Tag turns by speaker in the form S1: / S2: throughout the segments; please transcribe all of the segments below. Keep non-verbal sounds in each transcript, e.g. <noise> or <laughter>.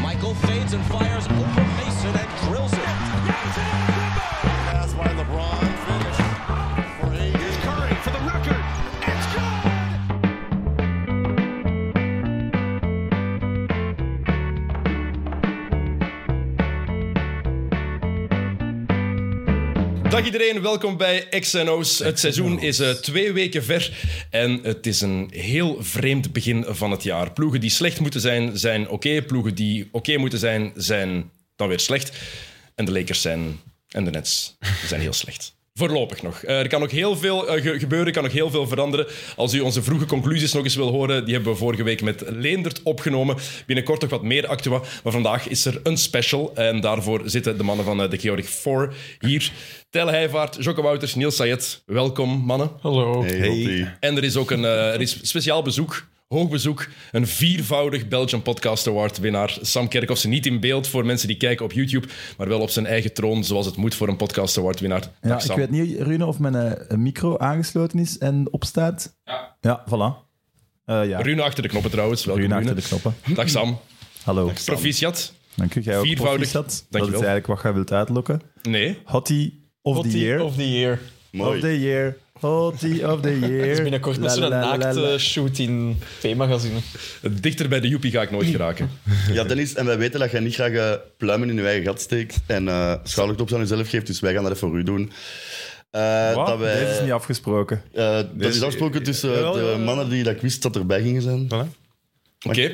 S1: Michael fades and fires over Mason and drills it.
S2: That's why LeBron finished for eight. Here's Curry for the record. It's good.
S3: Dag iedereen, welkom bij XNO's. Het seizoen is eh, twee weken ver en het is een heel vreemd begin van het jaar. Ploegen die slecht moeten zijn, zijn oké. Ploegen die oké moeten zijn, zijn dan weer slecht. En de Lakers zijn, en de Nets zijn heel slecht. Voorlopig nog. Eh, er kan nog heel veel eh, ge- gebeuren, er kan nog heel veel veranderen. Als u onze vroege conclusies nog eens wil horen, die hebben we vorige week met Leendert opgenomen. Binnenkort nog wat meer actua, maar vandaag is er een special. En daarvoor zitten de mannen van eh, de Georg 4 hier. Tel Heijvaart, Jocke Wouters, Niels Sayed. Welkom, mannen.
S4: Hallo.
S3: En er is ook een eh, er is speciaal bezoek, hoog bezoek, een viervoudig Belgian Podcast Award winnaar. Sam Kerkhoffs niet in beeld voor mensen die kijken op YouTube, maar wel op zijn eigen troon, zoals het moet voor een Podcast Award winnaar. Dag,
S5: Ja, ik
S3: Sam.
S5: weet niet, Rune, of mijn eh, micro aangesloten is en opstaat. Ja. Ja, voilà. Eh ja, Rune,
S3: Rune achter de knoppen trouwens. Welkom,
S5: achter de
S3: Rune.
S5: knoppen.
S3: Dag
S6: Hm.
S3: Sam.
S5: Hallo.
S3: Proficiat.
S5: Dank u. Jij ook
S3: Viervoudig.
S5: proficiat. Dat is
S3: Dankjewel.
S5: eigenlijk wat jij wilt uitlokken.
S3: Nee.
S5: Hottie of the
S4: Hottie
S5: year.
S4: of the year.
S5: Of the year. Hottie of the year.
S4: Het is binnenkort met
S5: La,
S4: zo'n
S5: la, la, la, la.
S4: naakte eh, shoot in P-magazine.
S3: Dichter bij de joepie ga ik nooit geraken.
S6: Ja, Dennis, en wij weten dat jij niet graag eh, pluimen in je eigen gat steekt en eh schouderklops aan jezelf geeft, dus wij gaan dat even voor u doen. Eh,
S5: Wat?
S6: dat wij,
S5: Deze is niet afgesproken.
S6: eh, dat is afgesproken tussen eh,
S5: Jawel,
S6: de
S5: jawel, jawel.
S6: mannen die dat ik wist dat erbij gingen zijn.
S3: Oké. heel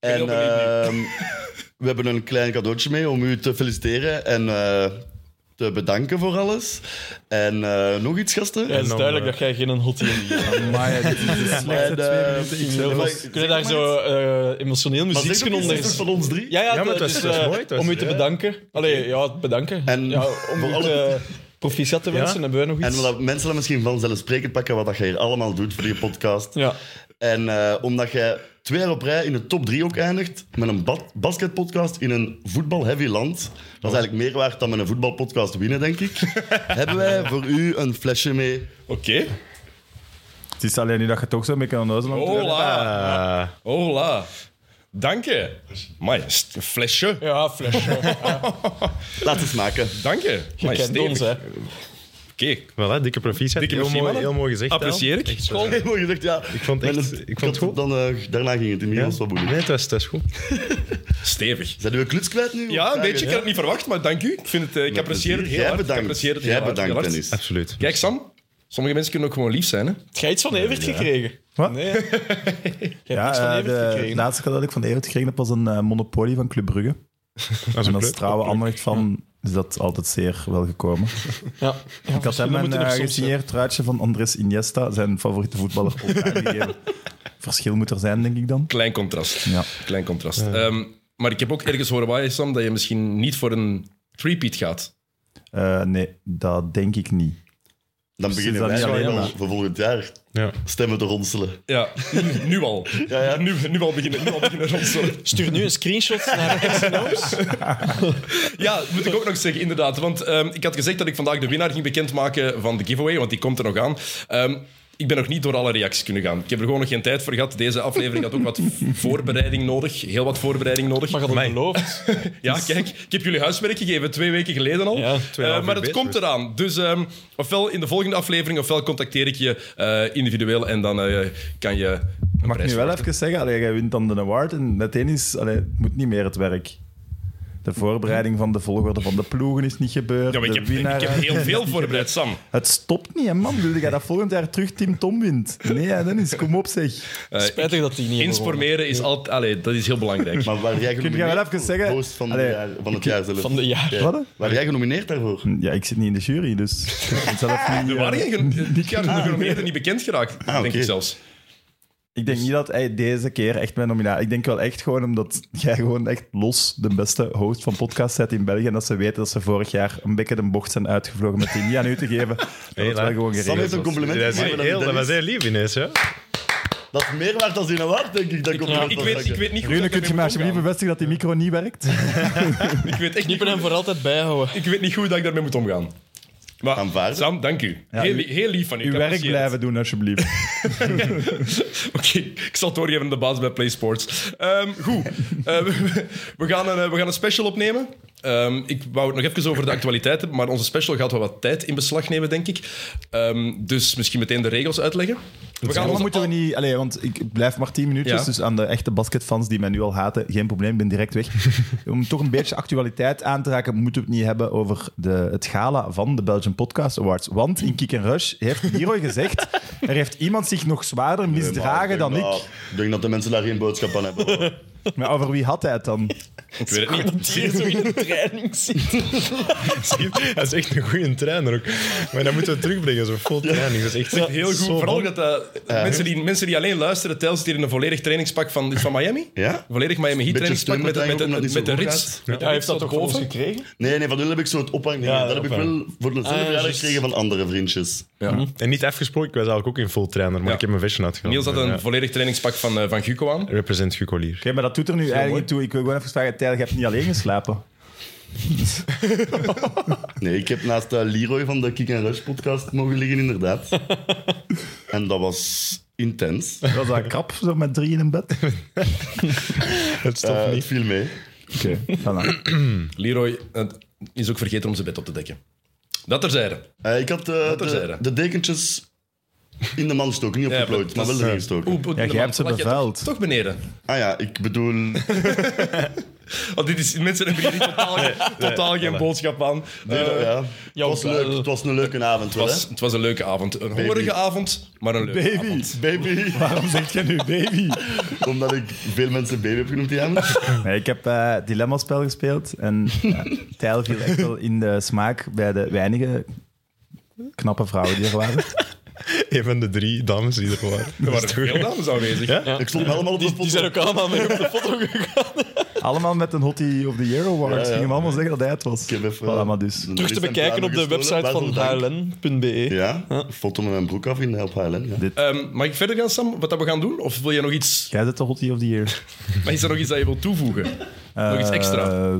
S6: En
S3: benieuwd
S6: ehm, we hebben een klein cadeautje mee om u te feliciteren en eh, te bedanken voor alles. En eh, nog iets, gasten?
S4: Ja, het is
S5: eh,
S4: duidelijk dat jij geen hottie <laughs> in die hebt.
S5: Maar dit is de slechtste
S6: En,
S5: twee
S6: eh,
S5: minuten. Ik
S6: maar-
S5: zelf was-
S6: zeg
S4: Kun je daar
S6: maar
S4: zo
S6: iets.
S4: eh, emotioneel
S6: Maar zeg
S4: muziek
S6: ook iets,
S4: onder...
S6: het is toch van ons drie?
S4: Ja, ja,
S7: Ja, maar
S4: dat
S7: het was-
S4: is,
S7: het
S5: dus
S7: was
S4: eh,
S7: mooi, het was-
S4: om u te
S7: ja.
S4: bedanken. Allee, ja, het bedanken.
S6: En
S4: ja, om
S6: voor
S4: u
S6: alle-
S4: te proficiat te wensen, hebben wij nog
S6: En
S4: iets.
S6: omdat mensen dat misschien vanzelfsprekend pakken wat dat je hier allemaal doet voor je podcast.
S4: Ja.
S6: En eh, omdat jij twee jaar op rij in de top drie ook eindigt met een ba- basketpodcast in een voetbal-heavy land. Dat is eigenlijk meer waard dan met een voetbalpodcast winnen,
S3: <laughs>
S6: denk ik. Hebben wij voor u een flesje mee.
S3: Oké.
S5: Het is alleen nu dat je toch zo mee kan onnozel aan het Ah. doen
S3: Hola. Hola. Dank je. Amai, st- een flesje.
S4: Ja,
S6: <laughs>
S4: flash.
S6: Laten we smaken.
S3: Dank je.
S4: Je
S3: Amai,
S4: kent
S3: stevig.
S4: ons, hè.
S3: Oké.
S7: Voilà, dikke proficiat.
S3: Dikke
S7: heel,
S3: merci,
S7: mooi,
S3: mannen.
S7: heel mooi gezegd.
S3: Apprecieer
S7: Al.
S3: ik.
S7: Echt, eh,
S6: Heel <laughs> mooi gezegd, ja.
S7: Ik vond het
S6: Met
S7: echt-
S6: een-
S7: ik vond het goed.
S6: Dan, eh, daarna ging het in ieder geval wat
S7: Nee,
S6: moeilijk.
S7: het was, het was goed.
S3: Stevig.
S6: Zijn we een kluts kwijt nu?
S3: Ja, een
S6: Vragen,
S3: beetje. Ik had het niet verwacht, maar dank u. Ik, vind het, eh, ik
S6: Met
S3: apprecieer het
S6: plezier.
S3: heel
S6: Jij
S3: hard. Ik
S6: bedankt.
S3: apprecieer het heel
S6: Jij
S3: hard,
S6: bedankt,
S3: heel hard.
S6: Dennis.
S7: Absoluut.
S3: Kijk, Sam. Sommige mensen kunnen ook gewoon lief zijn, hè.
S4: Heb jij iets van Evert gekregen?
S5: Wat? <laughs>
S4: Nee. Jij hebt
S5: Ja,
S4: iets van
S5: eh,
S4: Evert
S5: de
S4: gekregen.
S5: laatste cadeau dat ik van Evert gekregen heb was een eh, Monopoly van Club Brugge.
S7: Dat is
S5: En
S7: een
S5: als
S7: kleur.
S5: trouwe aandacht van is dat altijd zeer welgekomen.
S4: Ja. Ja,
S5: Ik had hem een
S4: moeten er
S5: eh,
S4: soms
S5: gesigneerd truitje van Andres Iniesta, zijn favoriete voetballer, ook
S4: <laughs>
S5: aangegeven. Verschil moet er zijn, denk ik dan.
S3: Klein contrast.
S5: Ja.
S3: Klein contrast. Ehm, maar ik heb ook ergens horen waaien, Sam, dat je misschien niet voor een threepeat gaat.
S5: Eh, nee, dat denk ik niet.
S6: Dan
S5: Precies,
S6: beginnen
S5: dat
S6: wij
S5: is
S6: alleen
S5: wel
S6: al
S5: jammer.
S6: voor volgend jaar
S7: Ja.
S6: stemmen te ronselen.
S3: Ja, nu, nu al.
S6: Ja, ja.
S3: Nu, nu al beginnen, nu al beginnen ronselen.
S4: Stuur nu een screenshot
S5: <laughs>
S4: naar XNO's.
S3: Ja, dat moet ik ook nog zeggen, inderdaad. Want ehm, ik had gezegd dat ik vandaag de winnaar ging bekendmaken van de giveaway, want die komt er nog aan. Ehm, ik ben nog niet door alle reacties kunnen gaan. Ik heb er gewoon nog geen tijd voor gehad. Deze aflevering had ook wat voorbereiding nodig. Heel wat voorbereiding nodig.
S4: Maar je had het beloofd.
S3: Ja, kijk, ik heb jullie huiswerk gegeven twee weken geleden al.
S4: Ja,
S3: Eh,
S7: half uur
S3: maar het
S7: bezig
S3: komt
S7: geweest.
S3: eraan. Dus ehm, ofwel in de volgende aflevering, ofwel contacteer ik je eh, individueel en dan eh, kan je. een
S5: Mag ik
S3: prijs
S5: nu wel even zeggen, allee, jij wint dan de award en meteen is, allee, het moet niet meer het werk. De voorbereiding van de volgorde van de ploegen is niet gebeurd.
S3: Ja, maar ik
S5: de
S3: heb, ik heb heel veel voorbereid, Sam.
S5: Het stopt niet, hè, man. Wil jij dat volgend jaar terug Team Tom wint? Nee, hè, Dennis, kom op, zeg.
S4: Spijtig dat die niet hebben gewonnen.
S3: Informeren Eh, is altijd. Allee, dat is heel belangrijk.
S6: Maar waar jij
S5: jij wel even zeggen-
S6: Host van, de
S5: Allee,
S6: jaar, van het jaar zelf.
S4: Van de jaar.
S6: Ja.
S5: Wat?
S6: Waar jij genomineerd daarvoor?
S5: Ja, ik zit niet in de jury, dus... ik ben zelf niet,
S3: Er <laughs>
S5: eh,
S3: waren geen, dit jaar zijn de genomineerden niet bekend geraakt, denk
S6: oké.
S3: ik zelfs.
S5: eh, Ik denk niet dat hij deze keer echt mijn nominatie... Ik denk wel echt gewoon omdat jij gewoon echt los de beste host van podcast bent in België en dat ze weten dat ze vorig jaar een bekken de bocht zijn uitgevlogen met die niet aan u te geven. Dat wordt wel
S7: laat.
S5: gewoon
S6: Sam
S5: geregeld.
S6: heeft een
S5: was.
S6: compliment
S7: Dat, is
S6: gegeven aan
S7: heel, dat was
S6: Dennis.
S7: heel lief ineens, ja.
S6: Dat is meer waard dan in een waard, denk ik. Dat komt
S3: Ik weet, ik weet niet hoe
S5: Rune,
S3: dat
S5: kun
S3: daarmee
S5: je mij
S3: moet
S5: alsjeblieft
S3: omgaan.
S5: bevestigen dat die micro niet werkt?
S3: Ik weet echt niet
S4: Knippen hem voor altijd bijhouden.
S3: Ik weet niet goed dat ik daarmee moet omgaan. Maar,
S6: Aanvaarden.
S3: Sam, dank u.
S5: Ja,
S3: heel,
S5: u-
S3: heel lief van u.
S5: Uw
S3: ik
S5: werk
S3: apprecieer het.
S5: blijven doen, alsjeblieft.
S3: <laughs> Oké, ik zal het doorgeven aan de baas bij PlaySports. Ehm goed, Eh, we, we gaan een, eh, we gaan een special opnemen. Ehm, ik wou het nog even over de actualiteit hebben, maar onze special gaat wel wat tijd in beslag nemen, denk ik. Ehm, dus misschien meteen de regels uitleggen. We
S5: Ja,
S3: gaan
S5: maar
S3: onze-
S5: moeten we niet... Allee, want ik ik blijf maar 10 minuutjes,
S3: Ja.
S5: dus aan de echte basketfans die mij nu al haten, geen probleem, ik ben
S3: <laughs>
S5: direct weg. Om toch een beetje actualiteit aan te raken, moeten we het niet hebben over de, het gala van de Belgian Podcast Awards. Want in Kick and Rush heeft Leroy
S3: <laughs>
S5: gezegd, er heeft iemand zich nog zwaarder misdragen dan ik.
S6: Ik denk dat de mensen daar geen boodschap aan hebben. hoor.
S5: Maar over wie had hij het <laughs> dan?
S3: Ik weet het niet.
S4: Hier zo in de training
S7: <laughs>
S4: zit.
S7: Dat is echt een goede trainer ook. Maar dan moeten we terugbrengen, zo'n full training. Dat is echt
S3: Heel goed.
S7: zo
S3: Vooral
S7: bang.
S3: dat dat- mensen, die, mensen die alleen luisteren, Tel zit hier in een volledig trainingspak van, dit is van Miami.
S6: Ja?
S3: Volledig Miami Heat
S6: Beetje
S3: trainingspak
S6: steun
S3: met, met,
S6: meteen,
S3: met,
S6: omdat
S3: met,
S6: het niet zo
S3: de
S6: goed
S3: rits.
S6: gaat.
S3: Met de
S4: Hij
S3: rits
S4: heeft dat
S3: op
S4: toch
S3: de
S4: voor ons
S3: golven.
S4: gekregen?
S6: Nee, nee, van hun heb ik zo'n ophangen.
S4: Ja,
S6: dat heb ik wel
S7: ophangen.
S6: voor de
S4: Ah,
S6: zelfverjaardag
S4: juist.
S6: gekregen van andere vriendjes.
S3: Ja.
S7: En niet afgesproken, ik was eigenlijk ook in full trainer, maar
S3: Ja.
S7: ik heb mijn vestje uitgehaald.
S3: Niels had een
S7: Ja.
S3: volledig trainingspak van, eh, van Guco aan.
S7: Represent Gucolier.
S4: <laughs>
S5: Oké, maar dat doet er nu eigenlijk niet toe. Ik wil gewoon even vragen, Tijl, je hebt niet alleen geslapen.
S6: Nee, ik heb naast eh, Leroy van de Kick and Rush podcast mogen liggen, inderdaad.
S4: <laughs>
S6: en dat was intens.
S5: Was dat krap, zo met drie in een bed?
S7: Het stopt
S6: Eh, het
S7: niet.
S6: viel mee.
S5: <laughs> Oké, <laughs> voilà.
S3: Leroy eh, is ook vergeten om zijn bed op te dekken. Dat terzijde.
S6: Eh, ik had eh, de,
S3: terzijde.
S6: de dekentjes in de man gestoken, niet
S3: Ja,
S6: opgeplooid,
S3: maar dat
S6: maar wel
S3: is, eh,
S6: erin gestoken.
S3: Oep, oep,
S5: Ja, jij hebt ze
S3: lag je toch-
S5: bevuild.
S3: Toch beneden.
S6: Ah ja, ik bedoel,
S3: Want dit is, mensen hebben hier totaal, totaal geen boodschap aan. Eh,
S6: Eh, ja. het, was
S4: wel.
S6: leuk, het was een leuke avond wel,
S3: het,
S6: hè?
S3: was, het was een leuke avond. Een hongerige avond, maar een leuke
S5: Baby.
S6: <laughs> Baby.
S5: Waarom zeg je nu baby?
S6: Omdat ik veel mensen baby heb genoemd die avond.
S5: Nee, ik heb eh Dilemma-spel gespeeld en ja, Tijl viel echt wel in de smaak bij de weinige knappe vrouwen die er waren.
S7: Een van de drie dames die
S4: <laughs>
S7: er waren.
S3: Er waren veel dames aanwezig.
S6: Ik stond helemaal op de
S4: Die
S6: foto.
S4: zijn ook allemaal mee op de
S7: <laughs>
S4: foto gegaan.
S5: Allemaal met een Hottie of the Year Award.
S6: Ja, ja.
S5: Gingen hem allemaal zeggen dat hij het was.
S6: Ik heb even- eh,
S5: Voilà, maar dus.
S6: Een
S4: Terug te
S6: list en
S4: bekijken
S6: plannen
S4: op de
S6: gestolen.
S4: website van
S6: Waarvoor dank.
S7: E.
S4: hln.be.
S6: Ja, een foto met mijn broek af in op HLN. Ja.
S3: Ehm, mag ik verder gaan, Sam, wat dat we gaan doen? Of wil je nog iets,
S5: Jij zit de Hottie of the Year.
S3: maar is er nog iets dat je wilt toevoegen? nog iets
S5: Eh,
S3: extra?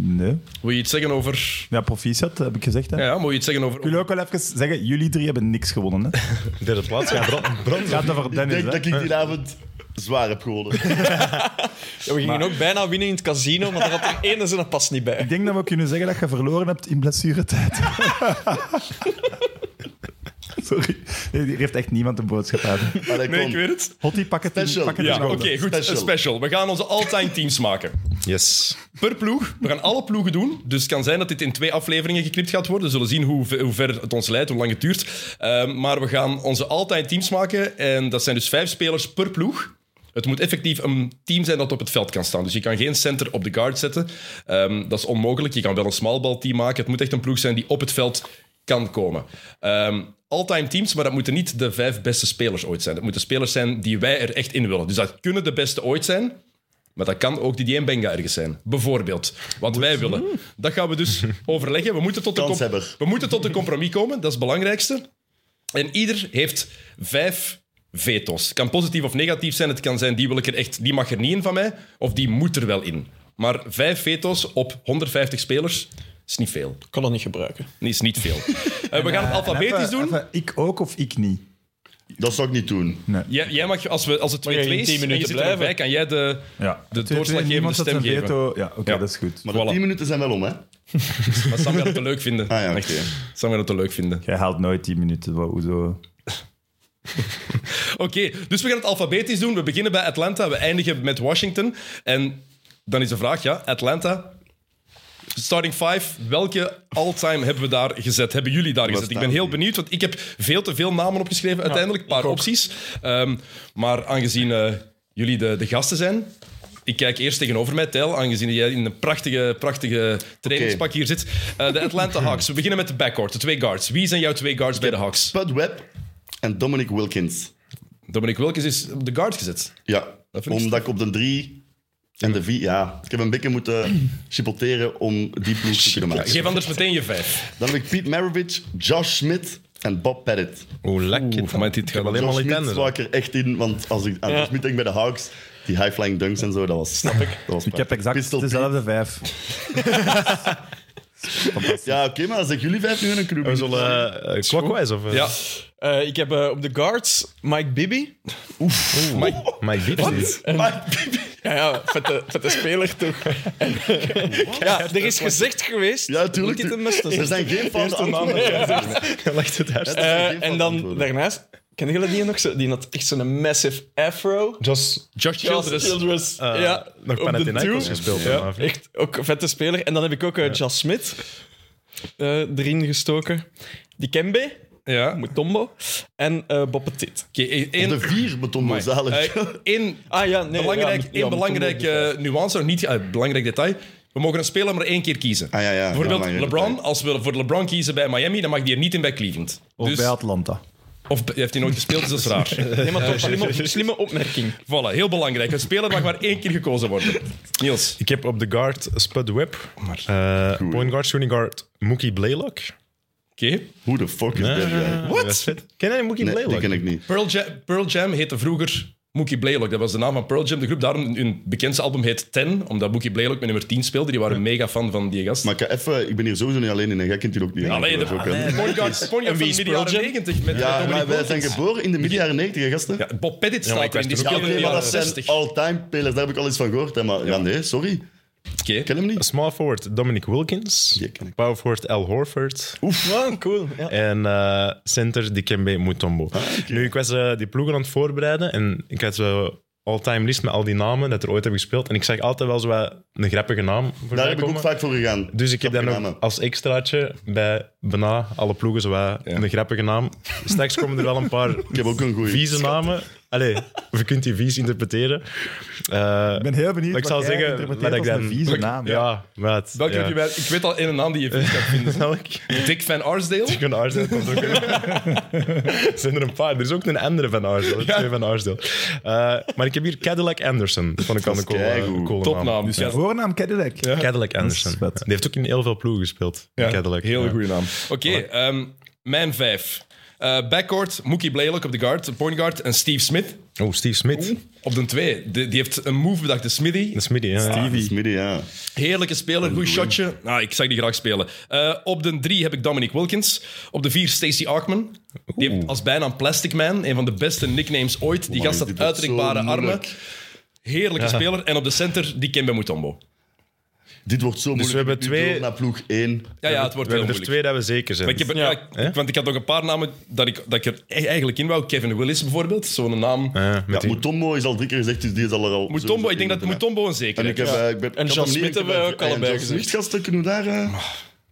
S5: Nee.
S3: Wil je iets zeggen over...
S5: Ja, proficiat, heb ik gezegd. Hè?
S3: Ja, ja, moet je iets zeggen over...
S5: Ik wil ook wel even zeggen, jullie drie hebben niks gewonnen. Hè? Het
S7: Derde plaats, ja, brand. brand.
S5: gaat over
S6: Ik
S5: Dennis,
S6: denk dat
S5: hè?
S6: ik die avond zwaar heb gehouden.
S4: Ja, we gingen ook bijna winnen in het casino, maar daar had er ene zin pas niet bij.
S5: Ik denk dat we kunnen zeggen dat je verloren hebt in
S6: <laughs>
S5: blessuretijd. Sorry. Nee, hier heeft echt niemand een boodschap aan.
S6: Allee,
S3: Nee,
S6: kom.
S3: ik weet het.
S5: Hottie, pak het
S6: Special.
S5: in, pak het in
S3: Ja, oké,
S5: handen.
S3: goed. Een
S6: Special.
S3: special. We gaan onze all-time teams maken.
S7: Yes.
S3: per ploeg. We gaan alle ploegen doen. Dus het kan zijn dat dit in twee afleveringen geknipt gaat worden. We zullen zien hoe, ve- hoe ver het ons leidt, hoe lang het duurt. Ehm, maar we gaan onze altijd teams maken. En dat zijn dus vijf spelers per ploeg. Het moet effectief een team zijn dat op het veld kan staan. Dus je kan geen center op de guard zetten. Ehm, dat is onmogelijk. Je kan wel een smalbalteam maken. Het moet echt een ploeg zijn die op het veld kan komen. Ehm all-time teams, maar dat moeten niet de vijf beste spelers ooit zijn. Dat moeten spelers zijn die wij er echt in willen. Dus dat kunnen de beste ooit zijn. Maar dat kan ook die Benga ergens zijn. Bijvoorbeeld. Wat wij willen. Dat gaan we
S6: <laughs>
S3: dus overleggen. We moeten, tot een com-
S6: Kanshebber.
S3: we moeten tot een compromis komen. Dat is het belangrijkste. En ieder heeft vijf veto's. Het kan positief of negatief zijn. Het kan zijn, die, wil ik er echt, die mag er niet in van mij. Of die moet er wel in. Maar vijf veto's op 150 spelers is niet veel.
S4: Ik kan dat niet gebruiken.
S3: Is niet
S6: <laughs>
S3: veel. Eh, we gaan het
S5: Even-
S3: alfabetisch doen.
S5: even ik ook of ik niet?
S6: Dat zou ik niet doen.
S3: Jij, jij mag, als, we, als het 2-2
S4: jij
S3: is
S4: in
S3: en je
S4: 10
S3: zit
S4: minuten
S3: er nog
S4: blijven?
S3: bij, kan jij de,
S5: Ja.
S3: de
S5: Twee, twee,
S3: doorslaggevende
S5: niemand zet
S3: stem
S5: zijn
S3: geven.
S5: veto. Ja, oké,
S3: Ja.
S5: dat is goed.
S6: Maar de
S3: Voilà.
S6: 10 minuten zijn wel om, hè?
S3: Maar Sam gaat het te leuk vinden.
S6: Ah ja, oké.
S3: Sam gaat het te leuk vinden.
S5: Jij haalt nooit 10 minuten. wa- Hoezo?
S3: Oké, dus we gaan het alfabetisch doen. We beginnen bij Atlanta, we eindigen met Washington. En dan is de vraag, ja, Atlanta. Starting five, welke all-time hebben we daar gezet? Hebben jullie daar gezet? Ik ben
S6: staan
S3: heel
S6: die?
S3: benieuwd, want ik heb veel te veel namen opgeschreven uiteindelijk. Een paar opties. Ehm, maar aangezien eh, jullie de, de gasten zijn... Ik kijk eerst tegenover mij, Tijl, aangezien jij in een prachtige, prachtige trainingspak hier zit. Eh, de Atlanta Hawks. We beginnen met de backcourt, de twee guards. Wie zijn jouw twee guards bij de Hawks?
S6: Spud Webb en Dominic Wilkins.
S3: Dominic Wilkins is op de guard gezet.
S6: Ja,
S3: Dat vind ik
S6: omdat ik op de drie en de vier... Ja, ik heb een beetje moeten <clears throat> chipoteren om die ploeg te kunnen maken.
S3: Geef anders meteen je vijf.
S6: Dan heb ik Pete Maravich, Josh Smit en Bob Pettit.
S7: Hoe lekker.
S3: Oeh, maar dit gaat
S7: alleen
S6: Josh
S7: maar
S6: Smit
S7: Lietanden,
S6: sla ik er echt in, want als ik aan Josh Smit denk bij de Hawks... Die high-flying dunks en zo, dat was... Snap ik. <laughs> Dat was
S5: Ik heb exact
S6: Pistol Pete.
S5: dezelfde vijf.
S6: Ja, oké, maar zeg jullie vijf nu en een
S7: We
S6: Krubin. <laughs>
S7: zullen eh, eh, clockwise of... eh,
S3: Ja,
S4: Eh, ik heb eh, op de guards Mike Bibby.
S7: Mike Bibby. <laughs>
S3: eh,
S6: Maar Bibi-
S4: Ja, Ah ja vette, vette speler toch. En, <laughs> ja, er is gezegd geweest.
S6: <laughs> Ja, tuurlijk.
S4: Moet dit een must zijn?
S6: Er zijn geen foute antwoorden.
S7: Hij legt het uit.
S6: Er zijn
S4: Eh,
S6: geen
S4: en
S6: foute
S4: dan
S6: antwoorden.
S4: daarnaast, kennen jullie die nog? Zo- Die had echt zo'n massive afro.
S7: Josh
S3: Josh Childress.
S4: Childress.
S7: eh,
S4: ja,
S7: nog
S4: op de
S7: Panathinaikos
S4: two.
S7: gespeeld.
S4: Ja,
S7: vanavond.
S4: echt ook een vette speler. En dan heb ik ook eh, Jas Smith eh, erin gestoken. Die Kembe,
S3: Ja. Oké,
S4: Mutombo en eh Bob Petit.
S3: één-
S6: De vier beton zalig.
S3: eh,
S6: <laughs>
S3: één
S4: Ah ja, nee.
S3: belangrijk,
S4: ja,
S3: één
S4: ja,
S3: belangrijk
S4: Mutombo.
S3: eh, nuance, of niet eh, belangrijk detail. We mogen een speler maar één keer kiezen.
S6: Ah, ja, ja.
S3: Bijvoorbeeld
S6: Ja, belangrijk
S3: LeBron.
S6: detail.
S3: Als we voor LeBron kiezen bij Miami, dan mag die er niet in bij Cleveland.
S5: Of
S3: Dus-
S5: bij Atlanta.
S3: of bij- heeft hij nooit gespeeld, dus dat is raar. <laughs>
S4: Nee, maar toch, slimme, slimme opmerking.
S3: Voilà, heel belangrijk. Een speler mag maar één keer gekozen worden. Niels.
S7: Ik heb op de guard Spud Webb.
S3: Maar-
S7: Eh, point guard, shooting guard Mookie Blaylock.
S3: Oké.
S6: Hoe de fuck is dat? ja?
S7: Wat? Ken jij Mookie
S6: Nee, die
S7: Blaylock?
S6: ken ik niet.
S3: Pearl, Ja- Pearl Jam heette vroeger Mookie Blaylock. Dat was de naam van Pearl Jam, de groep. Daarom hun bekendste album heet Ten, omdat Mookie Blaylock met nummer 10 speelde. Die waren mega fan van die gast.
S6: Maar ik, ga even, ik ben hier sowieso niet alleen in en jij kent hier ook niet. hè?
S3: Allee, de
S6: Dat is ook, hè.
S3: point guard point guard van
S4: is
S3: midden
S4: Pearl
S3: jaren
S4: Jam?
S3: 90 met
S6: Ja,
S3: Dominic
S6: maar wij
S3: Wilkins.
S6: zijn geboren in de midden jaren 90, hè, gasten. Ja,
S3: Ja, Bob Pettit
S7: maar
S3: staat
S7: ik
S3: er in die
S7: was toen
S3: speelde
S7: ook
S3: in
S6: oké,
S3: de
S6: maar
S3: jaren
S6: dat zijn
S3: 60.
S6: all-time spelers. Daar heb ik al eens van gehoord. Hè, maar ja, nee, sorry. Ik
S3: Oké.
S6: ken hem niet.
S7: Small forward Dominic Wilkins.
S6: Die ken ik.
S7: Power forward Al Horford.
S4: Wow, cool. Ja.
S7: En eh, center Dikembe Mutombo.
S6: Ah,
S7: Nu, ik was eh, die ploegen aan het voorbereiden en ik had zo all-time list met al die namen dat er ooit hebben gespeeld. En ik zag altijd wel zo wat een grappige naam voor
S6: Daar heb ik ook
S7: komen.
S6: vaak voor gegaan.
S7: Dus ik heb daar
S6: Grappige
S7: nog
S6: namen.
S7: als extraatje bij bijna alle ploegen zo wat een grappige naam. Straks komen er wel een paar
S6: <laughs> Ik heb ook een goeie.
S7: vieze namen. Allee, of je kunt die vies interpreteren. Eh,
S5: Ik ben heel benieuwd
S7: maar ik zou
S5: wat jij
S7: zeggen
S5: interpreteert
S7: dat ik
S5: als
S7: dan...
S5: een vieze naam.
S7: Eh, Ja, maar het-
S3: Welke
S7: ja.
S3: heb je bij- Ik weet al één naam die je vindt gaat vinden.
S7: Welke?
S3: Dick Van Arsdale.
S7: Van Arsdale komt ook. zijn er een paar. Er is ook een andere van Arsdale. Twee van Arsdale. Eh, maar ik heb hier Cadillac Anderson. Dat vond ik al een coole,
S6: keigoed.
S7: coole
S3: Topnaam.
S7: naam.
S3: Dus ja,
S5: Voornaam Cadillac.
S7: Cadillac Anderson.
S5: vet.
S7: Die heeft ook in heel veel ploegen gespeeld. Cadillac.
S3: Heel
S7: ja.
S3: goede naam. Oké, ehm, mijn vijf. Eh, backcourt, Mookie Blaylock op de guard, point guard en Steve Smith.
S7: Oh, Steve Smith.
S3: Op de twee. De- die heeft een move bedacht, de Smithy.
S7: Dat is Midi, ja.
S6: Ah, dat is midden, ja.
S3: Heerlijke speler, goed shotje. Nou, ik zag die graag spelen. Eh, op de drie heb ik Dominic Wilkins. Op de vier Stacey Ackman. Die heeft als bijnaam Plastic Man. Een van de beste nicknames ooit. Die
S6: Amai,
S3: gast had
S6: dit wordt
S3: uitrekbare
S6: zo
S3: armen.
S6: moeilijk.
S3: Heerlijke speler. En op de center, die Kembe Mutombo.
S6: Dit wordt zo moeilijk.
S7: Dus we hebben
S6: Ik doe
S7: twee-
S6: door naar ploeg 1.
S3: Ja, ja, het wordt
S7: We
S3: heel
S7: hebben er
S3: moeilijk.
S7: twee dat we zeker zijn.
S3: Maar ik heb,
S4: Ja.
S3: ja, ik- want ik had nog een paar namen dat ik, dat ik er e- eigenlijk in wou. Kevin Willis bijvoorbeeld, zo'n naam.
S7: Ja, met
S6: Ja,
S7: die-
S6: Mutombo is al drie keer gezegd, dus die is al er al...
S3: Mutombo, ik denk dat
S6: Moeten, hè.
S3: Mutombo een zeker
S6: En ik
S3: is.
S6: heb... eh, Ik ben,
S4: En
S6: ik had
S4: Jan
S6: hem niet-
S4: Smit hebben
S6: ik
S4: we
S6: heb-
S4: ook allebei
S6: en Jan
S4: gezegd.
S6: Smit, gasten, kunnen we daar... eh,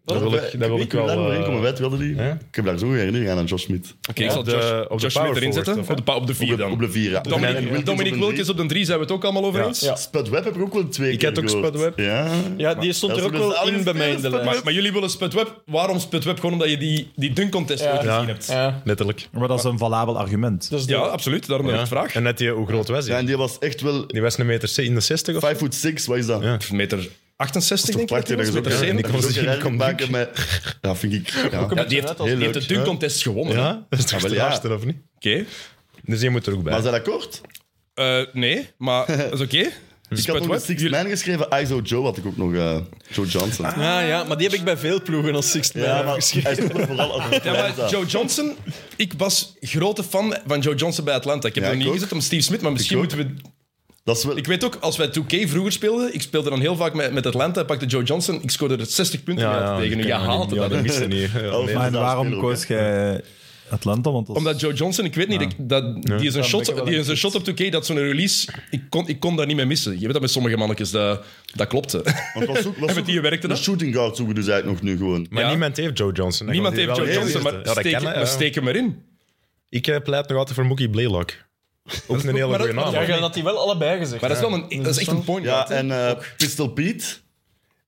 S7: dat wil ik, dat wil
S6: kunnen we
S7: ik wel...
S6: daar doorheen
S7: eh,
S6: komen, wij het wilden die. Ik heb daar zo herinnering aan, aan Josh Smit.
S3: Oké, ik zal
S7: Op de-
S3: Josh,
S7: op de
S3: Josh
S7: power
S3: Smith erin
S7: forward,
S3: zetten.
S7: of,
S3: Op de, pa- op de vier
S6: Op de-
S3: dan.
S6: Op de vier, ja.
S3: Dominic,
S6: En
S3: Dominic
S6: op de
S3: Wilkins
S6: drie.
S3: op de drie zijn we het ook allemaal over eens.
S6: Spud Webb heb ik ook wel twee
S7: Ik
S6: keer
S7: had ook
S6: gehoord.
S7: Spud Webb.
S6: Ja.
S4: Ja, die stond
S6: Dat
S4: er
S6: is een
S4: ook wel
S6: bestaande
S4: in bij mij in de
S6: speler,
S4: lijst.
S3: Maar jullie willen Spudweb. Waarom Spudweb? Gewoon omdat je die, die dunk-contest nooit
S7: Ja. eh,
S3: gezien hebt.
S4: Ja,
S7: Letterlijk.
S5: Maar dat is een valabel argument.
S4: dat is de-
S3: Ja, absoluut. Daarom heb ik het vraag.
S7: En net die, hoe groot was
S6: Ja,
S7: hij?
S6: en die was echt wel
S7: Die was een meter in de 60 of
S6: 5 foot 6, wat is dat?
S7: Ja.
S3: Meter 68,
S6: Toch
S3: denk ik.
S6: prachtig
S3: dat
S6: dat
S3: hij
S6: je
S3: was,
S6: zo
S3: meter
S6: ja, die
S3: 70.
S6: kon zich
S7: was een
S6: niet maken
S7: kom-
S6: met... Ja, vind ik... Ja.
S3: Ja, die heeft,
S4: Net als
S3: die heeft
S4: leuk,
S3: de dunk-contest gewonnen. hè.
S7: Ja, dat is toch
S6: wel,
S7: de
S6: ja.
S7: laatste, of niet?
S3: Oké.
S7: Dus die moet er ook bij.
S6: Maar zijn dat kort?
S3: Eh, nee, maar dat is oké.
S6: Ik had nog
S3: Spudweb.
S6: een Six Man geschreven. ISO Joe had ik ook nog. eh, Joe Johnson.
S4: Ah, ja, maar die heb ik bij veel ploegen als sixth man.
S6: Ja, maar hij speelde vooral als
S3: Ja, maar Joe Johnson, ik was grote fan van Joe Johnson bij Atlanta. Ik heb
S6: Ja,
S3: er
S6: ik
S3: niet
S6: ook.
S3: gezet om Steve Smith, maar misschien
S6: ook.
S3: moeten we
S6: Dat is wel...
S3: Ik weet ook, als wij 2K vroeger speelden, ik speelde dan heel vaak met, met Atlanta, pakte Joe Johnson, ik scoorde er 60 punten
S7: Ja,
S3: mee
S7: ja,
S3: tegen.
S7: die
S3: Je
S7: kan ik
S3: haatte
S7: niet-
S3: dat.
S7: Ja, dat wist hij niet. Ja, nee.
S6: maar-
S5: Maar waarom
S6: speler ook,
S5: koos jij Atlanta? Want dat is-
S3: Omdat Joe Johnson, ik weet niet, ik- dat, die is een shot, die is een shot op 2K, dat zo'n release, ik kon, ik kon daar niet mee missen. Je weet dat met sommige mannetjes, dat, dat klopte.
S6: Want was ook, was
S3: En met die werkte
S6: een
S3: dat?
S6: shooting guard zoeken dus eigenlijk nog nu gewoon.
S7: Maar
S3: Ja.
S7: niemand heeft Joe Johnson.
S3: Niemand heeft Joe
S7: Wel
S3: Johnson,
S7: eerste.
S3: maar,
S7: Ja, dat
S3: steek,
S7: kan, hè, ja.
S3: maar steek hem erin.
S7: Ik eh, pleit nog altijd voor Mookie Blaylock.
S3: <laughs>
S7: Ook een hele
S3: maar
S7: goede
S3: dat-
S7: naam.
S4: Ja,
S7: hoor.
S4: je had die wel allebei gezegd.
S3: Maar dat is wel een, dat is echt een point
S6: Ja,
S3: guard. hè.
S6: en eh, Pistol Pete.
S7: Maar die
S6: Ik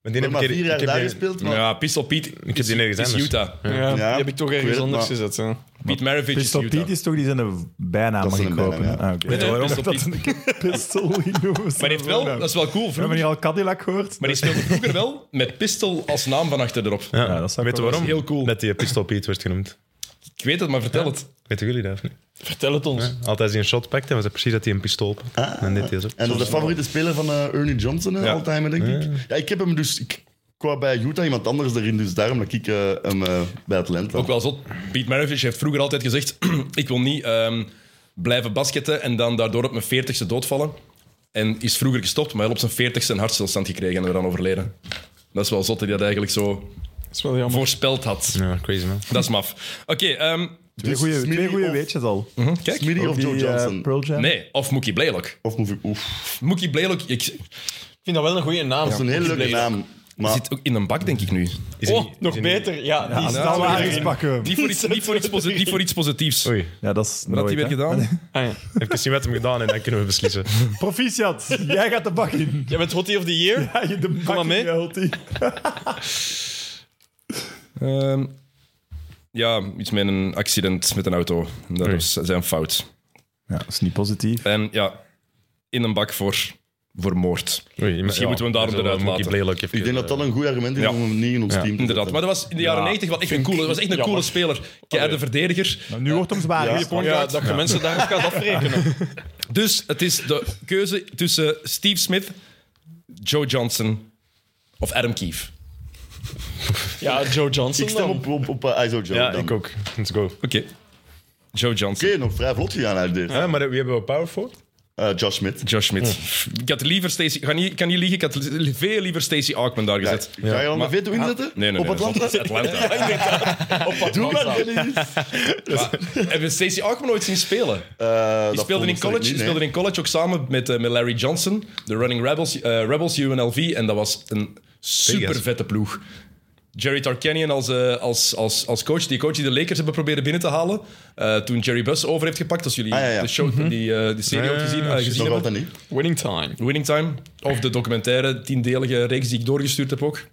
S6: heb
S7: heb
S6: maar
S7: ik
S6: vier
S7: hier-
S6: jaar
S7: ik heb
S6: daar
S7: die-
S6: gespeeld. Maar...
S3: Ja, Pistol Piet
S7: Ik heb die nergens
S3: is
S7: anders.
S3: Utah.
S4: Ja,
S6: Ja,
S4: die heb ik toch
S6: ik weet
S4: ergens
S6: het,
S4: anders
S6: maar-
S4: gezet. Ja.
S3: Piet Maravich is
S5: Pistol
S3: Utah.
S5: Piet is toch die zijn bijnaam
S6: Dat is
S5: gaan
S6: zijn
S5: kopen.
S6: bijnaam, ja.
S5: Ah, oké.
S3: Nee, nee, Pistol
S5: <laughs> dat
S3: Piet.
S5: een pistol genoemd.
S3: Maar die heeft wel, dat is wel cool.
S5: We hebben
S3: Vroeger,
S5: hier al Cadillac gehoord.
S3: maar die speelde vroeger wel met Pistol als naam van achter erop.
S7: Ja.
S5: Ja, dat zou ik
S7: Weet je
S5: wel
S7: waarom?
S3: Heel cool.
S7: Dat die Pistol Pete werd genoemd.
S3: Ik weet het, maar vertel het.
S7: Weten jullie dat of niet?
S4: Vertel het ons.
S7: Altijd als hij een shot pakte, was het precies dat hij een pistool pakte. en dit is het.
S6: Ah, En dat is de favoriete speler van eh, Ernie Johnson, uh,
S3: Ja.
S6: all-time, denk ik. Ja, ik heb hem dus... Ik kwam bij Utah iemand anders erin, dus daarom dat ik eh, hem eh, bij Atlanta...
S3: Ook wel zot. Piet Maravich heeft vroeger altijd gezegd: <clears throat> Ik wil niet ehm, blijven basketten en dan daardoor op mijn 40ste doodvallen. En is vroeger gestopt, maar wel op zijn 40ste een hartstilstand gekregen en er dan overleden. Dat is wel zot dat hij dat eigenlijk zo
S4: Dat is wel jammer.
S3: voorspeld had.
S7: Ja, crazy man.
S3: Dat is maf. Oké, ehm,
S5: Twee
S6: Dus
S5: goede, twee
S6: Smitty
S5: goede
S6: of-
S5: weetjes al.
S3: kijk.
S6: Smitty
S5: Ook
S6: of Joe
S5: die, eh,
S6: Johnson?
S5: Pearl Jam.
S3: Nee, of Mookie Blaylock.
S6: of Movie... Oef.
S3: Mookie Blaylock ik,
S4: Ik vind dat wel een goede naam.
S6: Dat is een hele leuke naam.
S3: eh,
S6: Maar
S3: zit ook in een bak, denk ik nu.
S7: Is hij
S4: Oh,
S7: niet-
S4: nog
S7: is hij niet-
S4: beter. Ja, die is
S5: Als het
S3: nou,
S5: al waar
S3: iedereen.
S5: is, pakken we hem.
S3: Niet voor iets, niet voor iets, posi- niet voor iets positiefs.
S7: Oei,
S5: Ja, dat is
S3: Wat
S5: nooit,
S3: had hij
S5: hè.
S3: weer gedaan?
S4: Ah, ja.
S7: even zien wat hem gedaan en dan kunnen we
S3: <laughs>
S7: beslissen.
S5: Proficiat, jij gaat de bak in.
S4: Jij bent Hottie of the Year?
S5: Ja, je de bak
S4: maar
S5: in,
S4: mee.
S5: je hultie.
S3: Ehm, ja, iets met een accident met een auto. Dat was zijn fout.
S5: Ja, dat is niet positief.
S3: En ja, in een bak voor, voor moord.
S7: Oei,
S3: Misschien moeten we hem daarom eruit laten.
S6: ik denk dat dat een goed argument is
S3: Ja.
S6: om hem niet in ons team te
S3: Inderdaad,
S6: zetten.
S3: maar dat was in de jaren 90 wel echt een coole, dat was echt een coole speler. Keiharde verdediger.
S5: Nou, nu wordt hem zwaar.
S6: Ja.
S5: hè.
S4: Ja, dat je mensen daarop gaat afrekenen.
S3: <laughs> Dus het is de keuze tussen Steve Smith, Joe Johnson of Adam Keefe.
S4: Ja, Joe Johnson
S6: Ik stem
S4: dan.
S6: op, op, op eh, ISO Joe
S7: Ja,
S6: dan.
S7: ik ook. Let's go.
S3: Oké, Joe Johnson.
S6: Oké, nog vrij vlot gegaan uit dit.
S7: Ja, Eh, maar wie hebben we power voor?
S6: Eh, Josh Smith.
S3: Josh Smith. Ik had liever Stacey... Ik kan niet, ik kan niet liegen, ik had li- veel liever Stacey Ackman daar
S6: Ja,
S3: gezet.
S6: Ga je al een veto inzetten?
S3: Ah. Nee, nee, nee.
S6: Op Atlanta?
S3: dat is Atlanta.
S4: <laughs>
S6: Doe maar, Dennis.
S3: Hebben we Stacey Ackman ooit zien spelen?
S6: Eh,
S3: Die
S6: dat
S3: speelde in
S6: veronderstel ik
S3: college,
S6: niet,
S3: die
S6: nee.
S3: speelde in college ook samen met, eh, met Larry Johnson, de Running Rebels, eh, Rebels UNLV. En dat was een super vette ploeg. Jerry Tarkanian als, eh, als, als, als coach, die coach die de Lakers hebben proberen binnen te halen. eh, toen Jerry Buss over heeft gepakt, als jullie
S6: Ah, ja, ja.
S3: de show, die, eh, die serie ooit gezien, eh, gezien
S6: Nog
S3: hebben.
S6: altijd niet.
S4: Winning time.
S3: Winning Time, of de documentaire tiendelige reeks die ik doorgestuurd heb ook.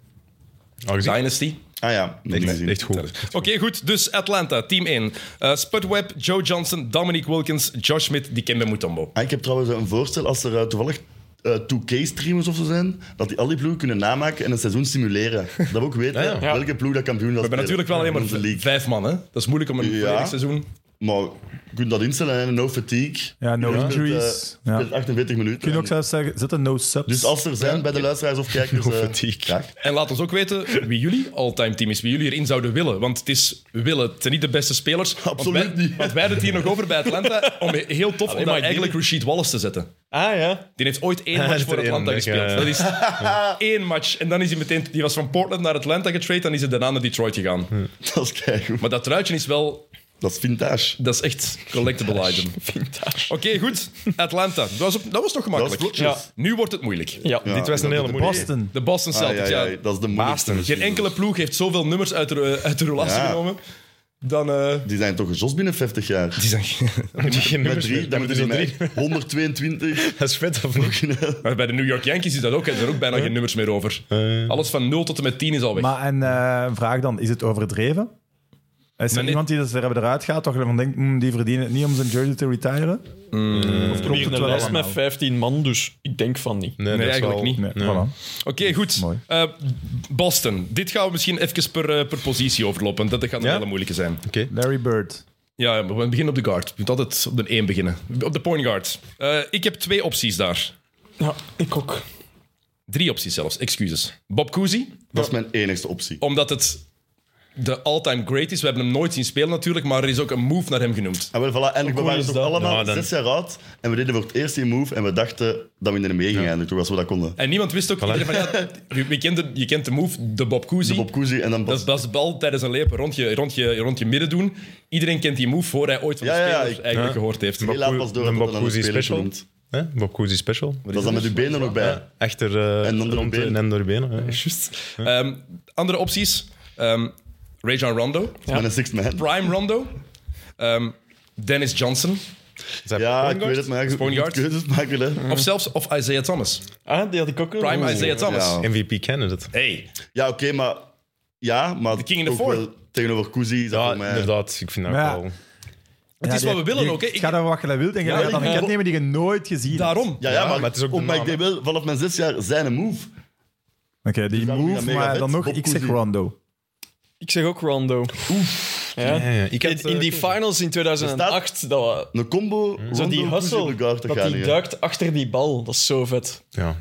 S3: Dynasty.
S6: Ah ja, nog niet gezien.
S7: Echt goed.
S3: Oké, goed. Dus Atlanta, team 1. Eh Spud Webb, Joe Johnson, Dominique Wilkins, Josh Smith, Dikembe Mutombo.
S6: Ah, ik heb trouwens een voorstel, als er eh, toevallig eh 2K-streamers of zo zijn, dat die al die ploegen kunnen namaken en een seizoen simuleren. Dat we ook
S3: <laughs>
S6: weten
S7: ja.
S6: hè, welke ploeg dat kampioen was.
S3: We hebben natuurlijk wel alleen maar
S6: de league.
S3: vijf man, hè? Dat is moeilijk om een
S6: Ja.
S3: volledig seizoen...
S6: Maar je kunt dat instellen, hè, no fatigue.
S5: Ja, no
S6: Je speelt, eh,
S5: injuries.
S6: je
S5: Ja.
S6: speelt 48 minuten.
S5: Kun je ook
S6: En-
S5: zelfs zeggen, zet een no subs.
S6: Dus als er zijn bij de luisteraars of kijkers...
S5: <laughs>
S6: eh, No fatigue.
S3: En laat ons ook weten wie jullie all-time team is, wie jullie erin zouden willen. Want het is willen, het zijn niet de beste spelers. Want
S6: Absoluut
S3: wij-
S6: niet.
S3: Want wij hadden het hier nog over bij Atlanta,
S6: <laughs>
S3: om heel tof om
S4: maar
S3: daar
S4: die-
S3: eigenlijk Rasheed Wallace te zetten.
S4: Ah ja.
S3: Die heeft ooit één
S7: Hij
S3: match
S7: heeft
S3: voor
S7: er één,
S3: Atlanta
S7: denk ik,
S3: gespeeld.
S7: ja.
S3: Dat
S6: <laughs>
S3: is één match. En dan is hij meteen... Die was van Portland naar Atlanta getraind, dan is hij daarna naar Detroit gegaan.
S6: <laughs>
S7: Hm.
S6: Dat is keigoed.
S3: Maar dat truitje is wel...
S6: Dat is vintage.
S3: Dat is echt
S7: <laughs>
S3: collectible item.
S4: Vintage.
S3: Oké, goed. Atlanta. Dat was, dat was nog
S6: Dat is
S3: gemakkelijk.
S6: vlotjes.
S4: Ja.
S3: Nu wordt het moeilijk.
S4: Ja.
S6: Ja,
S7: Dit was een
S6: dat-
S7: hele moeilijke.
S5: Boston.
S3: De Boston
S6: Ah,
S3: Celtics,
S6: ja,
S3: ja.
S6: ja, dat is de moeilijkste.
S3: Geen enkele ploeg heeft zoveel nummers uit de, uit de relatie
S6: Ja.
S3: genomen. Dan... eh,
S6: Die zijn toch gezost binnen 50 jaar?
S3: die zijn...
S7: Moet <laughs> je geen
S6: Met
S7: nummers
S6: drie,
S7: meer-
S6: dan
S7: dan
S6: moeten
S7: moet
S6: ze
S7: je
S6: met
S7: drie.
S3: <laughs>
S6: 122.
S7: Dat is vet of niet?
S3: Maar bij de New York Yankees is dat ook. hè. Er zijn ook bijna geen nummers meer over. Alles van 0 tot en met 10 is al weg.
S5: Maar en eh, een vraag dan, is het overdreven? Is er
S3: nee.
S5: iemand die dat er hebben eruit gaat, toch van denkt, hm, die verdienen het niet om zijn jersey te retiren? Of klopt
S4: Hier
S5: het
S4: een
S5: wel
S4: lijst
S5: allemaal?
S4: met 15 man, dus ik denk van niet.
S7: dat is
S3: eigenlijk niet.
S5: Nee,
S7: Nee.
S5: voilà.
S3: Oké, goed.
S5: Mooi.
S3: Eh, Boston. Dit gaan we misschien even per, eh, per positie overlopen. Dat gaat een
S7: Ja?
S3: hele moeilijke zijn.
S5: Larry Bird.
S3: Ja, maar we beginnen op de guard. Je moet altijd op de 1 beginnen. Op de point guard. Eh, ik heb twee opties daar.
S4: Ja, ik ook.
S3: Drie opties zelfs, excuses. Bob Cousy,
S6: Dat is mijn enigste optie.
S3: omdat het de all-time great is. We hebben hem nooit zien spelen natuurlijk, maar er is ook een move naar hem genoemd.
S6: En, wel, voilà, en we waren
S4: is
S6: toch
S4: dat?
S6: allemaal
S7: Ja, dan-
S6: zes jaar oud en we deden voor het eerst die move en we dachten dat we er mee gingen eindigen, toch als we dat konden.
S3: En niemand wist ook... iedereen Van, ja, je, je kent de, je kent de move, de Bob Cousy.
S6: Bob Cousy en dan
S3: dat, is,
S6: Bas.
S3: dat is de bal tijdens een leep rond je, rond, je, rond je midden doen. Iedereen kent die move voor hij ooit van de
S6: Ja, ja, ja,
S3: speler
S6: ik-
S3: eigenlijk gehoord heeft.
S6: Heel laat pas door
S7: dan
S6: dat
S7: Bob
S6: dat aan
S7: Cousy
S6: een speler
S7: special.
S6: genoemd.
S7: Hè? Bob Cousy special.
S6: Dat is dan met uw benen nog bij.
S7: Echter
S6: En dan door
S7: rond
S6: de benen.
S7: en dan door de benen. ja.
S3: Ehm, andere opties. ehm Rajon Rondo.
S6: Met een six man.
S3: Prime Rondo. Ehm, Dennis Johnson.
S7: Zijn
S6: Ja, ik
S7: point
S6: weet het, maar je
S3: Point
S6: moet
S3: guard.
S6: keuzes maken. Hè.
S3: Of zelfs of Isaiah Thomas.
S4: Ah, die had ik ook nog.
S3: Prime
S4: Oeh.
S3: Isaiah Thomas.
S6: Ja.
S7: guard. MVP candidate.
S3: Hey,
S6: Ja, oké, maar... Ja, maar
S3: king in the
S6: ook
S3: four.
S6: wel tegenover Cousy is dat
S7: Ja,
S6: voor mij...
S7: inderdaad. Ik vind dat
S5: Maar ja,
S7: ook wel...
S3: Het is
S5: die-
S3: wat we willen
S5: je-
S3: ook, hè. Ik-
S5: Ga daar wat je dat wilt en je gaat dan een
S6: ik-
S5: cat nemen die je nooit gezien hebt.
S3: Daarom.
S6: Ja, ja,
S7: Ja,
S6: maar,
S7: maar het is ook de
S6: oh, maar ik
S7: naam,
S6: deed wel vanaf mijn zes jaar zijn een move.
S5: Oké, die
S6: daarom is
S5: move,
S6: dat mega
S5: maar dan
S6: vet.
S5: nog,
S6: Bob
S5: ik zeg
S6: Cousy.
S5: Rondo.
S4: Ik zeg ook Rondo. Oef. Ja.
S7: Ja, ja, ik had,
S4: In, in die
S7: eh,
S4: finals in 2008, dat, wa-
S6: Een combo,
S4: zo
S6: Rondo,
S4: die hustle,
S6: Guard,
S4: dat die duikt achter die bal, dat is zo vet.
S7: Ja.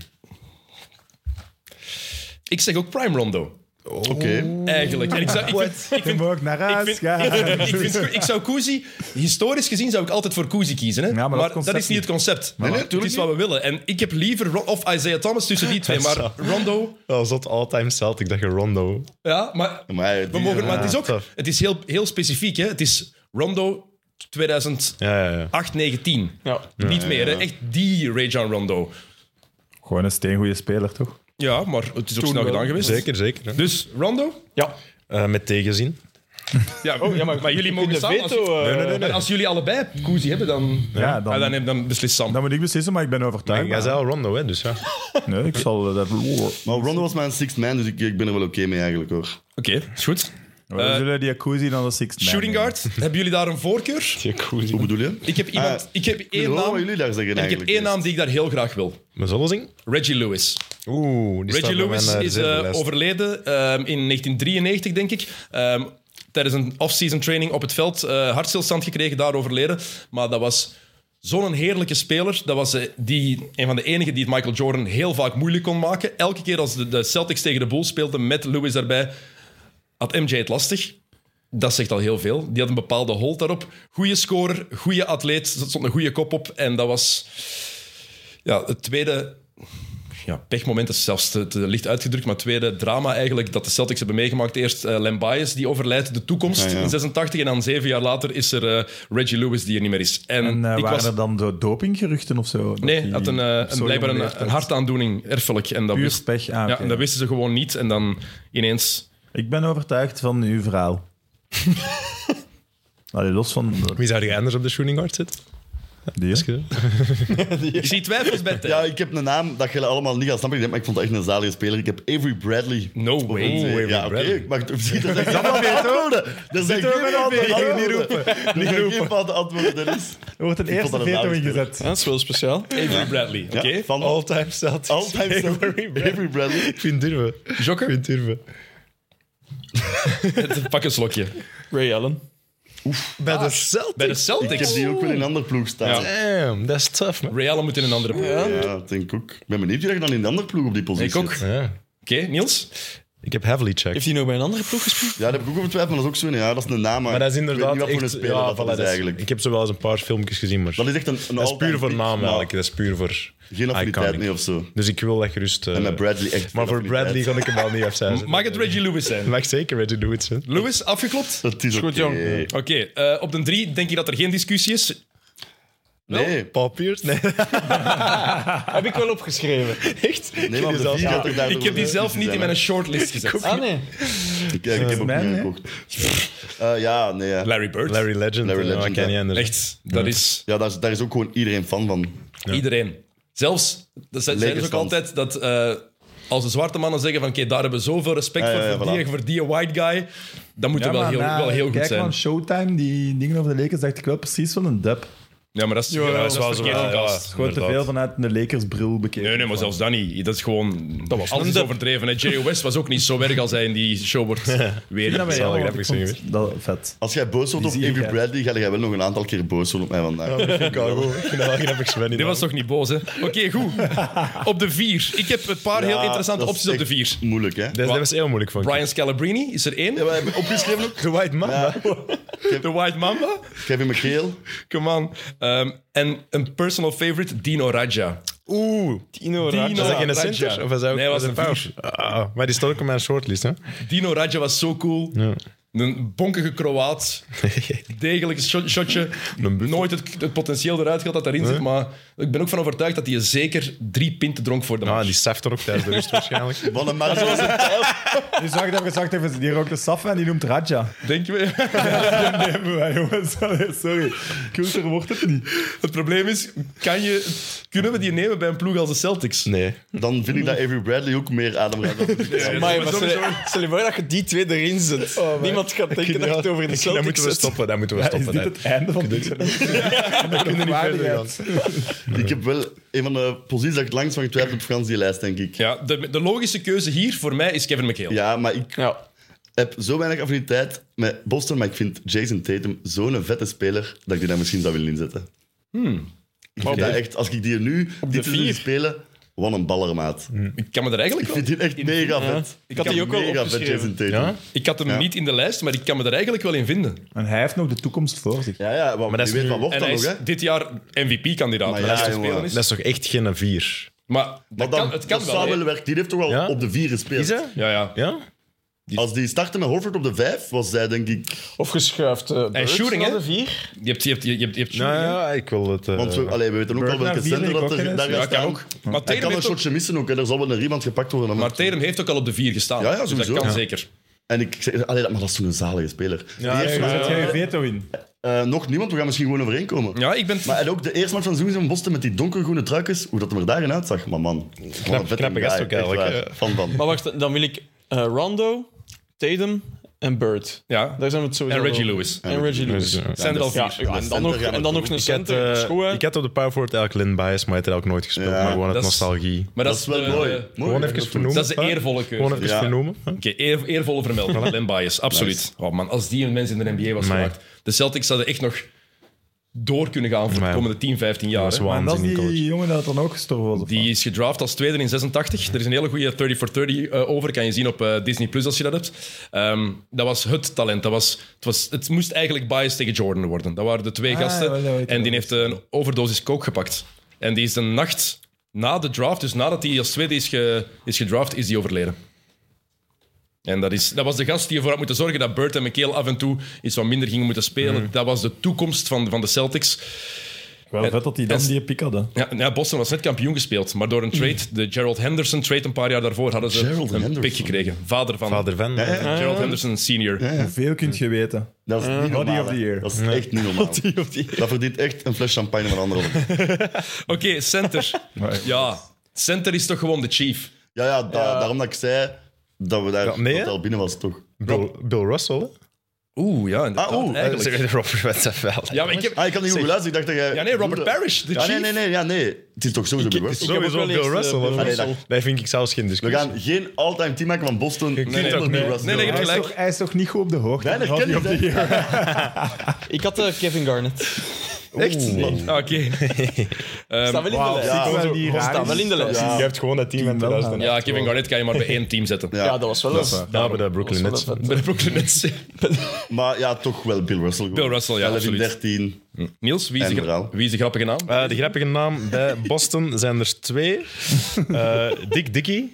S3: Ik zeg ook Prime Rondo.
S6: Oké.
S3: Eigenlijk. En ik zou, ik vind, ik vind,
S5: Kom ook naar
S3: ik,
S5: huis,
S3: vind,
S5: ga.
S3: <laughs> ik, vind- ik vind- ik zou Kuzi, historisch gezien zou ik altijd voor Kuzi kiezen. Hè?
S5: maar dat
S3: maar dat,
S5: concept
S3: is niet het concept.
S6: nee,
S3: het
S6: tuurlijk
S3: is wat we willen. En ik heb liever Ro- of Isaiah Thomas tussen die twee. Maar Rondo,
S7: Dat was dat all-time Celtic, dat je Rondo...
S3: ja, maar,
S6: Maar, ja,
S3: we
S6: die- eh,
S3: mogen, maar het is ook
S7: tof.
S3: het is heel, heel specifiek. Hè? Het is Rondo 2008,
S7: Ja, ja, ja.
S3: 9, 10.
S4: Ja.
S3: niet meer, hè? echt die Rajon Rondo.
S5: Gewoon een steengoede speler, toch?
S3: Ja, maar het is ook snel
S4: wel.
S3: gedaan geweest.
S7: Zeker, zeker. hè.
S3: Dus Rondo?
S4: Ja.
S7: Eh, met tegenzin.
S3: Ja, <laughs> maar, jullie
S4: Oh, in
S3: mogen
S4: de
S3: samen. als
S4: veto,
S3: jullie-
S4: eh,
S7: Nee, nee, nee.
S3: En als jullie allebei Kuzi hebben, dan,
S5: Ja,
S3: Ah, dan,
S5: dan,
S3: dan beslist Sam.
S5: dan moet ik beslissen, maar ik ben overtuigd.
S7: Jij zei al Rondo, hè, dus ja.
S5: Nee, ik zal eh, dat... We
S6: maar Rondo was mijn sixth man, dus ik, ik ben er wel oké mee eigenlijk hoor.
S3: Oké, is goed. Eh,
S5: zullen die Akuzi dan de sixth man
S3: Shooting
S5: nemen.
S3: guard, hebben jullie daar een voorkeur?
S6: Hoe bedoel je?
S3: Ik heb, iemand,
S6: Ah,
S3: ik heb
S6: Ik wil
S3: één
S6: horen
S3: naam.
S6: wat jullie daar zeggen
S3: en ik heb
S6: eigenlijk.
S3: één naam die ik daar heel graag wil.
S7: We zullen zien.
S3: Reggie Lewis.
S7: Oeh, die staat
S3: Reggie
S7: bij
S3: Lewis
S7: mijn, eh,
S3: is eh,
S7: reservelijst.
S3: overleden ehm, in 1993, denk ik. Ehm, tijdens een off-season training op het veld. eh hartstilstand gekregen, daar overleden. Maar dat was zo'n heerlijke speler. Dat was eh, die, een van de enigen die het Michael Jordan heel vaak moeilijk kon maken. Elke keer als de, de Celtics tegen de Bulls speelden met Lewis daarbij, had MJ het lastig. Dat zegt al heel veel. Die had een bepaalde hold daarop. Goeie scorer, goede atleet. Er stond een goede kop op. En dat was ja, het tweede ja, pechmoment is zelfs te, te licht uitgedrukt. Maar het tweede drama eigenlijk dat de Celtics hebben meegemaakt. Eerst eh Len Bias, die overlijdt de toekomst
S6: Ah, ja.
S3: in 86. En dan zeven jaar later is er eh, Reggie Lewis, die er niet meer is. En,
S5: En eh,
S3: ik
S5: waren
S3: was...
S5: er dan zo dopinggeruchten of zo? Dat
S3: Nee,
S5: die
S3: had een, eh,
S5: op zo'n
S3: een, blijkbaar
S5: jonge
S3: een,
S5: leeftijd-
S3: een hartaandoening, erfelijk. En dat,
S5: Puur
S3: wist-
S5: pech. Ah,
S3: ja,
S5: oké.
S3: en dat wisten ze gewoon niet. En dan ineens...
S5: Ik ben overtuigd van uw
S3: <laughs>
S5: verhaal. Allee, los van...
S7: Wie zou je anders op de shooting guard zitten?
S5: Die, hè?
S3: Ik zie twijfels bij
S6: <laughs>
S3: Ted.
S6: Ja, ik heb een naam dat jullie allemaal niet gaan snappen, maar ik vond het echt een zalige speler. Ik heb Avery Bradley.
S3: No way.
S6: Oeh,
S7: Avery
S6: Oh, ja, oké.
S7: Bradley.
S6: ik mag het zien. Dat is echt foute antwoorden. Dat zijn geen foute antwoorden. Niet roepen. Dat zijn geen foute antwoorden, Dennis.
S5: Er wordt een
S6: vond
S5: eerste
S6: dat een
S5: veto
S6: rare speler.
S5: ingezet.
S4: Ja, dat is wel speciaal.
S3: Avery Bradley, oké?
S6: Ja, van
S7: All-time Celtics.
S6: Altijd zo. Avery Bradley.
S7: Ik vind durven.
S3: Jokker?
S7: Ik vind durven.
S3: <laughs> Pak een slokje.
S4: Ray Allen.
S7: Ah, Bij de Celtics?
S3: Bij de
S6: Ik heb
S3: Celtics.
S6: die ook wel in een ander ploeg staan. Ja,
S7: Damn, dat is tough, man.
S3: Ray Allen moet in een andere ploeg.
S6: dat denk ik ook. Ik ben benieuwd wie dat je dan in een ander ploeg op die positie
S3: Ik ook.
S6: zet.
S3: Oké,
S7: Ja.
S3: Niels?
S7: Ik heb heavily checked.
S4: Heeft hij nog bij een andere ploeg gespeeld?
S6: Ja, daar heb ik ook over twijfel, maar dat is ook zo'n... Ja, dat is een naam, maar,
S7: Maar dat is inderdaad
S6: ik weet niet wat
S7: echt...
S6: voor een speler
S7: ja,
S6: dat,
S7: voilà,
S6: is eigenlijk.
S7: Ik heb zo wel eens een paar filmpjes gezien, maar...
S6: Dat is echt een, een
S7: dat is puur
S6: all-time
S7: voor
S6: pick,
S7: naam,
S6: maar
S7: eigenlijk. Dat is puur voor...
S6: Geen affiniteit
S7: iconic.
S6: mee of zo.
S7: Dus ik wil dat gerust... eh,
S6: En met Bradley echt
S7: Maar
S6: geen
S7: voor Bradley
S6: affiniteit.
S7: kan ik hem wel niet afzijden.
S3: Mag het Reggie Lewis
S6: <laughs>
S3: zijn?
S7: <laughs> Mag zeker Reggie Lewis zijn.
S3: Lewis, afgeklopt?
S6: Dat is
S4: Goed,
S6: oké.
S4: jong.
S3: Oké, eh, op de drie denk je dat er geen discussie is.
S6: Nee,
S7: Oh, Paul Pierce?
S3: <laughs>
S7: Nee.
S4: Heb ik wel opgeschreven.
S7: Echt?
S6: nee maar op de
S7: zelfs-
S6: vier had ik daar
S3: Ik heb die zelf niet in mijn shortlist gezet.
S4: Ah, nee.
S6: Ik, ik heb ook
S5: Man,
S6: niet
S5: hè?
S6: gekocht. Eh, ja, nee. ja.
S3: Larry Bird.
S7: Larry Legend. eh,
S6: Larry Legend,
S7: Larry Legend, ken
S6: ja.
S7: je anders.
S3: Echt, dat is
S6: Ja, daar is, daar is ook gewoon iedereen fan van.
S3: iedereen. Zelfs, dat ze- zeiden ze ook
S6: stand.
S3: altijd, dat eh, als de zwarte mannen zeggen van oké, daar hebben we zoveel respect
S6: Ah,
S3: voor,
S6: ja, ja,
S3: voor, die,
S6: voilà.
S3: voor die white guy, dan moet
S5: Ja,
S3: het wel
S5: maar
S3: heel,
S5: na-
S3: wel heel goed
S5: kijk,
S3: zijn.
S5: man, Showtime, die dingen over de Lakers, dacht ik wel precies wel een dub.
S3: Ja, maar dat is, ja, dat is
S7: wel
S3: verkeerd
S7: zo, ja,
S3: gecast.
S7: ja.
S5: Gewoon te veel
S7: Inderdaad.
S5: vanuit een Lakers-bril bekeken.
S3: Nee, nee, maar zelfs dat niet. Dat is gewoon... Dat was alles is overdreven. hè. Jerry West was ook niet zo erg als hij in die show wordt weer...
S5: Ja, maar ja,
S7: Zal ik
S5: want ik
S7: grappig zijn
S5: vond dat vet.
S6: Als jij boos wordt op
S5: Die zie ik,
S6: Avery
S5: hè.
S6: Bradley, ga jij wel nog een aantal keer boos worden op mij vandaag.
S7: Chicago. <laughs> Ik vind dat wel grappig, Sven.
S3: Dit was toch niet boos, hè? Oké, goed. Op de vier. Ik heb een paar heel
S6: Ja,
S3: interessante
S6: dat is
S3: opties op de
S6: echt
S3: vier.
S6: Moeilijk, hè?
S7: Dat, dat was heel moeilijk, vond ik.
S3: Brian Scalabrine is er één.
S6: Ja, wij hebben opgeschreven ook.
S7: The <laughs> White Man.
S3: De White Mamba.
S6: Kevin McHale.
S3: Come on. Ehm, en een personal favorite, Dino Raja.
S7: Oeh.
S4: Tino
S3: Tino.
S7: Was
S4: Raja.
S7: dat geen
S3: Raja.
S7: center? Of was dat ook
S3: Nee, was
S7: was
S3: een
S7: power? Ah, maar die stond ook op mijn shortlist, hè?
S3: Dino Raja was zo cool. Een bonkige
S6: <laughs>
S3: Kroaat. Degelijk shot- shotje.
S7: Een buffel.
S3: Nooit het, het potentieel eruit gehad dat daarin zit. Maar ik ben ook van overtuigd dat hij zeker drie pinten dronk voor de
S7: Ah,
S3: match.
S7: die saft er ook tijdens de
S6: <laughs>
S7: rust waarschijnlijk.
S6: Wat een match was het.
S5: Dus wacht even, wacht even. Die rookt de saf en die noemt <laughs> Raja.
S3: Denk <laughs>
S6: <laughs>
S3: je?
S5: Nee, maar jongens, allee, sorry. Cultuur wordt het niet.
S3: Het probleem is, kan je, kunnen we die nemen bij een ploeg als de Celtics?
S7: Nee.
S6: Dan vind ik dat Avery Bradley ook meer ademruimte heeft.
S4: Amai, Oh, maar stel, je- stel je voor dat je die twee erin zet. Niemand iemand gaat denken dat je het over de
S7: Dan
S4: Celtics
S7: moeten we
S4: hebt.
S7: stoppen, dan moeten we
S5: Ja, is
S7: stoppen.
S5: dit
S7: hè.
S5: het einde van deze <laughs>
S7: kunnen niet verder gaan.
S5: waardigheid?
S6: Ik heb wel een van de posities dat ik het langst van getwijfeld heb op Frans die lijst, denk ik.
S3: Ja, de, de logische keuze hier voor mij is Kevin McHale.
S6: Ja, maar ik
S4: Ja.
S6: heb zo weinig affiniteit met Boston, maar ik vind Jason Tatum zo'n vette speler dat ik die daar misschien zou willen inzetten.
S3: Hmm.
S6: Ik vind dat echt, als ik die nu dit
S4: de
S6: seizoen zie
S4: vier.
S6: spelen, wat een ballermaat.
S3: Ik kan me er eigenlijk
S6: Ik
S3: wel...
S6: vind dit echt mega vet.
S4: Ik had die ook al
S6: mega vet
S4: opgeschreven.
S6: Jason Tatum.
S7: Ja?
S6: Ja,
S3: Ik had hem niet in de lijst, maar ik kan me er eigenlijk wel in vinden.
S5: En hij heeft nog de toekomst voor zich.
S6: ja, maar,
S7: dat
S6: je
S7: is
S6: weet
S7: nu-
S6: wat wordt
S3: En
S6: dat
S3: hij
S6: nog,
S3: is
S6: hè?
S3: dit jaar MVP-kandidaat.
S6: Maar
S3: Maar,
S6: ja, jongen.
S3: spelen is.
S7: Dat is toch echt geen vier?
S3: maar, dat
S6: Maar
S3: kan, het kan
S6: dat
S3: wel.
S6: zou
S3: hè.
S6: wel werken. Die heeft toch wel
S7: Ja?
S6: op de vier gespeeld.
S7: Is dat?
S3: Ja, ja.
S7: Ja?
S6: Als die startte met Horford op de vijf, was zij denk ik...
S4: Of geschuift. eh Bird
S3: shooting,
S4: naar
S3: hè?
S4: de vier.
S3: Je hebt, je hebt, je hebt, je hebt
S7: Nou ja, ik wil het... eh,
S6: Want we, allee, we weten ook al
S5: Bergner
S6: welke
S5: vier
S6: center
S5: denk ik
S6: dat
S5: ook,
S6: er
S5: hè.
S6: daar
S3: Ja,
S6: gaat
S3: kan
S6: staan.
S3: ook. Maar
S6: Hij
S3: Tatum,
S6: kan een
S3: heeft ook,
S6: shotje missen ook. Hè. Er zal wel een iemand gepakt worden.
S3: maar Tatum heeft ook al op de vier gestaan.
S6: Ja, ja,
S3: Dus
S6: sowieso.
S3: dat kan
S6: Ja.
S3: zeker.
S6: En ik zeg, allee, dat- maar dat is toen een zalige speler.
S7: Ja,
S6: Die
S7: ja,
S6: heeft
S7: ja,
S5: Daar
S6: nog-
S5: zet jij je veto in.
S6: eh, nog niemand, we gaan misschien gewoon overeenkomen.
S3: Ja, ik ben...
S6: Maar en ook de eerste match van Zoens en Boston met die donkergroene truikjes, hoe dat hem er daarin uitzag. Maar man, wat een vette
S7: knappe gast
S6: guy,
S7: ook
S6: echt
S7: eigenlijk,
S6: waar.
S7: hè.
S6: Van van.
S4: Maar wacht, dan wil ik eh, Rondo, Tatum en Bird.
S3: ja.
S4: Daar zijn we het sowieso
S3: En Reggie
S4: over.
S3: Lewis.
S4: En Reggie Lewis.
S7: Ja,
S3: Zijn er al
S4: Ja,
S3: vier.
S4: ja, en dan
S6: center
S4: nog,
S6: gaan we
S4: en
S6: doen.
S4: dan nog een
S7: Ik had,
S4: center.
S7: eh,
S4: Schoen, hè?
S7: ik had op de power forward eigenlijk Lynn Bias, maar hij had eigenlijk nooit gespeeld.
S6: Ja,
S7: maar gewoon uit
S3: dat eh, is-
S7: nostalgie.
S3: Maar
S6: Dat is wel
S3: de-
S6: mooi.
S3: Oké,
S6: Mooi,
S7: Gewoon
S6: hè,
S7: even
S6: dat is
S7: vernoemen.
S3: Dat is de
S7: hè?
S3: eervolle keuze.
S7: Gewoon even
S6: Ja.
S7: vernoemen. hè?
S3: eer, eervolle vermelding. Len Bias, absoluut. Oh man, als die een mens in de NBA was
S7: Amai.
S3: gemaakt. De Celtics zouden echt nog door kunnen gaan voor de
S7: Amai.
S3: komende 10, 15 jaar.
S7: Dat is
S3: hè.
S5: En dat is
S7: waanzinnig
S5: die
S7: coach.
S5: jongen dat dan ook gestorven was. of
S3: Die is gedraft als tweede in 86. Er is een hele goede 30 for 30 eh, over. Kan je zien op eh, Disney Plus als je dat hebt. Ehm, dat was het talent. Dat was, het, was, het moest eigenlijk Bias tegen Jordan worden. Dat waren de twee
S5: Ah,
S3: gasten.
S5: wel, dat weet ik
S3: en die
S5: wel.
S3: heeft een overdosis coke gepakt. En die is de nacht na de draft, dus nadat hij als tweede is, ge, is gedraft, is die overleden. En dat, is, dat was de gast die ervoor had moeten zorgen dat Bird en McHale af en toe iets wat minder gingen moeten spelen.
S5: Mm.
S3: Dat was de toekomst van, van de Celtics.
S5: Wel vet dat hij dan
S3: en-
S5: die piek hadden.
S3: Ja, ja, Boston was net kampioen gespeeld, maar door een trade, de Gerald Henderson trade een paar jaar daarvoor, hadden ze
S6: Gerald
S3: een
S6: Henderson.
S3: pick gekregen. Vader van
S7: Vader van.
S6: ja.
S7: eh,
S3: Gerald Henderson senior.
S5: Hoeveel kunt je weten?
S6: Dat is niet
S5: Body
S6: normaal.
S5: of the
S6: hè.
S5: year.
S6: Dat is echt niet normaal. Dat verdient echt een fles champagne van anderen.
S3: Oké, center.
S6: <laughs>
S3: ja, center is toch gewoon de chief.
S6: Ja, ja, da- daarom dat ik zei dat we daar
S7: Ja, nee,
S6: dat
S7: hè?
S6: al binnen was, toch?
S7: Bill, Bill Russell. hè?
S3: Oeh, ja, inderdaad,
S6: Ah, oeh,
S3: eigenlijk.
S7: Zeg, Robert Wetzel.
S3: Ja, maar ik heb...
S6: Ah, ik had niet goed geluisterd. Ik dacht dat jij...
S3: Ja, nee, Robert
S6: bedoelde-
S3: Parrish, de
S6: Ja, nee,
S3: chief.
S6: nee, nee, ja, nee. Het is toch sowieso Bill Russell.
S4: heb ook
S7: Sowieso
S4: wel eens,
S7: Bill
S4: eh,
S7: Russell.
S4: Bill
S7: hè?
S6: Russell. Allee,
S7: Dat vind ik zelfs geen
S6: We
S7: discussie.
S6: gaan geen all-time teammaken van Boston
S7: kunt
S6: zonder
S7: ook
S6: Bill
S7: niet.
S6: Russell.
S3: Nee, nee, je hebt
S5: Hij is,
S3: gelijk.
S5: toch, hij is toch niet goed op de hoogte?
S6: Weinig
S5: van die-
S6: kennis, hè.
S4: Ik had eh, Kevin Garnett.
S7: Echt?
S3: Ah, Oké.
S4: Staat wel in de
S5: Wauw,
S4: lijst.
S5: zie ik wel
S4: Ja,
S5: die raar
S4: Staat
S5: is.
S4: wel in de lijst.
S7: Je hebt gewoon dat team in
S5: Team wel
S7: 2000.
S5: aan.
S3: Ja, Kevin Garnett kan je maar bij één team zetten. <laughs>
S6: Ja.
S4: Ja, dat was wel eens.
S5: waar.
S7: Daar hebben we de Brooklyn
S4: Dat
S7: Nets.
S4: was wel
S3: Bij de Brooklyn Nets.
S6: <laughs> Maar ja, toch wel Bill Russell.
S3: Bill Russell, ja,
S6: 11
S3: absoluut.
S6: 13.
S3: Niels, wie is,
S6: En
S3: de,
S6: verhaal.
S3: gra- wie is de grappige naam?
S7: Eh, de grappige naam bij Boston zijn
S6: <laughs>
S7: er twee. Eh, Dick Dickey.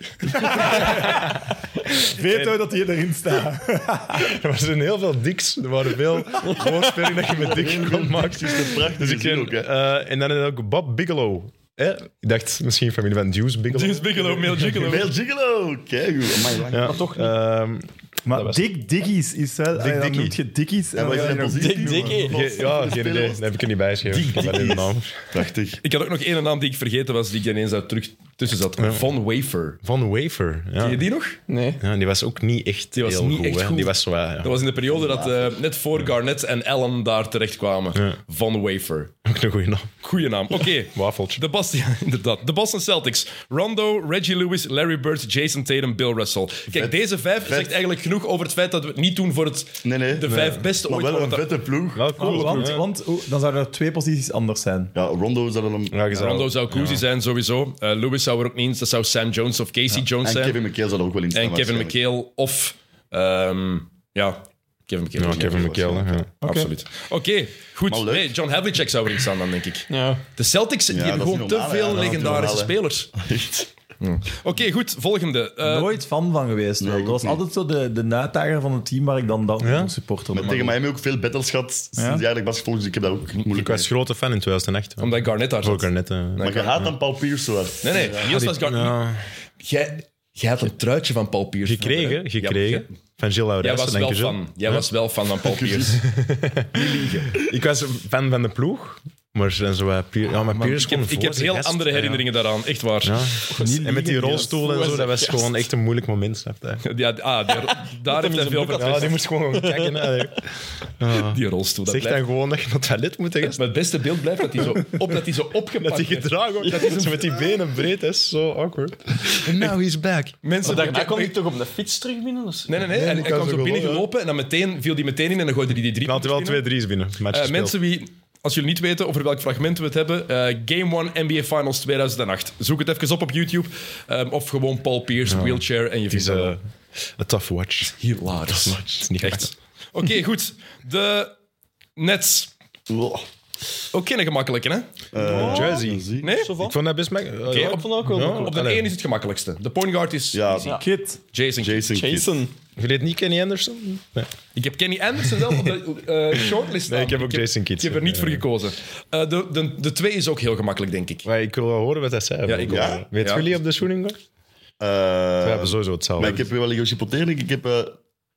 S5: Veto dat hij erin staat.
S7: <laughs> Er zijn heel veel dicks. Er waren veel gewoon spelen dat je met dik kon maken.
S6: Het is een prachtige
S7: Dus ik
S6: zin ook, hè.
S7: eh, en dan is er ook Bob Bigelow. hè? Ik dacht misschien familie van Juice Bigelow.
S3: James Bigelow, Mel Gigolo.
S6: Bill Gigolo. Kijk, goed. Amai, lang.
S7: Ja.
S4: Maar toch niet.
S7: Ehm,
S5: <laughs> Maar Dick Dickies is wel... Dick
S7: Dickie.
S5: Dan noemt je Dickies.
S6: En wat is
S5: dan
S6: zijn
S5: nog
S6: positie?
S4: Dick Dickey.
S6: Wat
S7: ge-
S6: is
S7: ja,
S6: de
S7: geen
S6: speler?
S7: idee. Dat heb ik er niet bij geschreven. Ik heb alleen de naam.
S6: Prachtig.
S3: Ik had ook nog één naam die ik vergeten was, die ik ineens daar terug tussen zat. Von Wafer.
S7: Van Wafer. Ja.
S3: Ken je die nog?
S4: Nee.
S7: Ja, die was ook niet echt
S3: Die was
S7: heel
S3: niet
S7: goed,
S3: echt
S7: hè.
S3: goed.
S7: Die was zo... eh, ja.
S3: Dat was in de periode dat eh, net voor Garnett en Allen daar terechtkwamen. Van Wafer.
S7: Ook een goede naam.
S3: Goeie naam. Oké.
S7: Wafeltje.
S3: De Boston, <laughs> ja, inderdaad. De Boston Celtics. Rondo, Reggie Lewis, Larry Bird, Jason Tatum, Bill Russell. Kijk, deze vijf zegt eigenlijk genoeg over het feit dat we het niet doen voor het,
S6: Nee, nee.
S3: de vijf beste
S6: Maar
S3: ooit.
S6: wel een
S3: want dat-
S6: vette ploeg.
S7: Wel cool.
S5: Oh, want
S7: hè.
S5: want oh, dan zouden er twee posities anders zijn.
S6: Ja, Rondo zou dan hem...
S7: Ja, je zou-
S3: Rondo zou Cousy zijn, sowieso. Eh, Lewis zou er ook niet eens. Dat zou Sam Jones of Casey Jones
S6: En
S3: zijn.
S6: Kevin McHale zou er ook wel in staan.
S3: en Kevin
S6: waarschijnlijk.
S3: McHale of... ehm, ja, Kevin McHale.
S7: Ja, Kevin McHale. hè, Ja.
S3: Absoluut. Oké, goed.
S6: Maar leuk.
S3: Nee, John Havlicek zou erin staan dan, denk ik.
S4: Ja.
S3: De Celtics die
S6: Ja,
S3: hebben
S6: dat is
S3: gewoon
S6: niet normaal,
S3: te veel
S6: hè. Dat is niet
S3: legendarische
S6: normaal,
S3: spelers.
S6: <laughs>
S3: Oké, goed. Volgende. Eh,
S5: Nooit fan van geweest. wel.
S6: ik
S5: dat was
S6: ook
S5: altijd zo de, de uitdager van het team waar ik dan, dan
S7: Ja?
S5: supporter
S6: Maar
S5: ben.
S6: tegen Miami ook veel battles gehad sinds
S5: Ja.
S6: eigenlijk basketbal, dus ik heb daar ook moeilijk
S7: Ik was grote fan in 2008. hoor.
S3: Omdat Garnett daar
S7: Voor
S3: zat.
S7: Garnett. hè.
S6: Maar je haat dan Paul Pierce zo hard.
S3: Nee, nee. Niels was Garnett.
S7: eh. Ja.
S3: Jij, jij had een truitje van Paul Pierce.
S7: Gekregen,
S3: Ja,
S7: gekregen.
S3: maar
S7: Van Gilles
S3: jij- Jij
S7: Laurijsen,
S3: was
S7: dank
S3: wel
S7: je Gilles.
S3: fan. Jij was wel fan van Paul Pierce.
S7: Ik was fan van de ploeg. Maar zijn zo wat Pier- ja, maar Piers
S3: Dus Ik heb,
S7: komt
S3: ik
S7: voor
S3: heb
S7: zijn
S3: heel
S7: gast.
S3: andere
S7: Ja, ja.
S3: herinneringen daaraan, echt waar.
S7: Ja.
S3: Ja.
S7: En met die rolstoel en
S4: Voor
S7: zo, dat
S4: zijn
S7: was
S4: gast.
S7: gewoon echt een moeilijk moment, snap je?
S3: ah, daar, daar heeft hij veel van.
S7: Ja, die moest gewoon gaan kijken. hè.
S3: Die rolstoel, dat
S7: Zeg
S3: blijft...
S7: dan gewoon dat je naar het toilet moet. hè, gast.
S3: Maar het beste beeld blijft dat hij zo, op, dat hij zo
S7: Dat
S3: opgepakt
S7: die
S3: werd.
S7: gedrag ook, dat is met die benen breed is, zo awkward. And now he's back.
S3: Mensen,
S4: Daarna
S3: kijk,
S4: kwam ik toch op de fiets terug binnen? Dus...
S3: Nee, nee, nee. en, hij
S7: kan
S3: kwam
S7: zo
S3: zo binnen
S7: gewoon,
S3: gelopen en dan meteen viel die meteen in en dan gooide hij die drie
S7: Ik had er wel
S3: punten
S7: twee
S3: binnen.
S7: drie's binnen. Match
S3: Eh,
S7: gespeeld.
S3: mensen wie, als jullie niet weten over welk fragment we het hebben, eh, Game 1 NBA Finals 2008. Zoek het even op op YouTube. ehm, of gewoon Paul Pierce, wheelchair en je
S7: Het
S3: vindt
S7: is
S3: het wel.
S7: eh, een tough watch.
S3: hilarisch.
S7: Het is niet
S3: Echt. Oké, goed. De Nets. Ook geen gemakkelijke, hè?
S7: Jersey.
S3: Nee?
S7: Ik vond dat best makkelijk.
S3: Oh. Oké,
S4: Ik vond dat ook wel makkelijk.
S3: Op de
S7: Allee.
S3: één is het gemakkelijkste. De point guard is
S6: Ja,
S3: easy.
S5: Kid.
S3: Jason. Kidd.
S6: Jason Kidd.
S4: Jason.
S7: Je weet niet Kenny Anderson? Nee.
S3: Ik heb Kenny Anderson wel op de
S7: <laughs>
S3: eh, shortlist staan.
S7: Nee, ik heb ook Jason Kidd.
S3: Ik heb er niet voor gekozen. Eh, de, de, de twee is ook heel gemakkelijk, denk ik.
S7: Maar ik wil wel horen wat hij zei.
S3: Ja, ik ook.
S6: Ja?
S7: Weet
S3: Ja.
S7: jullie op de shooting guard?
S6: Eh,
S7: We hebben sowieso hetzelfde.
S6: Maar ik heb hier wel een gechipoteerd. Ik heb... eh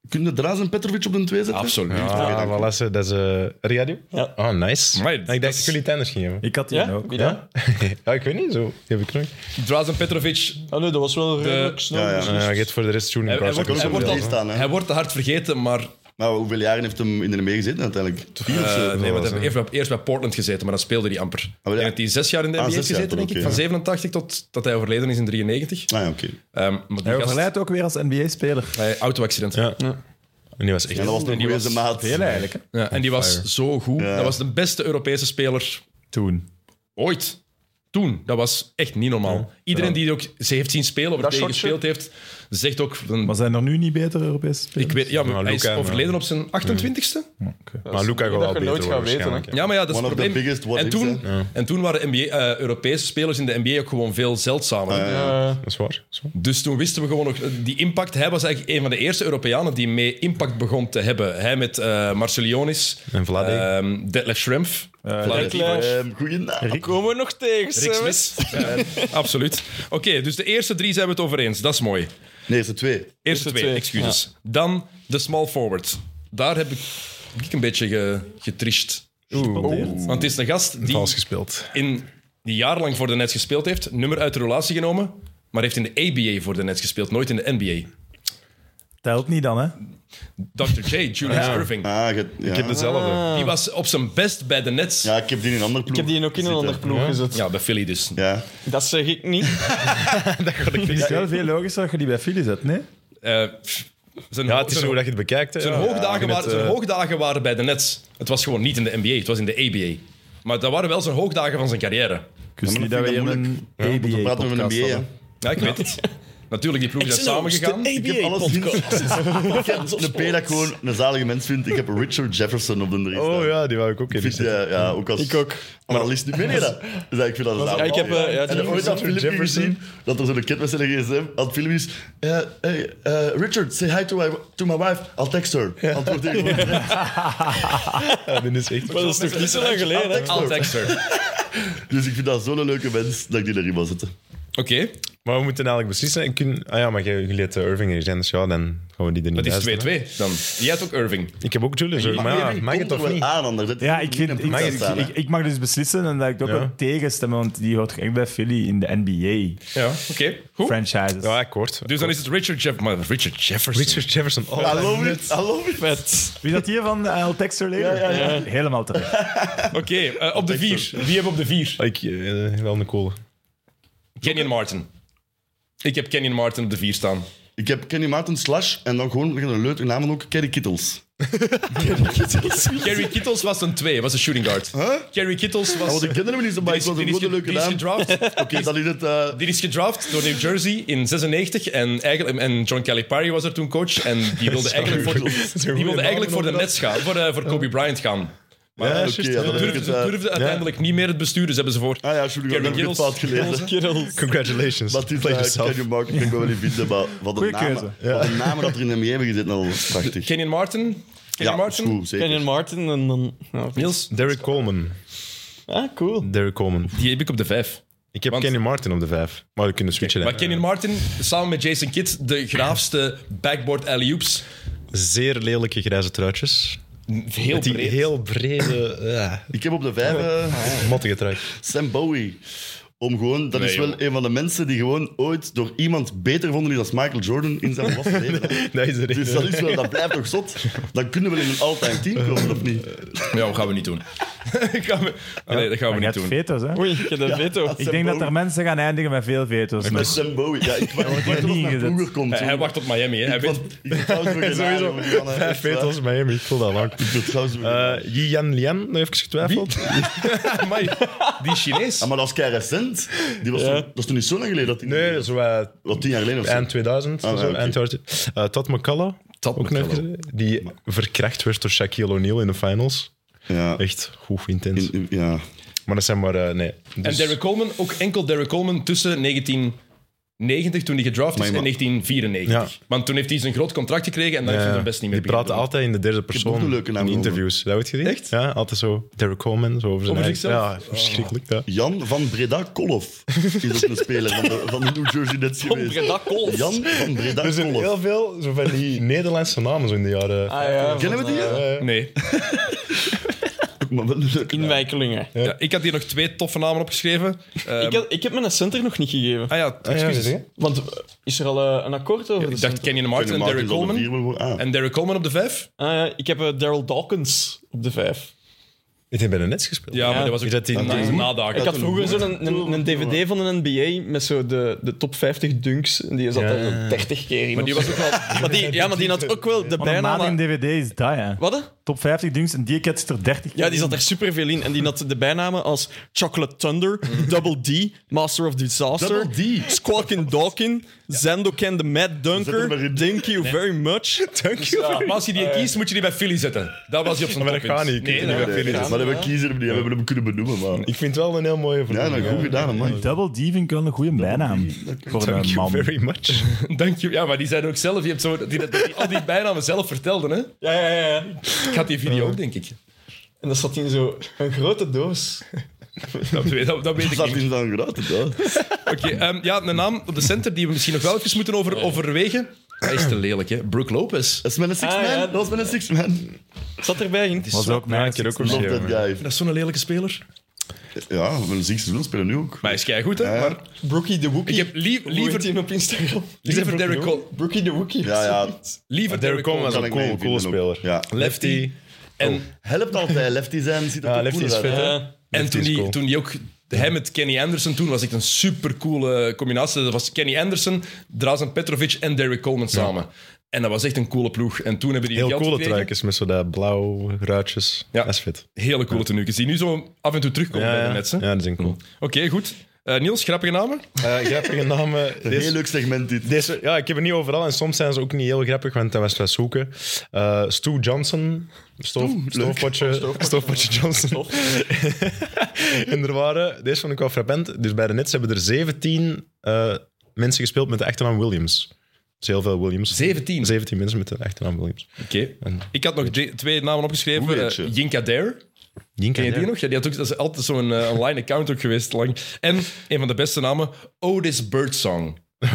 S6: kun je Drazen en Petrovic op de twee zetten?
S3: Absoluut.
S7: Ah, voilà, ze- dat is... eh radio?
S4: Ja.
S7: Ah, nice.
S3: Maar
S7: ik dacht
S3: dat
S7: dat
S3: is-
S7: jullie het anders gingen hebben.
S5: Ik had die
S4: Ja?
S5: ook.
S4: Wie dan?
S7: Ja? <laughs> ja, ik weet niet zo. Die heb ik nog.
S3: Drazen Petrovic,
S4: Ah, nee, dat was wel redelijk snel.
S6: Ja, ja.
S4: dus-
S7: Ah, ja, je hebt voor de rest shooting
S3: Hij-
S7: guards.
S3: hij wordt-
S7: ook wel
S6: Hij wordt
S7: zoveel.
S6: al staan, hè.
S3: hij wordt te hard vergeten, maar
S6: Maar hoeveel jaren heeft hem in de NBA gezeten uiteindelijk? Vier of
S3: eh,
S6: zo?
S3: nee, want hij heeft eerst bij- eerst bij Portland gezeten, maar dat speelde hij amper. Ik denk
S6: Ah, ja.
S3: dat hij zes jaar in de NBA
S6: Ah,
S3: heeft
S6: zes jaar,
S3: gezeten, denk ik.
S6: oké,
S3: Van
S6: ja.
S3: 87 tot dat hij overleden is in 93.
S6: Ah, ja, oké.
S3: Ehm, maar die
S5: Hij
S3: gast-
S5: overlijdt ook weer als NBA-speler.
S3: bij auto-accident.
S7: Ja. En die was echt...
S6: En dat was
S3: En
S6: een
S3: die
S6: goede
S3: was
S6: maat.
S5: Heel eigenlijk, hè?
S3: Ja, en die was zo goed.
S6: Ja.
S3: Dat was de beste Europese speler
S5: Toen.
S3: ooit. Toen, dat was echt niet normaal. Iedereen die ook ze heeft zien spelen of er
S4: Dat
S3: tegen
S4: shotje?
S3: gespeeld heeft, zegt ook... van-
S5: Maar zijn er nu niet betere Europese spelers?
S3: ik weet, ja, maar
S7: Nou,
S3: hij is
S7: Luca, maar-
S3: overleden op zijn 28 e
S5: Oké.
S7: Maar Luca
S4: Dat
S7: gaat
S4: je
S7: wel beter
S4: nooit
S7: worden,
S4: gaat weten,
S7: waarschijnlijk,
S3: Ja, maar ja, dat is
S6: One
S3: het
S6: of the
S3: probleem.
S6: biggest what
S3: en,
S6: ifs,
S3: toen, en toen waren NBA, eh, Europese spelers in de NBA ook gewoon veel
S6: Ah,
S3: zeldzamer.
S4: Eh,
S7: Dat is waar. Zo.
S3: Dus toen wisten we gewoon nog... eh, Die impact, hij was eigenlijk een van de eerste Europeanen die mee impact begon te hebben. Hij met eh Marcelionis,
S7: En Vlade.
S3: ehm, Detlef Schrempf, Vlade-
S4: Detlef.
S6: Ehm, goeie naam.
S4: komen we nog tegen,
S3: Rick
S4: Sam?
S3: eh, Smith. Ja, absoluut. Oké, dus de eerste drie zijn we het over eens. Dat is mooi.
S6: Nee, eerste twee.
S3: Eerste twee,
S4: twee,
S3: excuses. Dan de small forward. Daar heb ik, ik een beetje ge, getrist.
S5: Oeh.
S3: Want het is een gast die
S7: Vals gespeeld.
S3: in die jaarlang voor de Nets gespeeld heeft, nummer uit de relatie genomen, maar heeft in de ABA voor de Nets gespeeld, nooit in de NBA.
S5: Telt niet dan, hè?
S3: Dr. J, Julius Irving.
S6: Ah, je- ja.
S7: Ik heb dezelfde.
S3: Die was op zijn best bij de Nets. Ja,
S6: Ja, ik heb die in een ander ploeg.
S4: Ik heb die ook in een
S6: zitten.
S4: ander ploeg gezet.
S3: bij Philly dus.
S6: Ja.
S4: Dat zeg ik niet.
S5: Het is wel veel logischer dat je die bij Philly zet, nee?
S3: Eh, pff, zijn
S7: Ja,
S3: ho-
S7: het is
S3: zijn
S7: hoe
S3: ho-
S7: dat je het bekijkt. hè.
S3: zijn
S7: Ja.
S3: hoogdagen
S7: Ja,
S3: waren-
S7: met,
S3: Zijn
S7: eh,
S3: hoogdagen waren bij de Nets. Het was gewoon niet in de NBA, het was in de ABA. Maar dat waren wel zijn hoogdagen van zijn carrière.
S5: Ik wist
S6: Ja, maar
S5: niet
S6: dat
S5: dat we
S6: vind ik
S5: hier
S6: moeilijk.
S5: een
S6: Dan praten we over
S5: ABA-podcast
S6: een NBA.
S5: hadden.
S6: hè.
S3: Ja, ik weet
S7: <laughs>
S3: het. Natuurlijk, die ploegen zijn samengegaan.
S6: Ik heb <laughs> alles gezien. Ik heb de P dat ik gewoon een zalige mens vind. Ik heb Richard Jefferson op de drie staan.
S7: Oh ja, die wou ik ook
S6: Ik
S7: in.
S6: vind die, ja, ja, ook als
S4: Ik ook.
S6: analist niet meer. Nee, dat. Dus ik vind dat een zalig.
S4: ik heb, eh, ja,
S6: en
S4: die-
S6: ooit dat
S7: Richard
S6: filmpje
S7: Jefferson.
S6: gezien, dat er zo'n kid was in de gsm, aan het filmpje is... eh, hey, eh, Richard, say hi to my, to my wife. I'll text her. Antwoord tegen gewoon direct.
S7: Ja, die is echt...
S4: Maar dat is toch niet zo lang geleden, hè?
S3: Al Dexter. Oké.
S6: Dus ik vind dat zo'n leuke mens, dat ik die erin wil zetten.
S7: Maar we moeten eigenlijk beslissen. Ik kun... Ah ja, maar jij- jullie hebt eh, Irving en zijn, dus ja, dan gaan we die er niet
S3: Dat is
S7: bij zetten.
S3: 2-2 dan. Jij hebt ook Irving.
S7: Ik heb ook Julius Irving, maar ja,
S6: die
S7: mag
S6: komt
S7: het
S6: er wel
S7: toch
S6: Ah.
S7: niet?
S6: aan, anders. zet je
S5: Ja,
S6: die
S5: ik,
S6: niet
S5: vind,
S6: in een
S5: ik,
S6: ploeg
S5: ik,
S6: staan, hè.
S5: ik, ik mag dus beslissen en dat ik ook
S7: Ja.
S5: wel tegenstemmen, want die hoort toch echt bij Philly in de NBA-franchises.
S3: Ja, oké. Goed.
S7: Ja, akkoord.
S3: Dus dan is het Richard, Jeff maar Richard Jefferson.
S7: Richard Jefferson. Oh,
S6: I love it, I love it.
S5: Wie is dat hier van uh, Texter Later? Helemaal terecht.
S3: Oké, eh, op de vier. Wie hebben op de vier?
S7: Ik, eh, wel een coole.
S3: Kenyon Martin. Ik heb Kenyon Martin op de vier staan.
S6: Ik heb Kenny Martin slash en dan gewoon met een leuke naam ook, Kerry Kittels.
S3: Kerry Kittles was een 2, was een shooting guard. Kerry Kittles was...
S6: Wat ik kende hem niet zo, maar
S3: Oh, die
S6: ik
S3: is,
S6: vond
S3: die
S6: een
S3: is,
S6: goede
S3: ge- die
S6: leuke
S3: is
S6: naam.
S3: gedraft.
S6: Oké, dan is het... eh,
S3: Die is gedraft door New Jersey in 96 en, eigenlijk, en John Calipari was er toen coach. En die
S6: <laughs>
S3: wilde eigenlijk voor, die wilde eigenlijk voor de Nets gaan, voor, eh, voor Kobe Bryant gaan.
S7: Ja,
S6: oké,
S7: juist,
S6: ja, dan
S7: eh,
S6: heb ik het,
S3: Durfde,
S6: eh,
S3: durfde uiteindelijk niet meer het bestuur, dus hebben ze voor...
S6: Ah ja, sorry,
S3: Kerry
S6: dat heb ik het
S3: Kittles.
S6: fout gelezen.
S4: Kerels.
S7: Congratulations.
S6: Maar het is
S7: Play
S6: uh,
S7: yourself.
S6: Kenyon Martin, ik ben wel in vinden, maar wat een
S5: Goeie
S6: naam.
S5: keuze.
S6: Wat een namen dat er in de NBA hebben gezet, nou, dat is prachtig.
S3: Kenyon Martin? Kenyon
S6: Ja, dat is
S3: Martin?
S6: goed, zeker.
S4: Kenyon Martin en dan... ja.
S3: Niels?
S7: Derek Coleman.
S4: Ah, cool.
S7: Derek Coleman.
S3: Die heb ik op de vijf.
S7: Ik heb
S3: Want-
S7: Kenny Martin op de vijf. Maar we kunnen switchen. hè.
S3: Maar Kenyon Martin, samen met Jason Kidd, de graafste backboard alley-oops.
S7: Zeer lelijke grijze truitjes.
S3: Heel
S7: Met die
S3: breed.
S7: heel brede, ja,
S6: Ik heb op de vijf eh,
S7: mottige
S6: <laughs>
S7: truik.
S6: Sam Bowie. Om gewoon, dat
S3: Nee,
S6: is wel
S3: joh.
S6: een van de mensen die gewoon ooit door iemand beter vonden die als Michael Jordan in zijn vaste leven.
S7: Dat is de reden.
S6: Dus dat, is wel, dat blijft toch zot? Dan kunnen we in een all-time team komen, of niet?
S3: Ja, dat gaan we niet doen. <laughs> gaan we... Nee, dat gaan we
S5: Je
S3: niet
S5: hebt
S3: doen.
S5: veto's, hè?
S4: Oei, ik heb een veto.
S5: Ik denk dat er mensen gaan eindigen met veel veto's.
S6: Met
S5: Dus
S6: Sam Bowie. Ja, ik wacht ik wacht tot
S5: niet
S6: mijn
S5: ingezet.
S6: broer komt.
S3: Hij, hij
S6: hoor.
S3: Eh, wacht op Miami, hè. Hij
S6: Ik
S3: weet...
S6: vond- ik heb trouwens weer gedaan,
S7: Sowieso.
S6: jongen, die mannen,
S7: <laughs> Vijf
S6: echt waar.
S7: vetels Miami, ik voel dat lang.
S6: Ik heb trouwens weer gedaan.
S7: Eh Yi Yan Lian, nog even getwijfeld.
S3: Amai, die Chinees.
S6: Ah, maar dat is kei recent. Die was toen- dat is toen niet zo lang geleden dat hij...
S7: Nee, zo eh,
S6: Wat, tien jaar geleden of zo?
S7: eind 2000.
S6: Ah,
S7: of zo,
S6: ja, oké.
S7: eind 2000. Eh, Todd McCullough,
S3: Todd
S7: ook nog
S3: McCullough.
S7: even, die verkracht werd door Shaquille O'Neal in de finals.
S6: Ja.
S7: Echt goed intens.
S6: Ah. In- in- ja.
S7: Maar dat zijn maar, eh, nee.
S3: En
S7: Dus-
S3: Derek Coleman, ook enkel Derek Coleman tussen 1990, toen hij gedraft is,
S6: Maar-
S3: en 1994. Want toen heeft hij zijn groot contract gekregen en dan heeft hij
S7: Ja.
S3: zijn best niet meer
S7: eh, Die praten
S3: beginnen
S7: altijd in de derde
S6: ook
S7: persoon
S6: een leuke naam
S7: in
S6: gevonden.
S7: interviews. Dat wordt gezien? Echt? Ja, altijd zo. Derek Coleman, zo over zijn
S3: Over
S7: eigen-
S3: zichzelf?
S7: Ja, verschrikkelijk. Ja.
S6: Jan van Breda Kolhoff is ook een speler van de, van de New Jersey Nets geweest.
S4: Breda Kolhoff.
S6: Jan van Breda
S7: Er zijn
S6: Kolhoff.
S7: Dus heel veel zo van die <laughs> Nederlandse namen zo in de jaren.
S4: Ah, ja,
S6: Kennen we die?
S3: doen. Nee.
S6: Maar wel een leuke naam.
S4: Inwijkelingen.
S3: Ja, ik had hier nog twee toffe namen opgeschreven. Ehm,
S4: Ik, had- ik heb mijn center nog niet gegeven.
S3: Ah ja, excuses.
S7: dus-
S4: Want eh, is er al eh, een akkoord over? de
S3: ik dacht
S4: center?
S3: Kenyon
S6: Kenny
S3: Martin en
S6: Martin
S3: Derek
S6: zal de vier
S3: Coleman.
S6: wel worden. Ah.
S3: En Derek Coleman op de vijf?
S4: Ah, ja, ik heb eh, Daryl Dawkins op de vijf.
S7: Ik heb bij de Nets gespeeld.
S3: Ja, maar dat was ook
S7: Is dat die-
S3: een
S7: die-
S3: nadagen.
S4: Ik had vroeger zo'n een, een, een DVD van een NBA met zo de, de top 50 dunks. En die zat
S7: Ja.
S4: er 30 keer in.
S3: Maar die
S4: of
S3: was
S4: zo.
S3: ook wel...
S4: Maar die- ja, maar die had ook wel de
S5: Wat een
S4: bijnaam.
S5: maat in DVD is dat, ja.
S4: Wat? hè?
S5: Top 50 dunks en die ketst er 30
S4: Ja, die zat er superveel in. En die had de bijnamen als Chocolate Thunder, Double D, Master of Disaster,
S6: Double D?
S4: Squawking Dawkin, Zendoken the Mad
S6: Zet hem
S4: Dunker,
S6: erin.
S4: Thank You Very Much. Thank
S3: <laughs>
S4: You
S3: Maar als je die kiest, moet je die bij Philly zetten. Dat was hij op zijn
S7: Maar dat
S3: toppunt.
S7: gaat niet. Je
S3: Nee,
S7: kunt het
S3: dat
S7: niet
S3: gaat
S7: bij
S6: Nee,
S7: Phoenix.
S6: maar dat hebben we kiezer hebben die hebben we hem kunnen benoemen. Maar.
S7: Ik vind het wel een heel mooie
S6: Ja, dat
S7: vernoeming.
S6: is goed gedaan, man.
S5: Double D vind ik wel een goede bijnaam. Voor
S7: Thank
S5: een
S7: you
S5: man.
S7: very much.
S3: niet. Dank je. Ja, maar die zijn ook zelf... Je hebt zo, die, dat- die- al die bijnamen zelf vertelden, hè.
S4: Ja, ja, ja, ja.
S3: Ik had die video ook, denk ik.
S4: En dat zat in zo een grote doos.
S3: Dat, weet- dat, dat weet
S6: Dat
S3: ik
S6: is
S3: niet.
S6: in zijn grote dood.
S3: Oké, ehm, ja, een naam op de center die we misschien nog wel even moeten over, overwegen. Hij is te lelijk, hè. Brooke Lopez.
S6: Dat is met een
S4: Ah,
S6: six-man.
S4: ja.
S6: Dat was met een six-man.
S4: Zat erbij in.
S5: Was ook
S7: Ja,
S5: mijn
S7: ik heb ook
S6: Love that
S7: opgeschreven.
S6: guy.
S3: Dat is zo'n lelijke speler.
S6: Ja, met een six-man spelen nu ook.
S3: Maar hij is keigoed, hè. Maar
S4: Brookie the Wookie.
S3: ik heb lief-
S4: Hoe
S3: liever...
S4: heet die op Instagram.
S3: Liever Derek Cole.
S4: Brookie the Wookie.
S6: Ja, ja.
S3: Liever
S7: Derek
S3: Derek
S7: Coleman
S3: Coleman.
S7: was
S6: kan
S7: een
S6: ik
S7: cool,
S6: mee
S7: cool
S6: vinden ook.
S7: speler.
S6: Ja.
S3: Lefty. En
S6: Helpt altijd. Lefty zijn ziet er
S7: Ja,
S6: toch
S7: Lefty is
S6: cooler uit.
S7: fit, hè.
S3: En
S7: Dat
S3: toen
S7: is
S3: die,
S7: cool.
S3: toen die ook hij met Kenny Anderson toen was echt een supercoole combinatie. Dat was Kenny Anderson, Drazen Petrovic en Derek Coleman samen. En dat was echt een coole ploeg. En toen hebben die
S7: Heel
S3: geld
S7: coole
S3: gekregen.
S7: truikjes met zo dat blauw ruitjes.
S3: Ja.
S7: Dat is fit.
S3: Hele coole tenuukjes die nu zo af en toe terugkomen bij de
S7: Ja, ja.
S3: Nets. hè.
S7: ja, die zijn cool.
S3: Oké, goed. Eh, Niels, grappige namen?
S7: Eh, grappige namen.
S6: Een
S7: Deze-
S6: heel leuk segment dit.
S7: Deze, ja, ik heb er niet overal en soms zijn ze ook niet heel grappig, want dan was het zoeken. Eh Stu Johnson, stoof,
S3: Oh,
S7: stoofpotje, stoofpotje <laughs> Johnson. en er waren, deze vond ik wel frappant, dus bij de Nets hebben er 17 eh, mensen gespeeld met de achternaam Williams. Dus heel veel Williams.
S3: 17?
S7: 17 mensen met de achternaam Williams.
S3: Oké. Ik had nog drie- twee namen
S6: Hoe
S3: opgeschreven.
S6: weet je?
S3: Eh, Jinka Dare.
S7: Jinka
S3: Ken je die nog? Ja, die had ook, dat is altijd zo'n eh, online account ook geweest lang. En een van de beste namen, Otis
S7: <laughs>
S3: Birdsong. Dat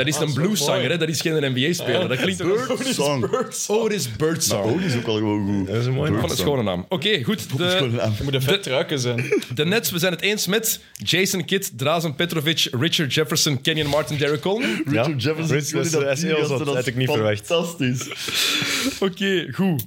S7: Ah,
S3: is een blueszanger, hè? dat is geen NBA-speler. Dat klinkt ook als-
S6: Song.
S3: Nou, Otis Birdsong.
S6: Oh, die is ook al gewoon goed.
S7: Dat is een mooie
S3: Van het schone naam. Oké, goed.
S6: Schoon
S3: De,
S6: naam.
S4: Moet een vet truiken zijn.
S3: de Nets, we zijn het eens met Jason Kidd, Drazen Petrovic, Richard Jefferson, Kenyon Martin, Derek Coleman.
S6: Richard
S7: Ja.
S6: Jefferson.
S7: Rich- dat is- E
S6: sorry,
S7: dat is heel
S6: die
S7: zot.
S6: gasten,
S7: Had
S6: is
S7: ik niet verwacht.
S6: Fantastisch.
S3: Oké, goed.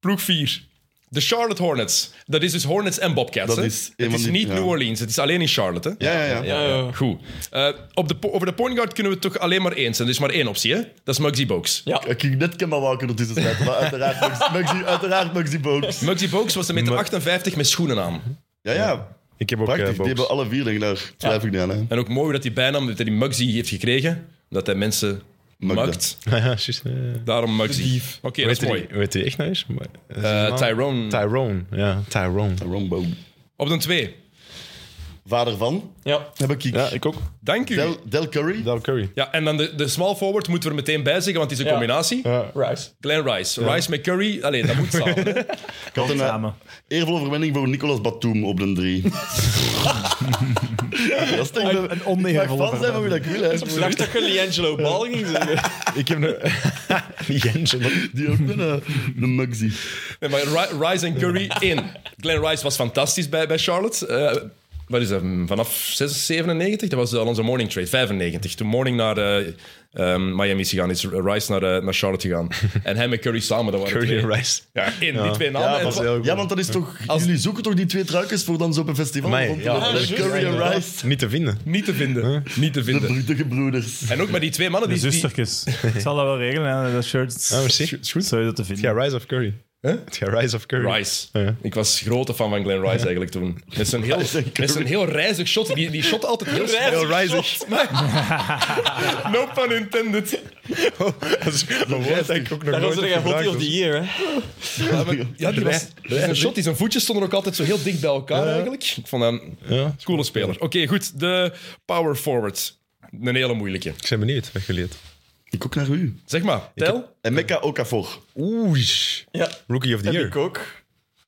S3: Ploeg 4. De Charlotte Hornets. Dat is dus Hornets en Bobcats.
S6: Dat
S3: hè?
S6: is
S3: het
S6: een van
S3: is
S6: die-
S3: niet
S6: ja.
S3: New Orleans, het is alleen in Charlotte. Hè?
S6: Ja, ja, ja.
S4: Ja, ja.
S3: Goed. Eh, op de, po- over de point guard kunnen we het toch alleen maar eens zijn. Er is maar één optie, hè? Dat is Muggsy Bogues.
S4: Ja.
S6: Ik ging net Kemba Walker ertussen zetten, maar uiteraard Maxi- Maxi- uiteraard Maxi Bogues.
S3: Muggsy Bogues was 1,58 meter 58 met schoenen aan.
S6: Ja, ja.
S7: Ik heb ook
S6: Prachtig.
S7: eh,
S6: Die
S7: box.
S6: hebben alle vier, denk ik, daar twijfel ik niet aan. Hè.
S3: En ook mooi dat hij bijnaam, dat hij die Muggsy heeft gekregen. Dat hij mensen
S6: Mugda.
S3: mugt.
S7: <laughs> Ja, juist, eh.
S3: Daarom Muggsy. Oké, dat
S7: Weet
S3: is
S7: je
S3: mooi.
S7: die- Weet je echt nou eens? Maar- is die
S3: Eh,
S7: naam?
S3: Tyrone.
S7: Tyrone, ja, Tyrone.
S6: Rombo.
S3: Op de 2.
S6: Vader van,
S4: ja.
S6: heb ik.
S7: Ja, ik ook.
S3: Dank u.
S6: Del, Del Curry.
S7: Del Curry.
S3: Ja, en dan de, de small forward moeten we er meteen bij zeggen, want het is een
S4: Ja.
S3: combinatie.
S4: Rice.
S3: Glenn Rice. Rice met Curry. Allee, dat moet samen. hè.
S6: Ik had een eh,
S5: samen.
S6: eervolle verwending voor Nicolas Batum op de drie. Dat is toch
S5: Een- een onneergevallen
S6: Ik mag fan zijn van wie dat ik wil. Hè.
S4: Ik dacht dat je Liangelo Bal ging zeggen.
S7: Ik heb een... <laughs>
S6: Die ook een, eh, een Mugsy.
S3: Nee, maar Ri- Rice en Curry in. Glenn Rice was fantastisch bij, bij Charlotte. Eh, wat is dat? hm, Vanaf 6, 97? Dat was al onze morning trade. 95. Toen morning naar eh, ehm, Miami is gegaan, is Rice naar, eh, naar Charlotte gegaan. en hem en Curry samen, dat waren
S7: Curry
S3: twee.
S7: en Rice.
S3: Ja, in, die twee namen.
S6: Ja,
S3: En
S6: want-
S3: het wa-
S7: heel goed.
S6: ja, want dat is toch... Jullie zoeken toch die twee truikens voor dan zo op een festival?
S7: Amai,
S6: rond te
S7: ja,
S6: lopen?
S7: dat is
S6: Curry en Rice.
S7: Niet te vinden.
S3: niet te vinden. Niet te
S6: De
S3: vinden.
S6: bloedige broeders.
S3: En ook met die twee mannen
S5: De
S3: die... die-
S7: <laughs>
S5: zustertjes. Ik zal dat wel regelen, hè, dat shirt.
S7: Ah, merci. Is goed.
S5: Zou je dat te vinden?
S7: Ja, Rice of Curry. Het gaat Rice of Curry.
S3: Rice.
S7: Ja.
S3: Ik was grote fan van Glenn Rice eigenlijk toen. Met zijn heel, met zijn heel reizig shot. Die, die shot altijd heel snel.
S7: Heel Rice.
S3: No pun intended.
S7: <laughs> Dat is een woord dat ik ook nog
S4: Daarom
S7: nooit
S4: zeg
S7: heb
S4: jij Hottie of
S7: gebruikt.
S4: the Year, hè?
S3: Ja, maar- ja, die was, zijn shot, die zijn voetjes stonden ook altijd zo heel dicht bij elkaar eigenlijk. Ik vond hem een
S7: Ja.
S3: coole speler. Oké, goed. De power forward. Een hele moeilijke.
S7: Ik ben benieuwd wat jullie het.
S6: Ik ook naar u.
S3: Zeg maar, tel.
S6: En Mekka Okafor.
S7: Oei.
S4: Ja,
S7: Rookie of the
S4: heb
S7: Year.
S4: ik ook.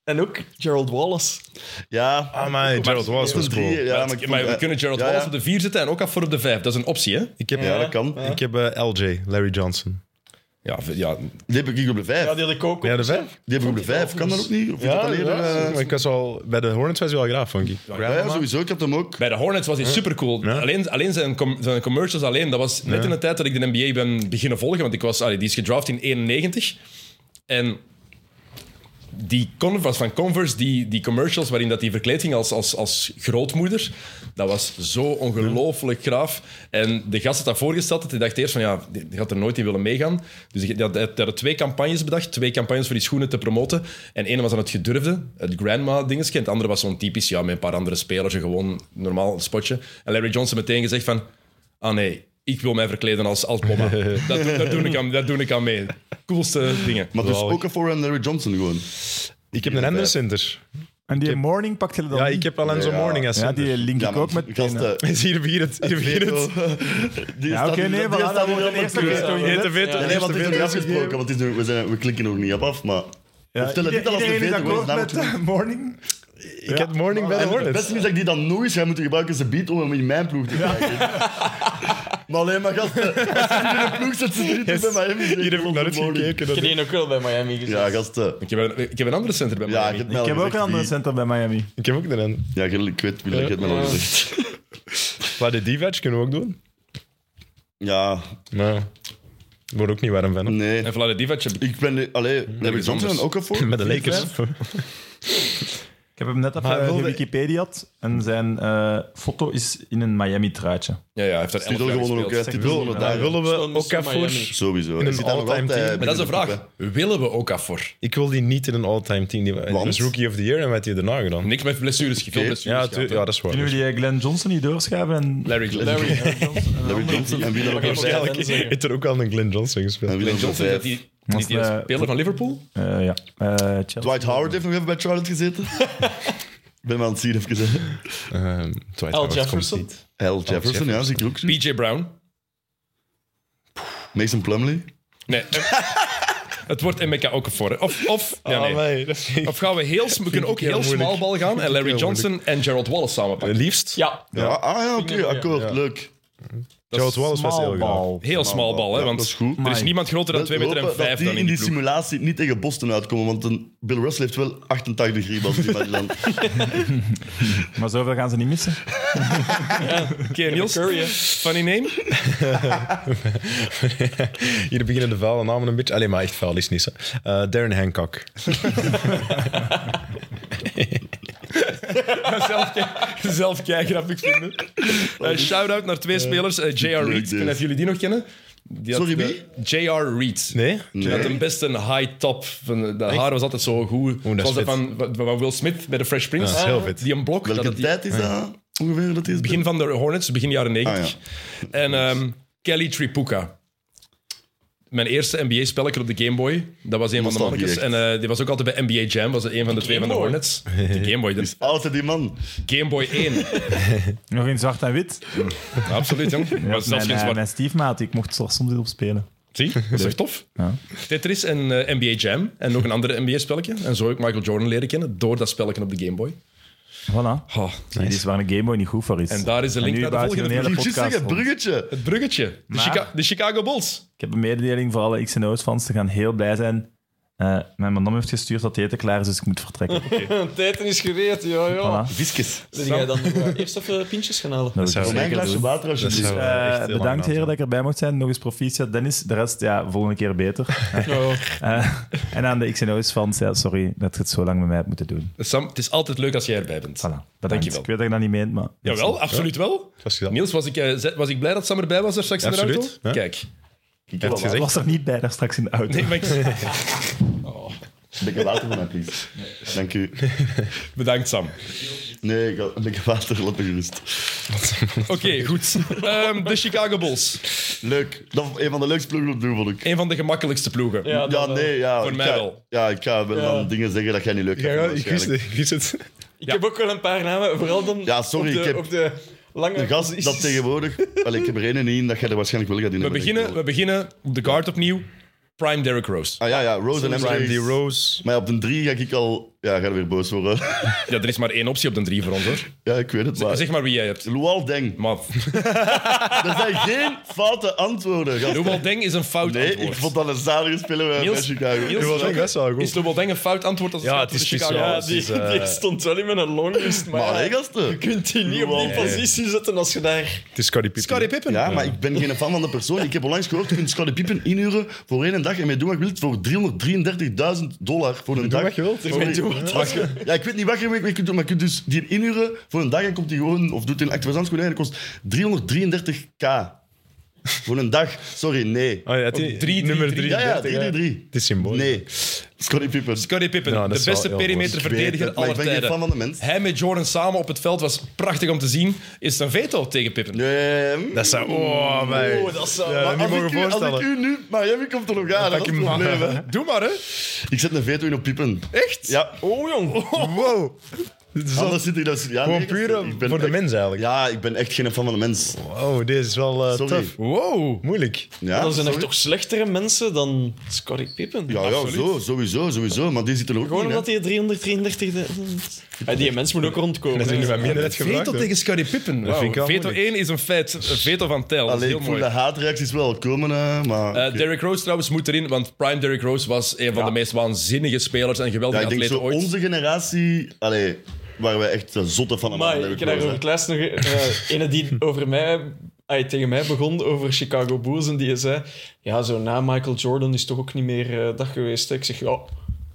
S4: En ook Gerald Wallace.
S6: Ja,
S7: Ah, maar Gerald Wallace was
S6: drie,
S7: cool.
S6: ja,
S3: maar,
S6: ik
S3: we
S6: vond-
S3: kunnen Gerald
S6: ja, ja.
S3: Wallace op de 4 zetten en ook af voor op de 5. Dat is een optie, hè?
S7: Ik heb,
S6: Ja, dat kan.
S7: ik heb eh, LJ, Larry Johnson.
S3: Ja, v- ja.
S6: Die heb ik op de vijf.
S4: Ja, die had ik ook.
S7: Ja, de vijf?
S6: Die heb ik op de vijf. Kan dat ook niet? Of is dat dan eerder, eh,
S7: maar ik was al, bij de Hornets was hij wel graag, vond ik.
S6: Ja, ja, sowieso. Ik had hem ook.
S3: Bij de Hornets was hij supercool.
S7: Ja.
S3: Alleen, alleen zijn, com- zijn commercials alleen. Dat was net in de tijd dat ik de NBA ben beginnen volgen. Want ik was, allee, die is gedraft in 91. En die Converse, van Converse, die, die commercials waarin dat die verkleed ging als, als, als grootmoeder, dat was zo ongelooflijk graaf. En de gast dat dat voorgesteld had, die dacht eerst van ja, die die gaat er nooit in willen meegaan. Dus die had, die had twee campagnes bedacht, twee campagnes voor die schoenen te promoten. En ene was aan het gedurfde, het grandma-dingetje, en het andere was zo'n typisch, ja, met een paar andere spelers, een gewoon normaal spotje. En Larry Johnson meteen gezegd van, ah nee, ik wil mij verkleden als, als mama. dat, dat, doe ik aan, dat doe ik aan mee. Coolste dingen.
S6: Maar dus
S7: Zalig.
S6: Okafor en Larry Johnson gewoon.
S7: Ik heb een Anderson Center.
S5: En die morning pakt je dat dan
S7: Ja,
S5: niet?
S7: ik heb Alonzo
S6: Ja.
S7: Morning als
S5: Ja,
S7: center.
S5: die link ik
S6: maar eh,
S5: ook met
S6: gasten.
S7: <laughs> Is hier begint het. Hier begint
S6: <laughs>
S7: het.
S6: Die
S5: Ja, oké, nee, voilà, dat wordt de eerste keer toch
S7: Je hebt te
S5: gezet.
S7: veel te-
S6: Nee,
S7: je
S6: nee,
S7: hebt
S6: want
S7: te
S6: dit is
S7: veel
S6: niet
S7: te-
S6: afgesproken, want het is nog- we, zijn, we klikken nog niet op af, maar... we
S5: Ja,
S6: stellen dit al als
S5: Iedereen is
S6: vergeten, hoor,
S5: akkoord met
S6: namelijk-
S5: eh, morning?
S7: Ik heb Morning bij de
S6: En Het
S7: Hornets.
S6: beste is dat ik die dan nog eens ga moeten gebruiken als een beat om hem in mijn ploeg te krijgen. maar alleen maar gasten, als je in een ploeg zet, ze niet bij mij.
S7: Hier heb ik naar het gekeken.
S4: Ik
S7: dat-
S4: heb die ook wel bij Miami gezien.
S6: Ja, gasten.
S3: Ik heb, een, ik heb een andere center bij mij.
S6: Ja, ik, heb mij al
S5: Ik heb ook
S6: gezegd
S5: een andere
S6: wie-
S5: center bij Miami.
S7: Ik heb ook de Anderson.
S6: Ja, ik- ik weet wie dat ik het al gezegd.
S7: Maar de Divac kunnen we ook doen.
S6: Ja,
S7: Nou, ik word ook niet warm van. hè.
S6: nee.
S3: En Vladivac heb ik...
S6: Ik ben... Allee, heb ik
S3: is
S6: Johnson
S3: anders.
S6: ook al voor?
S7: <laughs> Met de Lakers.
S5: Ik heb hem net even
S7: Maar hij
S5: eh,
S7: wilde-
S5: gewikipedia'd en zijn eh, foto is in een Miami-truitje.
S3: Ja, ja, hij heeft er 11
S6: Titel
S3: jaar
S6: gewonnen ook,
S3: gespeeld.
S6: hè. Titel gewonnen daar.
S7: Willen
S4: Zo'n
S7: we
S4: Mr.
S7: Okafor?
S4: Miami.
S6: Sowieso.
S7: In
S6: Ik
S7: een
S6: zit daar nog
S7: all-time
S6: altijd
S7: team.
S3: Maar dat is de
S6: binnen de
S3: vraag. Willen we ook af voor?
S7: Ik wil die niet in een all-time team. Die
S6: Want?
S7: was Rookie of the Year en wat hij daarna gedaan.
S3: Niks met blessures. Veel
S6: Oké.
S3: blessures
S7: Ja,
S3: gehad,
S7: tu-
S3: hè.
S7: ja, dat is waar.
S5: Kunnen we die eh, Glenn Johnson niet doorschuiven? En...
S3: Larry Glenn.
S6: Larry Larry Johnson en wie dan ook al
S4: Oké,
S6: vijf.
S7: Eigenlijk
S4: zeggen.
S7: <laughs> heeft er ook al een Glenn Johnson
S6: En
S7: gespeeld.
S6: wie dan
S3: Glenn
S6: ook
S3: Johnson,
S6: al
S3: dat
S6: vijf.
S3: die, niet die
S5: eh,
S3: speler van Liverpool?
S5: Eh, ja, Eh, Chelsea.
S6: Dwight Howard heeft nog even bij Charlotte gezeten. Ik <laughs> ben maar aan het zien, even gezegd.
S7: Ehm, Dwight Howard komt
S4: Jefferson.
S7: niet.
S6: Al Ah, Jefferson, ja, zie ik ook.
S3: PJ Brown?
S6: Mason Plumley. <laughs>
S3: Nee. eh, het wordt Emeka ook voor. Of, of, ja,
S7: Ah,
S3: nee.
S7: nee, dat vind ik-
S3: of gaan we heel... We kunnen ook
S7: heel
S3: heel
S7: moeilijk.
S3: smal bal gaan en Larry Johnson en Gerald Wallace
S7: <laughs> Het
S3: samenpakken.
S7: liefst.
S4: Ja,
S6: Ja, ah ja, oké,
S4: Ja.
S6: akkoord, leuk.
S7: Gerald Wallace was heel graag.
S5: Smallball.
S3: Heel smal bal, hè,
S6: Ja, dat is
S3: want
S6: goed.
S3: er is niemand groter dan 2 meter en
S6: Hopen
S3: 5
S6: dat die
S3: dan
S6: in die
S3: ploeg.
S6: simulatie niet tegen Boston uitkomen, want een Bill Russell heeft wel 88 rebounds <laughs> in dat land.
S5: Maar zoveel gaan ze niet missen.
S6: <laughs>
S3: Oké, Niels,
S4: Curry, hè.
S3: funny name?
S7: <laughs> Hier beginnen de vuile namen een beetje. Alleen maar echt vuil is niet zo. Eh, Darren Hancock.
S3: zelf, ki- <laughs> zelf kei grappig vinden.
S6: Oh,
S3: Eh,
S6: dus-
S3: Shout-out naar twee spelers. eh, J.R. Reed, ik weet niet of jullie die nog kennen. Die had,
S6: Sorry,
S3: eh,
S6: wie?
S3: J.R. Reed.
S7: Nee?
S3: Die had een best een high top. Van, eh, de haar was altijd zo goed.
S7: dat is
S3: Zoals dat
S7: vet. Ah,
S3: van, van- van Will Smith bij de Fresh Prince.
S7: Dat is heel vet.
S3: Die een blok. dat
S6: Welke
S3: het die-
S6: tijd Ah, is dat ongeveer? Dat is
S3: begin van de Hornets, begin jaren 90. En ehm, Kelly Tripuka. Mijn eerste NBA-spelletje op de Game Boy. Dat was een van de
S6: Nostalgie,
S3: mannetjes. En eh, die was ook altijd bij NBA Jam. was een van de twee van de
S4: Boy?
S3: Hornets. De Game
S6: <laughs>
S3: Boy. De
S6: Oud die man.
S3: Game Boy 1.
S5: Nog in zwart en wit.
S3: Absoluut, jong. Maar zelfs
S5: mijn,
S3: geen
S5: eh,
S3: zwart.
S5: mijn stiefmaat, ik mocht er soms op spelen.
S3: Zie, dat is echt tof. Tetris en eh, NBA Jam en nog een andere NBA-spelletje. En zo heb ik Michael Jordan leren kennen door dat spelletje op de Game Boy.
S5: Voilà.
S3: Oh,
S5: Die is waar een Gameboy niet goed voor is.
S3: En daar is de link
S5: En nu
S3: naar de
S5: buiten
S3: volgende
S5: een hele
S6: Ik
S5: podcast
S6: zeggen,
S5: rond.
S6: bruggetje.
S3: het bruggetje. De,
S5: Maar-
S3: Chica- de Chicago Bulls.
S5: Ik heb een mededeling voor alle X&O's-fans. Ze gaan heel blij zijn. Eh, mijn man heeft gestuurd dat het eten klaar is, dus ik moet vertrekken.
S4: Tijden is gereed, ja, ja.
S5: Voilà.
S6: Viskes.
S4: Wil jij dan eh, eerst even pintjes gaan halen?
S5: Dat zou
S7: zou ik
S5: ik
S6: Mijn glasje
S5: zeker doen.
S6: water
S7: Dat
S6: alsjeblieft.
S7: zou
S5: Eh,
S7: wel echt heel lang
S5: bedankt
S7: gaan
S5: heren dat
S7: zijn.
S5: ik erbij mocht zijn. Nog eens proficiat, Dennis. De rest, ja, volgende keer beter.
S4: Ja.
S5: <laughs> Eh, en aan de X&O's-fans, ja, sorry dat je het zo lang met mij hebt moeten doen.
S3: Sam, het is altijd leuk als jij erbij bent.
S5: Voilà, bedankt.
S3: Dankjewel.
S5: Ik weet dat je dat niet meent, maar...
S3: Jawel, absoluut wel.
S7: Was je dat?
S3: Niels, was ik, eh, ze- was ik blij dat Sam erbij was er straks in de
S7: Absoluut,
S3: auto?
S7: ja.
S3: Kijk.
S6: Ik
S7: Heb
S6: heb wel
S7: je
S5: Ik
S7: gezegd?
S5: was er niet bij daar straks in de auto.
S3: Nee, maar
S5: <laughs>
S3: ik-
S6: Een beetje water voor mij, please. Dank u.
S3: bedankt, Sam.
S6: Nee, ik had een beetje water, laat me gerust.
S3: Oké, goed. Ehm, de Chicago Bulls.
S6: Leuk. Dat was een van de leukste ploegen op nu, vond ik.
S3: Een van de gemakkelijkste ploegen.
S4: Ja,
S6: Ja,
S4: dan, eh,
S6: nee, ja.
S3: Voor
S6: ik
S3: mij
S6: ga-
S3: wel.
S6: Ja, ik ga wel dan dingen zeggen dat jij niet leuk
S7: Ja,
S6: hebt.
S7: ja, ik wist
S6: waarschijnlijk.
S7: het. Ik wist het. <laughs>
S4: Ik heb ook wel een paar namen, vooral dan
S6: Ja, sorry,
S4: op, de,
S6: ik heb-
S4: op de lange
S6: Een
S4: <laughs>
S6: gast dat
S4: posities.
S6: tegenwoordig... Wel, ik heb er één en één dat jij er waarschijnlijk wel gaat in
S3: We
S6: hebben,
S3: beginnen,
S6: denk
S3: we
S6: ik
S3: beginnen op de guard opnieuw. Prime Derrick Rose.
S6: wel. Ah ja, ja, Rose en
S7: Prime D.
S6: MJ.
S7: Rose.
S6: Maar op de drie ga ik al... Ja, ga er weer boos worden. <laughs>
S3: Ja, er is maar één optie op de drie voor ons, hoor.
S6: ja, ik weet het, maar...
S3: Zeg maar wie jij hebt.
S6: Lual
S3: <laughs>
S6: Deng.
S3: Maar
S6: Er zijn geen foute antwoorden, gast.
S3: Luol Deng is een fout
S6: Nee,
S3: antwoord.
S6: ik vond dat een zalige speler bij bij
S3: Niels-
S6: Chicago.
S3: Niels-
S7: Dat was ook best wel
S3: Is
S7: goed.
S3: Luol Deng een fout antwoord als
S7: Ja,
S3: gaat
S7: het
S3: voor
S7: is
S3: de Chicago
S7: speciaal.
S4: Ja,
S3: Bulls?
S7: Het is,
S4: die,
S7: eh,
S4: die stond wel in mijn longlist, maar,
S6: Maar nee,
S4: ja,
S6: gasten.
S4: je kunt die niet op die
S6: Wow.
S4: positie zetten als je daar...
S7: Het is Scottie Pippen.
S3: Scottie Pippen.
S6: Ja, maar ik ben geen fan van de persoon. Ik heb onlangs gehoord, je kunt Scottie Pippen inhuren voor één dag en mee doen wat je wilt voor 333.000 dollar voor een dag.
S7: wat je wilt.
S6: Sorry.
S7: Mee doen
S6: Ja, ik weet niet wat je mee kunt doen, maar je kunt dus die inhuren voor een dag en komt die gewoon, of doet een activazant gewoon en dat kost 333k. Voor een dag. Sorry, nee.
S7: Oh, ja, het is-
S3: drie,
S7: nummer
S3: drie,
S7: 3.
S6: Ja, ja, 3 3
S7: Het is symbolisch.
S6: Nee. Scottie Pippen.
S3: Scottie Pippen,
S7: Ja, dat
S3: de
S7: is wel
S3: beste
S7: heel goed.
S6: Ik weet
S3: perimeterverdediger
S6: het, maar
S3: aller
S6: ik ben geen
S3: tijden.
S6: fan van de mens.
S3: Hij met Jordan samen op het veld was prachtig om te zien. Is het een veto tegen Pippen?
S6: Nee.
S7: Dat zou... Oh, mij.
S4: Oh, dat zou...
S7: Ja, dat niet
S6: Als ik,
S7: mogen
S6: u, als ik
S7: voorstellen.
S6: u nu... Miami komt er nog aan, hè, dat is het probleem. hè.
S3: Doe maar, hè.
S6: Ik zet een veto in op Pippen.
S3: Echt?
S6: Ja,
S4: Oh, jong.
S7: <laughs> Wow. Dit is al-
S6: anders zit ik dat... Ja,
S7: Gewoon
S6: nee,
S7: puur eh,
S6: gasten, ik ben
S7: voor de
S6: echt-
S7: mens eigenlijk.
S6: Ja, ik ben echt geen fan van de mens.
S7: Oh, deze is wel eh,
S6: Sorry.
S7: tough.
S3: Wow.
S7: Moeilijk.
S6: Ja,
S4: dan zijn er
S6: sorry.
S4: toch slechtere mensen dan Scottie Pippen.
S6: Ja, ja zo, sowieso, sowieso. Maar die zitten er ook
S4: Gewoon
S6: niet in,
S4: omdat hij 333... de- Ja, die mens moet ook rondkomen.
S7: Dat is nu wat minder net gevraagd.
S3: Veto
S7: hè.
S3: tegen Scottie Pippen.
S7: vind ik
S3: Wow.
S7: wel
S3: Veto
S7: moeilijk.
S3: 1 is een feit. Een Veto van Tel.
S6: hè.
S3: Dat is
S6: Allee,
S3: heel
S6: ik voel
S3: mooi.
S6: de haatreacties wel komen, hè, maar...
S3: Eh,
S6: oké.
S3: Derrick Rose trouwens moet erin, want Prime Derrick Rose was een van de meest waanzinnige spelers en
S6: ja,
S3: geweldige
S6: ik denk
S3: atleten
S6: zo,
S3: ooit.
S6: onze generatie... Allee, waren wij echt eh, zotte van hem.
S4: Maar ik heb over het laatst nog eh ene die over mij, ay, tegen mij begon over Chicago Bulls en die zei: Ja, zo na Michael Jordan is toch ook niet meer eh, dat geweest. Hè? Ik zeg: Ja,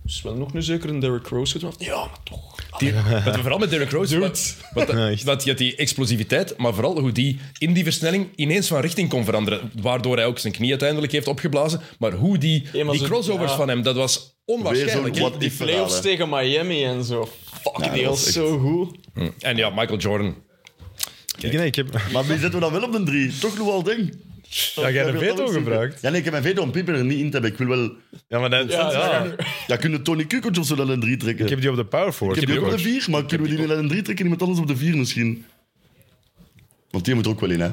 S4: is wel nog nu zeker een Derrick Rose gedaan. Ja, maar toch.
S3: Die- wat we vooral met Derrick Rose. Wat, wat,
S7: Ja, echt.
S3: wat je had die explosiviteit, maar vooral hoe die in die versnelling ineens van richting kon veranderen. Waardoor hij ook zijn knie uiteindelijk heeft opgeblazen. Maar hoe die,
S4: Ja, maar
S3: die
S4: zo-
S3: crossovers
S4: ja.
S3: van hem, dat was onwaarschijnlijk.
S6: Weer zo'n
S3: hè?
S6: wat-
S4: Die
S6: Die verhaal,
S4: playoffs
S6: hè.
S4: tegen Miami en zo. Fuck,
S6: Ja,
S4: die
S6: dat
S4: was
S6: was echt-
S4: zo goed.
S3: En ja, Michael Jordan.
S7: Ik, nee, ik heb...
S6: Maar wie zetten we dan wel op een drie? Toch Lual Deng?
S7: Ja, jij hebt een veto gebruikt.
S6: Ja, nee, ik heb mijn veto om Pippen er niet in te hebben. Ik wil wel...
S7: Ja, maar dat...
S4: Ja,
S7: ja.
S4: ja.
S6: Ja, kunnen Tony Kukoc of zo dan een drie trekken?
S7: Ik heb die op de power forward.
S6: Ik heb die ook op de
S7: gebracht.
S6: 4, maar kunnen we die niet aan een 3 trekken en iemand anders op de 4 misschien? Want die moet er ook wel in, hè?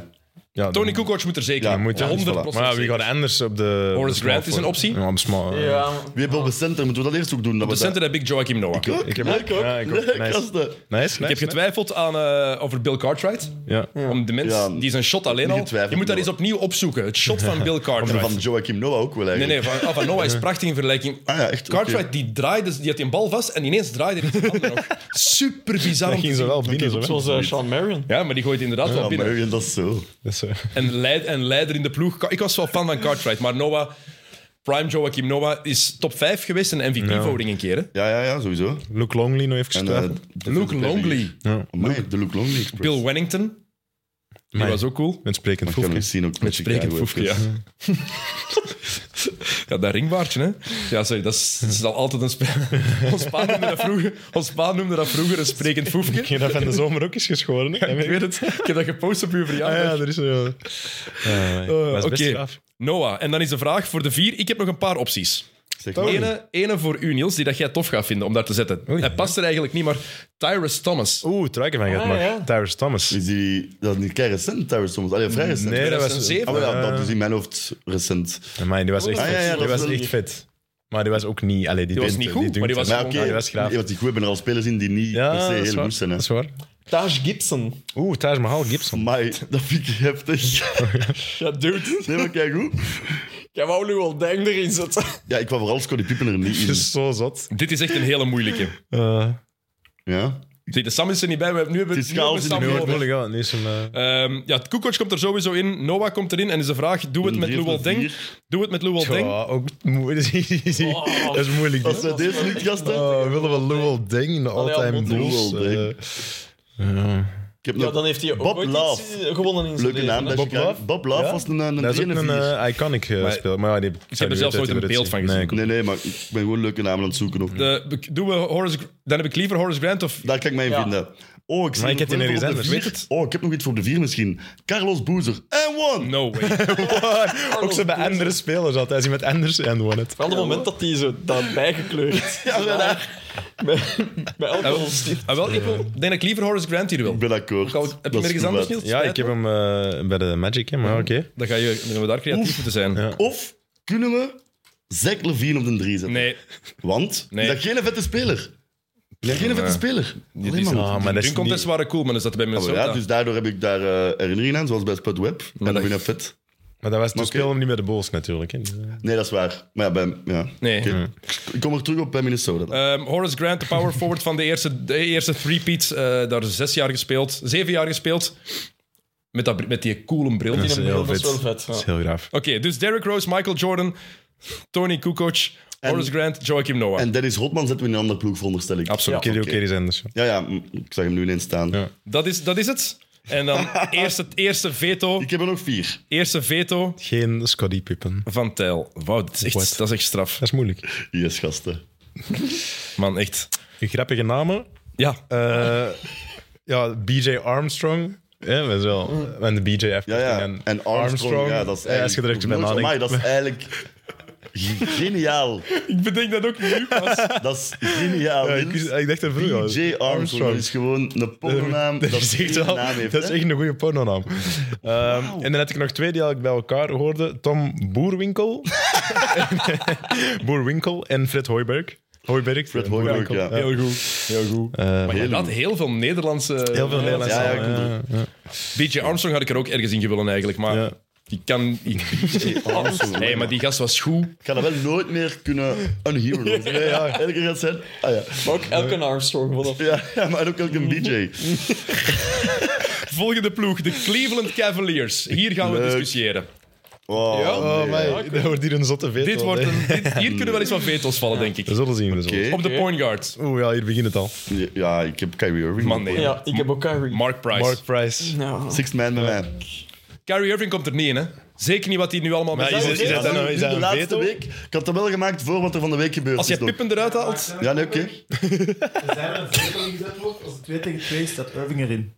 S7: Ja,
S3: Tony Kukoc moet er zeker
S6: Ja,
S3: in.
S6: moet, ja,
S3: 100%.
S6: voilà.
S7: Maar wie gaat anders op de...
S3: Horace
S7: small
S3: Grant is een
S7: forward?
S3: optie.
S7: Ja, op smal-
S4: Ja,
S6: Wie hebben op de center? Moeten we dat eerst ook doen? Dat
S3: De
S6: we
S3: center heb ik Joachim Noah. Ik
S6: dat-
S7: Ik heb
S6: Leuk ook.
S7: Ja, ik ook.
S6: Leuk,
S7: Nice.
S6: gasten.
S7: Nice,
S3: heb getwijfeld aan, eh, over Bill Cartwright.
S7: Ja.
S3: Om de mens,
S6: Ja,
S3: die zijn shot alleen
S6: niet
S3: al.
S6: getwijfeld,
S3: Je moet daar
S6: Noah.
S3: eens opnieuw opzoeken. Het shot van Bill
S6: En
S3: Cartwright.
S6: van Joachim Noah ook wel,
S3: Nee,
S6: eigenlijk.
S3: nee, van, ah, van
S6: <laughs>
S3: Noah is prachtig in vergelijking.
S6: Ah ja, echt?
S3: Cartwright
S6: Oké.
S3: die draaide, dus die had die bal vast en ineens draaide hij die handen
S6: <laughs>
S3: nog. Super bizar. om
S7: Dat
S3: te
S7: ging ze
S3: zien.
S7: wel binnen, zo. hè.
S4: zoals eh, Sean Marion.
S3: Ja, maar die gooit inderdaad wel
S6: Ja,
S3: binnen.
S6: maar dat is zo.
S7: Dat is, eh,
S3: En, leid, en leider in de ploeg. Ka- Ik was wel fan van Cartwright, maar Noah, Prime Joachim Noah, is top 5 geweest in MVP-voting een keer. hè.
S6: Ja, ja, ja, sowieso.
S7: Luke Longley nog even
S6: En,
S7: gestaan.
S6: eh,
S3: Luke Longley,
S6: Amai, de Luke Longley Express.
S3: Bill Wennington. Die
S7: Amai.
S3: was ook cool.
S7: Met sprekend
S6: Ik kan
S7: voetbal.
S6: nog zien ook
S3: Met sprekend
S6: Chicago
S3: voefje, ja.
S6: even.
S3: <laughs> Ja, dat ringbaardje, hè. Ja, sorry, dat is, dat is al altijd een... spe- <laughs> Ons pa noemde dat vroeger, ons pa noemde dat vroeger een sprekend
S7: Ik
S3: foefje.
S7: heb dat van de zomer ook eens geschoren. hè.
S3: Ik weet het. Ik heb dat gepost op uw verjaardag.
S7: Ah ja, er is Oh, een... Uh,
S3: Oké, Noah. En dan is de vraag voor de vier. Ik heb nog een paar opties.
S6: Zeg maar.
S3: Ene, ene voor u, Niels, die dat jij tof gaat vinden om daar te zetten. Hij past er eigenlijk niet, maar Tyrus Thomas.
S7: Oeh, het ruiken van gaat
S4: Ah,
S7: maar.
S4: ja.
S7: Tyrus Thomas.
S6: Is die... Dat is niet kei recent, trouwens, soms. Allee, vrij recent.
S7: Nee, dat Oh, was...
S3: 2007.
S6: Ah, maar ja, dat is in mijn hoofd recent.
S7: Amai, die was echt
S6: Ah, ja, ja,
S7: vet.
S6: dat
S7: Die
S6: is
S7: was
S6: wel-
S7: echt vet. Maar die was ook niet... Allee, die
S3: was
S7: deed-
S3: niet goed,
S7: doet-
S3: maar die was
S7: Ja,
S6: Maar
S3: gewoon-
S6: oké,
S7: Ah, die was graaf.
S6: nee, want die goed hebben er al spelers in die niet
S7: Ja,
S6: per
S7: dat
S6: se
S7: is
S6: heel
S7: waar.
S6: goed zijn. hè.
S7: Dat is waar.
S4: Taj Gibson.
S7: Oeh, Taj Mahal Gibson.
S6: Amai, dat vind ik
S7: <laughs>
S6: heftig.
S4: Ja, dude.
S6: Nee, maar kijk goed.
S4: Ik wou nu wel Deng erin zetten.
S6: Ja, ik wou vooral Scottie Pippen er niet
S7: Dat
S6: in.
S7: <laughs> is zo zot.
S3: Dit is echt een hele moeilijke.
S7: Eh,
S6: Ja.
S3: Zie, De Sam is er niet bij. We hebben, nu hebben we
S6: Het is
S3: nu hebben we
S6: chaos in
S7: nu
S3: Sam
S7: wordt het
S3: nodig.
S7: moeilijk, ja. Nu is hem... eh,
S3: Ehm, ja, Kukoc komt er sowieso in. Noah komt erin. En is de vraag, doe het
S6: Een
S3: met
S6: drie of
S3: Luol
S6: een
S3: Deng?
S6: vier.
S3: Doe het met Luol Deng?
S7: Ja, ook <laughs> moeilijk. Oh. dat is moeilijk.
S6: Als
S7: dit.
S6: we deze niet gasten.
S7: Oh, we willen wel Lowell Deng in de all-time
S4: Allee,
S7: goals.
S6: Lowell Deng.
S7: eh. ja.
S6: Ik heb
S4: Ja,
S6: nog
S4: dan heeft hij ook
S6: Bob
S4: ooit
S6: Love.
S4: iets eh, gewonnen in zijn
S6: Leuke
S4: leven,
S6: naam.
S4: hè.
S6: bij
S7: Bob
S6: Chicago.
S7: Love?
S6: Bob Love
S7: Ja?
S6: was een, een,
S7: Dat is ook een
S6: 41.
S7: eh, iconic eh,
S3: Maar-
S7: speler. Maar ja, die, ik
S3: er zelfs nooit een beeld van gezien.
S6: Nee, nee, maar ik ben gewoon leuke namen aan het zoeken. Ook.
S3: De, doen we Horace, dan heb ik liever Horace Grant of...
S6: Daar kan ik mij in
S4: Ja.
S6: vinden. Oh, ik zie
S7: Maar ik
S6: nog
S7: heb die
S6: wel
S7: nergens
S6: op de
S7: anders.
S6: vier.
S7: Weet het?
S6: Oh, ik heb nog iets voor op de vier misschien. Carlos Boozer. En one!
S3: No
S6: <laughs>
S3: way. Ah,
S7: ook zo bij andere spelers altijd. Als je met Anders en won het.
S4: Vooral het moment dat hij zo daarbij <laughs> gekleurd
S6: Ja, maar daar-
S4: bij, bij elke
S3: Ah, wel,
S4: goal.
S3: ah, wel, ik wil- denk dat ik liever Horace Grant hier wil.
S6: Ik ben akkoord.
S3: Ook al- Heb je
S6: Dat is
S3: nergens
S6: goed,
S3: anders,
S6: maat.
S3: Niels?
S7: Ja, ik heb hem eh, bij de Magic, hè, maar oké.
S3: Dan, ga je, dan gaan we daar creatief moeten zijn.
S6: Of kunnen we Zach Levine op de drie zetten?
S3: Nee,
S6: Want?
S3: Nee.
S6: Is dat geen vette speler? geen vette speler. Alleen
S3: is-
S6: maar
S7: Ah, maar dat
S3: hun
S7: is
S3: contests
S7: niet...
S3: waren cool, maar dan zat hij bij
S6: Oh,
S3: Minnesota.
S6: ja, dus daardoor heb ik daar eh, herinneringen aan, zoals bij Spud Webb. En
S3: dat-
S6: dat vind ik vet.
S7: Maar dat was, toen
S6: oké.
S7: speelde hem niet met de Bulls natuurlijk. Hè. Dus, eh,
S6: Nee, dat is waar. Maar ja, bij, ja.
S3: Nee.
S6: Oké. Ik kom er terug op bij Minnesota.
S7: Eh.
S6: dan.
S3: Ehm, Horace Grant, de power forward van de eerste, de eerste three-peat. eh, daar zes jaar gespeeld, zeven jaar gespeeld. Met, dat, br- met die coole bril.
S7: dat
S3: Oké,
S7: is
S4: hem
S7: heel
S4: beeld, dat
S7: vet.
S4: is wel vet,
S7: Dat is
S4: ja.
S7: heel graaf.
S3: dus Derrick Rose, Michael Jordan, Tony Kukoc, Horace Grant, Joachim Noah.
S6: En Dennis Hotman zetten we in een andere ploeg, veronderstel ik.
S3: Absoluut.
S7: Oké, oké, dus- is Anders.
S6: Ja,
S7: ja.
S6: ja, m- ik zag hem nu ineens staan.
S7: Ja.
S3: Dat, is, dat is het. En
S7: <laughs>
S3: dan eerste, eerste veto,
S6: Ik heb er nog vier.
S3: eerste veto
S7: Geen Scottie Pippen.
S3: van Tijl. Wauw, dat is echt,
S7: What?
S3: dat is echt straf.
S7: Dat is moeilijk.
S6: Yes, gasten.
S3: Man, echt.
S7: Grappige namen.
S3: Ja,
S7: Eh, ja, BJ Armstrong. Ja, dat is wel. En eh, de BJ F.
S6: Ja, ja. En Armstrong, ja, dat is
S7: Ja, als je er echt bij
S6: Nooit- Amai,
S7: nadenkt.
S6: dat is eigenlijk geniaal.
S3: ik bedenk dat ook nu pas.
S7: <laughs>
S6: Dat is geniaal.
S7: Ja, Eh, ik, wist- ik dacht er vroeger al.
S6: J. Armstrong dat is gewoon een pornonaam
S7: Dat
S6: dat
S7: is echt
S6: geen
S7: wel-
S6: naam heeft.
S7: dat is
S6: hè?
S7: echt een goede
S6: <laughs>
S7: pornonaam. Ehm, En dan had ik nog twee die eigenlijk bij elkaar hoorden. Tom
S6: <laughs>
S7: Boerwinkel. <laughs> Boerwinkel en Fred Hoiberg. Hoiberg.
S6: Fred Hoiberg, ja.
S3: Heel goed. Heel goed. maar
S6: Heel
S3: heel,
S6: goed.
S3: heel veel Nederlandse...
S7: Heel veel Nederlandse.
S6: Ja, ja,
S7: namen,
S6: ik bedoel-
S3: BJ Armstrong had ik er ook ergens in gewillen eigenlijk, maar
S7: Ja.
S3: die kan... Die,
S6: Armstrong.
S3: hey, maar die gast was goed.
S6: Ik ga dat wel nooit meer kunnen
S7: <laughs>
S6: unheroen. Ja, ja. Elke gaat zijn. Ah, ja.
S4: Maar ook elke Armstrong vanaf.
S6: Ja, <laughs> ja, maar ook elke BJ.
S3: Volgende ploeg, de Cleveland Cavaliers. Hier gaan we
S6: Leuk.
S3: discussiëren.
S6: Oh,
S7: Oh,
S6: nee.
S7: <laughs> mij. Dat wordt hier een zotte veto.
S3: Dit wordt een, dit- hier kunnen wel eens wat veto's vallen, denk ik.
S7: We zullen zien. we zullen zien.
S6: Oké.
S3: Op de point guard.
S7: Oeh, ja, hier begint het al.
S6: Ja, ik heb Kyrie Irving.
S3: Man, nee.
S4: Ja, ik heb ook Kyrie.
S3: Mark Price.
S7: Mark Price.
S4: Nou,
S6: Sixth man bij mij.
S3: Kyrie Irving komt er niet in, hè? Zeker niet wat hij nu allemaal met
S7: Maar is
S3: zijn
S7: het- is
S3: hoofd
S7: het
S3: heeft.
S7: dan nou-
S6: Nu
S7: is dat
S6: de
S7: een
S6: laatste
S7: veto?
S6: week. Ik had dat wel gemaakt voor wat er van de week gebeurd
S3: Als
S6: is.
S3: je Pippen eruit haalt...
S6: nog. Ja, nee, oké.
S5: Er zijn er veel ingezet wordt. Als het 2 tegen 2 is, staat Irving erin.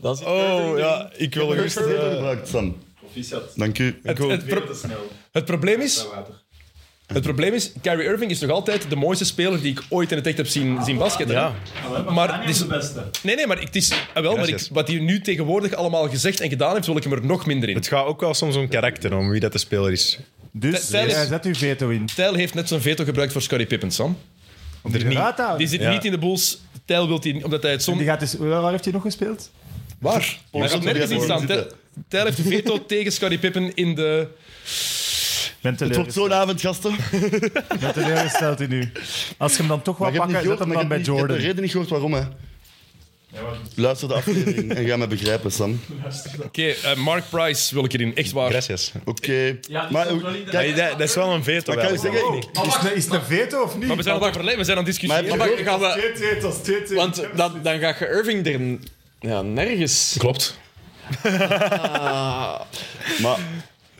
S4: dat is
S7: Oh, ja, ik wil
S6: Eerst
S7: gerust...
S6: de veto
S7: eh,
S6: gebruikt, Sam. Dank u.
S3: Het, het pro- het probleem is... Het probleem is, Kyrie Irving is nog altijd de mooiste speler die ik ooit in het echt heb zien, zien basketten.
S7: Ja.
S3: Maar het is, nee, nee, maar het is, ah, wel, maar ik,
S7: Gracias.
S3: wat hij nu tegenwoordig allemaal gezegd en gedaan heeft, wil ik hem er nog minder in.
S7: Het gaat ook wel soms om karakter, om wie dat de speler is.
S5: Dus
S3: Tel- tel
S5: eh,
S3: eens.
S5: zet uw veto in.
S3: Tijl heeft net zijn veto gebruikt voor Scottie Pippen, Sam.
S5: Om die eruit te
S3: Die
S5: houden.
S3: zit
S7: Ja.
S3: niet in de Bulls. Tijl wil die, omdat hij het
S5: Die
S3: zon...
S5: gaat dus, waar waar heeft hij nog gespeeld?
S3: Waar? Hij gaat nergens in staan. Tijl, Tijl heeft de veto tegen Scottie Pippen in de...
S5: Ik Ben
S6: Het wordt
S5: teleurgesteld,
S6: zo'n avond, gasten. Maar
S5: ik ben teleurgesteld in u. Als je hem dan toch
S6: je
S5: wou
S6: hebt niet
S5: pakken,
S6: gehoord,
S5: zet
S6: maar
S5: hem
S6: je hebt
S5: dan bij
S6: niet- je hebt de
S5: Jordan.
S6: reden niet gehoord waarom, hè. Luister de aflevering en ga me begrijpen, Sam.
S3: Oké, eh, Mark Price wil ik erin. Echt waar.
S7: Gracias.
S6: Oké. Maar eh,
S7: Maar
S6: kijk,
S7: dat, dat is wel een veto.
S6: kan je
S7: wel.
S6: zeggen...
S5: Is het een- is het een veto of niet?
S3: Maar we zijn aan het overleggen, we zijn aan het
S6: Maar heb je
S3: discussiëren.
S4: Maar
S6: gehoord?
S4: gaan we,
S5: 2-2, het was 2-2.
S4: want dan, dan ga je Irving er n- ja, nergens.
S3: Klopt.
S6: Maar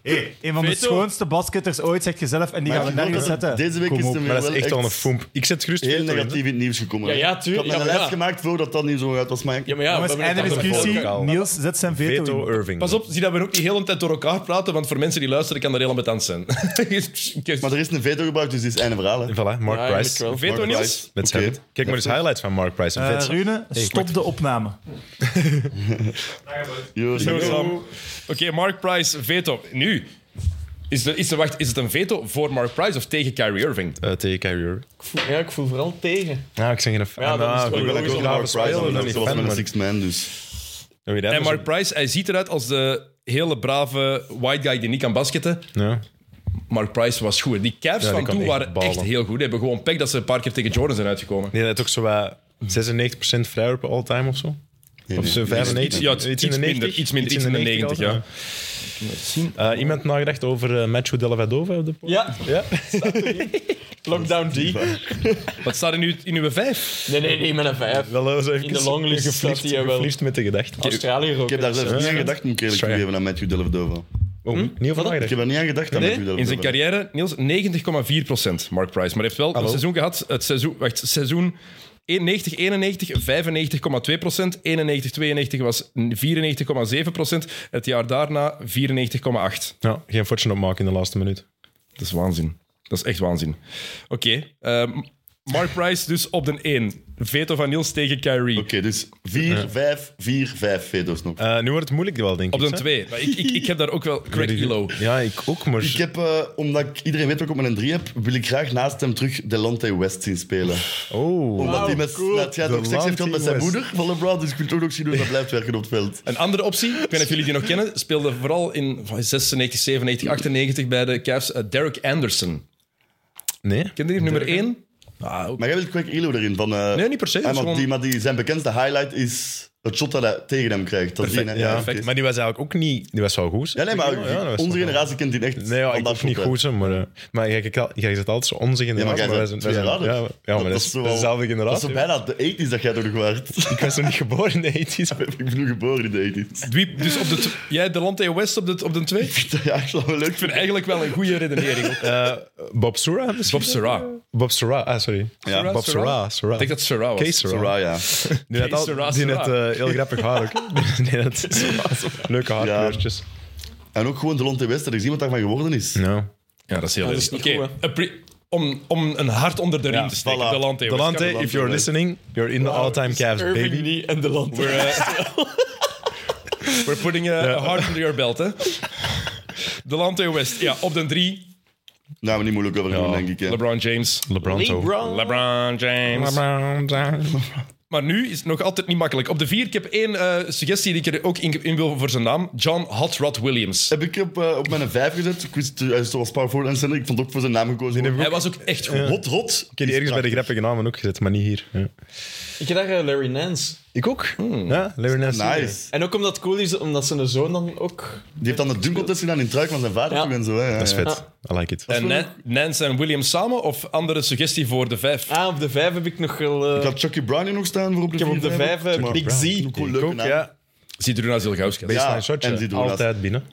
S5: Hey, een van de
S3: Veto.
S5: schoonste basketters ooit, zegt je zelf, en die gaan we
S6: ik geloof
S5: nergens
S6: dat het
S5: zetten.
S6: deze week
S5: Kom
S6: is
S5: op.
S6: hem
S7: Maar dat
S6: wel
S7: is echt
S6: echt
S7: al een foemp. Ik zet gerust
S6: heel
S7: veto in, hè.
S6: negatief in het nieuws gekomen.
S4: Ja,
S6: hè.
S4: ja, tuurlijk.
S6: Ik had
S4: Ja,
S6: mijn
S4: maar
S6: lijst
S4: ja.
S6: gemaakt voordat dat niet zo uit was, maar ik-
S4: Ja, maar ja,
S5: Jongens,
S4: we hebben
S5: einde
S4: het aan de
S5: discussie.
S4: volk.
S7: al.
S5: Niels, zet zijn veto.
S7: Veto
S5: in.
S7: Irving.
S3: Pas op, zie dat we ook niet heel de tijd door elkaar praten, want voor mensen die luisteren kan dat heel ambetant zijn. <laughs>
S6: Maar er is een veto gebruikt, dus dit is einde verhaal. Hè.
S7: Voilà, Mark
S4: Ja, eigenlijk
S7: Price.
S4: wel.
S3: Veto
S6: Mark
S3: Niels?
S6: Price.
S7: Met zijn
S6: Oké.
S7: hand. Kijk maar eens highlights van Mark Price.
S5: Eh,
S7: Een vet.
S5: Rune, stop de opname.
S6: Yo,
S3: Zo,
S6: Sam.
S3: Sam. Oké, Mark Price, veto. Nu, Is, de, is, de, wacht, is het een veto voor Mark Price of tegen Kyrie Irving?
S7: eh, tegen Kyrie Irving.
S4: Ik voel, ja, ik voel vooral tegen.
S7: Ja, ik zeg geen fan.
S4: Ja, dan is het wel
S7: ik
S6: Ik
S7: ben
S6: wil
S4: logisch
S7: ook
S6: ook
S7: een
S4: om
S6: Mark Price
S7: lave speler,
S6: aan
S7: maar
S6: doen,
S7: niet
S6: zoals
S7: fan.
S6: met een
S7: man.
S6: six man, dus...
S7: Oh, Ja, wie dat
S3: En
S7: is,
S3: Mark Price, hij ziet eruit als de hele brave white guy die niet kan basketten.
S7: Ja.
S3: Mark Price was goed. Die Cavs
S7: Ja, die
S3: van
S7: kan
S3: toen
S7: echt
S3: waren
S7: ballen.
S3: echt heel goed. Die hebben gewoon pech dat ze een paar keer tegen Jordan zijn uitgekomen.
S7: Nee, dat is ook zo wat 96% vrijwerpen all-time of zo.
S6: Nee,
S7: Of
S6: nee.
S7: zo
S6: Nee,
S7: 95?
S3: iets- ja, het is iets minder, iets minder, iets in de 90, ja.
S7: ja. Eh, iemand nagedacht over eh, Matthew Dellavedova op de poort?
S4: Ja,
S7: Ja.
S4: <laughs> lockdown D.
S3: Wat staat er nu in uw vijf?
S4: Nee, nee, nee, met een 5.
S7: Wel, eh, zo even
S4: In de longlist
S7: gevliegd-
S4: staat hij wel.
S7: gevliegd met de gedachte.
S4: Australië ook.
S6: Ik heb daar zelfs niet aan gedacht, moet ik eerlijk
S7: Sorry.
S6: toegeven, aan Matthew Dellavedova.
S7: Oh, Niet over
S6: Ik
S7: nagedacht.
S6: heb daar niet aan gedacht, aan Matthew
S3: In zijn
S6: Dellavedova.
S3: carrière, Niels, 90,4% Mark Price. Maar heeft wel een seizoen gehad, het seizoen, wacht, seizoen 91, 91, 95,2 91, 92 was 94,7 Het jaar daarna 94,8.
S7: Ja, geen fortune opmaken in de laatste minuut.
S3: Dat is waanzin. Dat is echt waanzin. Oké, ehm, Mark Price dus op de 1. Veto van Niels tegen Kyrie.
S6: Oké, dus 4, 5, 4, 5 veto's nog.
S7: Eh, nu wordt het moeilijk wel, denk
S3: Op
S7: ik.
S3: de
S7: hè?
S3: 2. Maar ik, ik, ik heb daar ook wel Craig Elo.
S7: Ja, ik ook, maar...
S6: Ik heb, eh, omdat ik, iedereen weet dat ik op mijn 3 heb, wil ik graag naast hem terug Delonte West zien spelen.
S7: Oh.
S6: Omdat hij met, dat hij ook seks heeft gehad met zijn
S7: Delonte
S6: moeder van LeBron, dus ik wil toch ook zien hoe dat blijft werken op het veld.
S3: Een andere optie, ik weet niet of jullie die nog kennen, speelde vooral in 96, 97, 98 bij de Cavs eh, Derek Anderson.
S7: Nee?
S3: Kende die nummer 1?
S6: Maar jij wilt Craig Elo erin van... eh,
S3: Nee, niet per se,
S6: ah,
S3: dat is
S6: maar,
S3: gewoon-
S6: die, maar die, zijn bekendste highlight is het shot dat hij tegen hem krijgt. Dat die-
S7: ja,
S6: oké.
S7: perfect. Maar die was eigenlijk ook niet... Die was wel goed.
S6: Ja, nee, maar
S7: Ja, dat was
S6: onze
S7: toch wel-
S6: generatie kent die echt.
S7: Nee, ja,
S6: van
S7: ik
S6: dat
S7: was niet
S6: shot, hè.
S7: goed, hè, maar, eh, maar jij, kijkt al- jij zegt altijd zo onze
S6: Ja, maar
S7: generatie.
S6: jij
S7: maar wij
S6: bent
S7: wij
S6: twee jaar
S7: ja,
S6: ouder.
S7: maar- ja, maar dat, is
S6: zo-
S7: dezelfde
S6: Dat
S7: generatie.
S6: is zo bijna de 80s dat jij door waart. <laughs>
S7: Ik was nog niet geboren in de 80s.
S6: ik ben nu geboren in de <laughs> 80s.
S3: Wie- Dus op de tw- jij Delonte West op de, op de 2? Ik
S6: Ja, ik zou wel leuk
S3: vind
S6: vinden.
S3: eigenlijk wel een goede redenering.
S7: Eh, Bob Sura misschien?
S3: Bob Serra.
S7: Bob Sura, ah, sorry.
S6: Ja,
S7: Bob Sura, Sura.
S3: Ik denk dat Serra was.
S7: Kees Sura. <laughs>
S6: Soraya.
S7: Die net,
S3: Kees
S7: al,
S3: Sera,
S7: die
S3: Sera.
S7: net eh, heel grappig haar ook. <laughs> Die net, leuke haarkleurtjes.
S6: En ook gewoon de Lonte West, dat is iemand daarvan geworden is.
S7: Ja.
S3: Ja, dat is heel
S4: dat is
S3: erg.
S4: niet
S3: Oké,
S4: goed,
S3: een pri- om, om een hart onder de riem te steken,
S6: voilà.
S3: Delonte West.
S7: Delante,
S6: Delante,
S7: if you're
S6: right.
S7: listening, you're in the all-time Cavs,
S4: Irving
S7: baby.
S4: niet en de land.
S3: uh, We're putting a, a heart under your belt, hè. Delonte West, ja, op de 3.
S6: Daar we niet moeilijk over doen, denk ik. hè.
S3: LeBron James.
S7: LeBron toch.
S3: LeBron James. Maar nu is het nog altijd niet makkelijk. Op de vier, ik heb één eh, suggestie die ik er ook in, in wil voor zijn naam. John Hot Rod Williams.
S6: Heb ik op, eh, op mijn 5 gezet. Ik wist, eh, hij is zoals Power Forward en Center. Ik vond ook voor zijn naam gekozen.
S3: Hij was ook echt goed.
S6: Hot, hot.
S7: Ik heb die ergens bij de grappige namen ook gezet, maar niet hier. Ja.
S4: Ik heb daar eh, Larry Nance.
S7: Ik ook. Ja, Larry Nance.
S6: Hmm. Nice.
S4: En ook omdat het cool is, omdat zijn zoon dan ook...
S6: Die heeft dan de dunkeltest gedaan in het truik van zijn vader
S4: Ja.
S6: toen en zo. Hè.
S7: Dat is
S6: Ja,
S7: vet. I like it.
S3: En Nan- Nance en Williams samen of andere suggestie voor de vijf?
S4: Ah, op de vijf heb ik nog wel... eh,
S6: Ik had Chucky Brown hier nog staan voor op de
S4: ik heb op
S6: vier,
S4: de vijf eh,
S6: maar-
S4: Big Z.
S6: Ook een
S7: Ik
S6: leuke
S7: ook,
S6: naam.
S7: ja.
S3: Zidruna Zilgauskas.
S6: Ja,
S7: Baseline shotje.
S6: en Zidronas.
S7: Altijd binnen.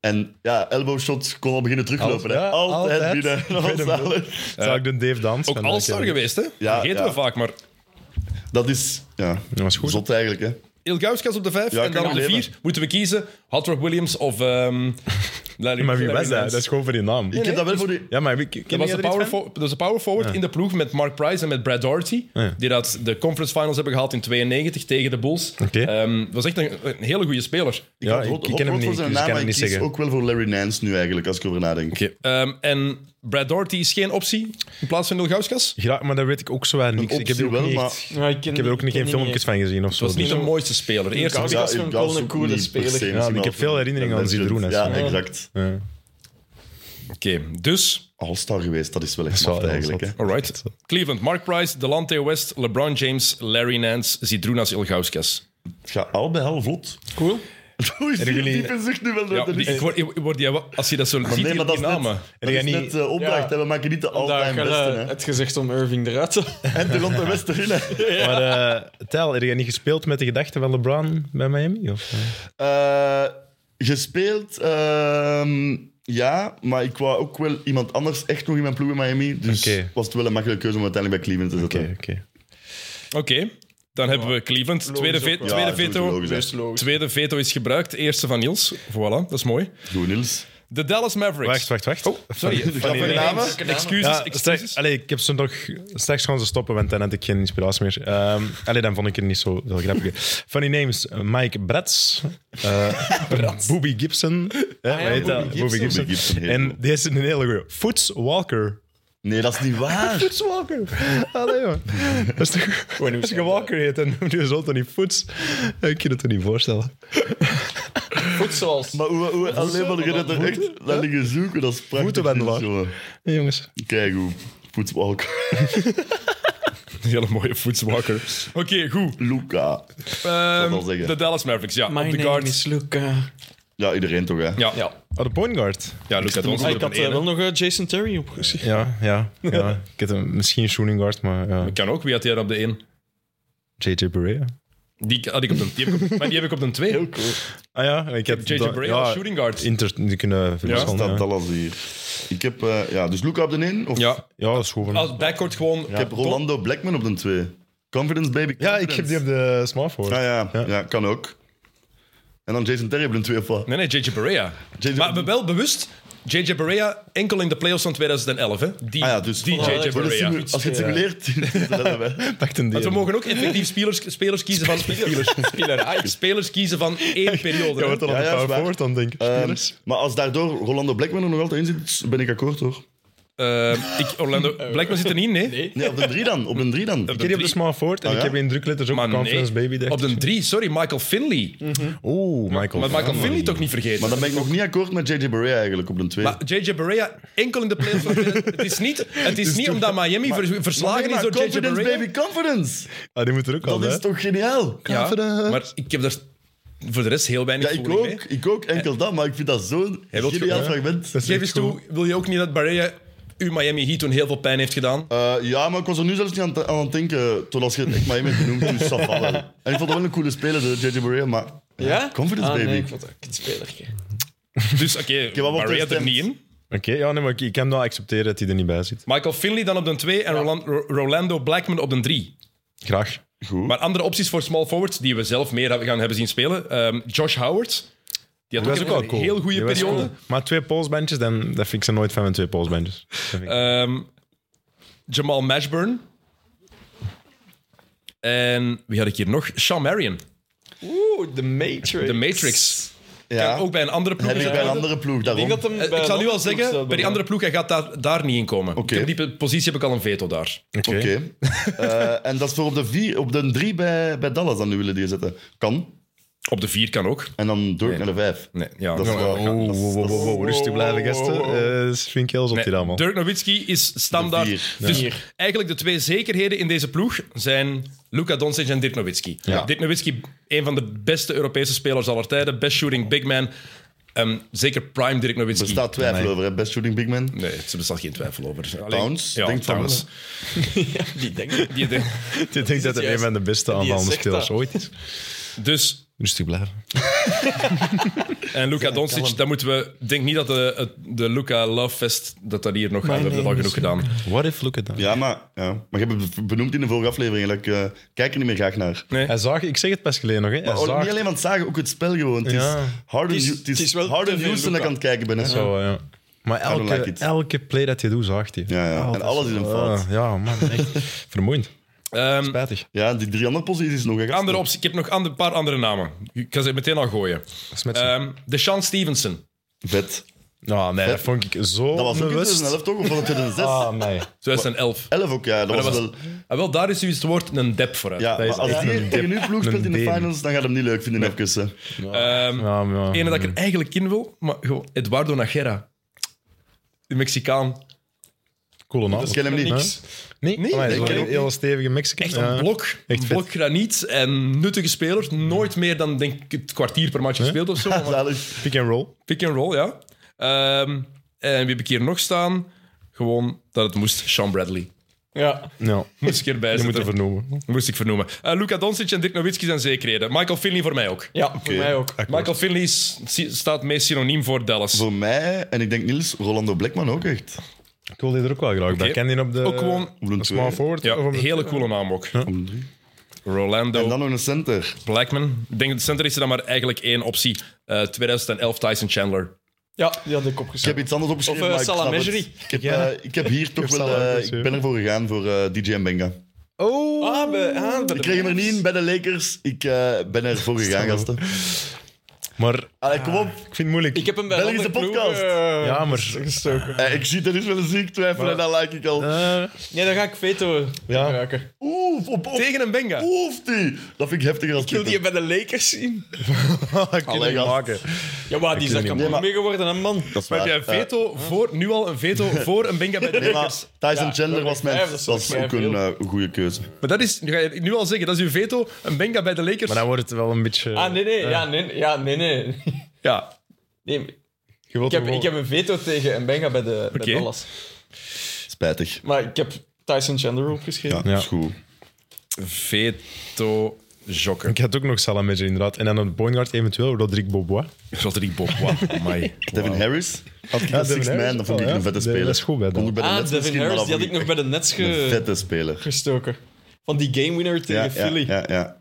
S6: En ja, elbow shot kon al beginnen teruglopen. hè.
S7: Ja,
S6: altijd,
S7: altijd.
S6: binnen.
S7: Ik weet hem wel.
S6: Zalig.
S7: Zou ik doen Dave Dans.
S3: Ook All-Star geweest, hè?
S6: Ja,
S3: Vergeten
S6: ja.
S3: we vaak, maar
S6: Dat is ja,
S7: Dat was goed.
S6: zot eigenlijk. Hè.
S3: Ilgauskas op de vijf
S6: Ja,
S3: en
S6: kan
S3: dan op de
S6: leven.
S3: vier moeten we kiezen. Hot Rod Williams of...
S7: <laughs>
S3: ehm Larry-
S7: Maar wie
S3: Larry
S7: was dat?
S3: Nance.
S7: Dat is gewoon voor die naam.
S6: Ik heb dat wel voor die...
S7: Ja, maar ik ken
S3: Dat was, de power fo- dat was de power forward in de ploeg met Mark Price en met Brad Doherty.
S7: Ja.
S3: Die dat de conference finals hebben gehaald in 92 tegen de Bulls.
S7: Oké.
S3: Ehm, was echt een, een hele goede speler.
S6: Ik
S7: Ja,
S6: had
S7: ik-
S6: Hot-
S7: ik
S6: Hot
S7: ken hem
S6: Rod voor
S7: niet,
S6: zijn
S7: dus ik
S6: naam,
S7: kan
S6: maar
S7: hem
S6: ik
S7: niet
S6: kies
S7: zeggen.
S6: ook wel voor Larry Nance nu eigenlijk, als ik over nadenk.
S3: Ehm, en Brad Doherty is geen optie in plaats van Ilgauskas.
S7: Ja, maar daar weet ik ook zo weinig. niks. Ik heb er
S6: optie
S7: ook,
S6: wel,
S7: niet
S6: maar-
S7: echt-
S4: maar ken-
S7: ik heb er ook niet
S4: ken
S7: geen
S4: die
S7: filmpjes van gezien of zo.
S3: Dat was niet
S7: dus-
S3: de mooilste speler. Eerst
S4: Ilgauskas.
S6: Ja,
S4: is gewoon
S6: ik
S4: wel
S6: was
S4: een
S6: ook
S4: coole
S6: niet per
S4: speler.
S6: se,
S4: Ja,
S6: misschien
S7: ik
S6: wel
S7: heb
S6: voor
S7: veel
S6: een-
S7: herinneringen
S6: een
S7: aan
S6: legend.
S7: Zidroenas.
S6: Ja,
S7: Ja.
S6: exact.
S7: Ja.
S3: Oké, dus...
S6: All-star geweest, dat is wel echt
S7: is wel
S6: maf
S7: heel
S6: eigenlijk. Hè.
S7: zot.
S3: Alright. Cleveland, Mark Price, Delante West, LeBron James, Larry Nance, Zidrunas Ilgauskas.
S6: Het gaat al bij al vlot.
S4: Cool.
S6: <laughs> Hoe is die
S7: jullie-
S6: type zucht nu wel?
S3: Ja,
S6: <laughs> dat er
S3: die,
S6: niet-
S3: ik word, ik word die, als je dat zo ziet,
S6: Nee, maar
S3: hier
S6: dat
S3: die
S6: is net,
S3: namen.
S6: dat
S7: ga
S6: is
S7: niet-
S6: net de opdracht.
S4: Ja.
S6: hè. We maken niet de
S4: Daar
S6: all-time
S4: gaat
S6: beste.
S4: eh,
S6: hè.
S4: het gezegd om Irving eruit te <laughs>
S6: En de Lotte Westen in. hè.
S7: Maar eh Tel, heb je niet gespeeld met de gedachten van LeBron bij Miami? Of?
S6: Eh, gespeeld, ehm, ja, maar ik wou ook wel iemand anders echt nog in mijn ploeg in Miami. Dus
S7: Oké.
S6: was het wel een makkelijke keuze om uiteindelijk bij Cleveland te zetten.
S7: Oké, oké.
S3: Oké, dan hebben we Cleveland. Tweede, ve-
S6: Ja,
S3: tweede
S6: sowieso
S3: veto.
S6: logisch, hè.
S4: logisch.
S3: Tweede veto is gebruikt, eerste van Niels. Voilà, dat is mooi.
S6: Goed, Niels.
S3: De Dallas Mavericks.
S7: Wacht, wacht, wacht.
S6: Oh,
S3: Sorry, van
S7: die
S3: namen.
S7: namen?
S3: Excuses,
S7: Ja,
S3: excuses.
S7: straks- allee, ik heb ze nog... Straks gaan ze stoppen, want dan had ik geen inspiratie meer. Ehm allee, dan vond ik het niet zo heel grappig. Funny names. eh, Mike Bretz. <laughs> eh, Booby Gibson. Ah Ja, hoe heet dat? Booby Gibson.
S6: Booby Gibson, heel
S7: en
S6: goed.
S7: deze is een hele goeie. Foots Walker.
S6: Nee, dat is niet waar.
S7: <laughs> Foots Walker. Allee, man. Dat is <laughs> toch... Als je Walker heet, dan noem je zo toch niet Foots? Ik kan het toch niet voorstellen.
S4: Goed zoals.
S6: Maar hoe, hoe, alleen maar je dat er echt naar liggen zoeken, dat is prachtig.
S7: Voetenwendelaar.
S6: zo.
S7: Hey, jongens.
S6: Kijk hoe voetbalk.
S3: Een hele mooie footswalker. Oké, goed.
S6: <laughs> Luca.
S3: Ehm,
S6: wel zeggen.
S3: de Dallas Mavericks, ja.
S4: My
S3: op de
S4: name
S3: guard.
S4: is Luca.
S6: Ja, iedereen toch, hè?
S3: Ja, ja.
S4: Ja.
S7: Oh, de point guard.
S3: Luca Doncic
S4: Ah, ik
S3: op
S4: had
S3: een
S4: eh, wel
S3: ene.
S4: nog eh, Jason Terry opgezien.
S7: Ja, ja, ja. Ik had hem misschien een shooting guard, maar ja.
S3: Kan ook, wie had jij er op de 1?
S7: J.J. Barea.
S3: Die had ik op de, die heb ik op, maar die heb ik op de 2.
S7: Ah ja, ik heb
S3: J.J. Barea als shooting guard.
S7: Inter, die kunnen
S6: Waar
S7: verschillen.
S6: staat
S7: Ja,
S6: Dallas hier? Ik heb, eh, ja, dus Luca op de 1. Of
S3: Ja,
S7: ja, dat is goed. man.
S3: als backcourt gewoon...
S6: ik heb Rolando Blackman op de 2. Confidence, baby.
S7: Ja, ik heb die op de smartphone.
S6: Ah, ja. Ja. kan ook. En dan Jason Terry op de 2 of wat?
S3: Nee, nee, J.J. Barea.
S6: J.J.
S3: Maar we- wel bewust, J.J. Barea enkel in de playoffs van 2011. Hè? Die,
S6: Ah ja, dus
S3: die
S6: Voilà,
S3: J.J.
S6: voor de
S3: Barea.
S6: simu- Als je het simuleert, <laughs> dan
S7: <laughs>
S6: hebben wij.
S7: Pak een
S3: Want we
S7: die.
S3: mogen ook effectief spelers, spelers kiezen van... Spelers, Ah, spelers kiezen van één periode.
S7: Ja,
S3: hè.
S7: wordt dan
S6: Ja,
S7: op
S6: ja, is
S7: de power
S6: waar.
S7: forward dan, denk ik.
S6: Ehm,
S7: Spelers.
S6: maar als daardoor Rolando Blackman er nog altijd in zit, dus ben ik akkoord hoor.
S3: Eh, ik, Orlando Blackman zit er niet in, nee.
S6: Nee, op de 3 dan. Op de 3 dan.
S7: Ik heb die op de smart forward en
S6: Ah,
S7: ik
S6: ja?
S7: heb in drukletters ook
S3: Maar
S7: Conference
S3: nee,
S7: Baby. dacht
S3: op de
S7: ik.
S3: drie, sorry, Michael Finley.
S7: Oeh, Michael. Ah,
S3: Maar Michael Finley toch niet vergeten.
S6: Maar dan ben ik nog niet akkoord met JJ Barea eigenlijk op de 2.
S3: Maar J.J. Barea enkel in de playoffs. van 2011. het is niet, het is niet omdat Miami vers- verslagen is door J.J.
S6: confidence,
S3: Barea.
S6: baby, confidence.
S7: Ah, die moet er ook al
S6: Dat
S7: bij.
S6: is toch geniaal?
S3: Ja,
S6: Confidence.
S3: maar ik heb daar voor de rest heel weinig
S6: Ja, ik
S3: voeling
S6: ook.
S3: mee.
S6: Ik ook, enkel dat. Maar ik vind dat zo'n
S3: Hij wil het
S6: geniaal
S3: gewoon,
S6: fragment.
S7: Dat is
S3: Geef
S7: echt
S3: eens toe, wil je ook niet dat Barea u Miami Heat toen heel veel pijn heeft
S7: <laughs>
S3: gedaan?
S6: Eh, ja, maar ik was er nu zelfs niet aan, te- aan het denken. Tot als je het echt maar hebt genoemd, dus dat valt wel. En ik vond het wel een coole speler, de JJ Barea, maar...
S4: Ja?
S6: Confidence,
S4: ah,
S6: baby.
S4: Nee, ik vond dat ook een spelertje.
S3: Dus oké,
S6: wat wordt er
S3: Barea er
S6: gestemd?
S3: niet in.
S7: goed. Oké, ja, nee, maar ik, ik kan wel accepteren dat hij er niet bij zit.
S3: Michael Finley dan op de 2 en Rolan- Ro- Rolando Blackman op de 3.
S7: Graag.
S6: Goed.
S3: Maar andere opties voor small forwards die we zelf meer hebben- gaan hebben zien spelen. Ehm, Josh Howard. Die had
S7: Dat
S3: ook,
S7: is ook
S3: een
S7: wel cool.
S3: heel goede
S7: Die was
S3: periode.
S7: cool. Maar twee polsbandjes, dan, dat vind ik ze nooit van met twee polsbandjes. Dat vind ik-
S3: Ehm, Jamal Mashburn. En wie had ik hier nog? Sean Marion.
S4: Oeh, de Matrix.
S3: De Matrix.
S6: ja,
S3: Ook bij een andere ploeg.
S6: heb ik
S3: gezet
S6: bij een
S3: worden.
S6: andere ploeg, daarom.
S4: Ik, denk dat hem
S3: Eh,
S4: bij
S3: Ik zal
S4: een
S3: nu al
S4: andere ploeg
S3: zeggen,
S4: staat
S3: bij die
S4: dan.
S3: andere ploeg, hij gaat daar, daar niet in komen.
S6: Oké.
S3: Op die positie heb ik al een veto daar.
S6: Oké. Eh, en dat is voor op de, vier, op de drie bij, bij Dallas dan nu willen die zetten. Kan.
S3: Op de vier kan ook.
S6: En dan door naar de vijf.
S3: Nee, ja.
S6: Dat is wel...
S7: Oh, wow,
S6: dat is-
S7: wow, wow,
S6: dat is-
S7: wow, wow, rustig blijven, gasten. Eh, Dat vind ik heel zot
S3: Nee,
S7: hier allemaal.
S3: Dirk Nowitzki is standaard.
S6: De vier.
S3: Dus
S4: Vier.
S3: eigenlijk de twee zekerheden in deze ploeg zijn Luka Doncic en Dirk Nowitzki. Dirk Nowitzki, een van de beste Europese spelers aller tijden. Best shooting big man. Ehm, zeker prime Dirk Nowitzki.
S6: Er staat twijfel over, hè? Best shooting big man.
S3: Nee, er bestaat geen twijfel over. Alleen-
S6: Towns?
S3: Ja,
S6: Denkt van
S3: Towns.
S4: Die denkt
S3: Die
S4: <laughs>
S3: denkt-
S7: Ik denk dat het een
S4: juist-
S7: van de beste
S4: die
S7: aanvallende
S4: zegt
S7: spelers
S4: dat.
S7: ooit is.
S3: dus,
S7: Rustig blijven.
S3: en Luka Doncic, dan moeten we... Ik denk niet dat de, de Luka Love Fest, dat dat hier nog... we hebben dat al genoeg gedaan.
S7: What if look at that?
S6: Ja, maar, ja. maar je hebt het benoemd in de vorige aflevering. dat Ik eh, kijk er niet meer graag naar.
S7: Hij zag, ik zeg het pas geleden nog, hè. Hij
S6: Oh, niet
S7: zaagt
S6: alleen van het zagen, ook het spel gewoon. Het is
S7: Ja.
S6: Harden,
S4: Het is-
S6: Hu- het is,
S4: het is wel
S6: Harden
S4: te veel
S6: Houston dat ik
S4: Luka.
S6: aan het kijken ben. Hè? Ja,
S7: zo, ja. Maar
S6: don't
S7: elke,
S6: like it.
S7: elke play dat je doet, zaagt hij.
S6: ja. en alles is een fout.
S7: Ah, ja, man, echt. <laughs> Vermoeiend.
S3: Ehm,
S7: Spijtig.
S6: Ja, die drie andere posities nog. hè, gasten.
S3: andere optie. Ik heb nog ander- een paar andere namen. Ik kan ze meteen al gooien.
S7: Smetsen.
S3: Ehm Deshaun Stevenson.
S6: Vet.
S7: nou, nee, dat vond ik zo
S6: Dat was ook in
S7: bewust.
S6: 2011 toch? Of was het 2006?
S7: Ah, nee.
S3: 2011.
S6: 11 ook, ja. Dat,
S3: dat
S6: was
S3: was-
S6: wel...
S3: Ah, wel, daar is u het woord een dep voor uit.
S6: Ja,
S7: dat
S6: maar
S7: is
S6: als
S7: echt
S6: die
S7: een
S6: tegen uw ploeg speelt in de
S7: Een been.
S6: finals, dan gaat hem niet leuk vinden even. hè.
S3: Ehm,
S7: Ja, maar-
S3: Ene dat ik er eigenlijk in wil, maar gewoon Eduardo Nagera. De Mexicaan.
S7: Coole naam.
S6: Ik ken hem niet.
S4: niks.
S7: Nee, nee,
S3: ik
S7: een
S3: ken
S7: heel,
S3: hem
S7: heel stevige Mexican.
S3: Echt
S7: Ja.
S3: een blok. Een
S7: vet.
S3: blok graniet en nuttige speler. Nooit meer dan denk ik het kwartier per match gespeeld of zo. maar
S6: <laughs> Zalig.
S7: Pick and roll.
S3: Pick and roll, ja. Ehm, en wie heb ik hier nog staan? Gewoon dat het moest. Sean Bradley.
S4: Ja.
S7: Ja,
S3: Moest ik erbij
S7: je moet
S3: zetten.
S7: ervoor noemen.
S3: Moest ik vernoemen. Eh Luka Doncic en Dirk Nowitzki zijn zekerheden. Michael Finley voor mij ook.
S4: Ja, voor mij ook.
S3: Michael Finley is- si- staat meest synoniem voor Dallas.
S6: Voor mij, en ik denk Niels, Rolando Blackman ook echt.
S7: Ik wil die er ook wel graag bij.
S3: Oké.
S7: Ken die op de...
S3: Ook gewoon-
S6: Op een
S7: Small
S6: twee.
S7: forward?
S3: Ja,
S7: of op
S3: een
S7: de-
S3: hele coole naam ook.
S6: En
S3: Rolando
S6: dan nog een center.
S3: Blackman. Ik denk dat de center is er dan maar eigenlijk één optie. Eh, 2011 Tyson Chandler.
S4: Ja, die had ik
S6: Ik heb
S4: opgeschreven.
S6: iets anders opgeschreven.
S4: Of, eh,
S6: maar ik snap
S4: Salamejery.
S6: het. Ik, heb,
S7: Ja.
S6: eh, ik heb hier toch
S7: heb
S6: wel. eh,
S7: Salamejery.
S6: ik ben ervoor gegaan voor eh, DJ Benga.
S7: Oh!
S4: Ah, bij, ah, bij de
S6: Ik kreeg hem er niet in bij de Lakers. Ik eh, ben ervoor gegaan, gasten.
S7: Maar
S6: Allee, kom op.
S7: Ah, ik vind het moeilijk.
S4: Ik heb hem bij
S6: Belgische
S4: een andere
S6: podcast.
S4: ploeg, eh,
S7: <laughs> Ja, maar-
S4: Gestoken.
S6: Eh, ik zie dat is wel een ziek twijfelen en dat like ik al.
S7: Eh,
S4: Nee, dan ga ik veto
S7: Ja.
S4: gebruiken.
S6: Oef, op, op,
S3: Tegen een Benga.
S6: oef die. Dat vind ik heftiger als
S4: Ik wil
S6: Twitter.
S4: die bij de Lakers zien.
S7: ik kan
S6: Allee,
S7: het
S6: gast.
S7: maken.
S4: Ja, maar die is daar
S7: niet.
S4: kampioen mee geworden, hè, man.
S6: Dat is
S3: Maar
S6: waar.
S3: heb jij een veto voor, nu al een veto voor een Benga bij de
S6: Eh, maar
S3: Lakers?
S6: Tyson
S4: Ja,
S6: Chandler
S4: dat
S6: was, mijn,
S4: begrijp ik, dat
S6: was ook
S4: begrijp ik
S6: een eh, goede keuze.
S3: Maar dat is, nu ga je nu al zeggen, dat is uw veto, een Benga bij de Lakers.
S7: Maar dan wordt het wel een beetje...
S4: Ah, nee, nee. Ja, nee, ja, nee, nee. <laughs>
S3: Ja,
S4: nee
S7: Je wilt
S4: ik, heb,
S7: hem
S4: ik heb een veto tegen Mbenga bij de bij
S3: Oké.
S4: Dallas.
S6: Spijtig.
S4: Maar ik heb Tyson Chandler opgeschreven. Ah,
S6: Ja,
S7: Ja.
S6: is goed.
S3: veto jokker.
S7: Ik had ook nog Salamedje, inderdaad. En dan een point guard eventueel Rodrigue Bobois.
S3: Rodrigue Bob,
S7: <laughs>
S3: wow, amai.
S6: Devin Harris. Had ik
S7: Ja,
S6: een
S7: Devin
S6: six
S7: Harris
S6: man, dat vond ik
S7: wel,
S6: een vette
S7: ja.
S6: speler.
S7: Dat is goed bij
S6: Kon ik bij de
S4: Ah,
S6: Nets
S4: Devin
S6: misschien,
S4: Harris,
S6: maar
S4: die
S6: dat
S4: had ik
S6: vond
S4: nog bij de Nets ge-
S6: Een vette speler.
S4: gestoken. Van die game winner tegen
S6: Ja, ja,
S4: Philly.
S6: ja, ja.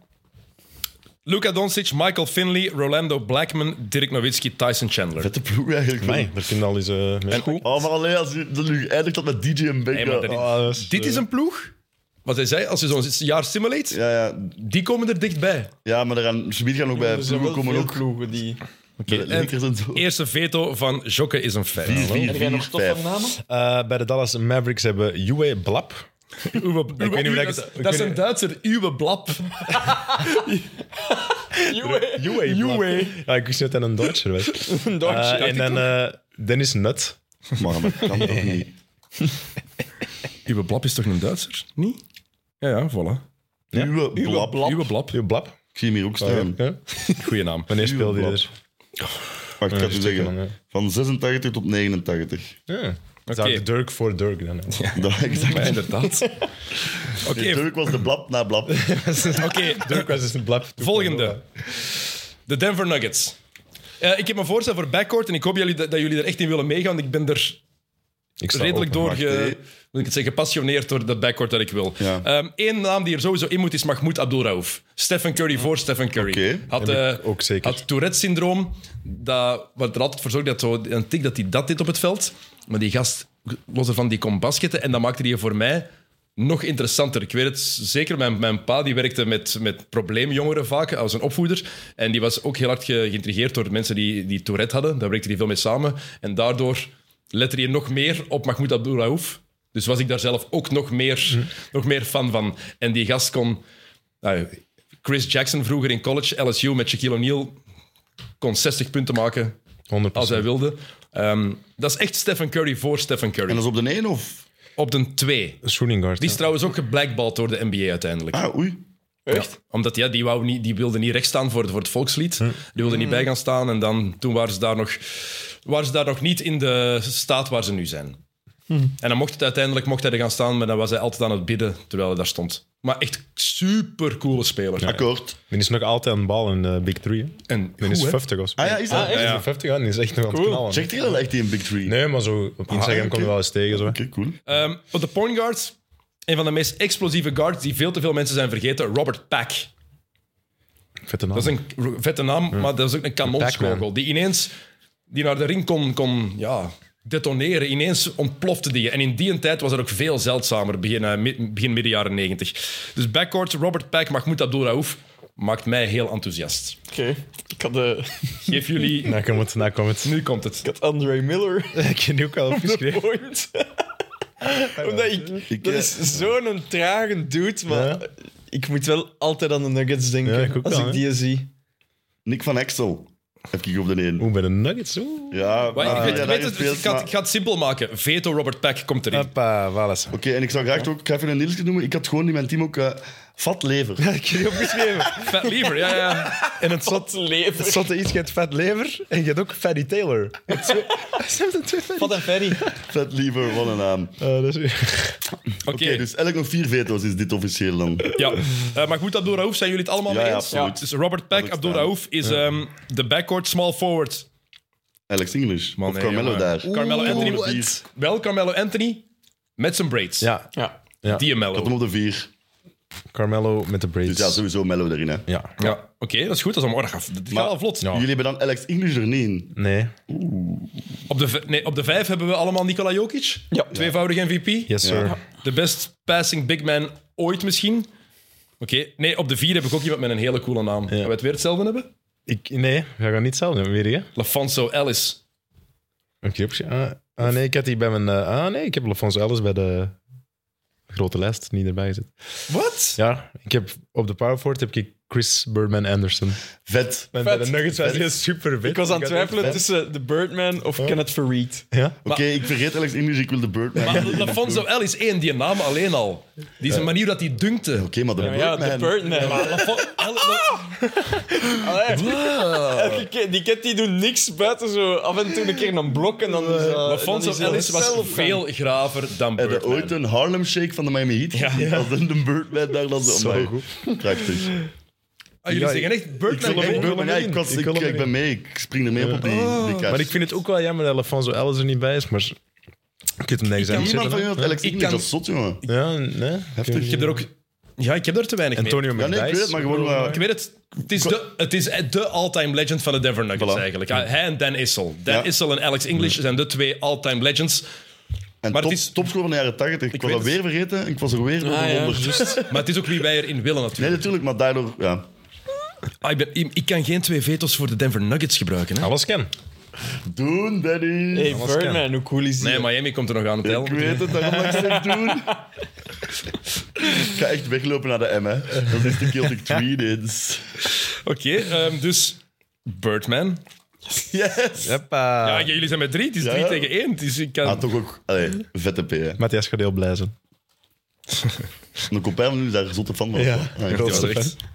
S3: Luka Doncic, Michael Finley, Rolando Blackman, Dirk Nowitzki, Tyson Chandler.
S6: Vette ploeg eigenlijk.
S7: Nee, daar kunnen al eens... eh mee.
S6: Oh, maar alleen als je dat nu eindigt dat met DJ en Benga.
S3: Nee, maar dat is-
S7: Ah, dat is,
S3: Dit
S7: eh,
S3: is een ploeg, wat hij zei, als je zo'n jaar simulate,
S6: ja, ja,
S3: die komen er dichtbij.
S6: ja, maar er gaan, Schmid gaan ook bij
S4: Er zijn
S6: ploegen komen
S4: wel veel
S6: ook.
S4: ploegen die...
S6: De Lakers en zo.
S3: Eerste veto van Jokke is een fan.
S4: Heb jij nog toffe namen?
S7: eh, bij de Dallas Mavericks hebben Uwe Blap.
S3: Uwe, Uwe-
S7: weet niet hoe
S3: Uwe-
S7: dat ik het- ik
S3: dat is
S7: weet
S3: een
S7: niet-
S3: Duitser, Uwe
S4: <laughs>
S3: Blap.
S7: Uwe Uwe. Ja, ik wist niet dat hij een Duitser was.
S4: Een Dodge.
S7: Eh, en dan eh, Dennis Nut.
S6: Man, dat kan toch niet.
S3: Uwe Blap is toch een Duitser? Niet? Ja, ja, voilà.
S6: Uwe blap.
S3: Uwe Blap.
S7: Uwe Blap.
S6: Ik zie hem hier ook staan.
S7: Ja.
S3: Goeie naam.
S7: Wanneer speelde hij
S6: Blap.
S7: er?
S6: Wacht, ik ga het u
S7: stikken dan,
S6: zeggen. Van 86 tot 89.
S7: Ja. Zou de Dirk voor Dirk dan. hè?
S6: Dat
S3: Ja,
S6: exact.
S7: <laughs>
S3: inderdaad. Oké,
S6: Dirk was de blap na blap.
S3: oké,
S7: Dirk was dus een Blap.
S3: volgende. De Denver Nuggets. Eh, ik heb een voorstel voor backcourt en ik hoop jullie, dat, dat jullie er echt in willen meegaan. want Ik ben er
S7: Ik sta
S3: redelijk
S7: open.
S3: door
S6: wacht,
S3: ge-
S6: hè.
S3: hoe moet ik het zeggen, gepassioneerd door dat backcourt dat ik wil.
S6: Ja.
S3: Eén naam die er sowieso in moet is Mahmoud Abdul-Raouf. Stephen Curry voor Stephen Curry.
S6: Oké,
S3: Had,
S7: heb
S3: eh,
S7: ik ook zeker.
S3: had Tourette-syndroom, dat- wat er altijd voor zorgt dat zo, een tik dat hij dat deed op het veld. Maar die gast, los van die kon basketten en dat maakte die voor mij nog interessanter. Ik weet het zeker, mijn, mijn pa die werkte met, met probleemjongeren vaak als een opvoeder. En die was ook heel hard ge- geïntrigeerd door mensen die, die Tourette hadden. Daar werkte hij veel mee samen. En daardoor lette je nog meer op Mahmoud Abdul-Raouf. Dus was ik daar zelf ook nog meer,
S7: Hm.
S3: nog meer fan van. En die gast kon... nou, Chris Jackson vroeger in college, LSU met Shaquille O'Neal, kon 60 punten maken
S7: 100%.
S3: als hij wilde. Ehm, dat is echt Stephen Curry voor Stephen
S6: En
S3: Curry.
S6: dat is op de 1 of?
S3: Op de 2.
S7: Shooting guard.
S3: Die
S7: ja.
S3: is trouwens ook geblackballed door de NBA uiteindelijk.
S6: Ah, oei.
S3: Ja, omdat ja, die, wou niet, die wilde niet recht staan voor het, voor het volkslied. Die wilde niet bij gaan staan. En dan, toen waren ze, daar nog, waren ze daar nog niet in de staat waar ze nu zijn. En dan mocht het uiteindelijk mocht hij er gaan staan, maar dan was hij altijd aan het bidden terwijl hij daar stond. Maar echt super coole speler.
S6: Akkoord.
S7: Die is nog altijd aan de bal in de Big Three. hè.
S3: En
S7: Die is
S3: goed, hè?
S7: 50 of zo.
S6: Ah ja, is dat?
S4: echt?
S7: Ja, 50 aan, die is echt nog aan het knallen.
S6: Zegt hij dat echt die in Big Three? Ah,
S7: Nee, maar zo op Instagram
S6: oké.
S7: kom je wel eens tegen. Zo. hè.
S6: Oké, cool.
S3: Ehm, op de point guards, een van de meest explosieve guards die veel te veel mensen zijn vergeten, Robert Pack.
S7: Vette naam.
S3: Dat is een k- vette naam, maar dat is ook een kanonskogel. Die ineens die naar de ring kon, kon ja, detoneren. Ineens ontplofte die. En in die tijd was dat ook veel zeldzamer, begin, eh, mi- begin midden jaren negentig. Dus backcourt, Robert Pack, Mahmoud Abdul-Raouf, maakt mij heel enthousiast.
S4: Oké. Ik had eh,
S3: Geef
S6: <laughs>
S3: jullie...
S7: Nou, kom het, nou kom het.
S3: Nu komt het.
S4: ik had Andre Miller.
S7: Ik heb die ook al
S6: <laughs>
S7: opgeschreven. <laughs>
S4: Point. Omdat ik...
S6: Ik,
S4: dat
S6: eh,
S4: is zo'n trage dude, maar...
S7: Ja.
S4: Ik moet wel altijd aan de Nuggets denken
S7: Ja, ik ook
S4: als
S7: wel,
S4: ik
S7: hè.
S4: die zie.
S6: Nick van Exel heb ik op de 1.
S7: Oeh, bij de Nuggets. Oeh.
S6: Ja,
S3: Maar ik
S6: ah,
S3: weet,
S6: ja,
S3: ik
S6: daar
S3: weet het,
S6: gespeeld,
S3: ik, ga,
S6: maar- Ah.
S3: het- ik ga het simpel maken. Veto Robert Pack komt erin.
S7: Hoppa, voilà.
S6: Oké, en ik zou graag ook, ik ga even een Nielsje noemen, ik had gewoon in mijn team ook eh, vat lever.
S7: Ik heb die opgeschreven.
S3: Fat Lever, ja,
S6: <laughs>
S3: ja.
S7: En het zat...
S4: Leven.
S7: Het zat iets, je hebt Fat Lever en je hebt ook Fatty Taylor. Het zo- <laughs> Ze hebben de twee Fatty
S4: Wat een ferry.
S6: vat lever, wat een naam. Oké,
S7: dat is...
S3: Oké,
S6: dus elk nog vier veto's is dit officieel dan.
S3: Ja, Eh, maar goed, Abdul-Raouf, zijn jullie het allemaal
S6: Ja,
S3: mee
S6: ja,
S3: eens?
S6: absoluut.
S3: Dus Robert Pack,
S6: Had ik
S3: Abdul-Raouf is ehm, de backcourt small forward.
S6: Alex English. of
S3: nee,
S6: Carmelo
S3: jongen.
S6: daar. Ik
S3: Carmelo
S6: had hem
S3: Anthony.
S6: op de vier. Ik
S3: Wel Carmelo Anthony met zijn braids.
S7: Ja,
S4: Ja.
S3: Die en Mello.
S6: had hem op de vier.
S7: Carmelo met de braids.
S6: Dus ja, sowieso Mello erin. Hè.
S7: Ja.
S3: Ja, oké. Oké, dat is goed. Dat is allemaal, dat gaat, dat gaat al vlot.
S6: Jullie hebben dan Alex English er niet in.
S7: Nee.
S3: Op, de, v- nee, op de vijf hebben we allemaal Nikola Jokic.
S4: Ja.
S3: Tweevoudig MVP.
S7: Yes, sir.
S3: De best passing big man ooit misschien. Oké, nee, op de vier heb ik ook iemand met een hele coole naam. Gaan we het weer hetzelfde hebben?
S7: Ik, nee, we gaan niet zelf doen. Weer hè?
S3: Lafonso Ellis.
S7: Een knipje. Ah, ah, nee, ik had die bij mijn... eh, ah nee, ik heb Lafonso Ellis bij de grote lijst niet erbij gezet.
S3: Wat?
S7: Ja, ik heb op de powerforward heb ik Chris Birdman Anderson.
S6: Vet.
S4: Vet.
S7: En bij de Nuggets was hij super vet.
S4: Ik was aan het twijfelen tussen The Birdman of Kenneth Fareed.
S7: Ja?
S6: Oké, ik vergeet Alex English, ik wil de Birdman.
S3: Maar
S6: Oké,
S3: <laughs> Lafonso Ellis, één, die naam alleen al. Die is een manier dat hij dunkte.
S6: maar de
S4: Maar ja,
S6: Birdman.
S4: The Birdman. Allee. Elke keer- Die cat die doet niks buiten zo af en toe een keer een blok en dan... is, eh, dan is
S3: Lafonso
S4: hij
S3: Ellis was
S4: zelf gaan.
S3: veel graver dan
S6: Heb je
S3: Birdman.
S6: ooit een Harlem Shake van de Miami Heat gezien? <laughs> Als dan de Birdman daar dan zo... Amai, Prachtig.
S3: Ah, jullie
S7: Ja,
S3: zeggen echt
S6: Ik, wil
S3: Birdman.
S6: hem-
S3: ook?
S6: ik,
S7: wil
S6: ben-
S7: hem
S6: ja,
S7: erin.
S6: ik, was-
S7: Ik
S6: ik,
S7: wil hem
S6: ik ben mee, ik spring er mee op op die, die kaart.
S7: Maar ik vind het ook wel jammer dat Alfonso Ellis er niet bij is, maar je kunt hem nergens
S3: Ik kan
S7: aan
S6: Niemand
S7: zitten.
S6: van
S7: hè?
S6: jullie had Alex
S3: Ik
S6: English
S3: kan-
S6: als zot, jongen.
S7: Ja, nee.
S3: Ik heb er ook... Ja, ik heb er te weinig mee.
S7: Antonio
S6: Ja, nee, ik weet het,
S7: Mendes.
S6: maar gewoon... eh,
S3: Ik weet het. Het is de, het is de all-time legend van de Denver Nuggets
S6: Voilà.
S3: eigenlijk. Ja, Hij en Dan Issel. Dan
S6: Ja.
S3: Issel en Alex English zijn de twee all-time legends.
S6: en
S3: maar
S6: top,
S3: het is-
S6: topscorer van de jaren 80. Ik, was
S3: weet
S6: dat weer vergeten en ik was er weer
S4: Ah, ja,
S6: onder.
S4: juist.
S3: <laughs> Maar het is ook wie wij erin willen natuurlijk.
S6: Nee, natuurlijk, maar daardoor... Ja.
S3: Ah, ik, ben- ik- ik kan geen twee veto's voor de Denver Nuggets gebruiken. Hè?
S7: Alles ken.
S6: Doen, Danny.
S4: Hey, Birdman, hoe cool is die?
S3: Nee, Miami komt er nog aan het
S6: Ik
S3: tellen.
S6: weet het, daarom ga ik het doen. ik ga echt weglopen naar de M, hè. Dat is de Celtic Tweedins.
S3: Oké, ehm, dus Birdman.
S6: Yes!
S7: Hoppa.
S3: Ah, Ja, jullie zijn met drie. Het is
S6: Ja.
S3: drie tegen één. Dus ik kan...
S6: Ah, toch ook... Allee, vette P, hè.
S7: Matthias gaat heel blij zijn.
S6: Mijn compijn van nu is daar zotte fan van.
S7: Ja,
S6: Ah, ja.
S7: grootste
S3: Ja, dat is echt.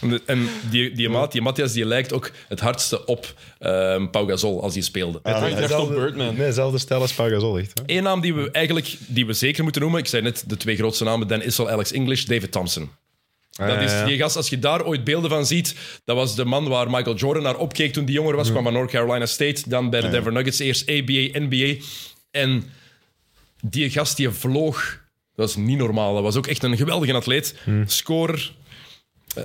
S3: En, de- en die, die, maat, die Matthias die lijkt ook het hardste op ehm Pau Gasol als hij speelde.
S4: Ah, ik dacht op Birdman.
S7: Nee, zelfde stijl als Pau Gasol, echt. hè?
S3: Eén naam die we eigenlijk die we zeker moeten noemen. Ik zei net de twee grootste namen: Dan Issel, Alex English, David Thompson. Dat is die gast, als je daar ooit beelden van ziet, dat was de man waar Michael Jordan naar opkeek toen die jonger was, kwam van North Carolina State, dan bij de Denver Nuggets, eerst ABA, NBA. En die gast die vloog, dat is niet normaal. Dat was ook echt een geweldige atleet. Scorer.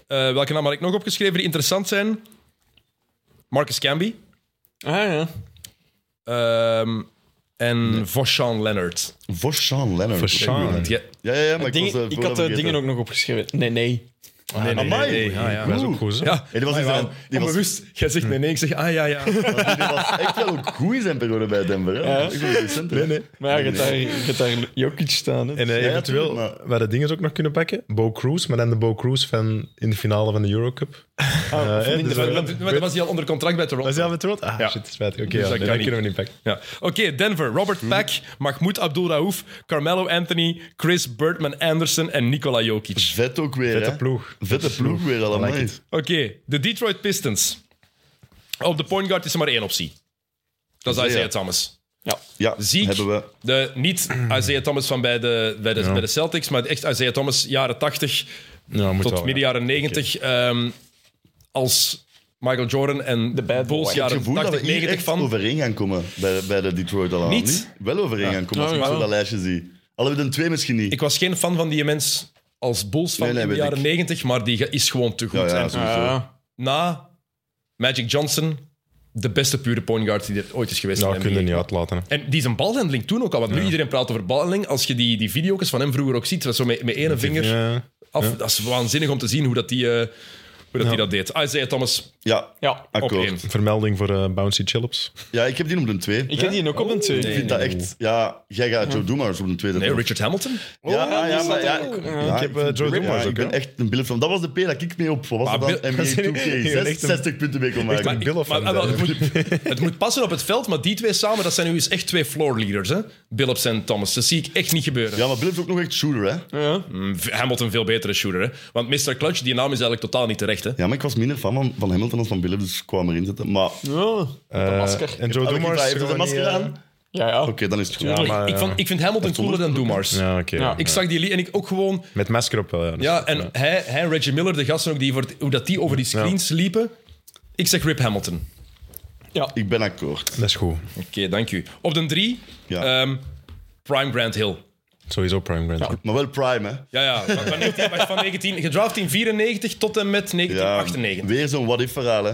S3: Eh, eh, welke naam had ik nog opgeschreven die interessant zijn? Marcus Camby
S4: Ah ja.
S3: ehm, en Voshan Leonard.
S6: Voor Sean Leonard.
S7: Voor Sean.
S3: Die-
S6: Ja, ja, ja, maar ik,
S4: Dingen-
S6: was, eh,
S4: ik
S6: vooral
S4: had de
S6: vergeten.
S4: dingen ook nog opgeschreven. Nee, nee.
S7: Nee, nee,
S6: Amai.
S7: Ja, ja.
S6: Oeh.
S7: Dat is ook goed, hè?
S3: Ja,
S6: Hey, die was in zijn- die was-
S3: onbewust. Jij zegt nee, nee. Ik zeg ah ja, ja.
S6: Die was echt wel ook goed in zijn periode bij Denver. Hè?
S4: Ja.
S6: Ik ben een recenter.
S4: Maar ja, je hebt daar, je hebt daar Jokic staan. Hè.
S7: En eh,
S6: Ja,
S7: eventueel,
S6: tuurlijk, maar-
S7: waar de dingen ook nog kunnen pakken, Bo Cruz, maar dan de Bo Cruz van in de finale van de Eurocup. Ah, uh, dus
S3: Want-
S7: we-
S3: want dan was hij al onder contract bij Toronto.
S7: was hij al met Toronto? Ah, shit, spijtig. Oké, ja,
S3: Dus dat
S7: nee,
S3: kan
S7: dat
S3: niet.
S7: kunnen we niet pakken.
S3: Ja. Oké, Denver. Robert Pack, Mahmoud Abdul-Raouf, Carmelo Anthony, Chris Birdman Anderson en Nikola Jokic.
S6: Vet ook weer.
S7: Vette
S6: hè?
S7: ploeg.
S6: Vette ploeg weer allemaal.
S7: Like it.
S3: Oké, de Detroit Pistons. Op de point guard is er maar één optie. Dat is Isaiah Thomas.
S6: ja,
S3: Ziek.
S6: hebben we.
S3: De, niet Isaiah Thomas van bij de, bij, de, bij de Celtics, maar echt Isaiah Thomas, jaren 80
S7: Ja, moet
S3: tot
S7: wel, ja.
S3: midden jaren 90. ehm, als Michael Jordan en de
S4: bad
S3: Bulls
S4: boy.
S6: Het
S3: jaren
S6: gevoel dat we
S3: 80,
S6: hier
S3: 90
S6: echt
S3: van.
S6: overeen gaan komen bij, bij de Detroit allemaal.
S3: Niet?
S6: Wel overeen gaan komen als ik
S4: Ja, ja.
S6: zo dat lijstje zie. Alhoewel, de twee misschien niet.
S3: Ik was geen fan van die mens als Bulls van
S6: Nee, nee,
S3: in de
S6: weet
S3: jaren
S6: ik.
S3: 90, maar die ge- is gewoon te goed.
S6: ja, ja,
S3: En
S6: sowieso.
S4: Ja.
S3: na Magic Johnson, de beste pure point guard die er ooit is geweest. in
S7: Nou,
S3: de
S7: kun je
S3: NBA.
S7: niet uitlaten. hè.
S3: En die zijn balhandeling toen ook al, want nu iedereen praat over balhandeling. Als je die, die video's van hem vroeger ook ziet, dat zo met, met ene vinger
S7: Ja.
S3: af. Dat is waanzinnig om te zien hoe dat die, eh, hoe dat, die dat deed. Isaiah Thomas
S6: Ja,
S4: Ja.
S3: op
S6: akkoord.
S3: één.
S7: Vermelding voor eh, Bouncy Chillips.
S6: Ja, ik heb die op de twee.
S4: Ik heb die ook op een twee.
S6: Ik vind dat echt... Ja, jij gaat Joe Doemars op de tweede.
S3: Nee, Richard Hamilton.
S6: Ja, ah, ja, maar ja,
S4: ook.
S6: ik-
S4: Ja.
S6: ja,
S7: Ik heb, eh,
S6: vind-
S7: Joe
S6: ja,
S7: Dumars ook,
S6: Ik ben
S7: hè?
S6: echt een van Dat was de P dat ik mee op wat was.
S3: Maar
S6: dat dan
S3: Bill-
S6: NBA
S7: dat zijn-
S6: 2K.
S7: die zijn echt een-
S6: 60 punten mee kon maken.
S3: Maar ik-
S7: Bill of
S3: maar- ah,
S7: Van
S3: wel, het,
S7: Dijk.
S3: moet,
S7: <laughs>
S3: het moet passen op het veld, maar die twee samen, dat zijn nu eens echt twee floor leaders. Hè? Billups en Thomas. Dat zie ik echt niet gebeuren.
S6: Ja, maar Bill is ook nog echt shooter, hè?
S3: Mm, Hamilton een veel betere shooter. Hè? Want Mr. Clutch, die naam is eigenlijk totaal niet terecht. Hè?
S6: Ja, maar ik was minder fan van, van Hamilton dan van Bill, dus ik kwam erin zitten. Maar
S4: Ja.
S7: Eh,
S4: masker.
S7: en Joe
S6: Elke
S7: Dumars.
S6: keer
S7: eh,
S6: heeft hij zijn masker aan. Oké,
S4: Oh. Ja, ja.
S6: dan is het goed. Ja,
S3: Ik-
S7: maar,
S3: ik,
S7: ja.
S3: vond, ik vind Hamilton cooler dan Doemars.
S7: Ja, oké.
S4: Ja.
S3: Ik zag die li- en ik ook gewoon...
S7: Met masker op wel, ja. Dus-
S3: Ja, en Hij, hij en Reggie Miller, de gasten ook, die voor, het- hoe dat die over die screens liepen. Ik zeg Rip Hamilton.
S6: Ik ben akkoord.
S7: Dat is goed.
S4: Eh,
S3: Oké, dank u. Op de drie,
S6: Ja.
S3: ehm, Prime Grant Hill.
S7: Sowieso Prime Grand Slam.
S6: Maar wel prime, hè?
S3: Ja, ja. Maar van, 19, maar van 19, gedraft in 94 tot en met 1998.
S6: weer zo'n what-if-verhaal, hè?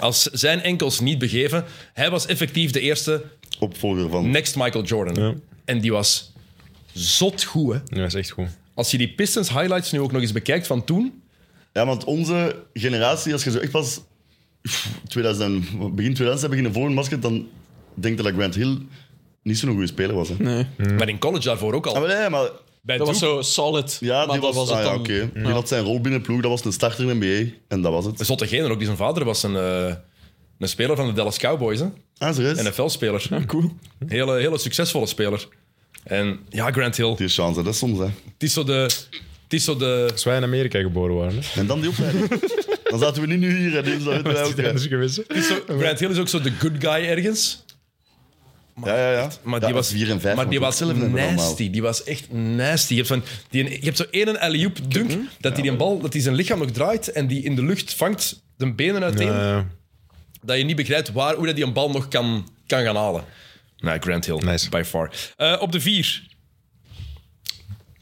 S3: Als zijn enkels niet begeven, hij was effectief de eerste
S6: Opvolger van...
S3: next Michael Jordan. En die was zot goed, hè.
S7: Ja, dat is echt goed.
S3: Als je die Pistons highlights nu ook nog eens bekijkt van toen,
S6: Ja, want onze generatie, als je zo echt pas 2000, begin 2000 hebt beginnen volgen basket, dan denk je dat Grant Hill niet zo'n goede speler was. Hè? Nee.
S3: maar in college daarvoor ook al.
S6: Ah, maar nee, maar
S3: Bij
S4: Dat was
S3: Duke,
S4: zo solid.
S6: ja,
S4: maar
S6: die
S4: dat
S6: was,
S4: was,
S6: ah,
S4: het
S6: ja,
S4: dan.
S6: oké. Die had zijn rol binnen de ploeg, dat was een starter in de NBA en dat was
S4: Dus-
S6: het.
S3: zotte genen ook, die zijn vader was een, eh, een speler van de Dallas Cowboys, hè.
S6: Ah, serieus?
S3: NFL-speler.
S4: Cool.
S3: Hele, hele succesvolle speler. En ja, Grant Hill.
S6: Die chance, dat is soms. Hè.
S3: Het is zo de... Het is zo de...
S7: Als wij in Amerika geboren waren, hè.
S6: En dan die opleiding. dan zaten we niet nu hier, hè, dus dat weten wij ook. hè.
S7: Anders geweest. hè.
S3: Zo, Grant Hill is ook zo de good guy ergens.
S6: Ja, ja, ja.
S3: Maar
S6: Ja,
S3: die was,
S6: 4 en 5.
S3: maar die was nasty. Die was echt nasty. Je hebt, van, die, je hebt zo één alley-oop dunk
S7: Mhm.
S3: dat hij die bal, dat hij zijn lichaam nog draait en die in de lucht vangt, de benen uiteen,
S7: Eh,
S3: dat je niet begrijpt waar, hoe dat die een bal nog kan, kan gaan halen. Nee, Grant Hill,
S7: Nice.
S3: by far. Eh, op de vier,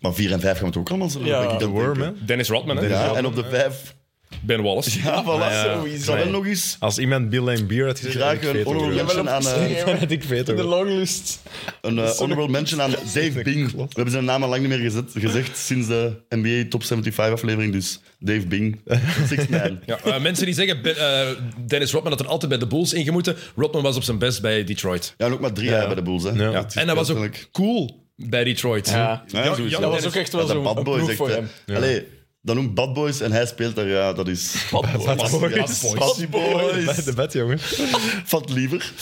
S6: Maar 4 en 5 gaan we het ook allemaal zo.
S4: Ja.
S6: denk ik,
S7: The
S6: dat
S7: Worm,
S6: denken.
S7: hè.
S3: Dennis Rodman, hè?
S6: Ja, en op de 5.
S3: Ben Wallace.
S6: Ja, voilà,
S7: ja.
S6: zo. Is dat wel
S7: Nee.
S6: nog eens?
S7: Als iemand Bill Lane Beer had gezegd,
S6: Graag een honorable
S7: <laughs>
S6: mention aan, eh,
S7: had ik weten.
S4: De longlist.
S6: een eh, honorable mention aan Dave Bing. We hebben zijn naam al lang niet meer gezet, gezegd sinds de NBA Top 75 aflevering. Dus Dave Bing, 6 man.
S3: Ja, eh, mensen die zeggen, Ben- eh, Dennis Rodman had er altijd bij de Bulls ingemoeten. Rodman was op zijn best bij Detroit.
S6: Ja, en ook maar drie jaar bij de Bulls. Hè.
S7: Ja.
S6: Dat is
S3: En hij was ook
S6: letterlijk-
S3: cool bij Detroit.
S4: Ja.
S6: Ja,
S3: Ja,
S6: sowieso.
S3: ja,
S4: Dat was ook echt wel
S6: Ja, de
S4: zo'n
S6: Bad
S4: een
S6: Boys.
S4: ploeg
S6: Echt,
S4: voor hem.
S6: hè. Allee, dat noemt Bad Boys en hij speelt daar, ja, dat is... <laughs>
S7: Bad Boys.
S3: Bad Boys.
S6: Bad Boys.
S7: Bij de bed, jongen.
S6: Vat liever.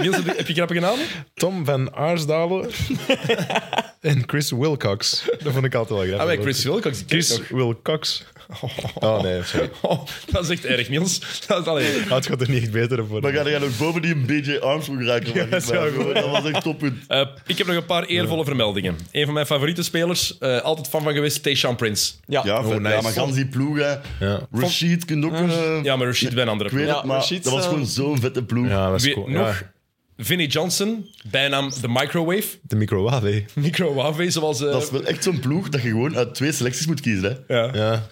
S3: Niels, heb je- heb je grappige namen? Ah,
S7: Tom van Aarsdalen en Chris Wilcox. Dat vond ik altijd wel
S3: Ah,
S7: grappig.
S3: bij Chris Wilcox. die ken ik
S7: Chris Wilcox. Oh nee, sorry.
S3: nog. <laughs> Oh, dat is echt erg, Niels. <laughs> Dat is alleen.
S7: Ah, Het gaat er niet echt beter op
S6: Dan
S7: worden.
S6: ga je nog boven die een BJ Armstrong raken. mag ik
S7: dat is wel
S6: zeggen.
S7: goed.
S6: dat was echt toppunt.
S3: Eh, ik heb nog een paar eervolle vermeldingen. Een van mijn favoriete spelers, eh, altijd fan van geweest, Tayshaun Prince.
S4: Ja, Ah,
S6: Ja, vet.
S7: nice.
S6: ja maar gans die ploeg, hè.
S7: Ja.
S6: Rashid kunt ook... eh,
S3: Ja, maar Rashid bij een andere
S6: ik weet
S3: ploeg.
S6: het,
S4: Ja,
S6: maar
S4: Rashid,
S6: dat was
S4: eh,
S6: gewoon zo'n vette ploeg.
S7: Ja, dat is
S3: Wie-
S7: cool.
S3: nog?
S7: Ja,
S3: Vinnie Johnson, bijnaam The Microwave. <laughs>
S7: de microwave. hè.
S3: Microwave, zoals... eh,
S6: Dat is wel echt zo'n ploeg dat je gewoon uit twee selecties moet kiezen, hè.
S3: ja.
S7: Ja.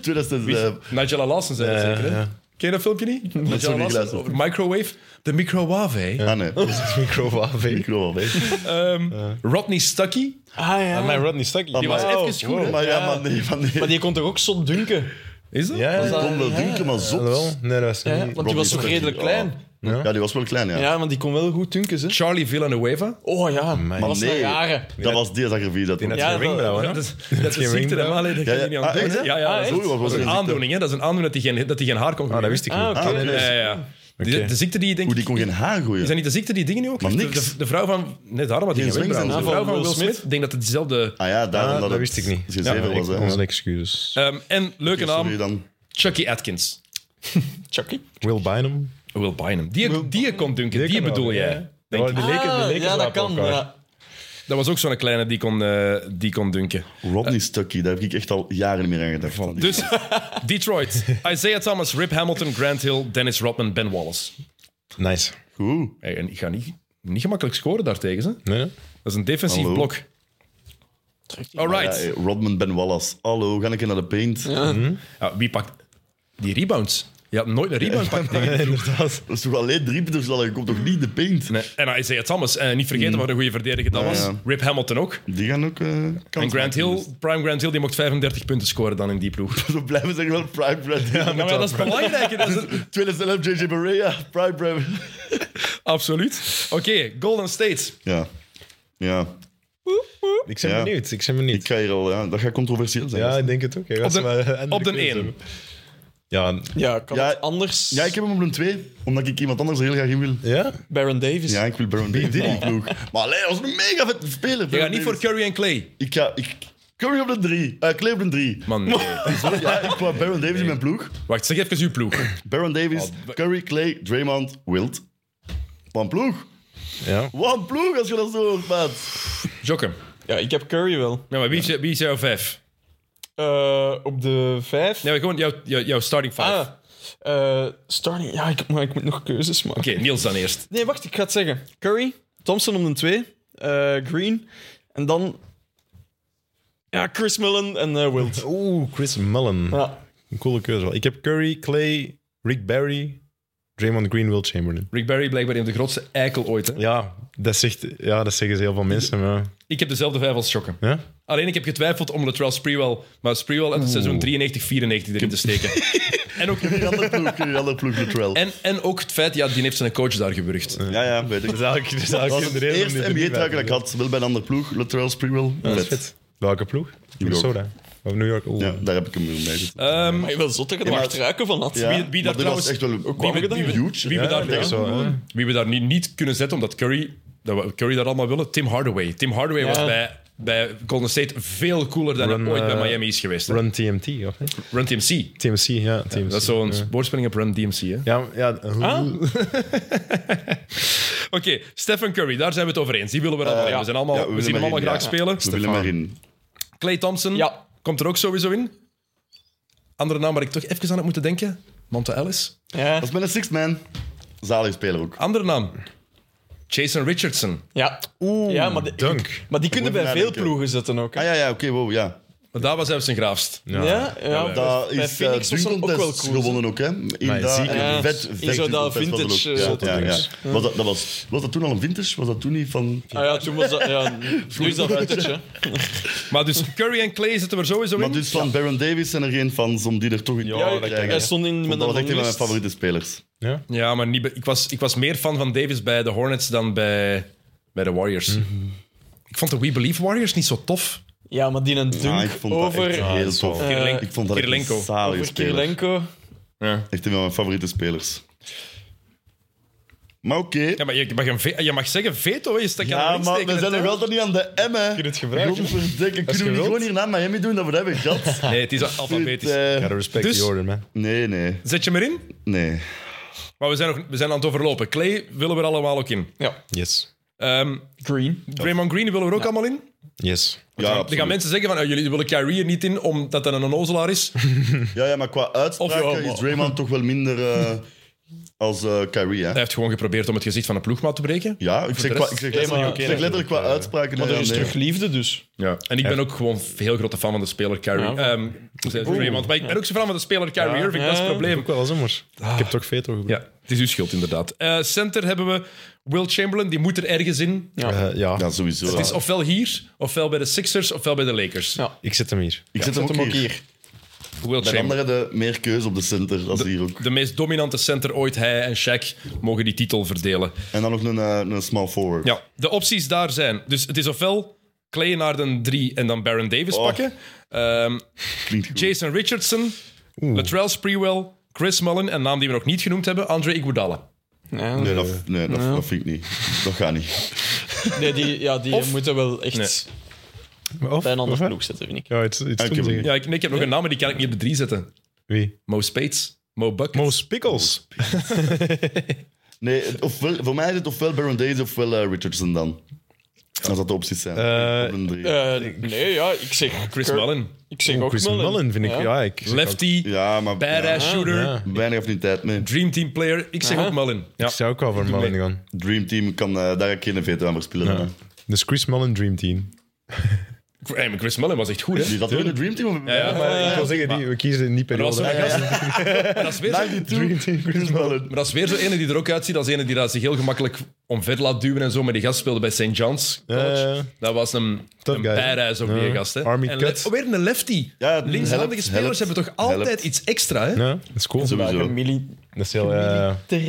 S6: 2000, eh,
S3: Nigella Lawson zei dat
S7: Ja,
S3: zeker, hè?
S7: ja.
S3: Ken je dat filmpje niet? Nigella
S6: niet
S3: Lawson
S6: geluisterd.
S3: over Microwave. De microwave.
S6: Ah, nee. Dat is
S7: Microwave.
S6: ik wel weg.
S3: Ehm, Rodney Stuckey.
S4: Ah, ja.
S7: Mijn Rodney Stuckey.
S3: Die was
S6: Amai.
S3: even goed, hè?
S6: Maar ja, maar nee, maar nee.
S4: Maar die eh, kon toch ook zot dunken?
S3: Is dat?
S7: Ja,
S6: Ik
S7: ja.
S6: kon wel denken, maar zot.
S7: Wel? Nee, dat was
S4: Hè?
S7: niet.
S4: Want die was toch
S6: Stuckey,
S4: redelijk
S6: ja.
S4: klein?
S6: Ja. die was wel klein, ja.
S4: Ja, want die kon wel goed dunken, hè?
S3: Charlie Villanueva.
S4: Oh ja, maar dat was
S6: nee.
S4: een rare.
S6: Dat was die zagervie dat
S7: Die net
S6: ja.
S4: Ja,
S7: geen ring
S4: dat-
S7: wel, hè?
S3: Dat
S7: <laughs>
S3: is, dat is een
S7: geen
S3: ziekte,
S7: ring,
S3: hè, maar alleen dat kan
S6: Ja,
S3: je
S6: ja.
S3: niet
S6: Ah,
S3: aan
S6: echt, hè?
S3: Ja, ja,
S4: Ah,
S3: dat is-
S4: echt?
S6: Zo, wat
S3: dat
S6: was
S3: is een
S6: de ziekte?
S3: aandoening, hè? Dat is een aandoening dat hij geen, dat hij geen haar kon
S7: Ah,
S3: groeien.
S7: dat wist ik
S4: Ah,
S7: niet.
S4: oké.
S6: Ah, nee, nee.
S3: Ja, ja, ja. Die-
S7: Oké.
S3: De ziekte die je denkt...
S6: Hoe die kon geen haar gooien.
S3: Zijn niet de ziekte die dingen nu ook
S6: Maar
S3: heeft?
S6: niks.
S3: De, de, de vrouw van... Nee, daarom had hij
S6: Geen
S3: geen wenkbrauwen.
S6: wenkbrauwen.
S3: De vrouw van Will Smith. Ik denk dat het dezelfde...
S6: Ah ja, daarom dat,
S7: Ah, dat
S6: het
S7: wist ik niet.
S6: Gezever was, hè.
S7: Onze excuses.
S3: Ehm, en leuke
S6: Ah. Sorry
S3: naam,
S6: dan.
S3: Chucky Atkins.
S4: Chucky.
S7: Will Bynum.
S3: Will Bynum. Die, die kon dunken, die,
S7: kan wel,
S3: bedoel
S7: ja.
S3: jij.
S7: Die waren- Oh, die leken, die
S4: Ah,
S7: leken
S4: ja,
S7: zo
S4: dat
S7: op
S4: kan.
S7: elkaar.
S4: Ja.
S3: Dat was ook zo'n kleine die kon, eh, die kon dunken.
S6: Rodney Stuckey, daar heb ik echt al jaren niet meer aan gedacht. Van die-
S3: Dus
S6: <laughs>
S3: Detroit. Isaiah Thomas, Rip Hamilton, Grant Hill, Dennis Rodman, Ben Wallace.
S6: Ah.
S7: Nice.
S6: Goed.
S3: Hey, en ik ga niet, niet gemakkelijk scoren daartegen. Hè?
S7: Nee, nee.
S3: Dat is een defensief
S6: Hallo.
S3: blok.
S6: Ja,
S3: Alright.
S6: hey, Rodman Ben Wallace. Hallo, ga ik naar de paint?
S3: Ja, wie pakt die rebounds? Je had nooit een rebound pakken tegen die ploeg.
S6: Dat is toch alleen drie punten dat je komt toch niet in de paint?
S3: Nee. En Isaiah Thomas. En niet vergeten wat een goede verdediger dat was.
S6: ja.
S3: Rip Hamilton ook.
S6: Die gaan ook eh
S3: En
S6: kans
S3: Grant
S6: maken,
S3: Hill, Prime Grant Hill, die mocht 35 punten scoren dan in die ploeg. Nou,
S6: dus. We blijven zeggen wel Prime Brad.
S3: Ja, maar dat is belangrijk. hè. Dat is het-
S6: <laughs> Tweede zelf JJ Barea, Prime Brad.
S3: Absoluut. Oké, Golden State.
S6: Ja. Ja,
S7: Ik ben
S6: Ja.
S7: benieuwd. Ik ben benieuwd.
S6: ik ga hier al, ja, dat gaat controversieel zijn.
S7: Ja, ik denk het ook. hè.
S3: Op de-
S7: Als we, eh, andere
S3: op de
S7: keuze
S3: één.
S7: hebben. Ja,
S4: Ja, kan
S6: Ja,
S4: het anders?
S6: Ja, ik heb hem op een 2, omdat ik iemand anders er heel graag in wil.
S7: ja?
S4: Baron Davis.
S6: Ja, ik wil Baron Davis in die ploeg. Maar allee, dat was een mega vet speler.
S3: Je
S6: Baron
S3: gaat niet
S6: Davis.
S3: voor Curry en Clay.
S6: Ik ga... Ik, Curry op een 3. eh Clay op een 3.
S3: Man, nee.
S6: Ja, ik wou Baron Davis in mijn ploeg.
S3: Wacht, zeg even uw ploeg.
S6: Baron Davis,
S7: Oh,
S6: Curry, Clay, Draymond, Wilt. Wat een ploeg.
S7: ja.
S6: Wat een ploeg als je dat zo hoort, maat.
S3: Jokken.
S4: Ja, ik heb Curry wel.
S3: Ja, maar wie, is- wie is jouw vijf?
S4: Eh, op de vijf.
S3: Nee, maar gewoon jouw, jouw, jouw starting five.
S4: Ah, eh, starting. Ja, ik, maar ik moet nog keuzes maken.
S3: Oké, Niels dan eerst.
S4: Nee, wacht, ik ga het zeggen. Curry, Thompson om de twee, eh, Green en dan Ja, Chris Mullen en eh, Wild.
S7: Oeh, Chris Mullen.
S4: Ja.
S7: Een coole keuze wel. Ik heb Curry, Clay, Rick Barry, Draymond Green, Will Chamberlain.
S3: Rick Barry blijkbaar een van de grootste eikel ooit. Hè?
S7: Ja, dat, zegt, ja, dat zeggen ze heel veel mensen. Maar,
S3: Ik heb dezelfde vijf als Shocken.
S7: ja?
S3: Alleen ik heb getwijfeld om Latrell Sprewell, maar Sprewell uit het seizoen 93-94 erin te
S6: <laughs>
S3: steken. en, ook,
S6: Die andere ploeg, die andere ploeg, de trail.
S3: en, en ook het feit, ja, die heeft zijn coach daar gewurgd.
S6: Ja, ja, weet ik.
S7: Dat is eigenlijk,
S6: Dat was het eerste NBA-truik dat ik had. Wel bij een andere ploeg, Latrell Sprewell. Vet.
S7: Welke ploeg? Minnesota. Of New York. Oeh.
S6: Ja, daar heb ik hem mee gezet.
S3: Ehm,
S4: Maar je wil zotte
S6: Ja, maar-
S4: gedacht ruiken van dat.
S6: Ja,
S3: wie dat
S6: maar dit
S3: trouwens-
S6: was echt wel ook
S3: wie we- wie we-
S6: huge.
S3: wie we
S6: Ja,
S3: daar-
S6: ik
S7: Echt
S6: denk
S7: zo, eh, hè.
S3: wie we daar nu niet kunnen zetten, omdat Curry, dat we Curry daar allemaal willen, Tim Hardaway. Tim Hardaway was bij, bij Golden State veel cooler dan
S7: Run,
S3: hij ooit bij
S7: eh,
S3: Miami is geweest. hè. Run,
S7: Run TMT, of niet?
S3: TMC.
S7: TMC, ja. TMC.
S3: Dat is zo'n woordspeling op Run DMC. Hè?
S7: Ja, ja. Ah.
S3: Oké, Stephen Curry, daar zijn we het over eens. Die willen we allemaal. in. we, zijn allemaal,
S6: Eh, Ja,
S3: we,
S6: willen
S3: zien hem
S6: maar
S3: allemaal
S6: in,
S3: graag
S6: ja.
S3: spelen.
S6: We willen maar in.
S3: Clay Thompson
S4: Ja.
S3: komt er ook sowieso in. Andere naam waar ik toch even aan heb moeten denken. Monta Ellis.
S4: Ja.
S6: Dat is met een six man. Zalig speler ook.
S3: Andere naam. Jason Richardson.
S4: Ja. ja, maar, die-
S7: Dunk.
S4: maar die kunnen
S6: Moet
S4: bij veel
S6: nadenken.
S4: ploegen zetten ook. Hè?
S6: Ah ja, ja, oké, wow, ja.
S3: Maar daar was hij op zijn graafst.
S4: Ja, ja,
S6: Dat
S4: bij
S6: is eh
S4: Phoenix was dat
S6: Dunkel
S4: ook wel
S6: Test
S4: cool.
S6: gewonnen ook, hè. In
S7: Maar
S6: dat
S7: zeker.
S6: en
S4: Ja.
S6: vet,
S4: In
S6: vet
S4: zo dat
S6: Dunkel Test was
S4: vintage,
S6: dat ook.
S7: eh,
S6: Ja, ja, ja.
S7: Zotte
S6: Was, dat, dat was, was dat toen al een vintage? Was dat toen niet van...
S4: Ah ja, toen was dat...
S6: <laughs>
S4: Ja, nu is dat vintage, hè.
S3: Maar dus Curry en Clay zitten we er sowieso
S6: Maar
S3: in.
S6: dus van Baron Davis zijn er geen fans om die er toch in te
S4: Ja,
S6: krijgen.
S4: hij stond in
S6: Want
S4: met
S6: dat was
S4: een
S6: echt een van mijn
S4: longlist.
S6: favoriete spelers.
S7: ja.
S3: Ja, maar niet, bij- ik, was, ik was meer fan van Davis bij de Hornets dan bij, bij de Warriors.
S6: Mhm.
S3: Ik vond de We Believe Warriors niet zo tof.
S4: Ja, maar die een dunk
S6: Ja, Ah, ik vond dat
S4: over,
S6: echt heel tof.
S3: Kirilen-
S6: ik vond dat echt
S3: Kirilenko.
S6: een zalige
S4: over
S6: speler.
S4: Kirilenko.
S6: Echt een van mijn favoriete spelers. Maar oké.
S3: Ja, maar je mag, een ve- je mag zeggen veto, hè. je steekt aan
S6: Ja,
S3: de
S6: maar we zijn nog
S3: wel...
S6: altijd niet aan de M, hè.
S7: je het gebruiken?
S6: Godverdikke,
S7: je
S6: Kunnen we niet
S7: wilt.
S6: gewoon hier naar Miami doen, dat we dat hebben
S4: <laughs>
S6: gehad?
S3: Nee, het is alfabetisch.
S6: Dit, eh,
S7: Gotta respect
S3: Dus-
S7: the order, man.
S6: nee, nee,
S3: Zet je maar in.
S6: nee.
S3: Maar we zijn, nog, we zijn aan het overlopen. Clay willen we er allemaal ook in.
S4: Ja,
S7: Yes.
S3: Ehm,
S4: Green.
S3: Draymond Green willen we er ook allemaal in.
S7: Yes.
S6: Ja,
S3: Dan gaan
S6: absoluut.
S3: mensen zeggen van, oh, jullie willen Kyrie er niet in omdat dat een onnozelaar
S6: <laughs>
S3: is.
S6: ja, ja, maar qua uitspraak
S3: Of ja,
S6: is
S3: maar-
S6: Draymond toch wel minder eh, als eh, Kyrie, hè?
S3: Hij heeft gewoon geprobeerd om het gezicht van een ploegmaat te breken.
S6: Ja, ik zeg,
S3: de
S6: qua,
S3: rest-
S6: ik zeg,
S4: Hey,
S6: letterlijk-
S4: maar ja,
S6: ik zeg letterlijk qua uitspraken.
S4: Maar
S6: nee,
S4: er is
S6: nee.
S4: terug liefde, dus.
S3: En ik ben ook gewoon heel grote fan van de speler Kyrie.
S4: Ja.
S3: Ehm, zei Draymond. Maar ik ben ook zo fan van de speler Kyrie Irving, dat is het
S4: Ja.
S3: probleem.
S7: Ook wel zommers. Ik heb toch veto gebruikt.
S3: Ja, het is uw schuld inderdaad. Eh, center hebben we Will Chamberlain, die moet er ergens in.
S7: Eh, ja.
S6: Ja, sowieso.
S3: Het is ofwel hier, ofwel bij de Sixers, ofwel bij de Lakers.
S4: Ja.
S7: Ik zet hem hier.
S6: ik zet hem ook hier.
S3: Will
S6: Bij de
S3: Chamberlain.
S6: anderen de meer keuze op de center als hier ook.
S3: De meest dominante center ooit, hij en Shaq mogen die titel verdelen.
S6: En dan nog een, eh, een small forward.
S3: Ja, de opties daar zijn. Dus het is ofwel Clay naar de 3 en dan Baron Davis
S6: Oh.
S3: pakken. Ehm,
S6: Klinkt goed.
S3: Jason Richardson, Latrell Sprewell, Chris Mullen en naam die we nog niet genoemd hebben, Andre Iguodala.
S4: Ja,
S6: Nee, Eh, dat, nee, dat, dat vind ik niet. Dat gaat niet.
S4: nee, die, ja, die moeten wel echt
S7: Of,
S4: bij een ander
S7: of-
S4: ploeg zetten, vind ik.
S7: Ja, het, het
S6: heb hem.
S7: stond hier.
S3: Ja, ik, nee, ik heb nog een naam, maar die kan ik niet op de 3 zetten.
S7: Wie?
S3: Mo Spates, Mo Buck.
S7: Mo Pickles.
S6: Nee, het- ofwel, voor mij is het ofwel Baron Days ofwel eh, Richardson dan. Als dat de opties zijn.
S7: Eh,
S6: Op een drie.
S4: Eh, nee, ja, ik Oh, zeg...
S3: Chris
S4: Kurt-
S3: Mullen.
S4: Ik zeg ook
S7: Oh, Chris
S4: Oh, Mullen.
S7: Mullen vind ik...
S4: Ja.
S7: Ja, ik...
S3: Lefty,
S6: ja, maar
S3: badass
S6: ja,
S3: shooter,
S7: Ja.
S6: weinig of niet tijd mee.
S3: dream team player. Ik zeg
S4: Aha.
S3: ook Mullen. Ja.
S7: Ik zou ook wel voor Mullen
S3: mee.
S7: gaan.
S6: Dream Team kan eh, daar ook geen veto aan voor spelen. hè.
S7: Dus Chris Mullen Dream Team.
S3: Hey, maar Chris Mullen was echt goed, hè?
S6: Die zat ook in de Dream Team? Of...
S3: Ja, maar
S7: ik wil zeggen, die, we kiezen niet per
S3: dat was
S7: periode.
S3: zo'n gast- <laughs> maar dat is weer zo'n-
S6: 92, Chris Mullen.
S3: maar dat is weer zo'n ene die er ook uitziet als ene die dat zich heel gemakkelijk omver laat duwen en zo. Maar die gast speelde bij St. John's College.
S7: Eh,
S3: Dat was een,
S7: Tough
S3: een
S7: guy.
S3: badass ook, die
S7: Ja.
S3: gast. Hè.
S7: Army
S3: en
S7: cut.
S3: lef- oh, weer een lefty.
S6: Ja,
S3: Linkshandige
S6: helpt,
S3: spelers
S6: helpt,
S3: hebben toch altijd
S6: helpt.
S3: iets extra, hè?
S7: ja, dat is cool.
S4: Maar
S6: Sowieso.
S4: gemili-
S7: Dat is heel... eh,
S4: ter-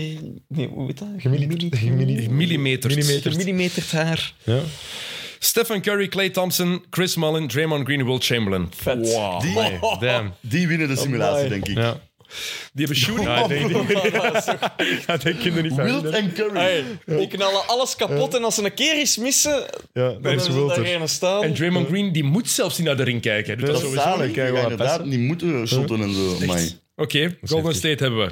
S4: Nee, hoe heet dat?
S7: Gemilli- gemilli-
S3: Millimeters.
S7: Millimeters.
S4: Gemillimeterd haar.
S7: Ja.
S3: Stephen Curry, Clay Thompson, Chris Mullen, Draymond Green, Will Chamberlain.
S4: Vet. <laughs>
S3: Wow.
S6: Die,
S7: Damn.
S6: Oh die winnen de simulatie, denk ik.
S7: Ja.
S3: Die hebben shooting.
S7: Ja, ik denk, ja, ik denk kinderen niet
S6: Wild
S7: verder.
S6: en Curry.
S4: Hey, die knallen alles kapot en als ze een keer iets missen,
S7: Ja, dat
S4: dan
S7: is
S4: hebben ze
S7: Wilter.
S4: daarin staan.
S3: En Draymond Green, die moet zelfs niet naar de ring kijken. Dus dat
S6: dat
S3: is
S6: is
S3: sowieso-
S6: zalig.
S7: kijk,
S6: Je
S7: wel
S6: gaat inderdaad
S7: passen.
S6: niet moeten shotten en zo. Amai.
S3: Oké, Golden State hebben we.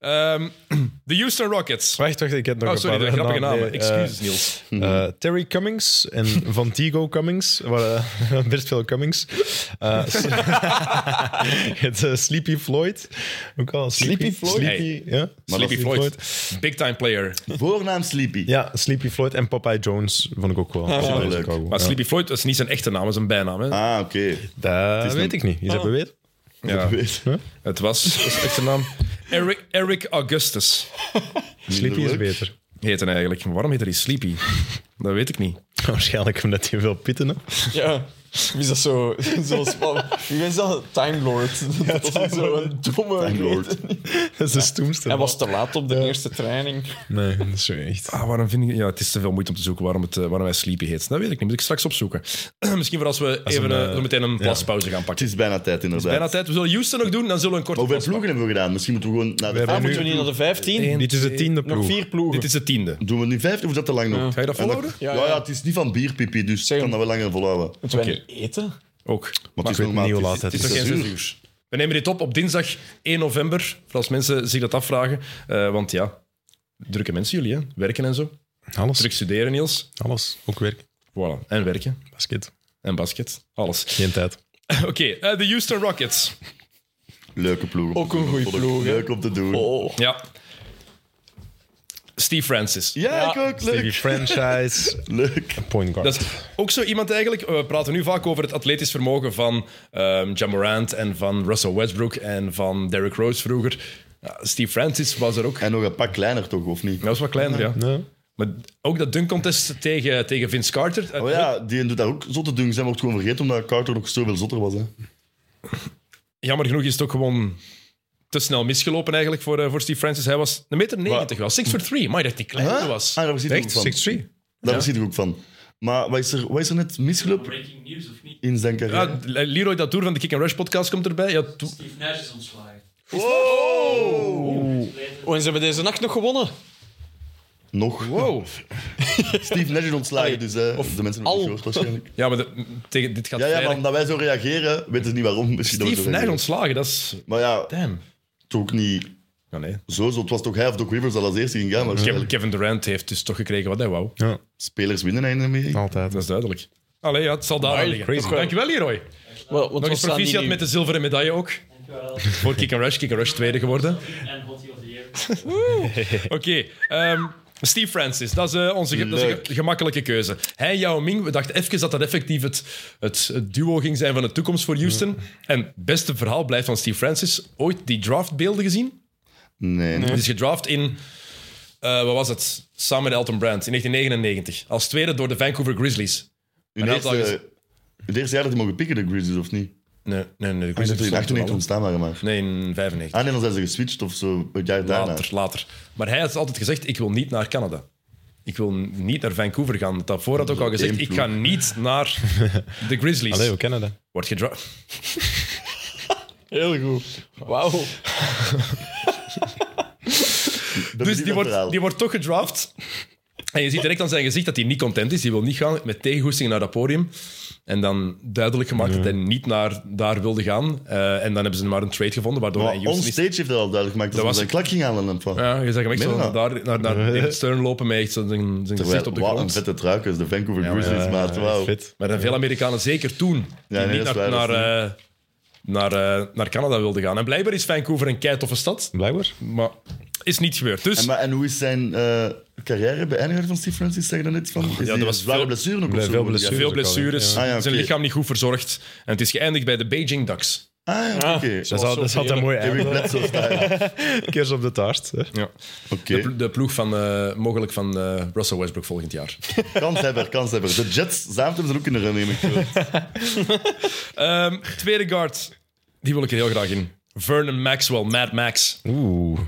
S3: Ehm, <clears throat> De Houston Rockets.
S7: Wacht, wacht, ik heb nog
S3: Oh,
S7: een
S3: sorry,
S7: paar
S3: de grappige
S7: namen.
S3: namen.
S7: Nee, eh,
S3: Excuses, Niels.
S7: eh, Terry Cummings en
S3: <laughs>
S7: Vantigo Cummings. Waar, eh, <laughs> best veel Cummings. Eh, <laughs> s- het eh, Sleepy Floyd. Ook al Sleepy,
S4: Sleepy Floyd?
S7: Sleepy, ja.
S3: Sleepy Floyd. Big time player.
S6: Voornaam Sleepy.
S7: Ja, Sleepy Floyd en Popeye Jones vond ik ook wel. Dat was
S6: leuk.
S7: ook wel goed.
S3: Maar
S7: Ja.
S3: Sleepy Floyd dat is niet zijn echte naam, dat is een bijnaam. Hè?
S6: Ah, oké.
S7: Dat
S6: is
S7: weet
S6: een-
S7: ik niet. Is dat beweerd?
S3: ja.
S6: Weet.
S3: Het was, dat is echt zijn naam. Eric, Eric Augustus
S7: Sleepy is
S6: leuk.
S7: beter. <laughs>
S3: heet hij eigenlijk. Maar waarom heet hij Sleepy? Dat weet ik niet.
S7: Waarschijnlijk omdat hij veel pitten had.
S4: Ja. Wie is dat zo? <laughs> Zoals, wie is dat? Time <laughs> Lord. Dat was zo'n domme...
S6: Time Lord.
S7: Dat is de stoemste.
S4: Hij was te laat op de eerste training.
S7: Nee, dat is echt.
S3: Ah, waarom vind ik... Ja, het is te veel moeite om te zoeken waarom, het, eh, waarom hij Sleepy heet. Dat weet ik niet. Moet ik straks opzoeken. <clears throat> Misschien voor als we even
S7: een,
S3: eh,
S7: eh,
S3: zo meteen een plaspauze gaan
S6: Het
S3: pakken.
S6: is bijna tijd, inderdaad.
S3: Bijna tijd. We zullen Houston nog doen, dan zullen we een korte
S6: Hoeveel
S3: plas
S6: ploegen hebben we gedaan? Misschien moeten we gewoon naar de
S7: hebben
S4: Ah,
S6: vijf-
S4: moeten we niet naar de 15?
S3: Eén.
S7: Dit is de tiende
S4: Nog
S7: ploeg.
S4: vier ploegen.
S3: pakken. Dit is de tiende.
S6: Doen we nu vijftig of is dat te lang nog?
S3: Ga je dat volhouden?
S6: Ja,
S4: Ja,
S6: ja.
S4: ja.
S6: het is niet van bierpipi, dus ik
S4: Zeg-
S6: kan dat wel langer volhouden.
S4: Moeten wij niet eten?
S3: Ook.
S6: Maar het is
S7: weet
S6: normaal.
S7: niet hoe
S6: het het
S7: laat het is.
S3: nog
S6: zes
S3: geen zes
S6: uur.
S3: uur. We nemen dit op op dinsdag 1 november, voor als mensen zich dat afvragen. Eh, want ja, drukke mensen jullie, hè? Werken en zo. Druk
S7: Alles.
S3: studeren, Niels.
S7: Alles. Ook werk.
S3: Voilà. En werken.
S7: Basket.
S3: En basket. Alles.
S7: Geen tijd.
S3: <laughs> Oké, eh, de Houston Rockets.
S6: Leuke ploeg. om
S4: Ook
S6: te
S4: een
S6: doen.
S4: goeie
S6: Vond ik
S4: ploeg, hè?
S6: Leuk om te doen.
S4: Oh.
S3: Ja. Steve Francis.
S6: Ja, ik ook.
S7: Stevie
S6: Leuk.
S7: Franchise.
S6: Leuk.
S7: <laughs> Point guard.
S3: Dat is ook zo iemand eigenlijk. Eh, We praten nu vaak over het atletisch vermogen van ehm Ja Morant en van Russell Westbrook en van Derrick Rose vroeger. Ja, Steve Francis was er ook.
S6: En nog een pak kleiner toch, of niet?
S3: Dat was wat kleiner, ja.
S7: Nee.
S3: Maar ook dat dunk contest tegen, tegen Vince Carter. eh,
S6: Oh ja, die doet daar ook zotte dingen. Zijn wordt gewoon vergeten omdat Carter nog zoveel zotter was. Hè.
S3: Jammer genoeg is het ook gewoon te snel misgelopen eigenlijk voor, eh, voor Steve Francis. Hij was een meter 90 wel. 6 for 3. Maar ik dacht die kleiner
S6: Huh?
S3: was.
S6: Ah, daar zit ik ook
S3: Echt?
S6: van.
S3: 6'3"?
S6: Daar zit ik ook van. Maar wat is er, wat is er net misgelopen? Breaking news of niet? In zijn carrière.
S3: Ja, Leroy Datour van de Kick and Rush podcast komt erbij. Ja, to-
S8: Steve Nash is ontslagen.
S4: Oh, en ze hebben deze nacht nog gewonnen.
S6: Nog.
S3: wow.
S6: <laughs> Steve Nash is ontslagen, dus hè, de mensen hebben het
S4: al.
S6: gehoord waarschijnlijk.
S3: Ja, maar de- tegen, dit gaat
S6: Ja, ja, maar
S3: vrijdag.
S6: omdat wij zo reageren, weten ze niet waarom. Misschien dat we
S3: Steve
S6: zo
S3: Nash
S6: reageren.
S3: ontslagen, dat is...
S6: Maar ja,
S3: Damn.
S6: toch ook niet
S3: Ja, nee.
S6: zo zot. Het was toch hij of Doc Rivers dat als eerste ging gaan.
S3: Dus Kevin,
S6: waarschijnlijk.
S3: Kevin Durant heeft dus toch gekregen wat hij wou.
S7: Ja,
S6: Spelers winnen hè, in Amerika.
S7: altijd.
S3: Dat is duidelijk. Allee, ja, het zal daar aan liggen.
S7: crazy.
S3: Dankjewel, Leroy.
S4: Wel, want
S3: Nog eens proficiat met de zilveren medaille ook. <laughs>
S8: Dankjewel.
S3: Voor Kick and Rush. Kick and Rush tweede geworden.
S8: En Hottie of the Year.
S3: Oké, ehm, Steve Francis, dat is eh, onze ge- dat is een
S6: Leuk.
S3: ge- gemakkelijke keuze. Hij en Yao Ming, we dachten even dat dat effectief het, het, het duo ging zijn van de toekomst voor Houston. En het beste verhaal blijft van Steve Francis. Ooit die draftbeelden gezien?
S6: Nee,
S3: Het is gedraft in, eh, wat was het? Samen met Elton Brand in 1999. Als tweede door de Vancouver Grizzlies.
S6: Hun
S3: Maar dat
S6: eerste,
S3: is-
S6: het eerste jaar dat die mogen pikken, de Grizzlies, of niet?
S3: Nee, nee, nee. De
S6: Die zijn
S3: Grizzlies
S6: er in
S3: stonden er
S6: 98
S3: al.
S6: ontstaan waren, maar...
S3: Nee, in 95.
S6: Ah nee, dan zijn ze geswitcht of zo, het jaar daarna.
S3: Later, later. Maar hij had altijd gezegd, ik wil niet naar Canada. Ik wil niet naar Vancouver gaan. Daarvoor had ook al gezegd,
S6: Eén
S3: ik
S6: ploeg.
S3: ga niet
S6: <laughs>
S3: naar de Grizzlies.
S7: Allee, we kennen dat.
S3: Wordt gedraft.
S4: Heel goed.
S3: <laughs>
S4: Wauw.
S6: Dat is
S3: Dus
S6: niet
S3: die
S6: dat verhaal.
S3: wordt, die wordt toch gedraft. En je ziet direct aan zijn gezicht dat hij niet content is. Die wil niet gaan met tegengoesting naar dat podium. En dan duidelijk gemaakt dat hij niet naar daar wilde gaan. Eh, en dan hebben ze maar een trade gevonden, waardoor hij in
S6: Maar
S3: Houston is.
S6: onstage heeft dat al duidelijk gemaakt. Dat,
S3: Dat
S6: was een
S3: was-
S6: klak ging halen. en van.
S3: Ja, je zag hem echt zo
S6: Meen je
S3: daar, naar, naar David Stern lopen met echt zo zijn, zijn
S6: Terwijl,
S3: gezicht op de
S6: Wat een
S3: grond.
S6: vette truikers, de Vancouver Grizzlies,
S7: Ja,
S6: maat.
S7: ja,
S6: Wauw.
S7: Vet.
S3: Maar dan veel Amerikanen, zeker toen, die
S6: nee,
S3: niet
S6: dat
S3: naar,
S6: is
S3: naar,
S6: waar, dat is
S3: eh, naar, eh, naar Canada wilden gaan. En blijkbaar is Vancouver een keitoffe stad,
S7: Blijkbaar.
S3: maar is niet gebeurd. Dus
S6: En, maar, en hoe is zijn eh, carrière beëindigd van Steve Francis? Zeg je dat net van? Is
S3: dat
S6: die
S3: was
S6: zware
S3: veel-
S6: blessure nog
S7: Nee,
S6: of zo?
S7: veel
S6: Ja.
S7: blessure.
S3: veel blessures,
S6: Ah, ja, oké.
S3: zijn lichaam niet goed verzorgd. En het is geëindigd bij de Beijing Ducks.
S6: Ah, ja, oké.
S7: Dat is, al, dat is altijd mooi
S6: Eric
S7: einde.
S6: Bledsoe style.
S7: <laughs> Keers op de taart. hè.
S3: Ja.
S7: <laughs>
S6: Oké,
S3: De, de ploeg van, eh, mogelijk van eh, Russell Westbrook volgend
S6: <laughs>
S3: jaar.
S6: kanshebber, kanshebber. De Jets, zaterdag hebben ze ook in de running.
S7: <laughs>
S6: heb ik gehoord.
S3: Ehm, tweede guard, die wil ik er heel graag in. Vernon Maxwell, Mad Max.
S7: Oeh.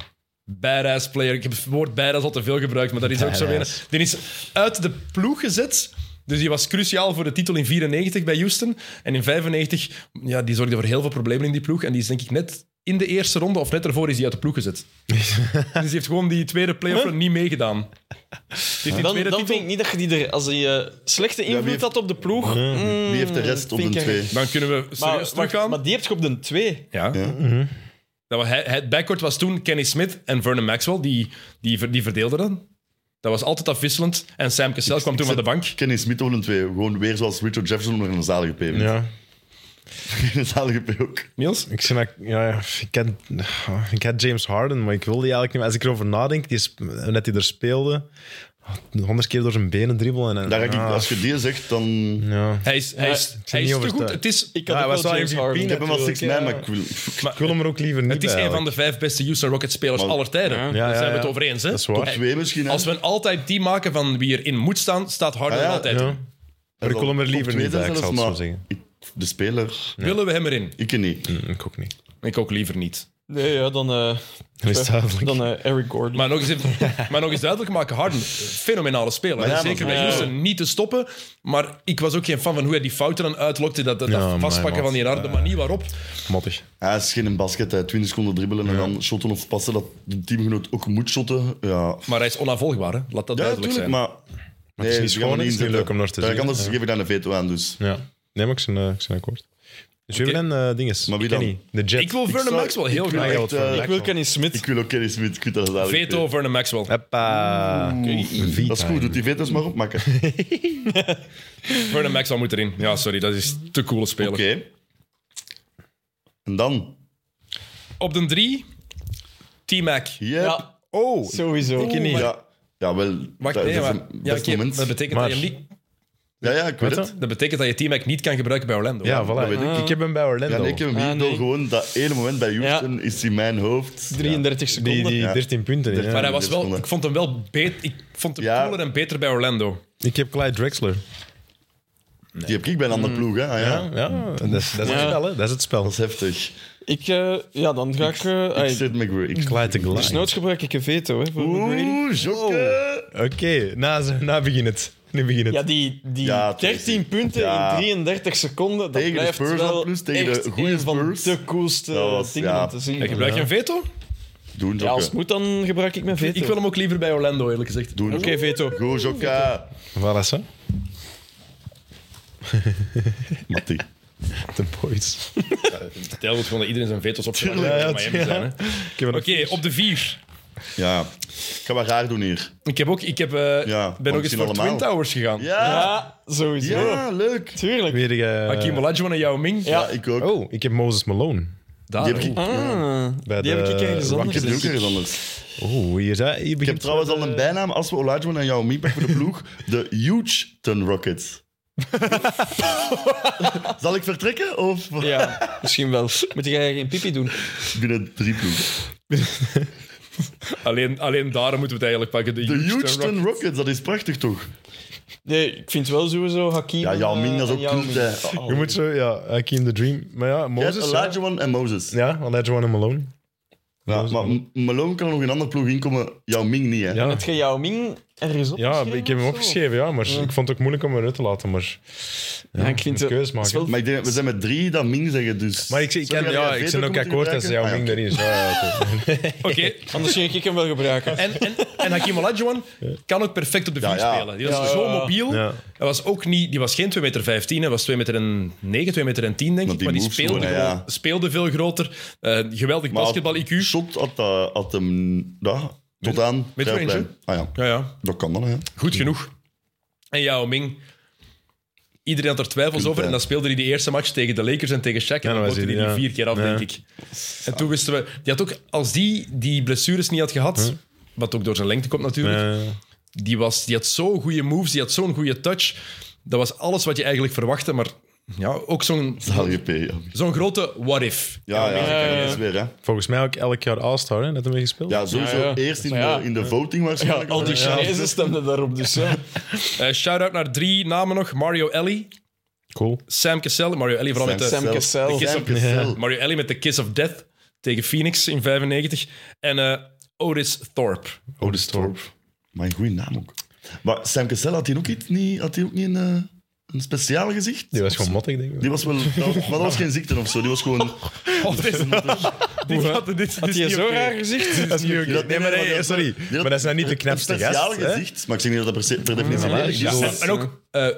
S3: badass player. Ik heb het woord badass al te veel gebruikt, maar dat is ook zo weer.
S7: Badass.
S3: Die is uit de ploeg gezet. Dus die was cruciaal voor de titel in 94 bij Houston. En in 95, ja, die zorgde voor heel veel problemen in die ploeg. En die is denk ik net in de eerste ronde, of net ervoor, is die uit de ploeg gezet. dus die heeft gewoon die tweede playoff run niet meegedaan. Die heeft die
S4: Dan,
S3: tweede
S4: dan
S3: titel-
S4: vind ik niet dat je die er... Als hij eh, slechte invloed
S6: heeft-
S4: had op de ploeg...
S6: Wie heeft de rest op
S4: vind
S6: de
S4: ik
S6: twee?
S3: Dan kunnen we serieus
S4: Maar,
S3: teruggaan.
S4: maar die heeft je op de 2.
S3: ja. Dat was, hij- het backcourt was toen Kenny Smith en Vernon Maxwell, die, die, ver- die verdeelden dat. Dat was altijd afwisselend. En Sam Cassell kwam toen van de bank.
S6: Kenny Smith over een twee. Gewoon weer zoals Richard Jefferson, maar in een zalige P. Ja.
S7: Ja.
S6: <laughs> In een zalige P ook.
S3: Niels?
S7: Ik, zeg maar, ja, ja, ik, had, ik had James Harden, maar ik wilde die eigenlijk niet. meer. Als ik erover nadenk, die, sp- net die er speelde, honderd keer door zijn benen dribbelen. En,
S6: Daar ga ik,
S7: ah,
S6: als je die zegt, dan...
S7: ja.
S3: Hij is, hij is, hij is te
S7: overtuigd.
S3: goed. Het is,
S4: Ik had
S7: Ja,
S4: ook
S7: hij was
S4: wel
S7: wel
S4: James
S7: MVP,
S4: Harden.
S6: Ik heb hem als 6 man,
S4: natuurlijk,
S6: maar
S4: ja.
S6: ik wil...
S7: Ik wil hem er ook liever niet
S3: het is
S7: bij,
S3: een van
S7: eigenlijk.
S3: de vijf beste Houston Rockets spelers
S6: Maar-
S3: aller tijden.
S4: Ja.
S7: Ja,
S3: Daar
S7: ja,
S3: zijn we het
S7: ja.
S3: over eens. Hè?
S7: Dat is waar.
S3: Hij-
S6: Twee misschien, hè.
S3: Als we een altijd team maken van wie erin moet staan, staat Harden
S6: Ah, ja.
S3: altijd. in.
S7: Ja. Maar ik wil hem er liever niet bij, ik zal het zo zeggen.
S6: ik- de speler,
S3: Willen we hem erin?
S6: ik niet.
S7: Mm, Ik ook niet.
S3: Ik ook liever niet.
S4: Nee, ja, dan, eh,
S7: Dat is duidelijk.
S4: dan eh, Eric Gordon.
S3: Maar nog eens,
S6: <laughs>
S3: even- maar nog eens duidelijk maken, Harden, fenomenale speler.
S6: ja, maar-
S3: Zeker bij
S6: Ja.
S3: Houston, niet te stoppen. Maar ik was ook geen fan van hoe hij die fouten dan uitlokte. Dat, dat, dat
S7: Ja, maar
S3: vastpakken
S7: wat,
S3: van die harde manier waarop.
S7: Mottig.
S6: Hij is geen basket, hij 20 seconden dribbelen en dan shotten of passen dat de teamgenoot ook moet shotten. Ja,
S3: Maar hij is onafvolgbaar, hè? laat dat
S6: ja
S3: duidelijk
S6: natuurlijk,
S3: zijn.
S6: maar...
S7: Maar het is niet
S6: die gaan we
S7: schoon, het is niet
S6: inzetten.
S7: leuk om naar te
S6: Daar
S7: zien.
S6: Anders geef ik daar een veto aan, dus...
S3: Oh,
S7: Ja. Nee, maar ik zijn, eh, ik zijn akkoord. Julian eh dinges.
S6: Maar wie
S7: Ik ken
S6: dan?
S7: niet. De Jet.
S3: Ik wil
S6: Ik
S3: Vernon
S6: zou-
S3: Maxwell
S6: ik
S3: heel
S6: wil
S3: graag.
S7: ja,
S6: echt,
S7: wat voor-
S6: eh,
S4: ik wil Kenny Smith.
S6: Ik wil ook Kenny Smith, ik weet dat eigenlijk
S3: Veto Vernon Maxwell.
S7: Hoppa. Vita.
S6: Dat is goed, doet die veto's maar opmaken. Oké,
S3: Vernon Maxwell moet erin. Ja, sorry, dat is te coole speler.
S6: en dan?
S3: Op de drie, T-Mac.
S6: Yep. Ja.
S4: Ja,
S7: Oh,
S4: sowieso.
S7: ik ken niet.
S6: Ja, wel.
S3: Wacht,
S6: dat,
S3: nee,
S6: dat
S3: maar...
S6: is een
S3: Ja,
S6: best
S3: oké,
S6: moment.
S3: dat, betekent
S7: Maar-
S3: dat je hem niet,
S6: Ja, ja, ik weet
S7: Wat
S6: het.
S3: dat betekent dat je T-Mac niet kan gebruiken bij Orlando.
S7: Ja,
S3: hè?
S7: voilà.
S6: weet
S7: ik. heb hem bij Orlando.
S6: Ja, nee, ik heb hem hier
S4: Ah,
S6: door
S4: nee.
S6: gewoon dat ene moment bij Houston is in mijn hoofd.
S4: 33 seconden.
S7: Die, die
S6: Ja.
S7: 13 punten. ja.
S3: Maar hij was
S6: dit
S3: wel,
S6: seconden.
S3: ik vond hem wel beter. Ik vond hem
S6: Ja.
S3: cooler en beter bij Orlando.
S7: Ik heb Clyde Drexler.
S6: Die heb ik bij een andere
S3: Mm.
S6: ploeg, hè? Ah, ja.
S7: Ja, dat, is, dat is het
S4: Ja.
S7: spel, hè? Dat is het spel.
S6: Dat is heftig.
S4: Ik, eh, ja, dan ga ik... eh,
S6: Ik
S4: ai,
S6: zit met Gray. Ik-
S7: Clyde de Glide.
S4: Snoods gebruik ik een veto, hè, voor Brady.
S6: Oeh, jokke.
S7: Oké, na, na begin het. Nu begin het.
S4: Ja, die, die
S6: Ja,
S4: 13 punten
S6: Ja.
S4: in 33 seconden, dat
S6: Tegen de
S4: blijft
S6: Spurs
S4: wel
S6: al plus, tegen de
S4: echt
S6: goede
S4: een van
S6: Spurs.
S4: de coolste
S6: Dat was-
S4: dingen
S6: ja.
S4: om te zien.
S3: En gebruik je een veto?
S6: Doen,
S4: Ja, als het
S6: jokke.
S4: moet, dan gebruik ik mijn veto.
S3: Ik wil hem ook liever bij Orlando, eerlijk gezegd.
S6: Doen,
S4: Oké,
S6: jokke.
S4: veto.
S6: Go, jokke.
S7: Voilà, zo.
S6: Matti.
S7: The boys.
S3: Tel wil gewoon dat iedereen zijn veto's op Miami zijn. hè.
S7: Ik heb er nog-
S3: Oké, op de vier.
S6: Ja. Ik ga wat raar doen hier.
S3: Ik heb ook, ik heb, eh,
S6: Ja,
S3: ben
S6: want
S3: ook eens
S6: zien
S3: voor
S6: allemaal.
S3: Twin Towers gegaan.
S6: Ja.
S4: Ja, sowieso.
S6: Ja, leuk.
S4: Tuurlijk.
S7: Weer, eh,
S3: Hakim Olajuwon en Yao Ming.
S6: Ja, ik ook.
S7: Oh, ik heb Moses Malone.
S3: Daar,
S6: Die heb ik,
S3: oh.
S4: Ah,
S7: Bij
S4: die
S7: de
S4: heb ik ergens
S6: ik
S4: anders.
S6: heb die ook
S4: gezien.
S6: ergens anders.
S7: Oh, hier, zijn- hier
S6: Ik heb
S7: begint
S6: trouwens al een bijnaam als we Olajuwon en jou meepakken voor de ploeg. De Houston Rockets. Zal ik vertrekken of
S4: Ja, misschien wel. Moet jij geen pipi doen?
S6: binnen drie ploegen?
S3: alleen, alleen daar moeten we het eigenlijk pakken. De,
S6: De
S3: Houston
S6: Houston
S3: Rockets.
S6: Rockets, dat is prachtig toch?
S4: Nee, ik vind wel sowieso Hakim...
S6: Ja, Yao Ming, dat is
S4: eh,
S6: ook
S4: Yao
S6: kult,
S4: Ming.
S6: hè.
S7: Je moet zo, ja, Hakim the Dream. Maar ja,
S6: Je hebt
S7: Moses. Ja,
S6: Olajuwon en Moses. Ja,
S7: ja Olajuwon en Malone. Moses
S6: maar
S7: Malone.
S6: M- Malone kan nog in een andere ploeg inkomen, Yao Ming niet, hè?
S7: Ja.
S4: Heb jij Yao Ming ergens op?
S7: Ja, ik heb hem opgeschreven, ja, maar ik vond het ook moeilijk om hem eruit te laten. Maar,
S4: Ja, ik vind
S7: moet
S4: het...
S7: keus maken.
S4: het is wel
S6: Maar ik denk, we zijn met drie dat Ming zeggen, dus...
S7: maar ik, zie- ik,
S6: Zou
S7: ken,
S6: jij
S7: ja,
S6: dat
S7: ik
S6: veto
S7: ben ook
S6: moeten
S7: akkoord als
S6: gebruiken?
S7: jouw
S6: Ah,
S7: Ming
S6: ja,
S7: erin is. Ja, ja, oké.
S3: Oké,
S4: Anders ging ik hem wel gebruiken.
S3: en, en, en Hakim Olajuwon kan ook perfect op de vier
S6: ja.
S3: spelen. Die was
S4: Ja,
S3: zo
S4: ja.
S3: mobiel.
S7: Ja.
S3: Hij was ook niet, die was geen 2,15 meter, hij was 2,9 meter, 2,10 meter, denk ik.
S6: die
S3: Maar die
S6: moves
S3: speelde,
S6: gewoon,
S3: gewoon-
S6: ja.
S3: speelde veel groter. Eh, geweldig
S6: Maar
S3: basketbal-IQ.
S6: Shot had, eh, had hem... Ja, tot aan...
S3: midrange,
S6: vrijplein. Ah ja,
S3: Ja, ja,
S6: dat kan dan, hè.
S3: goed genoeg. En Yao Ming. Iedereen had er twijfels
S6: Punt,
S3: over.
S6: hè.
S3: En dan speelde hij die eerste match tegen de Lakers en tegen Shaq. En
S7: Ja,
S3: dan
S7: dat was
S3: pakte hij die
S7: hij, ja.
S3: vier keer af,
S7: Ja.
S3: denk ik. En toen wisten we... Die had ook, als die die blessures niet had gehad... Wat ook door zijn lengte komt natuurlijk.
S7: Eh,
S3: Die, was, die had zo'n goede moves, die had zo'n goede touch. Dat was alles wat je eigenlijk verwachtte. Maar ja, ook zo'n
S6: HGP, ja.
S3: zo'n grote what-if.
S6: Ja, ja,
S4: ja, ja.
S6: dat is weer, hè.
S7: volgens mij ook elk jaar All-Star, hè, net ermee gespeeld.
S6: Ja, sowieso
S4: Ja, ja.
S6: eerst in,
S4: Maar ja.
S6: de, in de voting
S4: Ja,
S6: waarschijnlijk.
S4: al die Chinezen stemden daarop, dus ja.
S3: Eh, Shout-out naar drie namen nog. Mario Ellie,
S7: Cool.
S3: Sam Cassell. Mario Ellie vooral met de...
S4: Sam Cassell.
S6: Sam
S4: Sam
S6: Cassell.
S3: Mario Ellie met de Kiss of Death tegen Phoenix in 95. En eh, Otis Thorpe.
S6: Otis Thorpe. Maar een goede naam ook. Maar Sam Cassell had hij ook niet, niet, had hij ook niet een, eh, een speciaal gezicht?
S7: Die was gewoon mottig, denk ik.
S6: Die was wel,
S4: <laughs>
S6: dat- maar dat was geen ziekte of zo. Die was gewoon.
S3: Oh, <laughs> dit, dit, gaat- dit, dit is
S4: Die
S3: niet
S4: zo
S3: oké.
S4: raar gezicht.
S7: Dat is niet oké. Nee, maar nee, sorry. Maar dat is nou niet de
S6: Een
S7: knapste
S6: speciaal
S7: gast. hè?
S6: gezicht. Maar ik zeg niet dat dat per, se- per definitie
S7: maar
S6: lelijk
S7: ik
S6: is.
S3: En, en ook eh,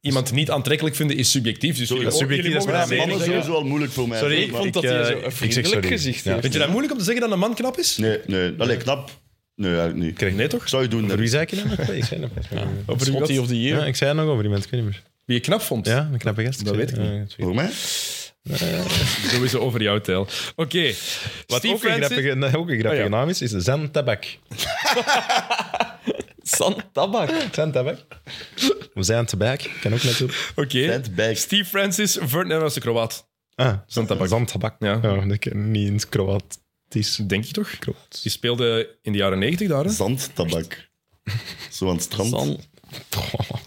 S3: iemand niet aantrekkelijk vinden is subjectief. Dus jullie,
S6: dat is
S3: mogen- jullie
S7: subjectief,
S3: mogen
S7: dat
S3: dat
S7: is
S3: zeker
S6: Mannen
S3: zeggen.
S6: sowieso al moeilijk voor mij.
S3: Sorry,
S6: vind
S4: Ik
S6: maar-
S4: vond dat
S7: ik,
S4: hij
S7: eh,
S4: zo een
S7: ik zeg
S4: vriendelijk
S7: sorry.
S4: gezicht
S7: Ja.
S4: heeft.
S3: Vind je dat moeilijk om te zeggen dat een man knap is?
S6: Nee, nee. Allee, knap. Nee, eigenlijk niet.
S7: Krijg-
S3: Nee, toch?
S6: Ik zou je doen.
S7: Voor
S6: hè.
S7: wie zei ik het nou nog? Ik zei het nog.
S3: Over wie
S4: Scotty
S3: wat?
S4: of the Year.
S7: Ja, ik zei het nog over die mensen, ik weet niet meer.
S3: Wie je knap vond?
S7: Ja, een knappe gast.
S3: Dat weet ik
S7: niet.
S6: Voor mij?
S3: Sowieso over jouw tel. Oké.
S7: Wat
S3: Steve
S7: ook een
S3: Francis-
S7: grappige, nee, ook een grappige
S3: Ah, ja.
S7: naam is, is Zen Tabak.
S4: San Tabak.
S7: Zen Tabak. Zen Tabak, kan ook natuurlijk.
S3: Oké.
S6: Bent bij.
S3: Steve Francis, Vern, nee, dat was de Kroaat.
S7: Ah,
S3: Zen Tabak.
S7: Zen Tabak.
S3: Ja.
S7: Ja. dat ken niet in het Kroatisch.
S3: Denk je toch?
S7: Kroatisch.
S3: Die speelde in de jaren 90 daar. Hè?
S6: Zandtabak. Zo aan het strand.
S4: San.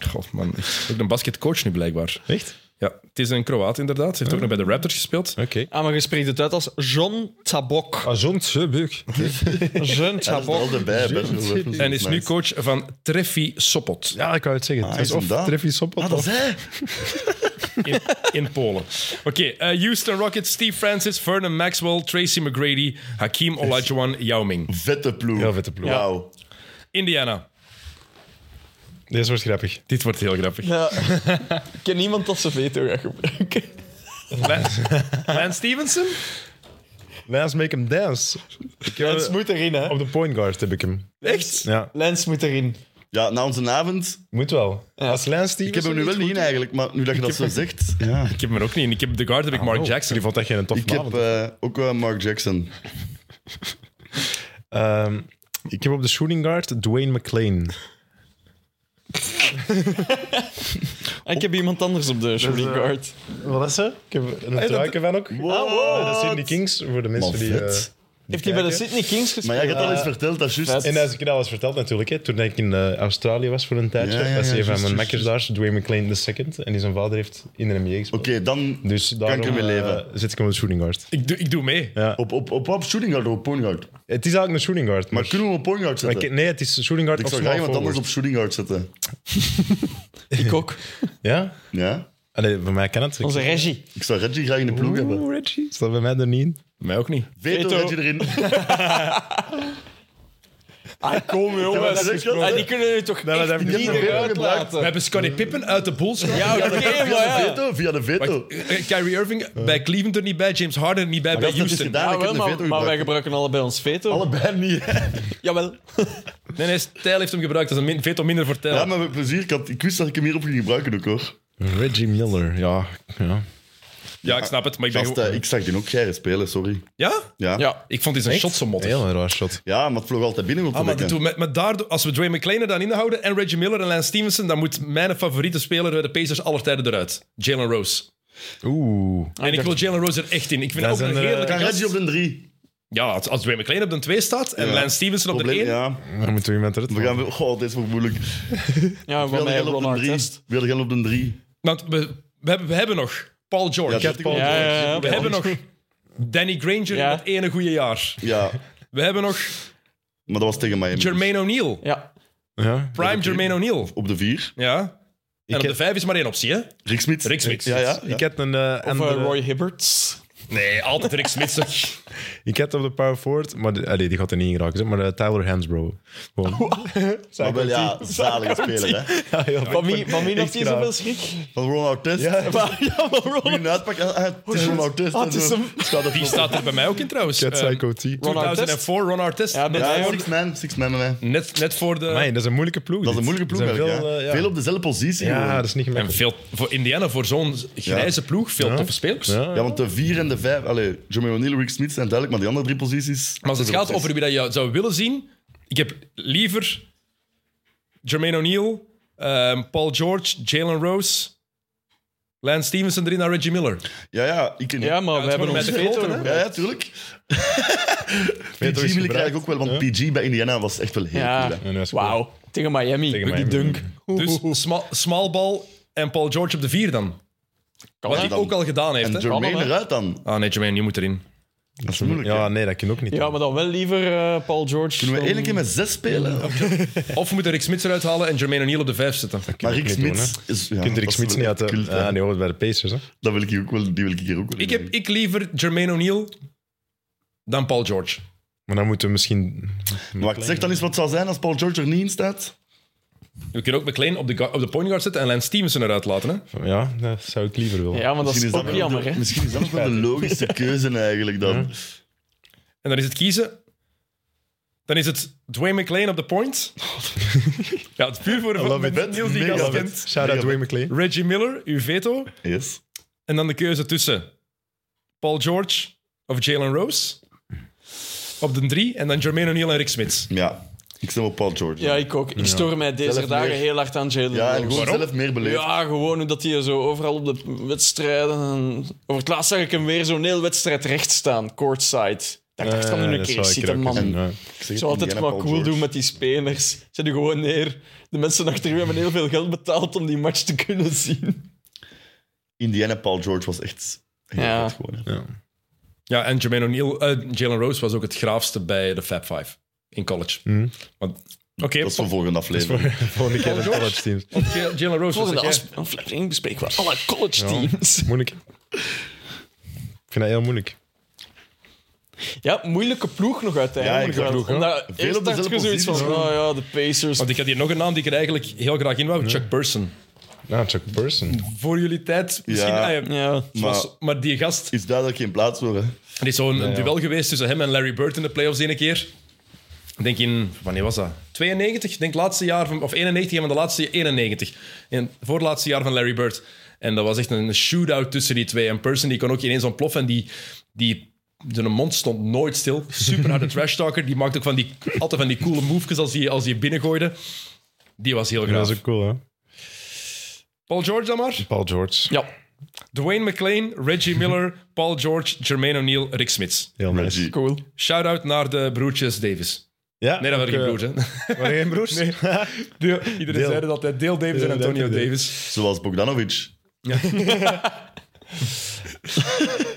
S3: God man, echt. ook een basketcoach nu blijkbaar.
S7: Echt?
S3: Ja, het is een Kroaat inderdaad. Ze heeft ook nog bij de Raptors gespeeld.
S7: Oké.
S4: Ah, maar je spreekt het uit als John Tabok.
S7: Ah, John Tabak.
S4: John
S6: Ja, dat is er
S4: Tabok.
S6: altijd
S7: Oh,
S6: bij. best wel even.
S3: En is nu
S6: Nice.
S3: coach van Treffi Sopot
S7: Ja, ik wou het zeggen.
S6: Ah,
S7: Het is
S6: is hem
S7: of
S6: daar?
S7: Treffy Sopot.
S6: Ah, dat is
S7: of-
S6: hij.
S3: in, in Polen. Oké, eh, Houston Rockets, Steve Francis, Vernon Maxwell, Tracy McGrady, Hakim Olajuwon, Yao Ming.
S6: Vette ploeg.
S7: Heel vette ploeg.
S6: Wauw.
S3: Indiana.
S7: Deze wordt grappig.
S3: Dit wordt heel grappig.
S4: Ja. Ik ken niemand dat ze veto gaat gebruiken.
S3: Lance, Lance Stevenson?
S7: Lance make him dance. Ik heb-
S4: Lens moet erin, hè.
S7: Op de point guard heb ik hem.
S3: Echt?
S7: Ja,
S4: Lens moet erin.
S6: Ja, na onze avond.
S7: moet wel. Als Lance die...
S6: Ik heb hem nu wel niet in eigenlijk, maar nu dat je dat zo zegt. Ja.
S3: Ik heb hem er ook niet in. Ik heb de guard, heb ik Mark Jackson.
S7: Die vond dat geen tof
S6: Ik heb eh, ook wel Mark Jackson. eh,
S7: Ehm, ik heb op de shooting guard Dwayne McLean.
S4: En Ah, ik heb iemand anders op de
S6: eh,
S4: shooting guard.
S7: Wat is ze? Ik heb een truiken van ook. Eh,
S6: wow.
S7: Dat is Sydney Kings, voor de mensen
S6: Maar
S7: die... eh,
S6: vet.
S4: Heeft hij bij de Sydney Kings
S6: Maar
S4: gespeeld?
S6: jij hebt al eens verteld, dat is juist.
S7: en als ik dat al eens verteld natuurlijk, hè, toen ik in eh, Australië was voor een tijdje,
S6: Ja, ja,
S7: was
S6: ja,
S7: een van
S6: juist,
S7: mijn
S6: juist,
S7: makkers daar, Dwayne McLean II, en die zijn vader heeft in de NBA gespeeld.
S6: Oké, dan
S7: Dus daarom
S6: kan ik ermee
S7: eh,
S6: leven.
S7: zit ik op de shooting guard.
S3: Ik doe, ik doe mee.
S6: Op, op, op, op shooting guard of op point guard?
S7: Het is eigenlijk een shooting guard.
S6: Maar kunnen we op point guard zetten?
S7: ik- nee, het is shooting guard
S6: ik
S7: of
S6: zou
S7: small
S6: graag iemand anders
S7: forward.
S6: op shooting guard zetten.
S4: Ik ook.
S7: Ja?
S6: Ja?
S7: Allee, voor mij kan het. Ik-
S4: Ah. <laughs> Onze regie.
S6: Ik zou Reggie graag in de ploeg hebben.
S7: Oeh, Reggie. Staat bij mij er niet in.
S3: Mij ook niet.
S6: Veto,
S4: Veto.
S6: Reggie erin.
S4: Ah, kom
S6: dat
S4: jongens.
S6: is wel-
S4: Ah, die kunnen nu toch
S7: we
S4: echt
S7: hebben
S4: niet
S7: het
S6: nog
S4: meer
S6: wel
S3: We
S4: uitlaten.
S3: hebben Scottie Pippen uit de Bulls gehad.
S4: Ja, oké, maar ja.
S6: Veto, via de veto.
S3: Wacht, eh, Kyrie Irving bij Cleveland er niet bij, James Harden er niet bij, bij
S6: dat is
S3: Houston.
S6: gedaan.
S4: Ah,
S6: ik heb
S4: wel,
S6: de veto
S4: maar, maar wij
S6: gebruikt.
S4: gebruiken allebei ons veto.
S6: Allebei niet. hè.
S4: Jawel.
S3: Nee, nee, Stijl heeft hem gebruikt. Dat is een min- veto minder voor Tijl.
S6: Ja, maar met plezier. Ik, had, ik wist dat ik hem hierop ging gebruiken ook, hoor.
S7: Reggie Miller, ja. ja.
S3: Ja, ik snap het, maar ik ben
S6: Gast,
S3: gewoon-
S6: eh, ik zag die ook geren spelen, sorry.
S3: Ja?
S6: Ja?
S4: Ja.
S3: Ik vond dit een shot zo mottig.
S7: Heel een raar shot.
S6: Ja, maar het vloog altijd binnen.
S3: Ah, maar,
S6: want
S3: dit- maar, maar daardoor, als we Dwayne McLean er dan inhouden en Reggie Miller en Lance Stevenson, dan moet mijn favoriete speler bij de Pacers aller tijden eruit. Jalen Rose.
S7: Oeh.
S3: En ik wil Jalen Rose er echt in. Ik vind
S7: Dat
S3: dat ook
S7: is
S3: een
S7: een, eh,
S3: heerlijke
S6: Kan
S3: gast.
S6: Reggie op de drie?
S3: Ja, als, als Dwayne McLean op de 2 staat en
S6: Ja.
S3: Lance Stevenson op
S6: Probleem,
S3: de 1.
S6: ja.
S7: Dan moeten we iemand eruit
S6: We gaan... Goh, dit is wel moeilijk. Ik
S4: Ja, van
S6: wilde
S4: mij
S6: gaan op
S4: Ron
S6: de drie.
S4: Artest.
S6: Ik wilde gaan op de drie.
S3: Want we, we, hebben, we hebben nog Paul George.
S6: dat
S7: Paul
S6: ik
S4: Ja,
S6: ook.
S4: ja, ja.
S3: we hebben nog Danny Granger
S4: Ja.
S3: in dat ene goede jaar.
S6: Ja,
S3: We hebben nog
S6: maar dat was tegen mij.
S3: Jermaine O'Neal.
S4: Ja.
S7: Ja.
S3: Prime Jermaine O'Neal.
S6: Op de vier.
S3: Ja. En op
S7: heb-
S3: de 5 is maar één optie, hè?
S6: Rick Smits.
S3: Rick Smits.
S6: Ja, ja. ja.
S7: Ik had een eh,
S4: Of eh,
S7: andere-
S4: Roy Hibberts.
S3: Nee, altijd Rick Smits. toch?
S7: Ik had op de power forward, maar die, allee, die gaat er niet in geraken, zeg, maar eh, Tyler
S6: <laughs>
S7: Hansbro. Gewoon.
S6: Maar wel, ja, zalige speler, hè.
S7: Ja, heel
S4: Van wie, van wie
S7: Echt
S4: had hij
S7: graag.
S4: zoveel
S6: <laughs>
S4: schrik?
S6: Van Ronald Test.
S7: Ja.
S6: Ja.
S4: Maar, ja, maar Ron,
S6: Moet je uitpakken? Ah, het is Ronald Test.
S4: Ah, het is hem.
S3: Die staat er bij mij ook in trouwens.
S7: Cat
S3: Ehm,
S7: Psycho T.
S4: Ron Artest.
S3: 2004, Ron Artest.
S4: Ja,
S3: net,
S4: bij mij
S6: Ja,
S4: ook.
S6: six man, six man bij mij.
S3: net, net voor de...
S7: Nee, dat is een moeilijke ploeg.
S6: Dat is een
S7: dit.
S6: moeilijke ploeg
S7: Er zijn
S6: eigenlijk.
S7: Veel,
S6: ja.
S7: eh, ja.
S6: Veel op dezelfde positie.
S7: ja,
S6: gewoon.
S7: dat is niet
S3: En
S7: gemakkelijk.
S3: veel, voor Indiana, voor zo'n grijze ploeg, veel toffe spelers.
S7: Ja.
S6: Ja, want de vier en de vijf... Allee, Jermaine O'Neal, Rick Smith zijn duidelijk, maar die andere drie posities...
S3: Maar als het gaat over wie dat je zou willen zien, ik heb liever Jermaine O'Neal, ehm, Paul George, Jalen Rose, Lance Stevenson erin naar Reggie Miller.
S6: Ja, ja, ik... Ja,
S4: Ja, maar we
S3: het
S4: hebben
S3: wordt
S4: ons
S3: met de
S4: veto.
S3: grote, hè?
S4: gebruikt.
S6: ja,
S7: <laughs>
S6: tuurlijk. PG wil ik
S7: is
S6: eigenlijk ook wel, want PG bij Indiana was echt wel heel goed.
S4: Ja.
S6: hè.
S7: En dat is goed.
S4: Wauw. Tegen Miami.
S7: Tegen
S4: Die
S7: Miami.
S4: dunk.
S3: Dus sma small ball en Paul George op de vier dan. Wat hij
S6: dan.
S3: ook al gedaan heeft.
S6: En
S3: hè?
S6: Jermaine
S4: Kan hem, hè?
S6: eruit dan.
S3: Ah nee, Jermaine, je moet erin.
S6: Dat is moeilijk,
S7: Ja,
S6: ja.
S7: nee, dat kan ook niet.
S4: Ja, maar dan wel liever eh, Paul George.
S6: Kunnen we
S4: dan-
S6: één keer met zes spelen?
S3: Of we moeten Rick Smits eruit halen en Jermaine O'Neal op de vijf zetten.
S6: Maar Rick
S7: niet doen,
S6: Smits... is- ja,
S7: Je kunt
S6: dat
S7: Rick
S6: is
S7: Smits
S6: wel
S7: niet uit
S6: echt
S7: de...
S6: cult, hè.
S7: Ah, nee, hoort bij de Pacers. Hè.
S6: Dat wil ik hier ook wel... Die wil ik hier ook wel
S3: Ik
S6: in
S3: heb ik liever Jermaine O'Neal dan Paul George.
S7: Maar dan moeten we misschien...
S6: Wacht, zeg dan eens wat zou zijn als Paul George er niet in staat.
S3: We kunnen ook McLean op de, gu- op de point guard zetten en Lance Stevenson eruit laten. Hè?
S7: Ja, dat zou ik liever willen.
S4: Ja, maar dat is
S6: Misschien
S4: ook
S6: wel
S4: jammer,
S6: de-
S4: hè?
S6: Misschien is dat ook wel de logische
S4: <laughs>
S6: keuze eigenlijk dan.
S3: En dan is het kiezen. Dan is het Dwayne McLean op de point. <laughs> ja, het is puur voor voor-
S6: it.
S3: met Niels die
S6: Mega
S3: gast
S6: love it.
S3: kent.
S7: Shout-out Dwayne McLean.
S3: Reggie Miller, uw veto.
S6: Yes.
S3: En dan de keuze tussen Paul George of Jalen Rose op de drie. En dan Jermaine O'Neal en Rick Smith.
S6: Ja. Ik stem op Paul George.
S4: Ja, ik ook. Ik stoor mij deze
S6: Zelf
S4: dagen
S6: meer.
S4: heel hard aan Jalen
S6: Ja, en
S4: Rose.
S6: gewoon zelf meer beleefd.
S4: Ja, gewoon hoe dat hij zo overal op de wedstrijden... en- Over het laatst zag ik hem weer zo'n hele wedstrijd recht staan, courtside. Dat dacht van
S7: Eh,
S4: nu een
S7: dat
S4: keer
S7: zou ik er
S4: zitten,
S7: ook
S4: man.
S7: eens- ja. <laughs>
S6: Ik zeg
S4: Ik
S6: het,
S4: zou altijd
S6: Indiana,
S4: maar
S6: Paul
S4: cool
S6: George.
S4: doen met die spelers. Zet u gewoon neer. De mensen achter u hebben heel veel geld betaald om die match te kunnen
S6: <laughs>
S4: zien.
S6: Indiana Paul George was echt heel
S4: Ja.
S6: goed gewoon. hè.
S3: Ja, en Jermaine O'Neal, eh, Jalen Rose was ook het graafste bij de Fab Five in college. Want- Oké,
S6: Dat is voor volgende aflevering.
S4: <laughs>
S7: Volgende keer de college teams.
S3: J- Jalen Rose was
S4: Volgende
S3: jij-
S4: afs- aflevering bespreken we alle college teams.
S7: Moeilijk. Ik vind dat heel moeilijk.
S4: Ja, moeilijke ploeg nog uiteindelijk.
S6: Ja, ik
S4: wel.
S6: ploeg, hè.
S4: Omdat
S6: Veel
S4: eerst
S6: op
S4: dacht je
S6: dezelfde
S4: zoiets van,
S6: posities,
S4: nou ja, de Pacers.
S3: Want ik had hier nog een naam die ik er eigenlijk heel graag in wou. Chuck Person.
S7: Nou, Chuck Person.
S3: Voor jullie tijd misschien.
S6: Ja.
S3: ah ja,
S4: Ja.
S3: Maar,
S6: Maar-
S3: maar die gast,
S6: Is duidelijk geen plaats voor. Hè.
S3: er is zo'n een duel geweest tussen hem en Larry Bird in de playoffs ene keer. Ik denk in, wanneer was dat? 92, ik denk laatste jaar van, of 91, een van de laatste, 91. In het voorlaatste jaar van Larry Bird. En dat was echt een shootout tussen die twee. En Person die kon ook ineens ontploffen en die, die zijn mond stond nooit stil. Super
S7: <laughs>
S3: harde trash talker. Die maakte ook van die, altijd van die coole movejes als die, als die binnengooide. Die was heel
S7: Dat
S3: graag.
S7: is ook cool, hè?
S3: Paul George dan maar.
S7: Paul George.
S4: ja.
S3: Dwayne McLean, Reggie Miller, Paul George, Jermaine O'Neal, Rick Smits.
S7: Heel nice.
S6: Reggie.
S4: Cool.
S3: Shout-out naar de broertjes Davis.
S7: Ja,
S3: Nee, dat waren geen
S7: ook, <laughs>
S3: broers, hè.
S7: eh, waren geen broers?
S3: Iedereen
S7: <laughs> Deel.
S3: zei dat altijd. Deel Davis <laughs> en
S7: Deel,
S3: Antonio
S7: Deel.
S3: Davis.
S6: Zoals Bogdanovic.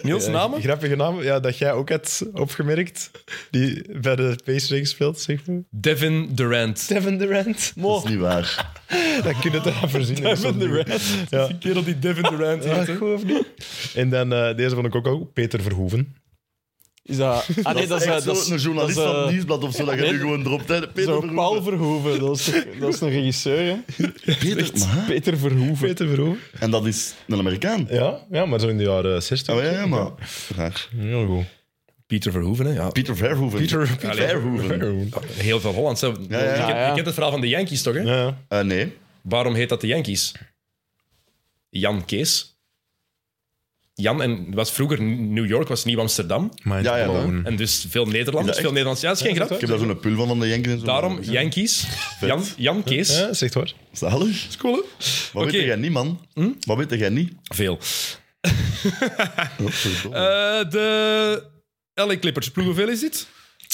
S3: Niels, namen?
S7: Grappige naam. Ja, dat jij ook hebt opgemerkt. Die bij de Pacers speelt, zeg maar.
S3: Devin Durant.
S7: Devin Durant.
S6: Dat is niet waar.
S7: Dat kun je toch aan voorzien. Devin Durant. Ja.
S3: kerel die Devin Durant
S7: Ja, goed of niet? En dan, eh, deze vond ik ook ook, Peter Verhoeven.
S6: <laughs>
S4: Is dat... Ah nee, <laughs> dat is... eh,
S6: echt
S4: dat
S6: zo
S4: is
S6: een journalist
S4: dat is, eh,
S6: van het Nieuwsblad of zo, dat je nu gewoon dropt. Hè. Peter
S4: Zo,
S6: Verhoeven.
S4: Paul Verhoeven, dat is, toch- dat is een regisseur, hè?
S6: Peter, maar-
S4: Peter Verhoeven.
S7: Peter Verhoeven?
S6: En dat is een Amerikaan.
S7: Ja, ja maar zo in de jaren 60.
S6: Oh, ja, ja, maar... Raar.
S7: Heel goed.
S3: Pieter Verhoeven, hè. Ja.
S6: Peter Verhoeven.
S3: Peter- Allee.
S6: Verhoeven.
S3: Heel veel Hollands. hè. Je kent-
S6: ja,
S4: ja.
S3: Je kent het verhaal van de Yankees, toch? Hè?
S7: Ja, ja.
S6: Eh, nee.
S3: Waarom heet dat de Yankees? Jan Kees. Jan en was vroeger New York, was Nieuw-Amsterdam.
S7: Mind
S6: Ja, ja, dat-
S7: blown.
S3: En dus veel Nederlands. Veel Nederlands. Ja, dat is geen grap.
S6: Ik heb daar zo'n pul van van de Yankees en zo.
S3: Daarom Yankees. Jan, Jan Kees.
S7: Ja, zegt hoor.
S6: Zalig. Is cool, Wat
S3: Oké.
S6: weet jij niet, man? Wat weet jij niet?
S3: Veel.
S6: Oh, verdomme.
S3: Eh, de LA Clippers ploeg, hoeveel is dit?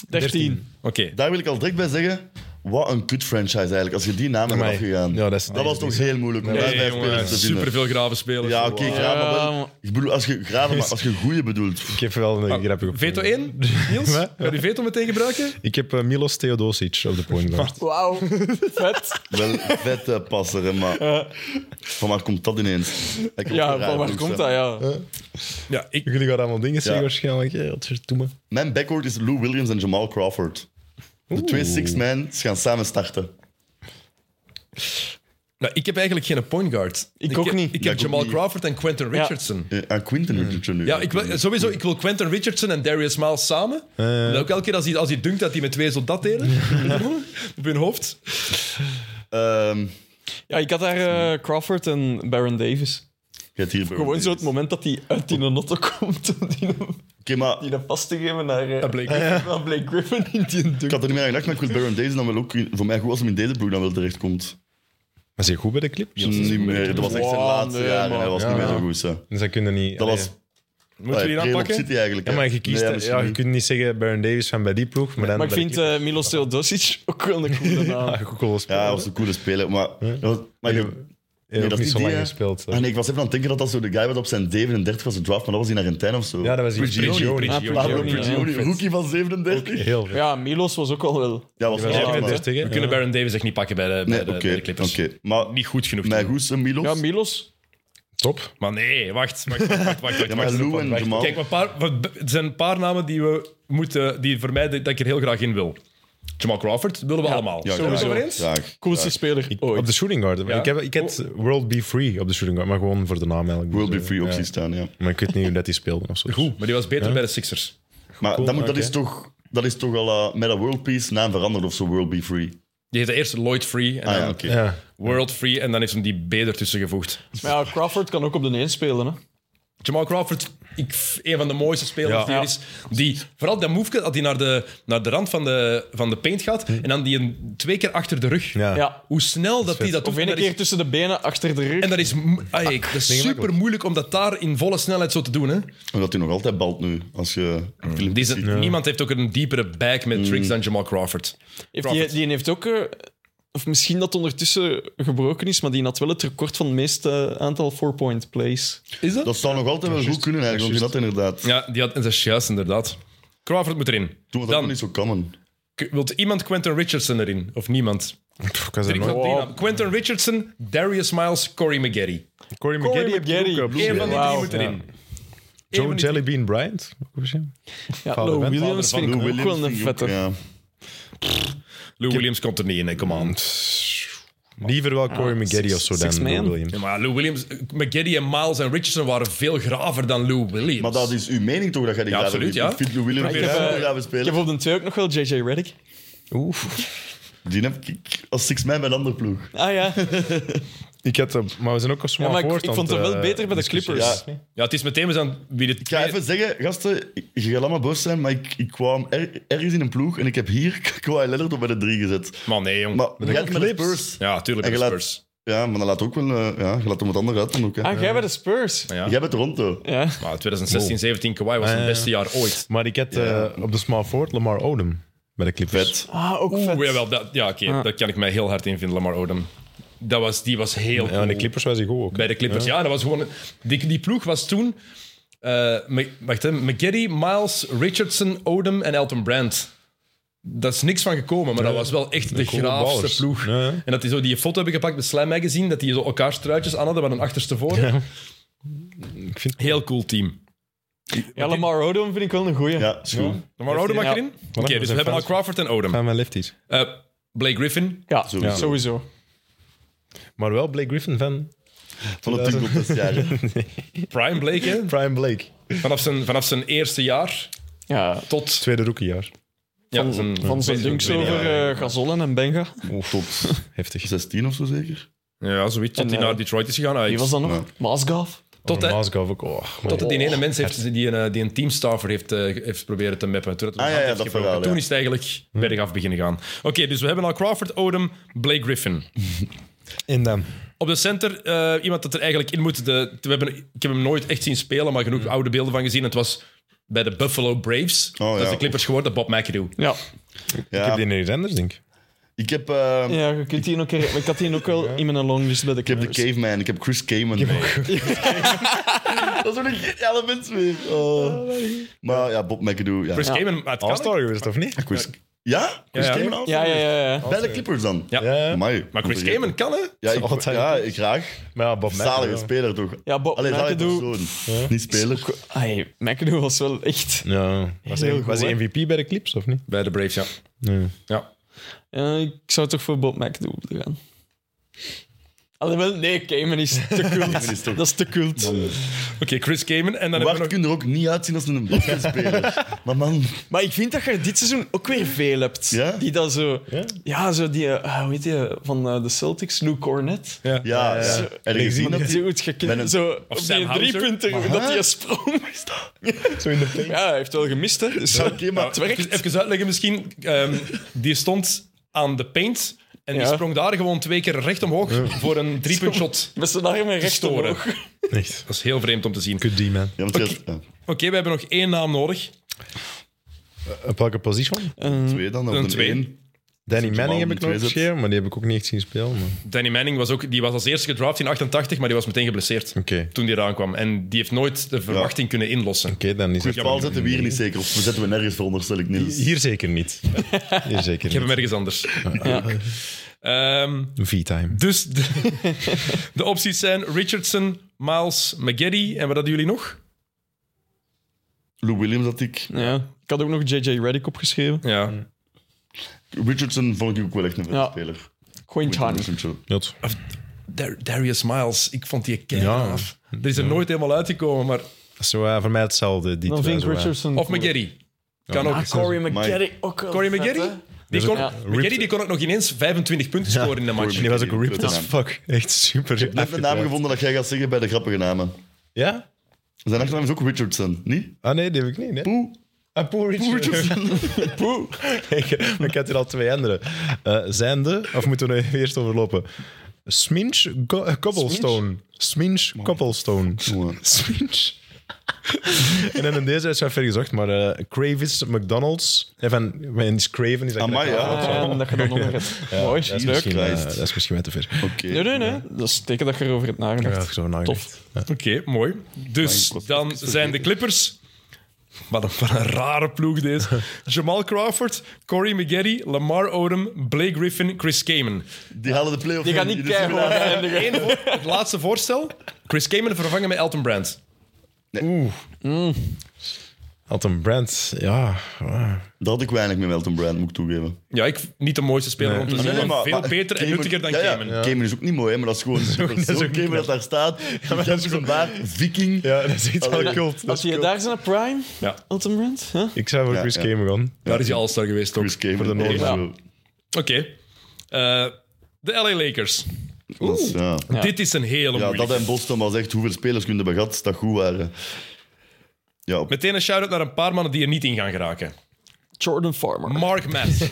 S4: 13.
S3: Oké.
S6: Daar wil ik al direct bij zeggen, wat een kut franchise eigenlijk. Als je die naam hebt
S7: Amai.
S6: afgegaan.
S7: Ja, dat is-
S6: dat was toch heel moeilijk om daar
S3: Nee,
S6: vijf
S3: jongen,
S6: spelers te vinden.
S3: super veel graven spelers.
S6: Ja, oké, graven, maar wel-
S4: Ja,
S6: Ik bedoel, als je graven, maar als je goeie bedoelt.
S7: Ik heb wel een grappige op.
S3: Ah, Veto <laughs> 1, Niels?
S7: Ja.
S3: Ga je die veto meteen gebruiken?
S7: Ik heb eh, Milos Theodosic op de point guard.
S4: Wauw. Vet.
S6: Wel een vette passer, hè, maar... Van waar komt dat ineens? Ik heb dus, ook
S4: Ja,
S6: een rare
S4: van waar
S6: ploeg,
S4: komt
S6: hè.
S4: dat, ja?
S3: Ja, ik,
S7: Jullie gaan allemaal dingen zeggen
S6: Ja.
S7: waarschijnlijk. Ja, wat verdoe me.
S6: Mijn backcourt is Lou Williams en Jamal Crawford. De twee six men gaan samen starten.
S3: nou, ik heb eigenlijk geen point guard.
S4: Ik ook
S3: heb-
S4: niet.
S3: Ik
S6: Ja,
S3: heb
S6: ik ook
S3: Jamal
S6: niet.
S3: Crawford en Quentin Richardson.
S6: Eh, Aan Quinten Richardson nu.
S3: Ja, ik wil, sowieso, ik wil Quentin Richardson en Darius Miles samen. En ook elke keer als hij, als hij dunkt dat hij met twee zo dat delen. <laughs> Op hun hoofd.
S6: Ehm,
S4: Ja, ik had daar eh, Crawford en Baron Davis.
S6: je hebt hier
S4: Gewoon zo het moment dat hij uit die notto komt <laughs> om die,
S6: Oké, maar
S4: die een pas te geven naar, eh,
S3: Dat bleek.
S4: <laughs> naar Blake Griffin in die
S6: ik
S4: dunk.
S6: had er niet meer aan gedacht, maar ik wil Baron Davis dan wel ook... Voor mij goed als hij in deze ploeg dan wel terechtkomt.
S7: Was hij goed bij de clip?
S6: niet meer. Dat was echt zijn
S4: Wow,
S6: laatste
S4: nee,
S6: jaar en
S4: man.
S6: hij was
S7: Ja,
S6: niet meer
S7: ja.
S6: zo goed. hè.
S7: Dus dat kunnen niet...
S6: Dat
S7: allee.
S6: was...
S3: Moeten we die
S6: Allee, Pre-op
S3: aanpakken?
S6: City eigenlijk.
S7: Ja,
S6: hè.
S7: maar je, kiest,
S6: Nee,
S7: eh,
S6: misschien
S7: ja, je
S6: niet.
S7: kunt niet zeggen Baron Davis van bij die ploeg, maar dan
S4: Maar ik
S7: bij de
S4: vind
S7: clip.
S4: eh Milos Teodosic ook wel een coole
S3: eh,
S4: naam.
S7: <laughs>
S3: nou.
S7: Ja, ook wel spelen.
S6: Ja, hij was een coole speler, maar... dat was- maar
S7: Ik
S6: je-
S7: heb
S6: nee,
S7: ook
S6: dat is
S7: niet zo
S6: die,
S7: lang
S6: hè.
S7: gespeeld. hè.
S6: Ah, nee, ik was even aan het denken dat dat zo de guy was op zijn 37 was de draft, maar dat was in Argentijn of zo.
S7: Ja, dat was die Prigioni.
S4: Ah,
S6: Pablo
S4: Prigioni, ja.
S6: Prigioni, rookie van 37.
S7: Heel veel.
S4: Ja, Milos was ook al wel.
S6: Ja, was
S7: Die was
S6: wel laat,
S7: ook met
S6: maar-
S7: 30, hè.
S3: We kunnen Baron Davis echt niet pakken bij de, bij
S6: Nee,
S3: de,
S6: oké.
S3: bij de Clippers.
S6: oké. Maar
S3: Niet goed genoeg.
S6: mijn goeste Milos.
S4: Ja,
S6: Ja,
S4: Milos.
S7: Top.
S3: Maar nee, wacht. wacht, wacht, wacht, wacht,
S6: maar
S3: wacht.
S6: Lou en Jamal.
S3: Kijk, maar een paar, wat- er zijn een paar namen die we moeten, die voor mij dat ik er heel graag in wil. Jamal Crawford willen we allemaal.
S6: Ja,
S3: Zijn we het
S6: graag.
S3: over eens?
S6: Graag.
S4: Coolste
S6: Graag.
S4: speler ooit.
S7: Op de shooting guard.
S3: Ja. Oh.
S7: Ik, heb, ik had World Be Free op de shooting guard, maar gewoon voor de naam eigenlijk.
S6: Will
S7: Dus,
S6: be
S7: eh,
S6: free
S7: ja.
S6: opties staan, ja.
S7: Maar ik weet niet hoe dat die speelde of zo.
S3: Goed, maar die was beter bij de Sixers.
S6: Maar dat, moet, dat,
S7: oké.
S6: is toch, dat is toch al eh, met dat World Peace naam veranderd of zo, World Be Free.
S3: Die heette eerst Lloyd Free en
S6: Ah ja,
S3: dan
S6: oké.
S7: Ja.
S3: World Free en dan heeft hem die B ertussen gevoegd.
S4: Maar ja, Crawford kan ook op de 1 spelen. Hè.
S3: Jamal Crawford, ik, f- een van de mooiste spelers
S7: Ja.
S3: die er is. Die, vooral dat move, dat hij naar de, naar de rand van de, van de paint gaat en dan die een twee keer achter de rug.
S7: Ja.
S4: Ja.
S3: Hoe snel dat hij dat doet.
S4: Of één
S3: dat is-
S4: keer tussen de benen, achter de rug.
S3: En dat is, mo- ai, dat is super moeilijk om dat daar in volle snelheid zo te doen. Hè?
S6: Omdat hij nog altijd balt nu. Als je
S4: Mm.
S3: Die is een- Niemand heeft ook een diepere back met tricks dan Jamal Crawford.
S4: Heeft die, die heeft ook... eh, of misschien dat ondertussen gebroken is, maar die had wel het record van het meeste eh, aantal four-point plays.
S3: Is dat?
S6: Dat zou nog altijd wel goed kunnen eigenlijk, want dat inderdaad.
S3: Ja, die had, dat is juist inderdaad. Crawford moet erin.
S6: Toen was dat nog
S3: Dan,
S6: niet zo common.
S3: k- wilt iemand Quentin Richardson erin? Of niemand?
S7: Pff, ik was er
S3: Ik
S7: nooit. Oh,
S3: had die naam. Quentin Richardson, Darius Miles, Corey McGarry.
S4: Corey
S7: Corey McGarry heb je
S4: McGarry.
S7: ook, eh, bloed.
S3: Eén van die drie
S4: Wauw.
S3: moet erin. Eén
S7: Joe
S3: van die-
S7: Jellybean Bryant. ook misschien.
S4: Ja,
S7: Vader
S4: Lou
S7: van-
S4: Williams vind ik
S6: Lou
S4: ook wel een
S6: vind ik ook, eh.
S4: vette.
S6: ja.
S3: Lou Williams komt er niet in, hè, come on.
S7: Liever wel Corey
S3: Ah,
S7: McGarry of zo
S4: six
S7: dan
S4: man.
S7: Lou Williams.
S3: Ja, maar Lou Williams, eh, McGarry en Miles en Richardson waren veel graver dan Lou Williams.
S6: Maar dat is uw mening toch, dat jij die
S3: Ja,
S6: graag
S3: absoluut,
S6: wil?
S3: ja.
S6: Ik vind Lou Williams
S4: Ik
S6: ik
S4: heb, eh,
S6: gaan we
S4: Ik
S6: spelen.
S4: heb op de 2 ook nog wel JJ Reddick.
S6: Die heb ik als six man bij een andere ploeg.
S4: Ah ja,
S7: Ik had, eh, maar we zijn ook al
S4: ja
S7: zwaar
S4: maar ik, ik
S7: voorstand,
S4: vond hem
S7: eh,
S4: wel beter bij de
S7: discussie.
S4: Clippers.
S7: Ja.
S3: Ja, het is meteen eens aan wie de
S6: Ik ga even zeggen, gasten, ik- je gaat allemaal boos zijn, maar ik, ik kwam er- ergens in een ploeg en ik heb hier <laughs> Kawhi Leonard op bij de drie gezet.
S3: Man, nee, jong.
S6: Maar jij hebt met de
S3: <laughs>
S6: Spurs.
S3: ja, tuurlijk,
S6: En
S3: de
S6: je laat-
S3: Spurs.
S6: Ja, maar dan laat ook wel... eh, ja, je laat hem wat anders uit dan ook. Hè.
S4: Ah, jij bij de Spurs.
S3: ja.
S6: Jij bent Toronto.
S4: Ja.
S3: Maar 2016, 17, Kawhi was
S7: Ah,
S3: zijn
S7: ja.
S3: beste jaar
S6: <laughs>
S3: ooit.
S7: Maar ik had eh, op de small forward Lamar Odom bij de Clippers.
S6: Vet.
S4: Ah, ook vet.
S3: Oeh, jawel, dat, ja, oké, daar kan ik mij heel hard in vinden, Lamar Odom. Dat was, die was heel
S7: Ja, en de
S3: cool.
S7: Clippers was hij goed ook.
S3: Bij de Clippers, ja. dat was gewoon... een- Die, die ploeg was toen... eh, Mc- wacht, hè, McGarry, Miles, Richardson, Odom en Elton Brand. Daar is niks van gekomen, maar dat was wel echt de
S7: coole
S3: graafste
S7: ballers.
S3: ploeg.
S7: Ja, ja.
S3: En dat die zo die foto hebben gepakt met Slam Magazine, dat die zo elkaar struitjes aan hadden, maar dan achterstevoren.
S7: Ik vind
S3: Heel cool team.
S4: Ja, Lamar Odom vind ik wel een goeie.
S6: Ja, is goed.
S3: Maar Odom mag
S4: Ja.
S3: erin? Oké,
S7: we
S3: dus we
S7: zijn
S3: hebben al
S7: fans.
S3: Crawford en Odom.
S7: van mijn lefties.
S3: Eh, Blake Griffin,
S4: Ja,
S6: Sowieso.
S4: sowieso.
S7: Maar wel Blake Griffin van
S6: Van het team contestjaar.
S4: <laughs>
S3: Prime Blake, hè?
S7: Prime Blake.
S3: Vanaf zijn, vanaf zijn eerste jaar
S4: Ja,
S3: tot
S7: Tweede rookiejaar.
S3: ja, zijn,
S4: van zijn
S3: tweede-
S4: dunks
S3: tweede
S4: over
S3: jaar.
S4: eh, Gazollen en Benga.
S6: Tot
S7: Heftig.
S6: 16 of zo zeker.
S3: Ja, zoiets. Tot
S4: En,
S3: hij
S4: eh,
S3: naar Detroit is gegaan. Ah,
S4: Wie was dat nog?
S6: Ja.
S4: Maasgaf.
S3: Tot, hij-
S7: Maasgaf ook. Oh,
S3: tot hij die ene mens heeft die een, eh, die een teamstaffer heeft, eh, heeft proberen te mappen. Toen, hij
S6: Ah,
S3: een
S6: ja,
S3: hand
S6: ja,
S3: heeft
S6: dat
S3: gebroken.
S6: verhaal, ja.
S3: Toen is het eigenlijk bergaf beginnen gaan. Oké, dus we hebben al Crawford, Odom, Blake Griffin.
S7: En dan?
S3: Op de center, eh, iemand dat er eigenlijk in moet. De, we hebben, ik heb hem nooit echt zien spelen, maar genoeg oude beelden van gezien. Het was bij de Buffalo Braves.
S6: Oh,
S3: dat is
S6: ja.
S3: de Clippers geworden, Bob McAdoo.
S4: Ja.
S6: Ja,
S7: Ik heb die in iets anders, denk ik.
S6: ik heb, eh,
S4: ja, je kunt die ook, ik had die ook
S6: <laughs>
S4: wel in mijn longlist bij de
S6: Ik heb de
S4: Clippers.
S6: caveman, ik heb Chris Kaman. <laughs> dat is wel een geniale mens weer. Oh. Maar ja, Bob McAdoo. Ja,
S3: Chris
S6: Chris,
S3: ja. Kamen, maar het kan
S7: All-star geweest, of niet?
S6: ja? Chris
S3: Ja, ja.
S6: Kaman al?
S4: Ja, ja, ja. ja.
S6: Bij de Clippers dan?
S3: Ja.
S7: Ja. Eh, Maar,
S6: Amai,
S3: Maar Chris
S6: vergeten.
S3: Kamen kan, hè?
S6: Ja, ik,
S7: Altijd.
S6: ja, ik graag.
S7: ja, Bob
S6: Zalige
S7: Mackie,
S6: speler toch?
S4: Ja, Bob
S6: Allee, zalige
S4: McAdoo.
S6: persoon. Niet speler.
S4: Ai, McAdoo was wel echt...
S7: Ja. Ja. Was, hij, was hij MVP bij de Clips, of niet?
S3: Bij de Braves, ja. ja.
S4: Eh, ik zou toch voor Bob McAdoo willen gaan. Allee, wel, nee, Kamen is
S6: <laughs>
S4: te cult.
S6: is toch-
S4: Dat is te cult.
S3: Oké, Chris Kamen. En dan
S6: Wacht,
S3: hebben we nog...
S6: kun je er ook niet uitzien als een basketspeler. maar man,
S4: Maar ik vind dat je er dit seizoen ook weer veel hebt.
S6: Ja?
S4: Die dat zo... Ja, zo die... eh, hoe heet die? eh, Van eh, de Celtics, Lou Cornet.
S6: ja. ja.
S4: Zo-
S6: Eh, Heb je gezien dat
S4: Zo
S6: die...
S4: goed gekend.
S6: Met een-
S4: zo, op
S3: Sam
S4: die
S3: Hauser.
S4: drie punten, hoe dat hij sprong.
S7: Zo in de play.
S4: Ja, hij heeft wel gemist, hè. Dus,
S6: Oké, maar
S4: het werkt.
S3: Even, even uitleggen misschien. Ehm, die stond aan de paint en die
S4: Ja.
S3: sprong daar gewoon twee keer recht omhoog voor een driepuntshot.
S4: Met zijn armen recht
S3: Storen.
S4: omhoog.
S7: Echt.
S3: Dat is heel vreemd om te zien. Oké,
S7: Good D, man.
S6: Ja, want je had-
S3: we hebben nog één naam nodig.
S7: Op welke position?
S6: ja, twee dan,
S3: Een
S6: of een
S3: twee.
S6: één.
S7: Danny Manning heb
S6: man
S7: ik nog
S6: die twee zet.
S7: geschreven, maar die heb ik ook niet echt zien spelen. Maar...
S3: Danny Manning was, ook, die was als eerste gedraft in 88, maar die was meteen geblesseerd
S7: Oké.
S3: toen die eraan kwam. En die heeft nooit de verwachting kunnen inlossen.
S7: Oké, dan is
S6: Chris
S7: het...
S6: Paul zetten we hier niet zeker. Of we zetten we nergens voor, onderstel ik niet.
S7: Hier zeker niet. Hier zeker
S3: Ik heb
S7: niet.
S3: hem ergens anders. <laughs> Ehm,
S7: V-time.
S3: dus de, <laughs> de opties zijn Richardson, Miles, McGarry. En wat hadden jullie nog?
S6: Lou Williams had ik.
S4: Ja. Ik had ook nog JJ Reddick opgeschreven.
S3: Ja.
S6: Richardson vond ik ook wel echt een vette
S4: Ja.
S6: speler.
S4: Quintan.
S6: Richardson.
S7: Jot.
S3: Dar- Darius Miles, ik vond die keihard af. Er is er nooit helemaal uitgekomen, maar...
S7: Dat is zo, eh, voor mij hetzelfde. Die
S4: Dan
S7: twee,
S4: vind ik
S7: zo, eh.
S4: Richardson...
S3: Of McGarry. Kan ook.
S4: Ah, Corey McGarry ook wel
S3: Corey
S4: vet,
S3: McGarry?
S4: hè?
S3: Die kon,
S4: Ja.
S3: McGarry die kon ook nog ineens 25 punten scoren in de match.
S6: Corey
S7: Die was ook
S6: McGarry,
S7: ripped
S6: grote
S7: as
S6: naam.
S7: fuck. Echt super.
S6: Ik heb een naam gevonden dat jij gaat zeggen bij de grappige namen.
S7: Ja?
S6: Zijn achternaam is ook Richardson, niet?
S7: Ah nee, die heb ik niet. Nee.
S6: Poe.
S7: Ah, Poe Richardson. <laughs> Poe. Ik- maar ik had hier al twee andere. Eh, zijn de, of moeten we er even eerst overlopen? Sminch Go- eh, Cobblestone. Sminch Cobblestone.
S6: Jongen.
S7: <laughs> Sminch. en dan in deze is wel ver gezocht, maar eh Cravis McDonald's. En van, mijn is Craven. Is dat
S6: Amai,
S7: correct?
S6: ja.
S4: Ah, en dat je dan nog hebt. Mooi,
S7: Dat is,
S4: leuk.
S7: misschien, eh,
S6: Christ.
S7: dat is misschien wel te ver.
S6: Oké.
S4: Nee, nee, nee. Dat is teken dat je erover hebt
S7: Ja,
S4: nagedacht.
S7: zo nagedacht.
S4: Tof.
S3: Oké, mooi. Dus dan zijn de Clippers. Wat een, wat een rare ploeg
S6: <laughs>
S3: deze. Jamal Crawford, Corey McGarry, Lamar Odom, Blake Griffin, Chris Kamen.
S6: Die halen de play-off
S4: Die gaat
S6: in.
S4: niet
S6: Dus-
S4: keihard eindigen.
S3: Eén voor- het laatste voorstel. Chris Kamen vervangen met Elton Brand.
S7: Had een brand, ja. ah.
S6: Daar had ik weinig mee Elton Brand, moet ik toegeven.
S3: Ja, ik niet de mooiste speler om te zien, maar, veel beter en
S6: Kamen-
S3: nuttiger dan
S6: ja, ja.
S3: Kamen.
S6: Kamen is ook niet mooi, hè, maar dat is gewoon zo'n
S7: is ook
S6: zo
S7: niet
S6: Kamen dat daar staat. Ja, dat is een baard, viking.
S7: Ja, dat is iets
S6: Allee.
S7: wel cult.
S4: Als je daar zijn op Prime,
S3: Ja.
S4: Elton Brand, hè?
S7: Ik zou voor
S6: Ja,
S7: Chris
S6: ja.
S7: Kamen gaan.
S3: Daar is hij all-star geweest ook.
S6: Chris Kamen.
S7: de Noorden.
S6: Ja.
S3: Oké. Eh, de LA Lakers.
S6: Dat is- ja.
S4: Ja.
S3: Dit is een hele
S6: Ja, dat
S3: moeilijke.
S6: en Boston was echt hoeveel spelers kunnen we gehad dat goed waren. Ja, op-
S3: Meteen een shout-out naar een paar mannen die er niet in gaan geraken.
S4: Jordan Farmer.
S3: Mark Madsen.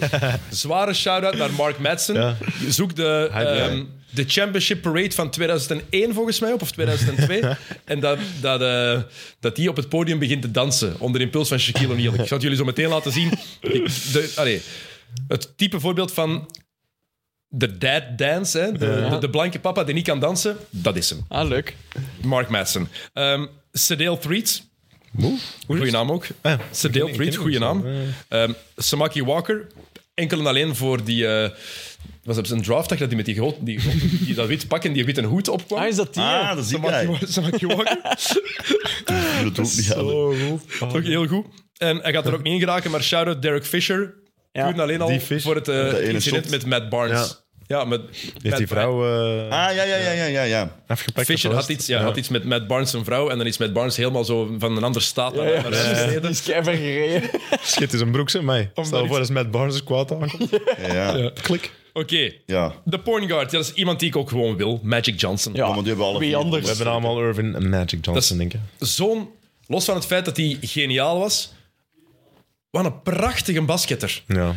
S3: Zware shout-out naar Mark Madsen.
S7: Ja.
S3: Zoek de,
S7: Hij-
S3: ehm, de Championship Parade van 2001 volgens mij op, of 2002. en dat, dat, eh, dat die op het podium begint te dansen onder impuls van Shaquille O'Neal. Ik zal het jullie zo meteen laten zien. Ik- de, allee, het type voorbeeld van de dad dance, hè? De, de, de blanke papa die niet kan dansen, dat is hem.
S4: Ah, leuk.
S3: Mark Madsen. Ehm Sedale Threat. Goeie naam ook.
S7: Ah,
S3: Sedale
S7: ken
S3: Threat,
S7: hem eh.
S3: goede
S7: zo.
S3: naam. Ehm, Samaki Walker. Enkel en alleen voor die... eh was op zijn draftdag dat hij met die, groot, die, grote- die dat wit pak en die witte hoed opkwam?
S4: Ah, is dat die? hè?
S6: ah, dat zie ik
S3: Samaki,
S6: eigenlijk.
S3: Samaki Walker.
S7: <laughs>
S6: Dat doe ik niet halen.
S3: Ook heel goed. En hij gaat er ook niet in geraken, maar shout-out Derek Fisher.
S4: Ja.
S3: Goed en alleen al
S7: Die Fish.
S3: voor het eh,
S6: ene
S3: incident
S6: shot.
S3: met Matt Barnes. Ja, met
S7: Heeft
S3: Matt
S7: die vrouw eh,
S6: Ah, ja, ja, ja, ja, ja. ja.
S7: afgepakt?
S3: Fisher
S7: of
S3: had
S7: was-
S3: iets, ja, had iets met Matt Barnes zijn vrouw en dan is Matt Barnes helemaal zo van een ander staat naar, naar huis gesneden.
S4: Die is keihard gereden.
S7: Shit, is een broek, zeg mij. Stel je
S3: iets-
S7: voor dat Matt Barnes er kwaad aankomt.
S6: ja, ja.
S7: Klik.
S3: Oké,
S6: ja.
S3: de point guard, ja, dat is iemand die ik ook gewoon wil. Magic Johnson.
S4: Ja,
S6: want die hebben alle
S4: wie
S6: vier.
S7: We
S4: anders?
S7: hebben allemaal Irvin en Magic Johnson,
S3: Dat
S7: denk ik.
S3: Zo'n, los van het feit dat hij geniaal was, wat een prachtige basketter.
S7: Ja.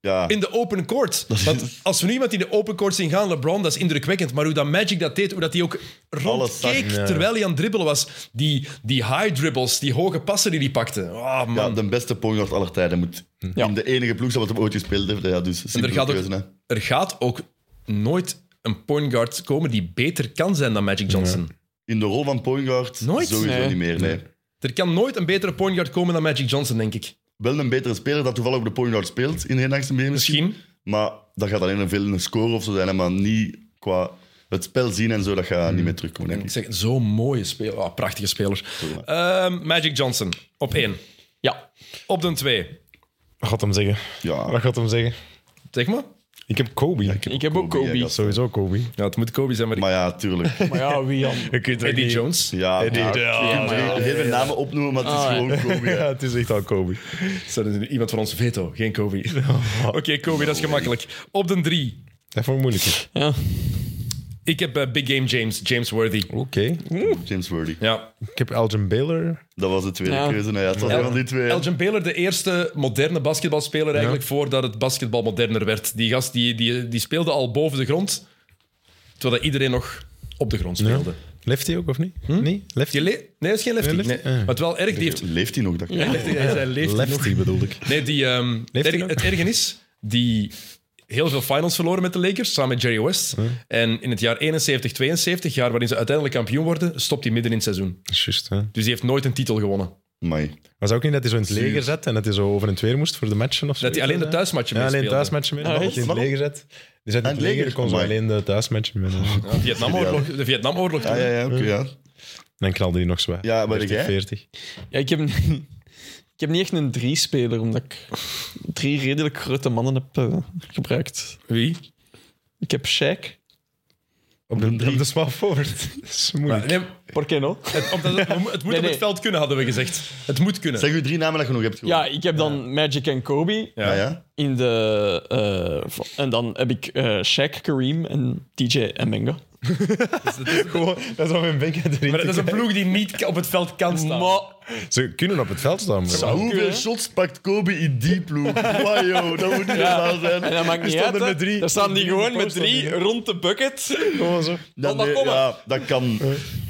S6: Ja.
S3: In de open court. Want als we nu iemand in de open court zien gaan, LeBron, dat is indrukwekkend. Maar hoe dat Magic dat deed, hoe dat hij ook rondkeek
S6: Alles
S7: zag, ja.
S3: terwijl hij aan het dribbelen was. Die, die high dribbles, die hoge passen die hij pakte. Ah man.
S6: Ja, de beste point aller tijden moet
S4: Ja.
S6: in de enige ploeg zijn wat hem ooit gespeeld heeft. Ja, dus
S3: En er
S6: simpele
S3: gaat,
S6: keuze, hè.
S3: ook, er gaat ook nooit een point guard komen die beter kan zijn dan Magic Johnson.
S6: In de rol van point guard
S3: Nooit?
S6: sowieso
S4: Nee.
S6: niet meer, nee.
S3: Er kan nooit een betere point guard komen dan Magic Johnson, denk ik.
S6: Wel een betere speler dat toevallig op de point guard speelt in de nachtse misschien.
S3: Misschien.
S6: Maar dat gaat alleen een veel een score of zo zijn, hè, maar niet qua het spel zien en zo, dat gaat niet meer terugkomen, denk
S3: Ik
S6: ik.
S3: zeg, zo'n mooie speler. Ah, prachtige speler. Ehm, Magic Johnson, op één.
S4: Ja.
S3: Op de twee.
S7: Wat gaat hem zeggen? Wat
S6: Ja,
S7: gaat hem zeggen?
S3: Zeg maar.
S7: Ah. Ik heb Kobe.
S4: Ik heb ook
S6: Kobe,
S4: Kobe.
S6: ja,
S7: Sowieso Kobe.
S3: Ja, het moet Kobe zijn, maar,
S6: maar ja,
S7: <laughs>
S6: tuurlijk.
S4: Maar ja, wie dan?
S7: Je kunt
S3: Eddie Jones.
S6: Ja,
S7: Eddie,
S6: ja,
S7: ja,
S6: ik kan drie- heel veel namen opnoemen, maar het is
S4: Ah, ja.
S6: gewoon Kobe. hè.
S7: <laughs> Ja, het is echt al Kobe.
S3: Dat is iemand van ons veto, geen Kobe. Oké, Kobe, dat is gemakkelijk. Op de drie.
S7: Dat vond ik moeilijk.
S4: <laughs> Ja.
S3: Ik heb eh, Big Game James, James Worthy.
S7: Oké.
S6: James Worthy.
S3: Ja.
S7: Ik heb Elgin Baylor.
S6: Dat was de tweede
S4: Ja.
S6: keuze. Nou ja, het was een van die twee.
S3: Elgin Baylor, de eerste moderne basketbalspeler eigenlijk, voordat het basketbal moderner werd. Die gast die, die, die speelde al boven de grond, terwijl dat iedereen nog op de grond speelde.
S7: Lefty ook, of niet? Nee? Lefty?
S3: Je le- nee, dat is geen lefty.
S7: Nee,
S3: Nee,
S7: lefty.
S3: Maar het wel erg, die heeft...
S6: Leeft hij nog? Dat
S3: Hij lefty, hij zei lefty nog.
S7: Lefty bedoelde ik.
S3: Nee, die, ehm, erg-
S7: Leeft hij nog?
S3: het ergen is, die heel veel finals verloren met de Lakers, samen met Jerry West. En in het jaar 71-72, jaar waarin ze uiteindelijk kampioen worden, stopt hij midden in het seizoen.
S7: Dat is juist, hè.
S3: Dus die heeft nooit een titel gewonnen.
S6: Amai.
S7: Was ook niet dat hij zo in het leger zat en dat hij zo over en weer moest voor de matchen of zo?
S3: Dat hij alleen de thuismatchen
S7: Ja, alleen
S3: meespeelde.
S7: thuismatchen mee.
S4: Ah,
S7: Dat hij
S4: echt?
S7: in het leger zat. Die zat in het
S6: Ah, het
S7: leger,
S6: leger?
S7: kon zo
S6: Amai.
S7: alleen de thuismatchen mee.
S3: De Vietnamoorlog, de Vietnamoorlog
S6: Ah,
S3: toen.
S6: ja, ja, oké, ja.
S7: Dan knalde hij nog zwaar.
S6: Ja, maar
S7: 30,
S6: jij?
S7: 40.
S4: Ja, ik heb... <laughs> Ik heb niet echt een drie-speler, omdat ik drie redelijk grote mannen heb eh, gebruikt.
S3: Wie?
S4: Ik heb Shaq.
S7: Op de, op de small forward. <laughs> Dat is moeilijk.
S3: Nee,
S4: Por qué no?
S3: het, omdat het, we mo- het moet
S4: Nee,
S3: op
S4: nee.
S3: het veld kunnen, hadden we gezegd. Het moet kunnen.
S6: Zeg uw drie namen dat je nog hebt gewoon.
S4: Ja, ik heb dan Magic en Kobe.
S6: Ja, ja.
S4: In de, eh, v- en dan heb ik eh Shaq, Kareem en DJ Mmenga.
S7: Gewoon, dat is al mijn bek erin.
S3: maar dat is een ploeg die niet op het veld kan
S4: Nou.
S3: staan.
S4: Maar
S7: Ze kunnen op het veld staan. maar-
S6: Maar hoeveel
S4: kunnen.
S6: shots pakt Kobe in die ploeg? Wow, joh, dat moet niet normaal zijn.
S4: en dat maakt niet
S7: staan
S4: uit.
S7: er
S4: hè.
S7: met drie-
S4: Daar staan die
S7: drie
S4: gewoon met
S7: posters
S4: drie
S7: in,
S4: rond de bucket.
S7: Gewoon zo.
S6: Dat,
S4: maar kom maar.
S6: ja, dat kan.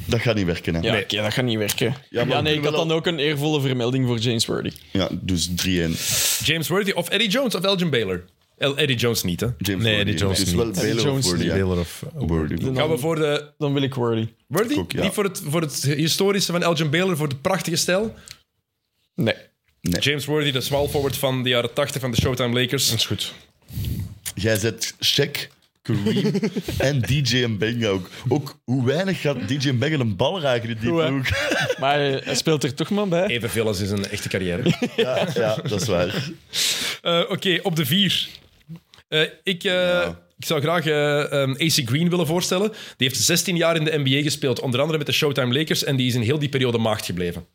S6: Dat gaat niet werken. Hè.
S4: Ja, oké, dat gaat niet werken. Ja,
S6: maar we
S4: nee, ik had
S6: kunnen
S4: dan ook een eervolle vermelding voor James Worthy.
S6: Ja, dus 3-1.
S3: James Worthy of Eddie Jones of Elgin Baylor. El, Eddie Jones niet, hè?
S6: James
S7: Nee,
S6: Worthy.
S7: die Jones
S6: Het is
S7: niet.
S6: wel
S4: die
S6: Baylor
S4: Jones
S6: of Worthy.
S4: niet.
S6: ja.
S7: Dealer of...
S6: Worthy.
S3: Gaan we voor de
S4: Dan wil ik Worthy.
S3: Worthy?
S6: ook, ja.
S3: Niet voor het, voor het historische van Elgin Baylor, voor de prachtige stijl.
S4: Nee.
S3: James Worthy, de small forward van de jaren 80 van de Showtime Lakers.
S7: Dat is goed.
S6: Jij zet Shaq,
S4: <laughs>
S6: Kareem en DJ Mbenga ook. Ook hoe weinig gaat DJ Mbenga een bal raken in die
S4: Hoe, hè?
S6: ploeg. <laughs>
S4: Maar eh, hij speelt er toch maar bij.
S3: Evenveel als in zijn echte carrière.
S6: Ja, ja, dat is waar.
S3: <laughs> Eh, Oké, op de vier. Eh, ik, eh, ik zou graag eh, ehm, AC Green willen voorstellen. Die heeft 16 jaar in de NBA gespeeld, onder andere met de Showtime Lakers. En die is in heel die periode maagd gebleven.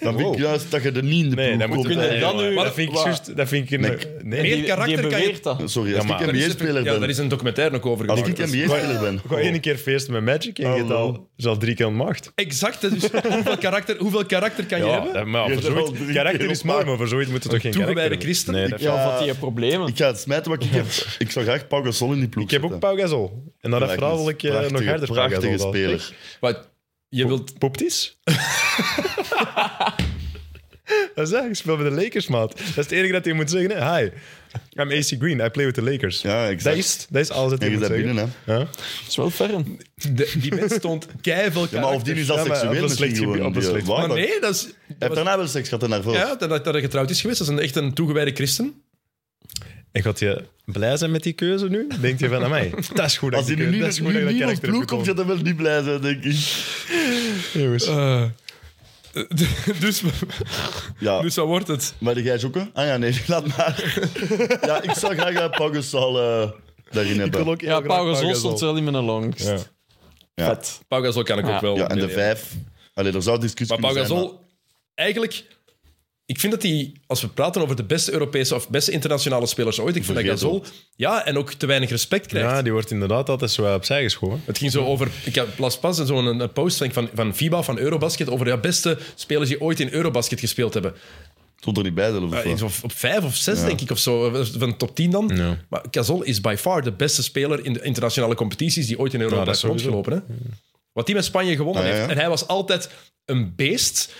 S6: Dan vind ik juist dat je er niet in de ploeg komt.
S4: we-
S6: hè.
S4: dan nu- eh,
S7: Maar dat vind ik
S4: Wat?
S7: juist... Dat vind ik... een- Nee.
S3: Meer
S4: Die-
S3: karakter
S4: die
S3: kan je...
S4: beweert dat.
S6: Sorry, als
S7: Ja, maar-
S6: ik
S3: Daar is een-
S6: NBA-speler
S3: Ja, daar
S6: ben.
S3: is een documentaire ook over
S6: Als
S3: gemaakt.
S6: ik NBA-speler ben.
S7: Gewoon één keer feest met Magic en je
S6: Oh,
S7: hebt al, is al drie keer ontmaagd.
S3: Exact, hè,
S6: <laughs>
S3: dus hoeveel karakter, hoeveel karakter kan je
S7: Ja,
S3: hebben?
S7: dat- maar
S6: Je
S7: voor
S6: hebt er al
S7: zoiets...
S6: drie
S7: Karakter
S6: keer
S7: is mooi,
S6: ontmaagd.
S7: maar voor zoiets moet het toch geen karakter
S3: Toegewijde
S7: hebben.
S3: christen?
S7: Nee, dat-
S4: Ja,
S6: Oh. Ja.
S4: of had hij problemen?
S6: <laughs> Ik ga het smijten wat ik heb. Ik zou graag Pau Gasol in die ploeg
S7: Ik heb ook
S6: zetten.
S7: Pau Gasol. En dan dat
S6: Lijkt me
S7: verhaal wil ik eh, nog
S6: prachtige,
S7: harder Pau
S6: Prachtige
S7: Gasol dan.
S6: speler.
S3: Wat, je wilt...
S7: Poptis? <laughs> dat is eigenlijk, ik speel bij de Lakers, maat. Dat is het enige dat hij moet zeggen. Hè? Hi, I'm AC Green, I play with the Lakers.
S6: Ja, exact.
S7: Dat is, dat is alles dat
S6: En
S7: hij
S6: je
S7: moet
S6: bent
S7: zeggen.
S6: binnen, hè.
S7: Ja?
S4: Dat is wel fern.
S3: De, die mens stond keiveel
S6: Ja, maar of die is
S7: Ja, maar op een
S6: asexueel
S7: slecht
S6: misschien
S7: gebied-
S6: gewoon.
S7: op een
S6: die,
S7: slecht-
S6: waar
S3: Maar
S6: dan? Hij
S3: nee, dat is... dat
S6: heeft
S3: was-
S6: daarna wel seks gehad en daarvoor.
S3: ja, dat, dat hij getrouwd is geweest. Dat is een, echt een toegewijde christen.
S7: En gaat je blij zijn met die keuze nu? Denkt je
S6: <laughs>
S7: van, mij? dat is goed dat
S6: Als hij nu
S7: ik die keuze-
S6: niet
S7: dat is
S6: met
S7: goed dat
S6: nu
S7: ik dat
S6: niet op
S7: karakter heb
S6: ploeg komt, gaat
S7: gekozen.
S6: hij wel niet blij zijn, denk ik.
S7: Jongens.
S3: <laughs> dus,
S6: Ja,
S3: dus wat wordt het?
S6: maar jij zoeken? Ah ja, nee, <laughs> laat maar. ja, ik zou graag eh, Pau Gasol eh, daarin
S7: Ik wil
S6: hebben.
S7: ook heel
S4: Ja,
S7: graag
S4: Pau Gasol
S7: Pau
S4: stond wel in mijn long.
S7: Ja.
S6: Ja.
S4: Vet.
S3: Pau Gasol kan ik
S4: Ja.
S3: ook wel.
S6: Ja, en de
S3: meenemen.
S6: vijf. Allee, er zou discussie
S3: Maar Pau
S6: kunnen zijn.
S3: Gasol, eigenlijk... Ik vind dat die, als we praten over de beste Europese of beste internationale spelers ooit, ik vind dat
S6: Vergeet
S3: Gasol ja, en ook te weinig respect krijgt.
S7: Ja, die wordt inderdaad altijd zo eh, opzij geschoven.
S3: Het ging zo over. Ik heb las pas zo'n een, een post denk ik, van, van FIBA, van Eurobasket, over de beste spelers die ooit in Eurobasket gespeeld hebben.
S6: Stond er niet bij, zelf. of
S3: Eh,
S6: wat?
S3: iets of, op vijf of zes, denk ik, of zo, eh, van de top 10 dan.
S7: Ja.
S3: Maar Gasol is by far de beste speler in de internationale competities die ooit in Europa
S7: Ja, dat
S3: heeft rondgelopen. Hè? Wat hij met Spanje gewonnen
S6: Ah, ja,
S3: heeft.
S6: ja.
S3: En hij was altijd een beest.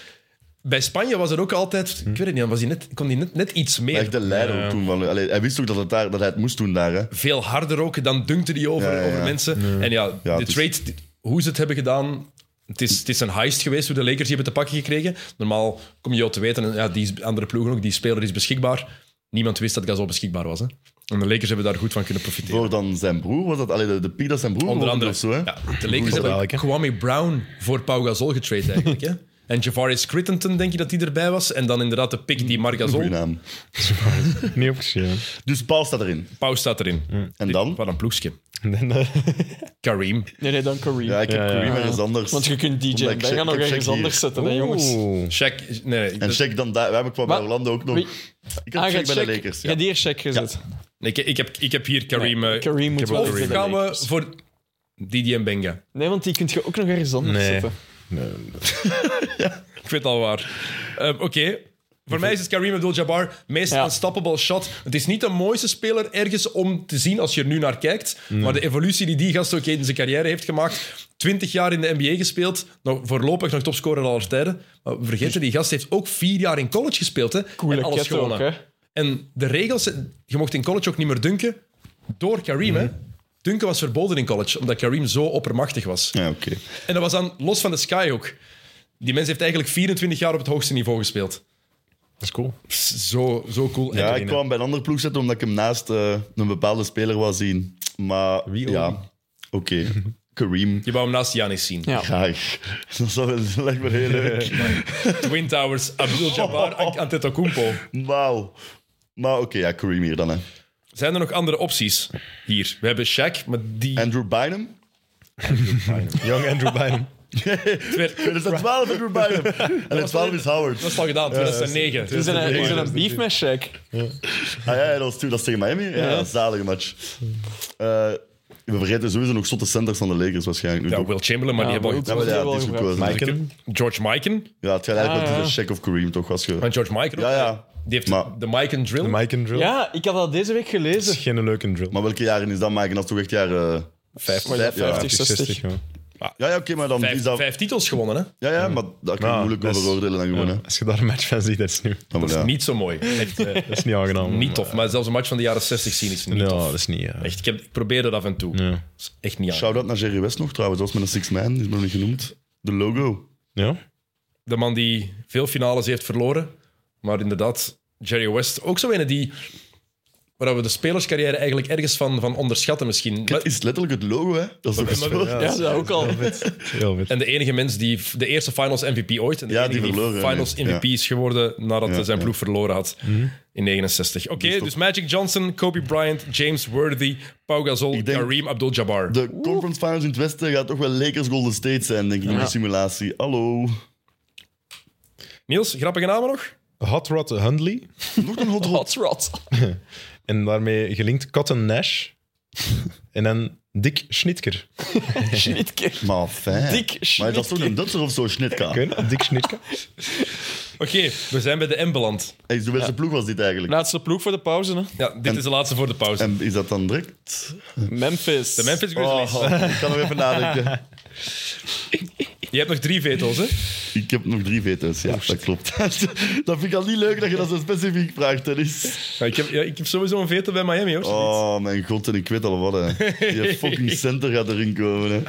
S3: Bij Spanje was het ook altijd, ik weet het niet, dan was hij net, kon hij net, net iets
S6: Maar
S3: meer.
S6: Echt de leider ook toen. Van, allee, hij wist ook dat, het daar, dat hij het moest doen daar. Hè.
S3: Veel harder ook, dan dunkte hij over,
S6: Ja, ja, ja.
S3: over mensen. En ja,
S6: Ja,
S3: de
S6: het is-
S3: trade, hoe ze het hebben gedaan, het is, het is een heist geweest hoe de Lakers die hebben te pakken gekregen. Normaal kom je al te weten, en ja, die is- andere ploegen ook, die speler is beschikbaar. Niemand wist dat Gasol beschikbaar was. Hè? En de Lakers hebben daar goed van kunnen profiteren.
S6: Voor dan zijn broer was dat. Allee, de, de Piet dat zijn broer
S3: Onder
S6: woonde
S3: andere.
S6: of zo. Hè.
S3: Ja, de Lakers hebben
S7: eigenlijk, hè?
S3: Kwame Brown voor Pau Gasol getrade eigenlijk. hè? En Javaris Crittenton, denk je dat die erbij was. En dan inderdaad de pick die Marc Gasol...
S6: Goeie naam.
S4: <laughs>
S7: Niet opgeschreven.
S6: Dus Paul staat erin.
S3: Pau staat erin.
S6: En dan?
S3: Wat een ploegje.
S7: En, eh,
S3: Kareem.
S4: Nee, nee, dan Kareem.
S6: Ja, ik heb
S7: Ja, ja.
S6: Kareem ergens anders.
S4: Want je kunt DJ
S6: Omdat ik
S4: Mbenga
S6: Shaq-
S4: nog
S6: ik heb
S4: ergens
S6: Shaq hier.
S4: anders zetten, hè, jongens.
S7: Oeh.
S3: Shaq... Nee, dus-
S6: En
S3: dat-
S6: check dan daar. We hebben qua bij
S4: Maar-
S6: Orlando ook nog.
S4: Wie-
S6: Ik
S4: Ah,
S6: heb
S4: je
S6: check
S4: hebt
S6: bij de
S4: Shaq-
S6: Lakers.
S4: je hebt hier check gezet.
S3: ik, ik, heb, ik heb hier Kareem... eh,
S4: Kareem moet wel
S3: Of
S4: voor de
S3: gaan we
S4: Lakers.
S3: voor Didi en Benga?
S4: Nee, want die kunt je ook nog ergens anders
S7: Nee.
S4: zetten.
S3: Ik vind het al waar. Eh, Oké. Voor mij is het Kareem Abdul-Jabbar meest
S4: Ja.
S3: unstoppable shot. Het is niet de mooiste speler ergens om te zien als je er nu naar kijkt. Maar de evolutie die die gast ook in zijn carrière heeft gemaakt. 20 jaar in de NBA gespeeld. Nog, voorlopig nog topscorer aller tijden. Maar vergeet dat die gast heeft ook vier jaar in college gespeeld. Hè,
S4: Coole
S3: en alles
S4: cat ook,
S3: gewonnen.
S4: hè.
S3: En de regels... zijn- Je mocht in college ook niet meer dunken. Door Kareem, hè. Dunken was verboden in college, omdat Kareem zo oppermachtig was.
S6: Ja, oké.
S3: En dat was dan los van de Sky ook. Die mens heeft eigenlijk 24 jaar op het hoogste niveau gespeeld.
S7: Dat is cool.
S3: Zo, zo cool.
S6: Ja,
S3: En-
S6: ik kwam bij een andere ploeg zetten omdat ik hem naast eh, een bepaalde speler wou zien. Maar
S7: Wie ook
S6: ja,
S7: niet.
S6: oké. Kareem.
S3: Je wou hem naast Janis zien.
S4: Ja.
S6: Graag. <laughs> Dat zou- dat lijkt me heel leuk.
S3: <laughs> Twin Towers,
S6: <laughs>
S3: Abdul-Jabbar, Ant- Antetokounmpo.
S6: Wauw. Maar oké, ja, Kareem hier dan. Hè.
S3: Zijn er nog andere opties hier? We hebben Shaq, maar die...
S6: Andrew Bynum.
S7: Young Andrew Bynum.
S6: Er zijn 12 Andrew Bynum.
S3: <laughs>
S6: En de 12 is
S3: Dat is
S6: Howard.
S3: al gedaan, 2009.
S4: Is er een, is er
S3: Ja.
S4: een beef met Shaq?
S6: Ah ja, ja, dat was toen. Dat is tegen Miami. Ja, dat is een zalige match. Eh, we vergeten sowieso nog zotte centers van de Lakers waarschijnlijk. Nu
S3: Ja,
S6: toch.
S3: Will Chamberlain, maar
S4: Ja,
S3: die hebben we
S4: Will-
S6: ja, maar ja,
S4: wel
S6: het is
S4: gebruikt.
S6: gekozen.
S7: Michael.
S3: George Mikan.
S6: Ja, het gaat eigenlijk
S4: Ah,
S6: wel
S4: ja.
S6: tussen Shaq of Kareem toch. Als je...
S3: Van George Mikan ook.
S6: Ja, ja.
S3: Die heeft
S6: Maar-
S3: de Mikan drill.
S7: Mike and Drill.
S4: Ja, ik had dat deze week
S7: Dat is
S4: gelezen.
S7: geen leuke drill.
S6: Maar welke jaren is dat, Mike? En Dat is toch echt jaren...
S3: Vijf,
S6: Vijf, ja.
S4: 50, 60.
S7: ja.
S6: Ja, ja oké, maar dan
S3: vijf,
S6: is dat...
S3: vijf titels gewonnen, hè?
S6: Ja, ja, maar daar kan je
S7: Ah,
S6: moeilijk
S7: dat
S6: over
S7: is-
S6: oordelen dan gewoon, hè.
S7: Ja, Als je daar een match van ziet, dat is, nu,
S6: Dan wel,
S3: Dat is
S6: ja.
S3: niet zo mooi. Echt, eh,
S7: dat is niet aangenaam.
S3: niet tof. Maar zelfs een match van de jaren 60 zien is niet
S7: Ja,
S3: tof.
S7: dat is niet... eh, ja.
S3: Echt, ik, heb, ik probeer dat af en toe.
S7: Ja.
S3: Dat is echt niet aan.
S6: Shout-out naar Jerry West nog trouwens. Dat was met een six man, die is nog niet genoemd. De logo.
S7: Ja?
S3: De man die veel finales heeft verloren. Maar inderdaad, Jerry West, ook zo ene die... Waar we de spelerscarrière eigenlijk ergens van, van onderschatten misschien. Maar-
S6: Het is letterlijk het logo, hè? Dat is toch zo?
S4: Ja, dat ook al. <laughs>
S7: Heel vet.
S3: En de enige mens die f- de eerste Finals MVP ooit. En de
S6: Ja,
S3: enige
S6: die verloren, hè,
S3: Finals
S6: nee.
S3: MVP is geworden nadat
S6: Ja,
S3: hij zijn
S6: ja.
S3: ploeg verloren had in 69. Oké, dus, Magic Johnson, Kobe Bryant, James Worthy, Pau Gasol,
S6: Ik denk-
S3: Kareem Abdul-Jabbar.
S6: De conference finals in het Westen gaat toch wel Lakers Golden State zijn, denk ik, in de simulatie. Hallo.
S3: Niels, grappige namen nog?
S7: Hot Rod Hundley.
S6: Nog een hot rod.
S4: Hot rod.
S7: En daarmee gelinkt Cotton Nash. <laughs> en dan Dick Schnitker.
S4: Schnitke.
S6: Maar fijn.
S4: Dick
S6: Maar dat is toch
S4: Schmidtke.
S6: een Dutser of zo, Schnitka?
S7: Ken je dat? Dick Schnitker.
S3: Oké, we zijn bij de M beland.
S6: Hey, de beste ploeg was dit eigenlijk.
S4: Laatste ploeg voor de pauze, hè.
S3: Ja, dit is de laatste voor de pauze.
S6: En is dat dan direct?
S4: Memphis.
S3: de Memphis Grizzlies.
S6: Oh, ik kan nog even
S7: <laughs>
S6: nadenken.
S3: Je hebt nog drie veto's, hè?
S6: Ik heb nog drie veto's, ja, dat klopt. <laughs> dat vind ik al niet leuk dat je dat zo specifiek vraagt, Dennis.
S3: Ja, ik, heb, ja, ik heb sowieso een veto bij Miami, hoor.
S6: Oh, mijn god, en ik weet al wat, hè.
S7: <laughs>
S6: Die fucking center gaat erin komen, hè.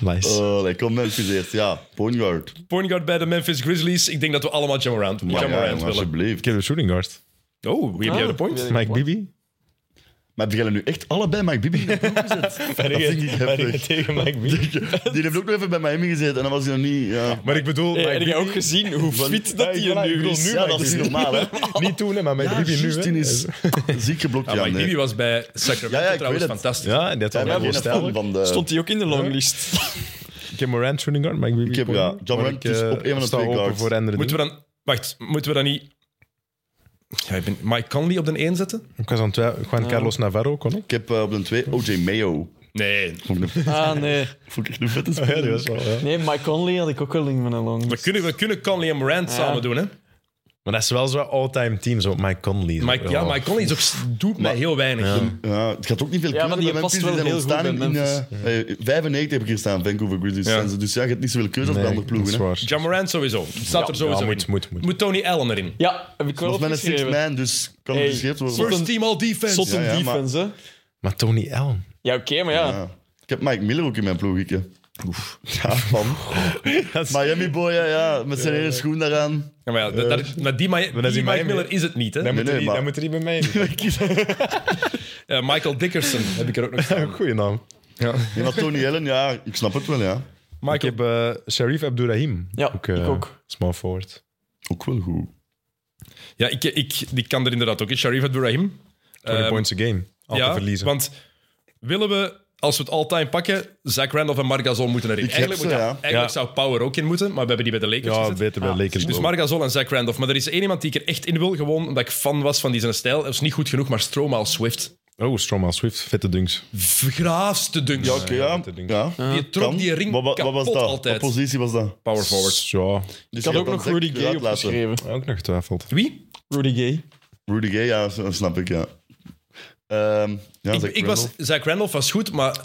S7: Nice.
S6: Oh, dat komt Memphis eerst, ja. Point guard.
S3: Point guard bij de Memphis Grizzlies. Ik denk dat we allemaal Jamorant,
S6: Ja, ja,
S3: Jamorant
S6: jongen,
S3: willen.
S7: Ik
S6: alsjeblieft.
S7: heb een shooting guard.
S3: Oh, wie heb jij de point?
S7: Mike Bibby.
S6: Maar hebben jullie nu echt allebei Mike Bibby in de ploeg
S7: <laughs>
S6: gezet? dat vind ik heftig.
S7: tegen Mike Bibby.
S6: <laughs> Die heeft ook nog even bij Miami gezeten en dan was hij nog niet... Ja,
S7: Maar ik bedoel...
S4: Hey, heb
S7: Mike Bibby,
S4: je ook gezien hoe fit dat hij er nu
S6: <laughs>
S4: is?
S6: ja dat is normaal, hè.
S7: niet toen, hè, maar Mike
S6: Ja,
S7: Bibby nu.
S6: Justin
S7: hè.
S6: is <laughs> ziek geblokt,
S3: Ja,
S6: ja.
S3: Ah, Mike
S6: nee.
S3: Bibby was bij Sacramento
S6: Ja, ja, ik
S3: trouwens
S6: weet het.
S3: fantastisch.
S7: Ja, en dat
S6: Ja,
S7: had
S6: maar
S7: wel
S6: geen fan
S7: voorstellen.
S6: van de...
S4: Stond hij ook in de longlist?
S7: Ik heb Morant shooting guard, Mike Bibby.
S6: Ik heb, ja,
S7: point.
S6: John
S7: Maar
S6: Morant
S7: ik,
S6: is
S7: eh,
S6: op een van de
S7: sta
S6: twee
S7: open
S6: guards.
S7: voor andere
S3: Moeten
S7: dingen.
S3: we dan... Wacht, moeten we dan niet... Ja, ik ben Mike Conley op de 1 zetten?
S7: Ik was aan het twijfelen. Juan Carlos Navarro kon ook.
S6: Ik heb eh, op de 2 OJ Mayo. <laughs>
S3: Nee.
S6: Vond ik een-
S4: <laughs> Ah, nee.
S6: vond ik echt een
S7: <laughs>
S6: vette speler.
S4: Nee, Mike Conley had ik ook wel in mijn
S3: We
S4: longlist.
S3: kunnen, we kunnen Conley en Morant samen doen, hè?
S7: Maar dat is wel zo'n all-time team, zo Mike Conley. zo.
S3: Mike, ja, Mike Conley is ook, doet mij heel weinig.
S6: Ja, het gaat ook niet veel
S4: Ja, maar
S6: kunnen
S4: die
S6: bij
S4: past
S6: Memphis. Die
S4: wel heel
S6: ontstaan
S4: goed bij
S6: in, eh, eh, 95 heb ik hier staan, Vancouver Grizzlies.
S3: Ja.
S6: fans. Dus ja, je hebt niet zoveel keuze als bij
S7: Nee,
S6: andere ploegen. hè.
S7: dat is waar.
S3: Ja, Morant sowieso. Staat er sowieso
S7: Ja, moet,
S3: in.
S7: moet, moet.
S3: Tony Allen erin?
S4: Ja, heb ik wel
S6: Dat is met een six
S4: opgeschreven.
S6: man, dus kan
S4: Hey,
S6: het geschept worden.
S4: sorry.
S3: First team all defense.
S4: Tot een
S6: Ja, ja, maar-
S4: defense, hè.
S7: Maar Tony Allen.
S4: Ja, oké, maar ja.
S6: Ja. Ik heb Mike Miller ook in mijn ploeg, ik, hè. Ja, man.
S7: <laughs>
S6: Miami boy, ja, ja, met zijn hele schoen
S7: <laughs>
S6: daaraan.
S3: Ja, maar ja, dat,
S6: Eh,
S3: dat- maar die, Mi-
S7: dat is
S3: die
S7: in
S3: Mike
S7: Miami.
S3: Miller is het niet, hè?
S7: Dan moet
S6: nee,
S7: hij-
S6: maar-
S7: dan moet hij bij <laughs> mij.
S3: Eh, Michael Dickerson heb ik er
S6: <laughs>
S3: ook nog staan.
S7: Goeie naam.
S6: Ja, maar Tony Allen, ja, ik snap het wel, ja.
S7: Ik heb eh, Sharif Abdurrahim.
S4: Ja,
S7: eh,
S4: ik ook.
S7: Small forward.
S6: Ook wel goed.
S3: Ja, ik, ik, die kan er inderdaad ook in. Sharif Abdurrahim.
S7: 20
S3: Ehm,
S7: points a game. Altijd verliezen.
S3: Want willen we, als we het all-time pakken, Zach Randolph en Marc Gasol moeten erin.
S6: Ik heb
S3: eigenlijk
S6: ze,
S3: moet-
S6: ja.
S3: eigenlijk
S7: Ja.
S3: zou Power ook in moeten, maar we hebben die bij de Lakers
S7: ja,
S3: gezet.
S7: beter
S6: Ah,
S7: bij Lakers.
S3: Dus
S7: ook.
S3: Marc Gasol en Zach Randolph. Maar er is één iemand die ik er echt in wil, gewoon omdat ik fan was van die zijn stijl. Dat is niet goed genoeg, maar Stroma als Swift.
S7: Oh, Stromaal Swift. Vette dunks.
S3: Graafste dunks.
S6: Ja, oké, ja.
S7: dat denk ik.
S6: ja.
S3: Die trok
S6: Kan.
S3: die ring
S6: Wat- wat-
S3: kapot
S6: Wat was dat?
S3: altijd.
S6: Wat positie was dat?
S3: Power forward.
S7: Ja,
S6: Dus
S4: Ik had
S6: je
S4: ook
S6: hebt
S4: nog
S6: dan
S4: Rudy
S6: direct
S4: Gay
S6: eruit laten.
S4: opgeschreven.
S7: ook nog getwijfeld.
S3: Wie?
S4: Rudy Gay.
S6: Rudy Gay, ja, dat snap ik, ja. Ehm, ja
S3: Ik,
S6: Zach
S3: ik was,
S6: Randolph.
S3: Zach Randolph was goed, maar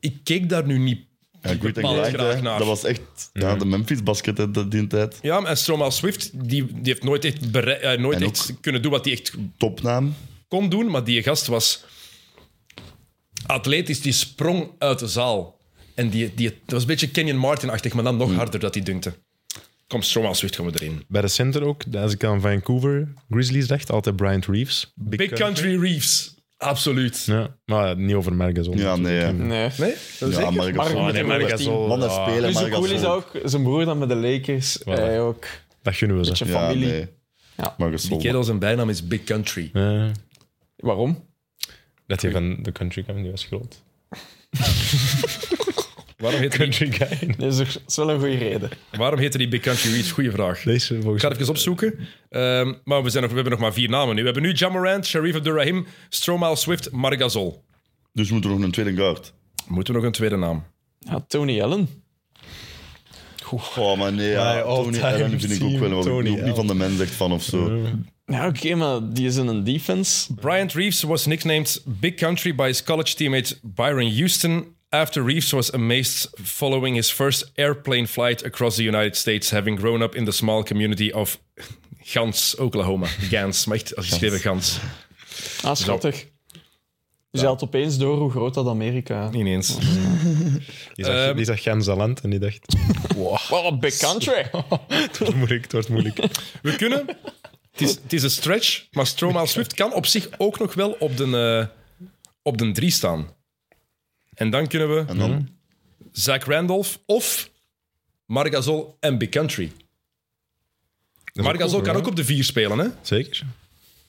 S3: ik keek daar nu niet
S6: Ja, Grit and
S3: bepaald
S6: Grind,
S3: graag
S6: hè.
S3: naar. Mhm.
S6: Dat was echt ja, de Memphis basket hè, dat die tijd.
S3: Ja, maar en Stromaal Swift die, die heeft nooit echt, bere- eh, nooit
S6: En
S3: echt kunnen doen wat hij echt
S6: Topnaam.
S3: kon doen, maar die gast was atletisch, die sprong uit de zaal. En die, die, dat was een beetje Kenyon Martin-achtig, maar dan nog harder dat hij dunkte. Kom, Stromaal Swift, komen we erin.
S7: Bij de center ook, als ik aan Vancouver Grizzlies dacht, altijd Bryant Reeves.
S3: Big Country Reeves. Absoluut.
S7: Ja. Maar ja, niet over Mergazol.
S6: Ja, nee. ja.
S4: Nee.
S3: Nee? Dat
S6: Ja,
S3: Mhm. zeker?
S4: Maar
S6: Marcus.
S4: met
S7: nee,
S4: een
S7: Mergazol.
S6: Man, dat spelen,
S4: Dus hoe
S6: Marcus.
S4: cool is dat ook, zijn broer dan met de Lakers. Hij ook.
S7: Dat gunnen we ze.
S4: Beetje
S6: Ja,
S4: familie.
S6: nee.
S4: Ja.
S6: Marcus
S3: Die kerel zijn bijnaam is Big Country.
S7: Ja.
S4: Waarom?
S7: dat hij van de country kwam, die was groot.
S3: Waarom heette <laughs> die,
S7: Country guy.
S4: Nee, dat is- dat is wel een goede reden.
S3: waarom heette die Big Country Reach? Goeie vraag.
S7: Deze volgens
S3: Ik ga het even opzoeken. Ehm, maar we, zijn nog, we hebben nog maar vier namen nu. We hebben nu Jamarant, Sharif Abdurrahim, Stromaal Swift, Margazol.
S6: Dus we moeten nog een tweede guard.
S3: Moeten we nog een tweede naam?
S4: Ja, Tony Allen.
S6: Oh, maar nee. Ja,
S7: My
S6: Tony
S7: all-time
S6: Allen vind ik ook
S7: team,
S6: wel. Wat
S7: Tony
S6: ik ook niet van de man zegt van of zo.
S4: Ja, oké, maar die is in een defense.
S3: Bryant Reeves was nicknamed Big Country by his college teammate Byron Houston after Reeves was amazed following his first airplane flight across the United States, having grown up in the small community of <laughs> Gans, Oklahoma. Gans, maar echt als geschreven Gans.
S4: Ah, schattig. Dus hij had opeens door hoe groot dat Amerika...
S3: Ineens.
S7: Die zag,
S3: Ehm.
S7: die zag Gens Aland en die dacht, <laughs>
S4: Well, a big <laughs> country.
S7: het wordt moeilijk, het wordt moeilijk.
S3: We kunnen. Het is, het is een stretch, maar Stromaal Swift kan op zich ook nog wel op de, eh, op de drie staan. En dan kunnen we
S6: En dan...
S3: Zach Randolph of Margazol en Big Country. Margazol kan ook op de vier spelen, hè?
S7: Zeker?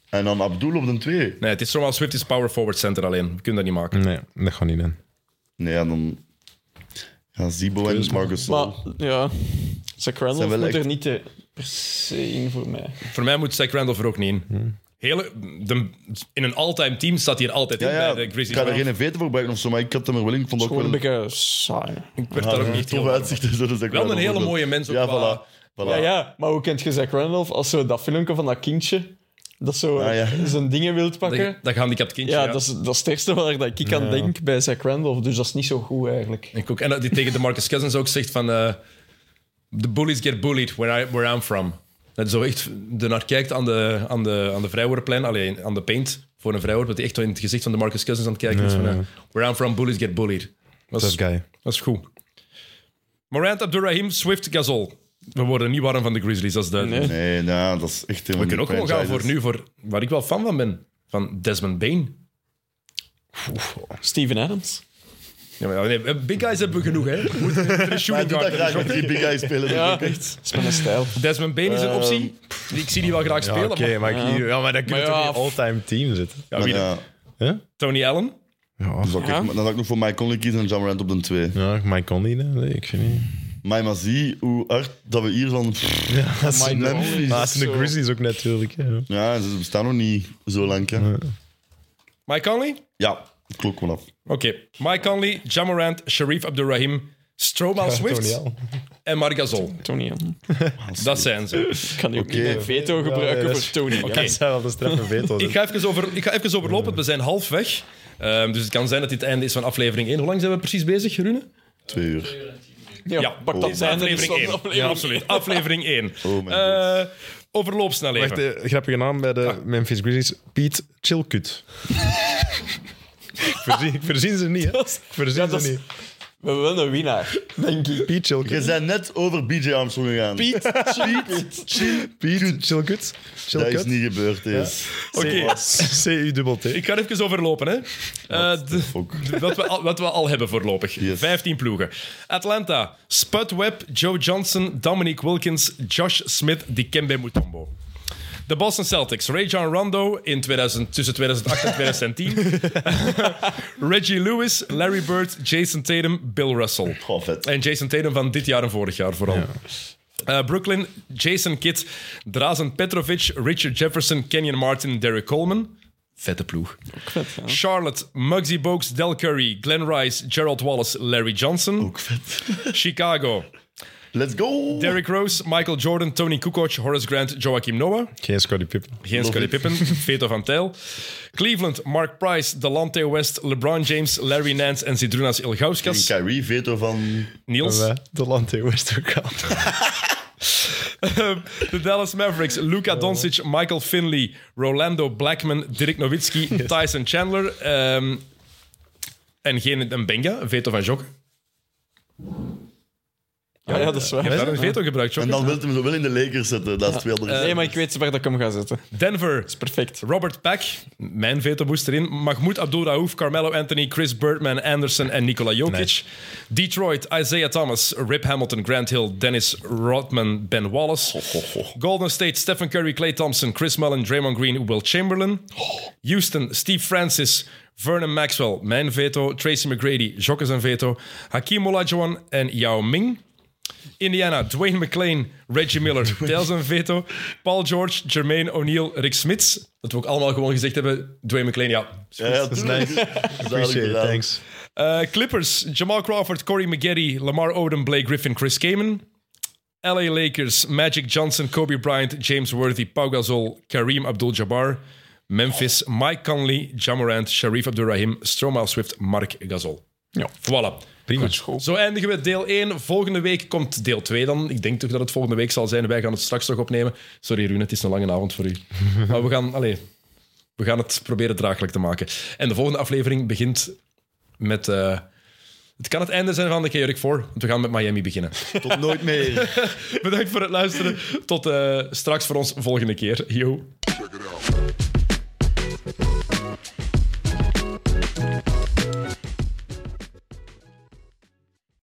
S6: En dan Abdul op de twee.
S3: Nee, het is Stromaal Swift is power forward center alleen. We kunnen dat niet maken.
S7: Nee, dat gaat niet in.
S6: Nee, en dan... Ja, Zibo en Marcus.
S4: Maar ja, Zach Randolph
S6: Zijn wel
S4: moet
S6: echt-
S4: er niet eh, per se in voor mij.
S6: Hm.
S3: Voor mij moet Zach Randolph er ook niet in. Hele, de- in een all-time team staat hij er altijd
S6: Ja,
S3: in
S6: ja.
S3: bij de
S6: Ik
S3: Grizzlies.
S6: ga er
S3: Maar
S6: geen veto voor gebruiken of zo, maar ik had hem er wel in. Ik vond ook
S4: Gewoon
S6: wel
S4: een beetje saai.
S3: Ik werd daar ook
S6: Ja,
S3: niet heel
S6: tof
S3: warm
S6: uitzicht. Dus dat is echt
S3: Wel een hele
S6: goed.
S3: mooie mens ook
S6: Ja,
S3: qua-
S6: voilà. voilà.
S4: Ja, ja, maar hoe kent je Zach Randolph als zo dat filmpje van dat kindje dat zo
S6: Ah, ja.
S4: <laughs> zijn dingen wilt
S3: van.
S4: pakken?
S3: Dat, dat gehandicapt kindje.
S4: Ja,
S3: ja.
S4: Dat, is, dat is het eerste waar dat ik aan denk bij Zach Randolph, dus dat is niet zo goed eigenlijk.
S3: Ik ook. En dat die tegen de Marcus Cousins ook zegt van... eh, the bullies get bullied where, I, where I'm from. Dat zo echt de naar kijkt aan de, aan de, aan de vrijwoordplein, alleen aan de paint voor een vrijwoord, dat hij echt in het gezicht van de Marcus Cousins aan het kijken is van... eh, where I'm from, bullies get bullied. Dat
S7: Dat
S3: is,
S7: is guy.
S3: dat is goed. Morant, Abdurrahim, Swift, Gasol. We worden niet warm van de Grizzlies, dat is duidelijk.
S6: Nee, nou, dat is echt helemaal
S3: We kunnen ook
S6: niet
S3: gewoon gaan voor
S6: franchises.
S3: nu, voor waar ik wel fan van ben. Van Desmond Bain.
S4: Steven Adams.
S3: Ja, maar, nee, eh, big guys hebben we genoeg,
S6: <laughs>
S3: hè. We moeten er een
S6: Maar
S3: shooting
S6: doe
S3: guard
S6: dat
S3: hebben.
S6: graag met die big guys spelen.
S4: Ja,
S6: dat is ook echt-
S4: echt. Dat is mijn stijl.
S3: Desmond Bain is een optie. Ik zie die wel graag
S7: Ehm. Ja,
S3: spelen.
S7: oké,
S3: maar-
S7: maar, ik- ja, maar dan kun je
S4: Maar
S7: toch
S4: ja,
S7: niet all-time team zitten?
S3: Ja,
S6: Maar
S3: wie dan?
S6: ja,
S3: Tony Allen.
S7: Ja,
S6: dat is ook
S4: Ja.
S6: echt- Dan zou ik nog voor Mike Conley kiezen en Jammerant op de 2.
S7: ja Mike Conley, nee, nee, ik vind niet.
S6: Maar maar zie hoe hard dat we hier van...
S7: <laughs> Dat is-
S4: Mike
S7: maar
S4: Conley is
S7: dat is de
S4: zo-
S7: Grizzlies ook natuurlijk. hè.
S6: Ja, ze bestaan nog niet zo lang. Hè.
S3: Mike Conley?
S6: Ja, het klok wel af.
S3: Oké. Mike Conley, Jamarant, Sharif Abdurrahim, Stromaal
S7: Tony
S3: Swift
S7: Allen.
S3: en Margazol.
S4: Tony Allen.
S3: Dat zijn ze.
S4: Ik kan die ook niet mijn veto gebruiken
S7: nee, dat is-
S4: voor Tony.
S7: Dat zijn wel de straffe veto's.
S3: Ik ga even, over, ik ga even overlopen, want we zijn half weg. Ehm, dus het kan zijn dat dit het einde is van aflevering 1. Hoe lang zijn we precies bezig, Rune?
S6: Twee uur.
S4: Ja, pak dat zijn er is
S3: aflevering
S4: dan
S3: 1.
S4: aflevering.
S3: Ja, absoluut. Aflevering 1.
S6: Oh mijn
S3: Eh overloopsnelheden.
S7: Echt een eh, grappige naam bij de Memphis Grizzlies. Piet Chilkut. ik, voorzien, ik voorzien ze niet, hè. Ik voorzien
S4: Ja, dat
S7: ze
S4: is-
S7: niet.
S4: We hebben wel een winnaar, denk ik.
S7: Piet
S6: Je
S7: Chilkut.
S6: bent net over BJ Armstrong gegaan.
S7: Piet Chilkut.
S6: dat is
S7: Chilkut.
S6: niet gebeurd. Is.
S3: Oké.
S7: <laughs> C-U-T.
S3: Ik ga er even overlopen, hè. Eh, de-
S6: fuck?
S3: de- wat, we al, wat we al hebben voorlopig.
S6: Yes.
S3: 15 ploegen. Atlanta, Spud Webb, Joe Johnson, Dominic Wilkins, Josh Smith, Dikembe Mutombo. De Boston Celtics, Ray John Rondo in 2000, tussen 2008 en 2010. <laughs> Reggie Lewis, Larry Bird, Jason Tatum, Bill Russell.
S6: Goh, vet.
S3: En Jason Tatum van dit jaar en vorig jaar vooral. Eh, Brooklyn, Jason Kidd, Drazen Petrovic, Richard Jefferson, Kenyon Martin, Derek Coleman. Vette ploeg. Charlotte, Muggsy Bogues, Del Curry, Glenn Rice, Gerald Wallace, Larry Johnson.
S6: Ook vet.
S3: Chicago,
S6: Let's go!
S3: Derrick Rose, Michael Jordan, Tony Kukoc, Horace Grant, Joachim Noah.
S7: Geen Scottie Pippen.
S3: Geen Scottie
S6: <laughs>
S3: Pippen, Veto van Tijl. Cleveland, Mark Price, Delante West, LeBron James, Larry Nance en Zidrunas Ilgauskas.
S6: Kyrie, veto van...
S3: Niels.
S7: Wij, De Lante West ook al.
S3: <laughs> Ehm, De Dallas Mavericks, Luka Doncic, Michael Finley, Rolando Blackman, Dirk
S6: <laughs>
S3: Nowitzki, Tyson Chandler. ehm, en geen een Benga, een veto van Jokke.
S4: Ja, Ah, ja dat is waar.
S3: Je hebt daar een veto gebruikt,
S6: En
S3: Jokke.
S6: dan wil je hem zo wel in de Lakers zetten. Dat is twee andere
S4: Nee, maar ik weet waar dat ik hem ga zetten. Dat
S3: Denver,
S4: is perfect.
S3: Robert Pack, mijn veto-boost erin. Mahmoud Abdul-Raouf, Carmelo Anthony, Chris Birdman, Anderson en Nikola Jokic.
S7: Nice.
S3: Detroit, Isaiah Thomas, Rip Hamilton, Grant Hill, Dennis Rodman, Ben Wallace. Golden State, Stephen Curry, Clay Thompson, Chris Mullen, Draymond Green, Will Chamberlain. Houston, Steve Francis, Vernon Maxwell, mijn veto. Tracy McGrady, Jokke zijn veto. Hakim Olajuwon en Yao Ming. Indiana, Dwayne McLean, Reggie Miller, Dales en Veto, Paul George, Jermaine O'Neal, Rick Smits. Dat we ook allemaal gewoon gezegd hebben. Dwayne McLean, ja.
S6: Ja, ja,
S7: <laughs>
S6: dat is nice.
S7: Appreciate it, thanks.
S3: Eh, Clippers, Jamal Crawford, Corey McGetty, Lamar Odom, Blake Griffin, Chris Kamen. LA Lakers, Magic Johnson, Kobe Bryant, James Worthy, Pau Gasol, Kareem Abdul-Jabbar. Memphis, Mike Conley, Jamorant, Sharif Abdurrahim, Stromaal Swift, Mark Gasol.
S4: Ja.
S3: Voilà.
S7: Prima.
S3: Zo eindigen we deel 1. Volgende week komt deel 2 dan. Ik denk toch dat het volgende week zal zijn. Wij gaan het straks nog opnemen. Sorry, Rune, het is een lange avond voor u. Maar we gaan, allez, we gaan het proberen draaglijk te maken. En de volgende aflevering begint met. eh, het kan het einde zijn van de Chaotic 4, want we gaan met Miami beginnen.
S6: Tot nooit meer.
S3: Bedankt voor het luisteren. Tot eh, straks voor ons volgende keer. Yo.
S9: Check it out.